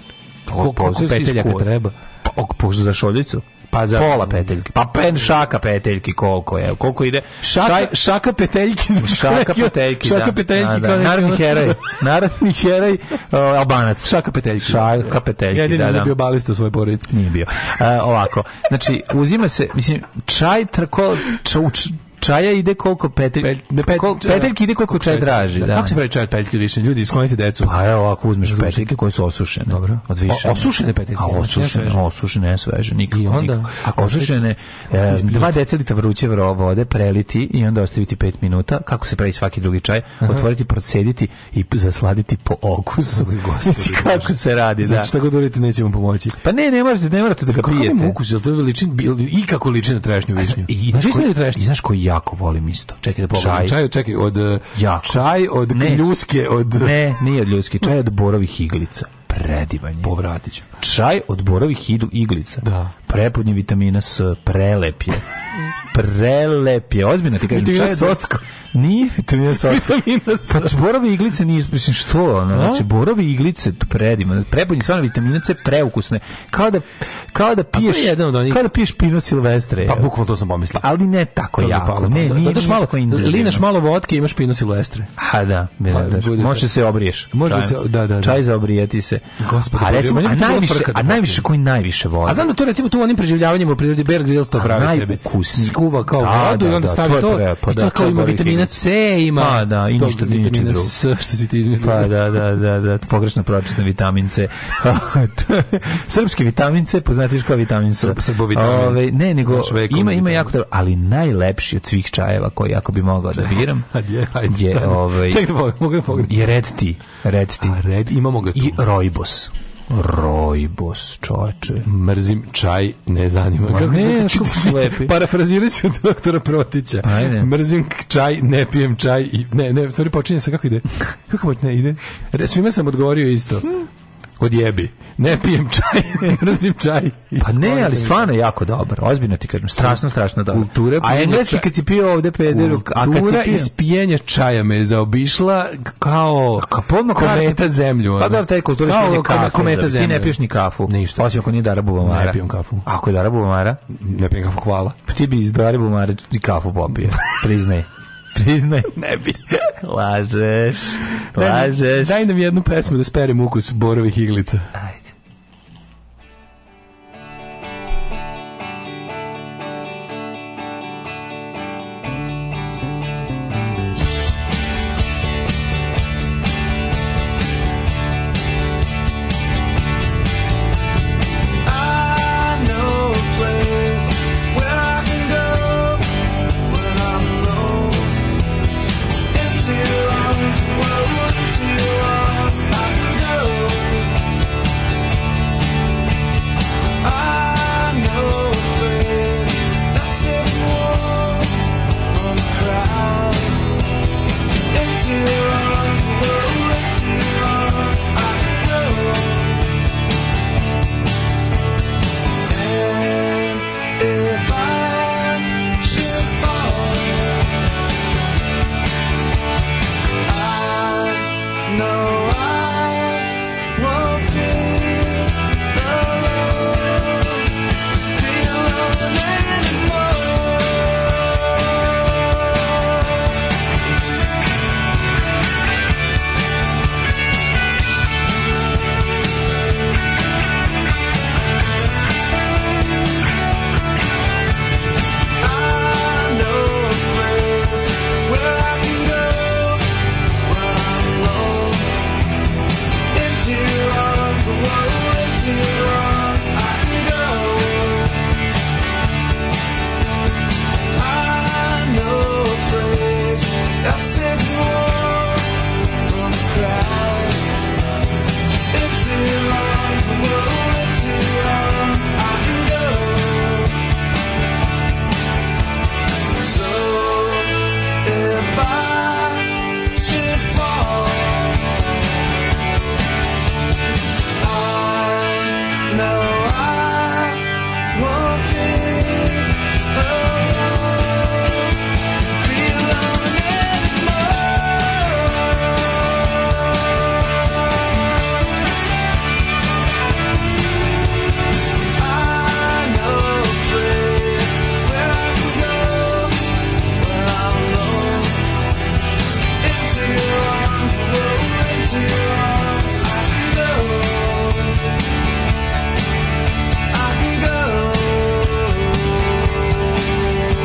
Speaker 7: Koliko- koliko peteljaka treba?
Speaker 8: Pa, ok, po- za šoljicu?
Speaker 7: Pa za-
Speaker 8: Pola peteljke. Pa pen šaka peteljki koliko je? Koliko ide? Čaj-
Speaker 7: Šaka, šaka peteljki. zvuči
Speaker 8: Šaka
Speaker 7: kao neki-
Speaker 8: peteljki, da.
Speaker 7: šaka peteljki.
Speaker 8: Da,
Speaker 7: kao
Speaker 8: da.
Speaker 7: neki
Speaker 8: Narodni
Speaker 7: ono-
Speaker 8: heroj. Narodni heroj uh, Albanac.
Speaker 7: Šaka peteljki.
Speaker 8: Šaka peteljki,
Speaker 7: Jedini
Speaker 8: da,
Speaker 7: da,
Speaker 8: da.
Speaker 7: bio balista u svojoj porodici.
Speaker 8: Nije bio. E, ovako, znači, uzima se, mislim, čaj trko, ča, u č- čaja ide koliko petelj,
Speaker 7: Pe- ne, pet-
Speaker 8: kol- peteljki ide koliko čaj traži. Da.
Speaker 7: Kako se pravi čaj od peteljki od višanja? Ljudi, sklonite decu.
Speaker 8: Pa evo, ako uzmeš peteljke koje su osušene.
Speaker 7: Dobro.
Speaker 8: Od više.
Speaker 7: O- osušene peteljke,
Speaker 8: A osušene,
Speaker 7: ne sveže.
Speaker 8: osušene, ne sveže, nikako.
Speaker 7: I onda?
Speaker 8: nikako.
Speaker 7: Ako
Speaker 8: osušene, e, dva decilita vruće vro- vode preliti i onda ostaviti pet minuta, kako se pravi svaki drugi čaj, otvoriti, procediti i p- zasladiti po okusu. Znači, kako se radi, da.
Speaker 7: Znači, šta god uradite, nećemo pomoći.
Speaker 8: Pa ne, ne morate, ne morate da ga
Speaker 7: Kako
Speaker 8: pijete.
Speaker 7: je ukus? Je li to ličin, je li ikako liči na trešnju višnju?
Speaker 8: I,
Speaker 7: Znaš
Speaker 8: znaš
Speaker 7: li je
Speaker 8: koji,
Speaker 7: trešnja?
Speaker 8: I znaš koji jako volim isto.
Speaker 7: Čekaj da pogledam.
Speaker 8: Čaj.
Speaker 7: Čaj, čekaj, od eh,
Speaker 8: Jako.
Speaker 7: čaj od
Speaker 8: Ne.
Speaker 7: kljuske od
Speaker 8: Ne, nije od ljudski, čaj od borovih iglica. Predivan je.
Speaker 7: povratit ću.
Speaker 8: čaj od borovih id- iglica.
Speaker 7: Da.
Speaker 8: Prepun je vitamina S, prelep je. Prelep je. Ozbiljno ti kažem,
Speaker 7: Vitamina
Speaker 8: čaj
Speaker 7: S.
Speaker 8: od ocko. Nije vitamina S.
Speaker 7: Vitamina S.
Speaker 8: Pa borove iglice nije, mislim što, ono, znači borove iglice tu predivno. Prepun je stvarno vitamina C preukusne. Kao da kao da piješ
Speaker 7: jedan od onih-
Speaker 8: kao da piješ pino silvestre.
Speaker 7: Pa
Speaker 8: je.
Speaker 7: bukvalno to sam pomislio.
Speaker 8: ali ne tako
Speaker 7: To mi je
Speaker 8: jako.
Speaker 7: palo.
Speaker 8: Ne,
Speaker 7: Da-
Speaker 8: nije
Speaker 7: dodaš
Speaker 8: nije
Speaker 7: pa, malo,
Speaker 8: tako intenzivno.
Speaker 7: linaš malo vodke, imaš pino silvestre.
Speaker 8: A da, da,
Speaker 7: Pa,
Speaker 8: da, da.
Speaker 7: bude
Speaker 8: može
Speaker 7: sve.
Speaker 8: se obriješ.
Speaker 7: Može
Speaker 8: čajem.
Speaker 7: se- da, da, da.
Speaker 8: Čaj za obrijeti se.
Speaker 7: Gospode
Speaker 8: a
Speaker 7: Bože,
Speaker 8: recimo,
Speaker 7: meni
Speaker 8: a
Speaker 7: bi bila
Speaker 8: najviše,
Speaker 7: frka da
Speaker 8: a
Speaker 7: popijem.
Speaker 8: najviše koji najviše voli.
Speaker 7: A znam da to recimo tu u onim preživljavanjima u prirodi Bear Grylls to pravi sebi.
Speaker 8: najukusniji.
Speaker 7: Skuva pa kao
Speaker 8: Da,
Speaker 7: vodu
Speaker 8: da,
Speaker 7: i onda
Speaker 8: da,
Speaker 7: stavi
Speaker 8: to
Speaker 7: to.
Speaker 8: je prelepo,
Speaker 7: i to
Speaker 8: da,
Speaker 7: kao
Speaker 8: to
Speaker 7: ima
Speaker 8: je
Speaker 7: vitamina vitamina C ima.
Speaker 8: Pa da, i
Speaker 7: tog
Speaker 8: ništa, ništa
Speaker 7: vitamina
Speaker 8: drugo.
Speaker 7: S, što si ti izmislio.
Speaker 8: Pa da, da, da, da, pogrešno pročitam vitamin C. Srpski vitamin C, poznatiš kao vitamin C.
Speaker 7: srbovitamin.
Speaker 8: Ove, ne, nego
Speaker 7: Naš vekovni
Speaker 8: ima, ima
Speaker 7: vitamin.
Speaker 8: jako dobro, ali najlepši od svih čajeva koji ako bi mogao Pa da biram
Speaker 7: Ajde, ajde.
Speaker 8: je,
Speaker 7: stani.
Speaker 8: ovaj,
Speaker 7: Čekaj pa da pogledam, mogu da pogledam.
Speaker 8: je red ti, red ti.
Speaker 7: A red, imamo ga tu.
Speaker 8: I rojbos. Rojbos, čoveče.
Speaker 7: mrzim čaj, ne zanima.
Speaker 8: Ma ne, kako su lepi.
Speaker 7: Parafrazirat ću doktora Protića.
Speaker 8: Ajde.
Speaker 7: Mrzim k- čaj, ne pijem čaj. I, ne, ne, sorry, počinje sa kako ide. Kako moć ne ide? Re- Svima sam odgovorio isto.
Speaker 8: Hm,
Speaker 7: Odjebi. Ne pijem čaj, mrzim čaj. I
Speaker 8: Pa ne,
Speaker 7: sklonite
Speaker 8: ali
Speaker 7: mi.
Speaker 8: stvarno je jako dobar. Ozbiljno ti kažem, strašno, strašno dobar.
Speaker 7: Kultura
Speaker 8: A
Speaker 7: pijenja
Speaker 8: engleski
Speaker 7: čaja.
Speaker 8: kad si pio ovde pederu, a kad si
Speaker 7: Kultura
Speaker 8: pio...
Speaker 7: iz pijenja čaja me je zaobišla kao
Speaker 8: Ka- polno
Speaker 7: kometa
Speaker 8: karta-
Speaker 7: zemlju.
Speaker 8: Pa
Speaker 7: ono.
Speaker 8: da, taj kultura
Speaker 7: Kao
Speaker 8: pije
Speaker 7: kom-
Speaker 8: kafu.
Speaker 7: kometa
Speaker 8: Ti
Speaker 7: zemlje.
Speaker 8: ne piješ ni kafu.
Speaker 7: Ništa.
Speaker 8: Osim ako nije Dara Bubamara.
Speaker 7: Ne pijem kafu.
Speaker 8: Ako je Dara Bubamara,
Speaker 7: Ne pijem kafu, hvala.
Speaker 8: pa ti bi iz Dara Bubamara i kafu popio. Priznaj. Priznaj. ne bi. Lažeš. Lažeš.
Speaker 7: Daj nam jednu pesmu da sperim ukus borovih iglica.
Speaker 8: Ajde.
Speaker 1: I know a place where I can go when I'm alone. Into your arms, well, into your arms I can go. I know a place that's safe and warm from the crowd. Into your arms, well, into your arms I can go. If I should fall, I know I won't be alone, be alone anymore. I can go. So if I should fall, I know I won't be alone, be alone anymore. I know a place where I can go when I'm alone. Into your arms, alone, into your arms, I can go. I can go.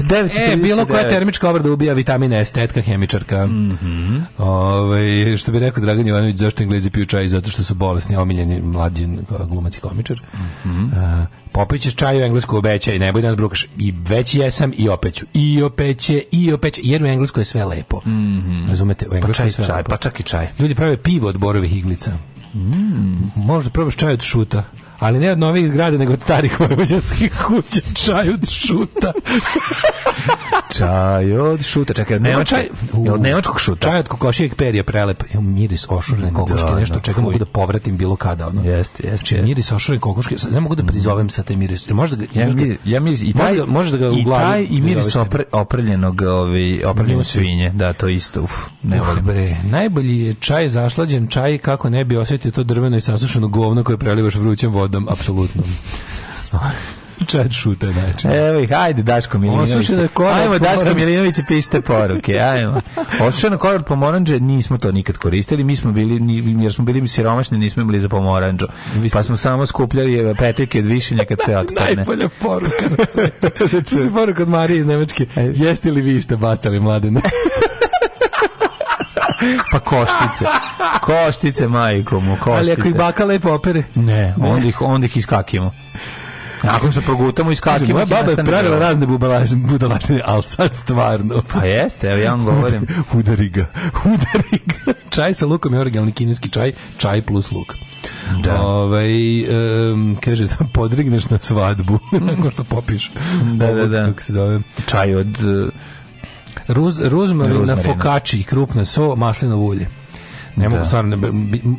Speaker 7: E,
Speaker 8: 9.39.
Speaker 7: bilo koja termička obrada ubija vitamine, estetka, hemičarka. Mm
Speaker 8: Mhm.
Speaker 7: što bi rekao Dragan Jovanović, zašto englezi piju čaj? Zato što su bolesni, omiljeni mlađi glumac i komičar. Mm
Speaker 8: Mhm.
Speaker 7: popićeš čaj u englesku obećaj, ne boj da nas brukaš. I već jesam i opet ću. I opet će, i opet će. Jer u engleskoj je sve lepo. Razumete? U
Speaker 8: Mhm. Pa
Speaker 7: engleskoj
Speaker 8: čaj,
Speaker 7: je sve
Speaker 8: čaj,
Speaker 7: lepo.
Speaker 8: pa čak i čaj.
Speaker 7: Ljudi prave pivo od borovih iglica. Možda probaš čaj od šuta. Ali ne od novih zgrada, nego od starih vojvođanskih kuća. Čaj od šuta.
Speaker 8: Čaj od šuta, čekaj, od
Speaker 7: Nema
Speaker 8: nemačkog,
Speaker 7: u,
Speaker 8: od nemačkog šuta.
Speaker 7: Čaj od kokošijeg perja prelep. Evo, miris ošurene kokoške,
Speaker 8: Da,
Speaker 7: nešto
Speaker 8: da,
Speaker 7: čega
Speaker 8: fuj.
Speaker 7: mogu da povratim bilo kada. Ono.
Speaker 8: Jeste, jeste,
Speaker 7: Znači,
Speaker 8: jeste.
Speaker 7: miris ošurene kokoške, sad ne mogu da prizovem sa te miris. Možda ga,
Speaker 8: Ja
Speaker 7: možda ga-
Speaker 8: mi, ja mi, i
Speaker 7: možda
Speaker 8: taj,
Speaker 7: ga- možda ga u
Speaker 8: i
Speaker 7: glavi
Speaker 8: taj i miris
Speaker 7: prizovem.
Speaker 8: opre, opreljenog, ovi, opreljene
Speaker 7: Njusi.
Speaker 8: svinje. Da, to isto, uf, ne
Speaker 7: Uh,
Speaker 8: volim.
Speaker 7: bre, najbolji je čaj zaslađen čaj kako ne bi osjetio to drveno i sasušeno govno koje prelivaš vrućom vodom, apsolutno. Chad Shooter, znači.
Speaker 8: Evo ih, ajde Daško Milinović. Ajmo Daško Milinović i pišite poruke, ajmo. Osušeno kolor pomoranđe nismo to nikad koristili, mi smo bili, jer smo bili siromašni, nismo imali za pomoranđu. Pa smo samo skupljali petike od višinja kad sve otpadne.
Speaker 7: Najbolja poruka na svetu. poruka od Marije iz Nemačke.
Speaker 8: E,
Speaker 7: Jeste li vi što bacali mladene?
Speaker 8: pa koštice. Koštice, majko mu, koštice.
Speaker 7: Ali ako ih baka lepo opere?
Speaker 8: Ne, onda ih, onda ih iskakimo. Nakon što progutamo iz kakima...
Speaker 7: Moja baba je pravila razne budalačne, ali sad stvarno.
Speaker 8: Pa jeste, evo ja vam govorim.
Speaker 7: udari ga, udari ga. Čaj sa lukom je originalni kineski čaj, čaj plus luk. Da. Ove, um, kaže, da podrigneš na svadbu, nakon što popiš.
Speaker 8: Mhm. Da, Ovo, da, da.
Speaker 7: Kako se zove.
Speaker 8: Čaj od... Uh,
Speaker 7: Ruz, ruzmarina, fokači, krupna so, maslinovo ulje. Ne mogu da. stvarno,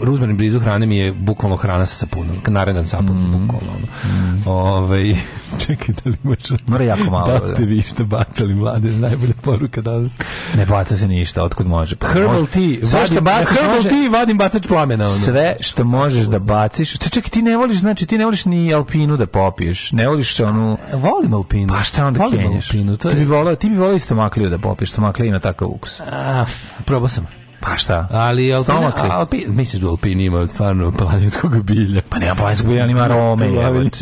Speaker 7: ruzmarin blizu hrane mi je bukvalno hrana sa sapunom, naredan sapun,
Speaker 8: Mhm.
Speaker 7: mm. bukvalno. Ono. Mm. Ove, čekaj, da li imaš...
Speaker 8: Mora jako malo.
Speaker 7: Da ste vi što bacali mlade, najbolja poruka danas.
Speaker 8: Ne baca se ništa, otkud može.
Speaker 7: Pa, herbal može, tea, sve vadim, što baciš, herbal može, tea, vadim bacač plamena. Ono.
Speaker 8: Sve što možeš da baciš, to čekaj, ti ne voliš, znači ti ne voliš ni alpinu da popiješ, ne voliš onu...
Speaker 7: Volim alpinu.
Speaker 8: Pa šta onda
Speaker 7: Volim
Speaker 8: kenješ?
Speaker 7: Alpinu, to je...
Speaker 8: Ti bi volao, ti bi volao i stomakliju da popiješ, stomaklija ima takav ukus.
Speaker 7: A, probao sam.
Speaker 8: Pa šta?
Speaker 7: Ali Alpina, Alpina, misliš da Alpina ima stvarno planinskog bilja?
Speaker 8: Pa nema planinskog bilja, ali ima Rome.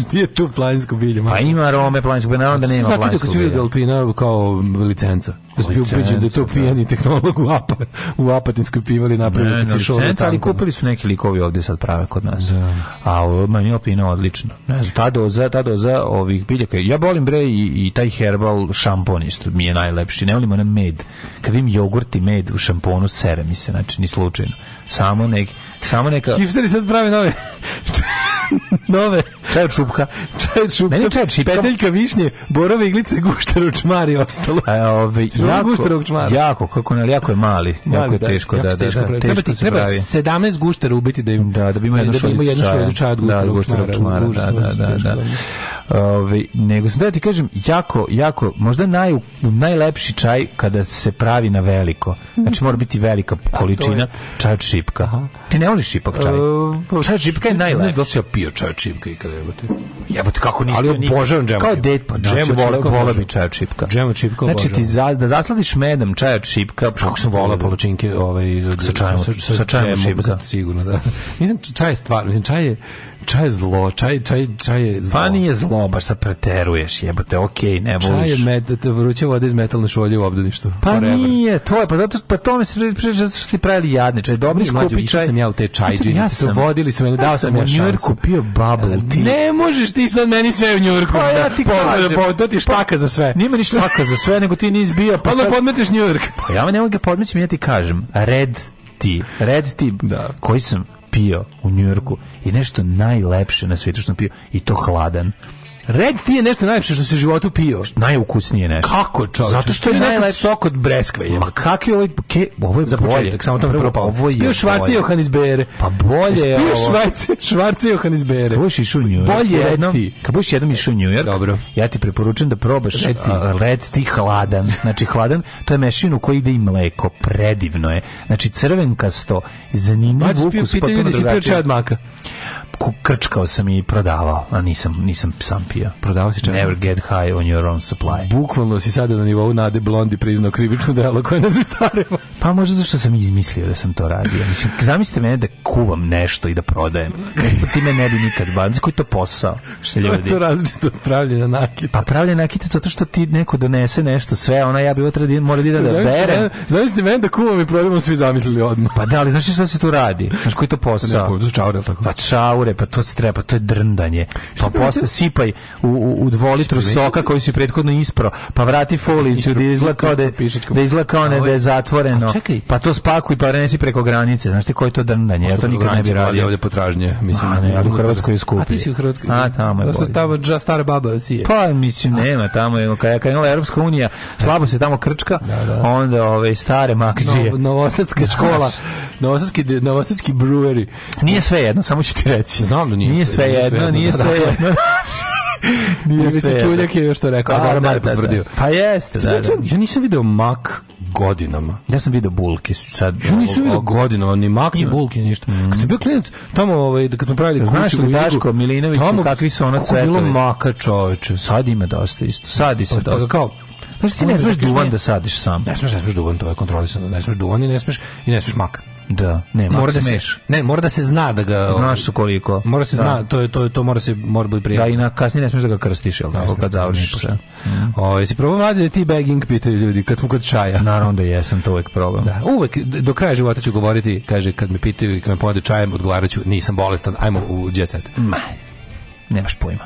Speaker 7: Gdje je tu planinsko bilje?
Speaker 8: Pa ima Rome, planinskog bilja, naravno da nema planinskog bilja. Znači
Speaker 7: da si vidio da Alpina kao licenca. Ja sam bio ubeđen da je to pijani tehnolog u, Apa, u Apatinskoj pivali napravili
Speaker 8: ne,
Speaker 7: picu šole.
Speaker 8: ali kupili su neki likovi ovdje sad prave kod nas. Da. A ovo meni opina odlično. Ne znam, ta doza, ta doza ovih biljaka. Ja volim bre i, i taj herbal šampon isto mi je najlepši. Ne volim onaj med. Kad vidim jogurt i med u šamponu, sere mi se, znači ni slučajno. Samo, nek, samo neka...
Speaker 7: Hipsteri sad pravi nove... nove.
Speaker 8: Čaj od šupka.
Speaker 7: Čaj od šupka.
Speaker 8: Meni čaj od šipka.
Speaker 7: Peteljka višnje, borove iglice, guštar čmari ostalo.
Speaker 8: E, ove,
Speaker 7: jako, guštarog čmara.
Speaker 8: Jako, kako ne, jako je mali. mali jako je teško, da, da, da,
Speaker 7: teško da, treba, ti, treba 17 guštara ubiti da im
Speaker 8: da, da bi imao jednu šoljicu
Speaker 7: da čaja. čaja od guštarog, da, guštarog čmara.
Speaker 8: Da, da, da, da. Ove, nego sam da ti kažem, jako, jako, možda naj, najlepši čaj kada se pravi na veliko. Znači mora biti velika količina čaj od šipka. Aha. Ti ne voliš šipak čaj?
Speaker 7: E,
Speaker 8: Uh, čaj od šipka je najlepši.
Speaker 7: Ne znam pio čaj od šipka ikada jebote.
Speaker 8: Jebote kako nisi
Speaker 7: Ali obožavam džem.
Speaker 8: Kao dete pa džem znači, vole vole bi čaj od šipka.
Speaker 7: Džem od šipka
Speaker 8: Znači obožavam. ti za, da zasladiš medom čaj od šipka, pa-
Speaker 7: kako sam vola palačinke ovaj
Speaker 8: sa čajem sa, sa čajem šipka
Speaker 7: sigurno da. Mislim čaj je stvar, mislim čaj je čaj je zlo, čaj, čaj, čaj je zlo.
Speaker 8: Pa nije zlo, baš sad preteruješ, jebote, okej, okay, ne voliš.
Speaker 7: Čaj je med, vruća voda iz metalne šolje u obdaništu.
Speaker 8: Pa forever. nije, to je, pa zato, pa to mi se priča, zato što ti pravili jadni čaj, dobri skupi čaj.
Speaker 7: sam ja u te čajđine, ja sam, to vodili su me, dao sam ja šansu.
Speaker 8: Ja E, sam u kupio bubble tea.
Speaker 7: Ne možeš ti sad meni sve u Njujorku.
Speaker 8: Pa ja ti kažem.
Speaker 7: Pa, to ti je štaka za sve.
Speaker 8: Nije meni štaka za sve, nego ti nisi bio.
Speaker 7: Pa onda podmeteš Njujork.
Speaker 8: Pa ja me ne mogu ga podmećem, ja ti kažem, red ti, red ti, da. koji sam pio u Njujorku i nešto najlepše na svijetu što sam pio i to hladan.
Speaker 7: Red ti je nešto najlepše što se u životu pio.
Speaker 8: Najukusnije nešto.
Speaker 7: Kako čovječe?
Speaker 8: Zato što je najlepši
Speaker 7: sok od breskve.
Speaker 8: Ma kakvi ovaj ke, ovo je
Speaker 7: za
Speaker 8: bolje.
Speaker 7: početak, samo tamo prvo pao. Pio švarce Johannisbere.
Speaker 8: Pa bolje je
Speaker 7: Pio švarce, švarce Johannisbere.
Speaker 8: Kad budeš išao u New York,
Speaker 7: bolje red ti.
Speaker 8: Kad budeš jednom išao u New York,
Speaker 7: Dobro.
Speaker 8: ja ti preporučujem da probaš red ti, a, red ti hladan. Znači hladan, to je mešavina u kojoj ide i mleko, predivno je. Znači crvenkasto, zanimljiv
Speaker 7: Mači, ukus, potpuno drugačije. Pitanje da si pio čaj od maka
Speaker 8: krčkao sam i prodavao, a nisam, nisam sam pio.
Speaker 7: Prodavao si čak?
Speaker 8: Never get high on your own supply.
Speaker 7: Bukvalno si sada na nivou Nade Blondi priznao krivično delo koje nas zastareva.
Speaker 8: Pa možda zašto sam izmislio da sam to radio. Mislim, zamislite mene da kuvam nešto i da prodajem. Nešto time ne bi nikad bavio. Koji to posao?
Speaker 7: Što je to različito od pravljena nakita?
Speaker 8: Pa pravljena nakita zato što ti neko donese nešto, sve, ona ja bi ovo treba mora da, da berem.
Speaker 7: Zamislite mene da kuvam i prodajemo svi zamislili odmah.
Speaker 8: Pa da, ali znaš što se tu radi? Znaš koji to posao?
Speaker 7: Ne, čaure, tako?
Speaker 8: Pa čaure, pa to se treba, to je drndanje. Pa posle sipaj u, u, u dvolitru soka koji si prethodno isprao, pa vrati folicu da izgleda kao da, da izgleda kao ne da
Speaker 7: Ovaj-
Speaker 8: je zatvoreno. Pa to spakuj pa renesi preko granice. Znaš ti koje je to drndanje? Ja to nikad ne bi radio.
Speaker 7: Ovdje potražnje, mislim.
Speaker 8: A ne, ali u Hrvatskoj je skupi.
Speaker 7: A ti si u Hrvatskoj.
Speaker 8: A tamo je
Speaker 7: bolje. Da tamo dža stara baba sije.
Speaker 8: Pa mislim nema, tamo je kad je krenula Evropska unija, slabo se tamo krčka, onda ove stare makđije.
Speaker 7: No, novosadska škola, novosadski novosadski brewery.
Speaker 8: Nije sve jedno, samo ću ti reći.
Speaker 7: Znam da nije,
Speaker 8: nije sve
Speaker 1: é,
Speaker 8: jedno, nije sve jedno.
Speaker 7: Nije sve jedno. Čuljak je još to rekao, a, da,
Speaker 8: da,
Speaker 7: da,
Speaker 8: potvrdio. Pa jeste, da, da.
Speaker 7: Ja nisam video mak godinama.
Speaker 8: Ja sam vidio bulke sad.
Speaker 7: Ja nisam vidio godinama, ni makni bulke, ništa. Kad sam bio klinac, tamo, ovaj, kad smo pravili kuću
Speaker 8: Znaš li Daško Milinović,
Speaker 7: tamo
Speaker 8: kakvi su ona
Speaker 7: cvetovi? Bilo
Speaker 8: cvetovi?
Speaker 7: maka čoveče.
Speaker 8: Sad ima dosta isto. Sad i se
Speaker 7: Pa- pa
Speaker 8: dosta.
Speaker 7: kao,
Speaker 8: Znaš ti
Speaker 7: Ono
Speaker 8: ne
Speaker 7: je
Speaker 8: smeš
Speaker 7: zato što
Speaker 8: duvan
Speaker 7: nije-
Speaker 8: da sadiš sam.
Speaker 7: Ne smeš, ne smeš duvan, to je kontrolisano. Ne smeš duvan i ne smeš, i ne smeš maka.
Speaker 8: Da, ne,
Speaker 7: mora da se,
Speaker 8: smeš.
Speaker 7: ne, mora da se zna da ga... ovaj,
Speaker 8: Znaš su koliko.
Speaker 7: Mora se
Speaker 8: Da.
Speaker 7: zna, to je to je to mora se mora biti
Speaker 8: Da,
Speaker 7: prijatno.
Speaker 8: i na kasnije ne smeš da ga krstiš, jel tako, kad završiš sve. Mhm.
Speaker 7: Ovaj si probao mlađe da ti begging pitaju ljudi kad smo kod čaja.
Speaker 8: Naravno da jesam, to uvek problem.
Speaker 7: Da, uvek d- do kraja života ću govoriti, kaže kad me pitaju i kad me povode čajem, odgovaraću nisam bolestan, ajmo u jet set.
Speaker 8: Ma, nemaš pojma.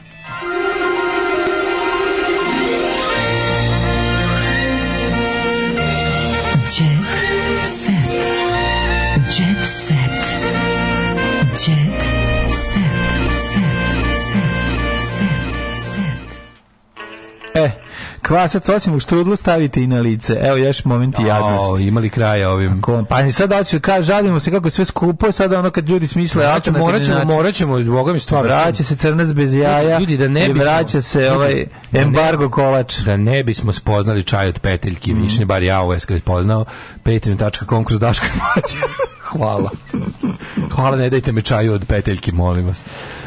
Speaker 12: Jet set. Jet set. Jet set. Set. Set. Set.
Speaker 8: E, kvasac osim u štrudlu stavite i na lice. Evo, još moment i
Speaker 7: O,
Speaker 8: jadnost.
Speaker 7: imali kraja ovim.
Speaker 8: Ko- Pa i sad hoće, kaže, žalimo se kako je sve skupo, sada ono kad ljudi smisle
Speaker 7: Morat ćemo, morat ćemo, morat ćemo, boga mi stvarno.
Speaker 8: Vraća se crnac bez jaja
Speaker 7: Ljudi, da ne
Speaker 8: i
Speaker 7: bismo-
Speaker 8: vraća se
Speaker 7: ljudi,
Speaker 8: ovaj
Speaker 7: da ne-
Speaker 8: embargo kolač. Mhm.
Speaker 7: da ne bismo spoznali čaj od peteljki, mm. više bar ja ovo je spoznao, patreon.com kroz Daška Mlađa. Hvala. Hvala, ne dajte me čaju od peteljki, molim vas.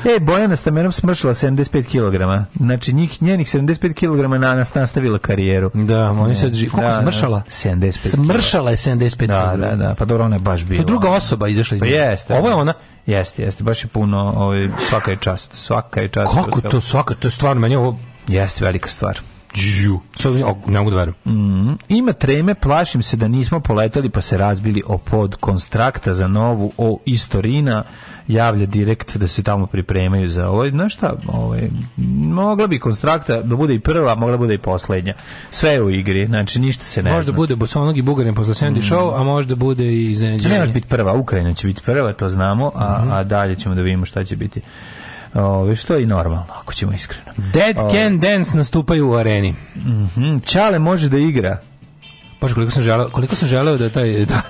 Speaker 8: E, Bojana Stamenov smršila 75 kg. Znači, njih, njenih 75 kg na nas nastavila karijeru.
Speaker 7: Da, oni sad živi. Koliko
Speaker 8: Da,
Speaker 7: smršala?
Speaker 8: da, 75 kila.
Speaker 7: Smršala je 75
Speaker 8: Da,
Speaker 7: kila.
Speaker 8: da, da. Pa dobro, ona je baš bila.
Speaker 7: Pa druga osoba izašla iz
Speaker 8: Pa
Speaker 7: nje.
Speaker 8: jeste.
Speaker 7: Ovo je ona.
Speaker 8: Jeste, jeste. Baš je puno, ovaj, svaka je čast. Svaka je čast.
Speaker 7: Kako to svaka, to je stvarno meni ovo...
Speaker 8: Jeste velika stvar.
Speaker 7: Džu. Sad, o, ne mogu da verujem.
Speaker 8: Mhm. Ima treme, plašim se da nismo poletali pa se razbili o pod konstrakta za novu o istorina javlja direkt da se tamo pripremaju za ovo. Znaš šta, ovaj, mogla bi konstrakta da bude i prva, mogla da bude i poslednja. Sve je u igri, znači ništa se ne
Speaker 7: Možda
Speaker 8: zna. Mhm.
Speaker 7: bude Bosonog i Bugarin posle Sandy show, a možda bude i
Speaker 8: Ne može
Speaker 7: iznenađenje.
Speaker 8: biti prva, Ukrajina će biti prva, to znamo, a,
Speaker 7: Mhm.
Speaker 8: a dalje ćemo da vidimo šta će biti. Ove, što je i normalno, ako ćemo iskreno.
Speaker 7: Dead Can Dance nastupaju u areni.
Speaker 8: Mhm, Čale može da igra.
Speaker 7: Bože, koliko sam želeo, koliko sam želeo da taj da,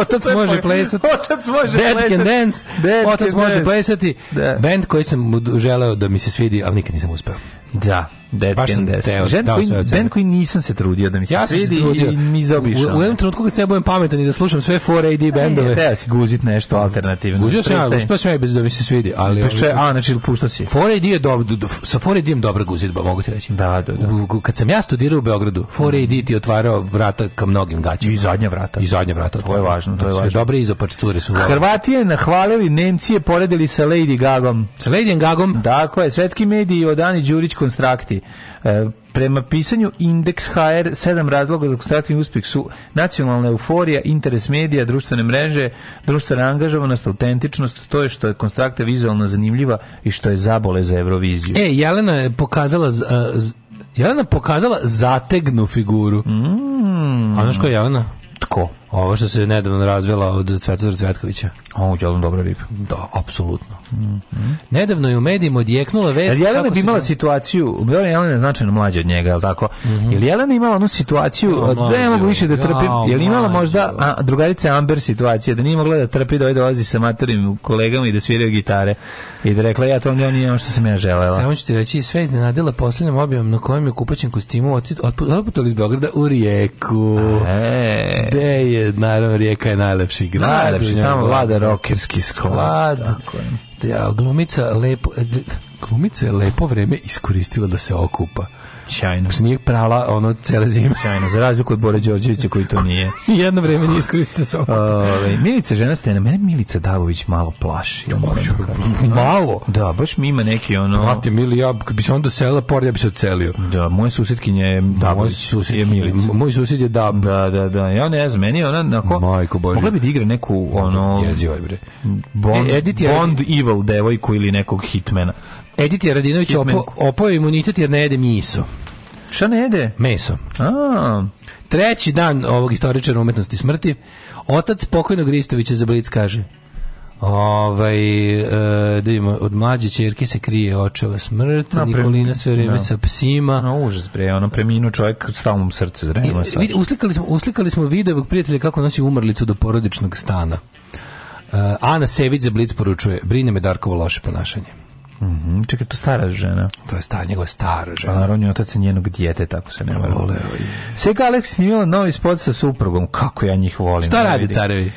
Speaker 7: otac može plesati.
Speaker 8: Otac može
Speaker 7: Dead
Speaker 8: plesati.
Speaker 7: Can Dance,
Speaker 8: Dead
Speaker 7: otac
Speaker 8: Can
Speaker 7: može
Speaker 8: Dance.
Speaker 7: plesati.
Speaker 8: Da.
Speaker 7: Band koji sam mu želeo da mi se svidi, ali nikad nisam uspeo.
Speaker 8: Da, Dead
Speaker 7: Baš sam
Speaker 8: Can Dance.
Speaker 7: teo-
Speaker 8: Band
Speaker 7: dao
Speaker 8: koji,
Speaker 7: sve od sebe.
Speaker 8: band koji nisam se trudio da mi se
Speaker 7: Ja sam se
Speaker 8: svidi
Speaker 7: trudio.
Speaker 8: i ono. mi
Speaker 7: U,
Speaker 8: zaobišao.
Speaker 7: u jednom trenutku kad se ja budem pametan i da slušam sve 4AD
Speaker 8: Ne,
Speaker 7: bendove,
Speaker 8: Teo si guzit nešto alternativno.
Speaker 7: Uđeo sam ja,
Speaker 8: Prestaj.
Speaker 7: uspeo sam ja i bez da mi se svidi, ali...
Speaker 8: Pušta je- a, znači, pušta si.
Speaker 7: 4AD je dobro, do- do- sa 4AD je dobra guzidba, mogu ti reći.
Speaker 8: Da, da, da.
Speaker 7: U- u- Kad sam ja studirao u Beogradu, 4AD ti je otvarao vrata ka mnogim gaćama.
Speaker 8: I zadnja vrata.
Speaker 7: I zadnja vrata.
Speaker 8: To je važno, to je
Speaker 7: Sve
Speaker 8: važno.
Speaker 7: dobre izopač cure su. Hrva...
Speaker 8: Hrvatije nahvalili, Nemci je poredili sa Lady Gagom.
Speaker 7: Sa Lady Gagom,
Speaker 8: Tako je, svetski mediji od Ani Đurić konstrakti. E, prema pisanju Index HR, sedam razloga za konstraktivni uspjeh su nacionalna euforija, interes medija, društvene mreže, društvena angažovanost, autentičnost, to je što je konstrakta vizualno zanimljiva i što je zabole za Euroviziju.
Speaker 7: E, Jelena je pokazala z- a, z- Jelena je pokazala zategnu figuru. Mm. A znaš ko je Jelena?
Speaker 8: tko?
Speaker 7: Ovo što se nedavno razvela od Svetozara Cvetkovića.
Speaker 8: O, jelom dobra riba.
Speaker 7: Da, apsolutno. Nedavno je u medijima odjeknula vest...
Speaker 8: Mhm. Jel Jelena
Speaker 7: E, kako
Speaker 8: bi
Speaker 7: se-
Speaker 8: imala situaciju, Jelena Jelena je značajno mlađa od njega, jel tako? Jel Jelena imala onu situaciju,
Speaker 7: Jao,
Speaker 8: da ne
Speaker 7: mlađo,
Speaker 8: mogu više da trpim,
Speaker 7: Mhm. jao,
Speaker 8: jel imala
Speaker 7: mlađo.
Speaker 8: možda a, drugarice Amber situacije, da nije mogla da trpi da ovaj dolazi sa maturim kolegama i da sviraju gitare i da rekla ja to ja nije ono što sam ja želela.
Speaker 7: Samo ću ti reći, sve iznenadila posljednjom objavom na kojem je u kupaćem kostimu otit- otpu- otputala iz Beograda u rijeku.
Speaker 8: E,
Speaker 7: Gde je, naravno, rijeka je najlepši grad. U
Speaker 8: najlepši,
Speaker 7: njoj
Speaker 8: tamo
Speaker 7: vlada
Speaker 8: vlada rokerski sklad.
Speaker 7: Sklad. Ja, glumica lepo e, gl- glumica je lepo vreme iskoristila da se okupa.
Speaker 8: Sjajno.
Speaker 7: Znači nije prala ono cele zime.
Speaker 8: Sjajno, za razliku od Bore Đorđevića koji to nije.
Speaker 7: Jedno vreme nije iskoristila da se okupa.
Speaker 8: Ove, ovaj, Milica žena stena, mene Milica Davović malo plaši. ja moram da kažem.
Speaker 7: Malo.
Speaker 8: Da, baš mi ima neki ono...
Speaker 7: Mati mili, ja kad bi se onda selila pored, ja bi se odselio.
Speaker 8: Da, moja susjetkinja je
Speaker 7: Moj
Speaker 8: Davović,
Speaker 7: susjed,
Speaker 8: je Milica.
Speaker 7: moj susjed je Dab.
Speaker 8: Da, da, da. Ja ne znam, meni je ona onako...
Speaker 7: Majko Božja.
Speaker 8: Mogla bi da igra neku, ono...
Speaker 7: Jezivo je, bre.
Speaker 8: Bond,
Speaker 7: E, Edith je-
Speaker 8: Bond Evil devojku ili nekog hitmana.
Speaker 7: Edith Jaradinović
Speaker 8: Hitman.
Speaker 7: opo, opao je imunitet jer ne jede miso.
Speaker 8: Šta ne jede?
Speaker 7: Meso.
Speaker 8: A,
Speaker 7: Treći dan ovog istoričara umetnosti smrti, otac pokojnog Ristovića za Blic kaže Ovaj, e, da vidimo, od mlađe čerke se krije očeva smrt,
Speaker 8: Na, pre-
Speaker 7: Nikolina sve vreme
Speaker 8: da.
Speaker 7: sa psima.
Speaker 8: no, užas bre, ono preminu čovjek stalno mu srce zrema
Speaker 7: I,
Speaker 8: sad.
Speaker 7: vidi, uslikali, smo, uslikali smo videovog prijatelja kako nosi umrlicu do Eh, porodičnog stana. E, Ana Sević za Blic poručuje, brine me Darkovo loše ponašanje.
Speaker 8: Mhm, mm čekaj, to stara žena.
Speaker 7: To je stara, njegova stara žena.
Speaker 8: A Pa, naravno, otac je njenog dijete, tako se ne vole. Sega Alex snimila novi spot sa suprugom, kako ja njih volim.
Speaker 7: Šta radi carevi?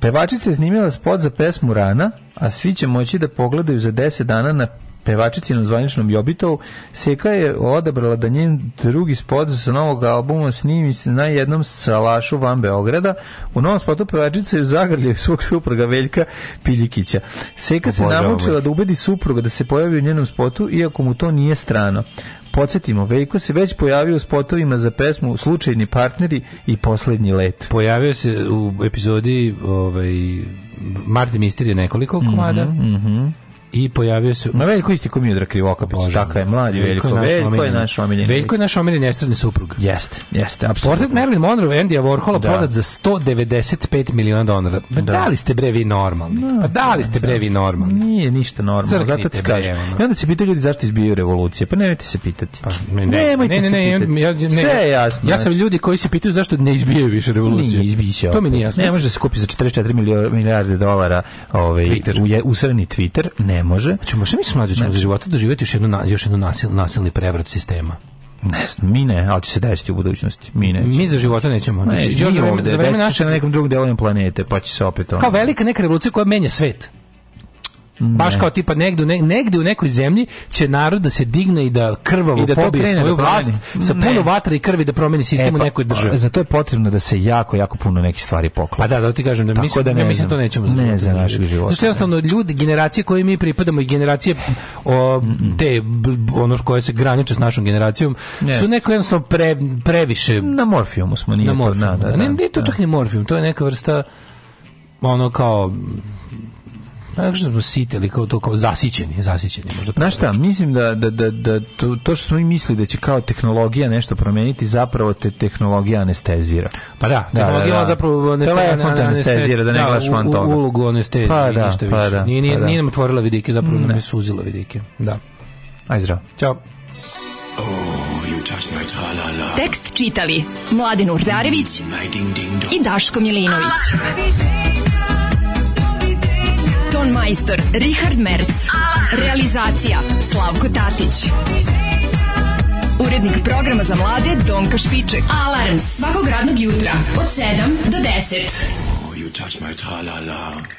Speaker 8: Pevačica je snimila spot za pesmu Rana, a svi će moći da pogledaju za 10 dana na pevačicinom zvaničnom Jobitovu, Seka je odabrala da njen drugi spot sa novog albuma snimi se na jednom salašu van Beograda. U novom spotu pevačica je zagrlja svog supruga Veljka Piljikića. Seka se namučila da ubedi supruga da se pojavi u njenom spotu, iako mu to nije strano. Podsjetimo, Veljko se već pojavio u spotovima za pesmu Slučajni partneri i Poslednji let.
Speaker 7: Pojavio se u epizodi ovaj, Marti Misterije nekoliko
Speaker 8: Mhm,
Speaker 7: komada. Mm -hmm, mm -hmm i pojavio se...
Speaker 8: Na veliko isti ko Miodrag Krivokapić, taka je mladi veliko, veliko je naš omiljeni.
Speaker 7: Veliko je naš omiljeni nestradni suprug.
Speaker 8: Jeste, jeste,
Speaker 7: apsolutno. Portret Marilyn Monroe, Andy Warhola da. prodat za 195 miliona dolara. Pa da. da li ste brevi normalni? Da, pa da li ste brevi normalni? ono.
Speaker 8: Nije ništa normalno, Crknite zato ti kažem. I onda se pitaju ljudi zašto izbijaju revolucije, pa nemojte se pitati. Pa,
Speaker 7: ne, ne, ne, ne, ne, ne, ja, ne,
Speaker 8: Sve je jasno. znači.
Speaker 7: Ja sam ljudi koji se pitaju zašto ne izbijaju više revolucije.
Speaker 8: Nije izbijao.
Speaker 7: To mi nije jasno.
Speaker 8: Ne može se kupiti za 44 milijarde dolara ovaj, Twitter. U, usrani Twitter, ne može. Znači-
Speaker 7: Hoćemo što mi smo mlađi ćemo za života doživjeti još jednu još jednu nasil, nasilni prevrat sistema.
Speaker 8: Ne znam, mi ne, ali će se desiti u budućnosti. Mi, nećemo.
Speaker 7: mi za života nećemo.
Speaker 8: Ne, znači, još vreme, ovde, za vreme naše... na nekom drugom delu planete, pa će se opet... Ono...
Speaker 7: Kao velika neka revolucija koja menja svet. Ne. Baš kao tipa negde, ne, negde u nekoj zemlji će narod da se digne i da krvavo I da pobije svoju da vlast sa puno ne. vatra i krvi da promeni sistem e, pa, u nekoj državi.
Speaker 8: Za to je potrebno da se jako, jako puno nekih stvari poklapa.
Speaker 7: Pa da, zato ti kažem da, Tako mislim, da ne ja mislim to nećemo
Speaker 8: ne za, za našeg života.
Speaker 7: Zašto jednostavno ljudi, generacije koje mi pripadamo i generacije o, te, ono koje se graniče s našom generacijom ne, su neko jednostavno pre, previše...
Speaker 8: Na morfijumu smo, nije
Speaker 7: na morfijumu,
Speaker 8: to. Da, da,
Speaker 7: ne, nije to čak ni morfijum, to je neka vrsta ono kao Tako što smo siteli, kao to kao zasićeni, zasićeni. Možda
Speaker 8: Znaš šta, mislim da, da, da, da to, to što smo mi mislili da će kao tehnologija nešto promeniti, zapravo te tehnologija anestezira.
Speaker 7: Pa da, tehnologija da, da, zapravo
Speaker 8: anestezira. Telefon te anestezira, da ne gledaš van toga.
Speaker 7: ulogu anestezije, pa, da, ništa pa, više. Da, nije, nije, pa, da. nije nam otvorila vidike, zapravo nam je suzila vidike. Da.
Speaker 8: Aj zdravo.
Speaker 7: Ćao.
Speaker 16: Tekst čitali Mladin Urdarević i Daško Milinović. Ton majstor Richard Merc. Realizacija Slavko Tatić. Urednik programa za mlade Donka Špiček. Alarms svakog radnog jutra od 7 do 10. Oh, you touch my tra-la-la.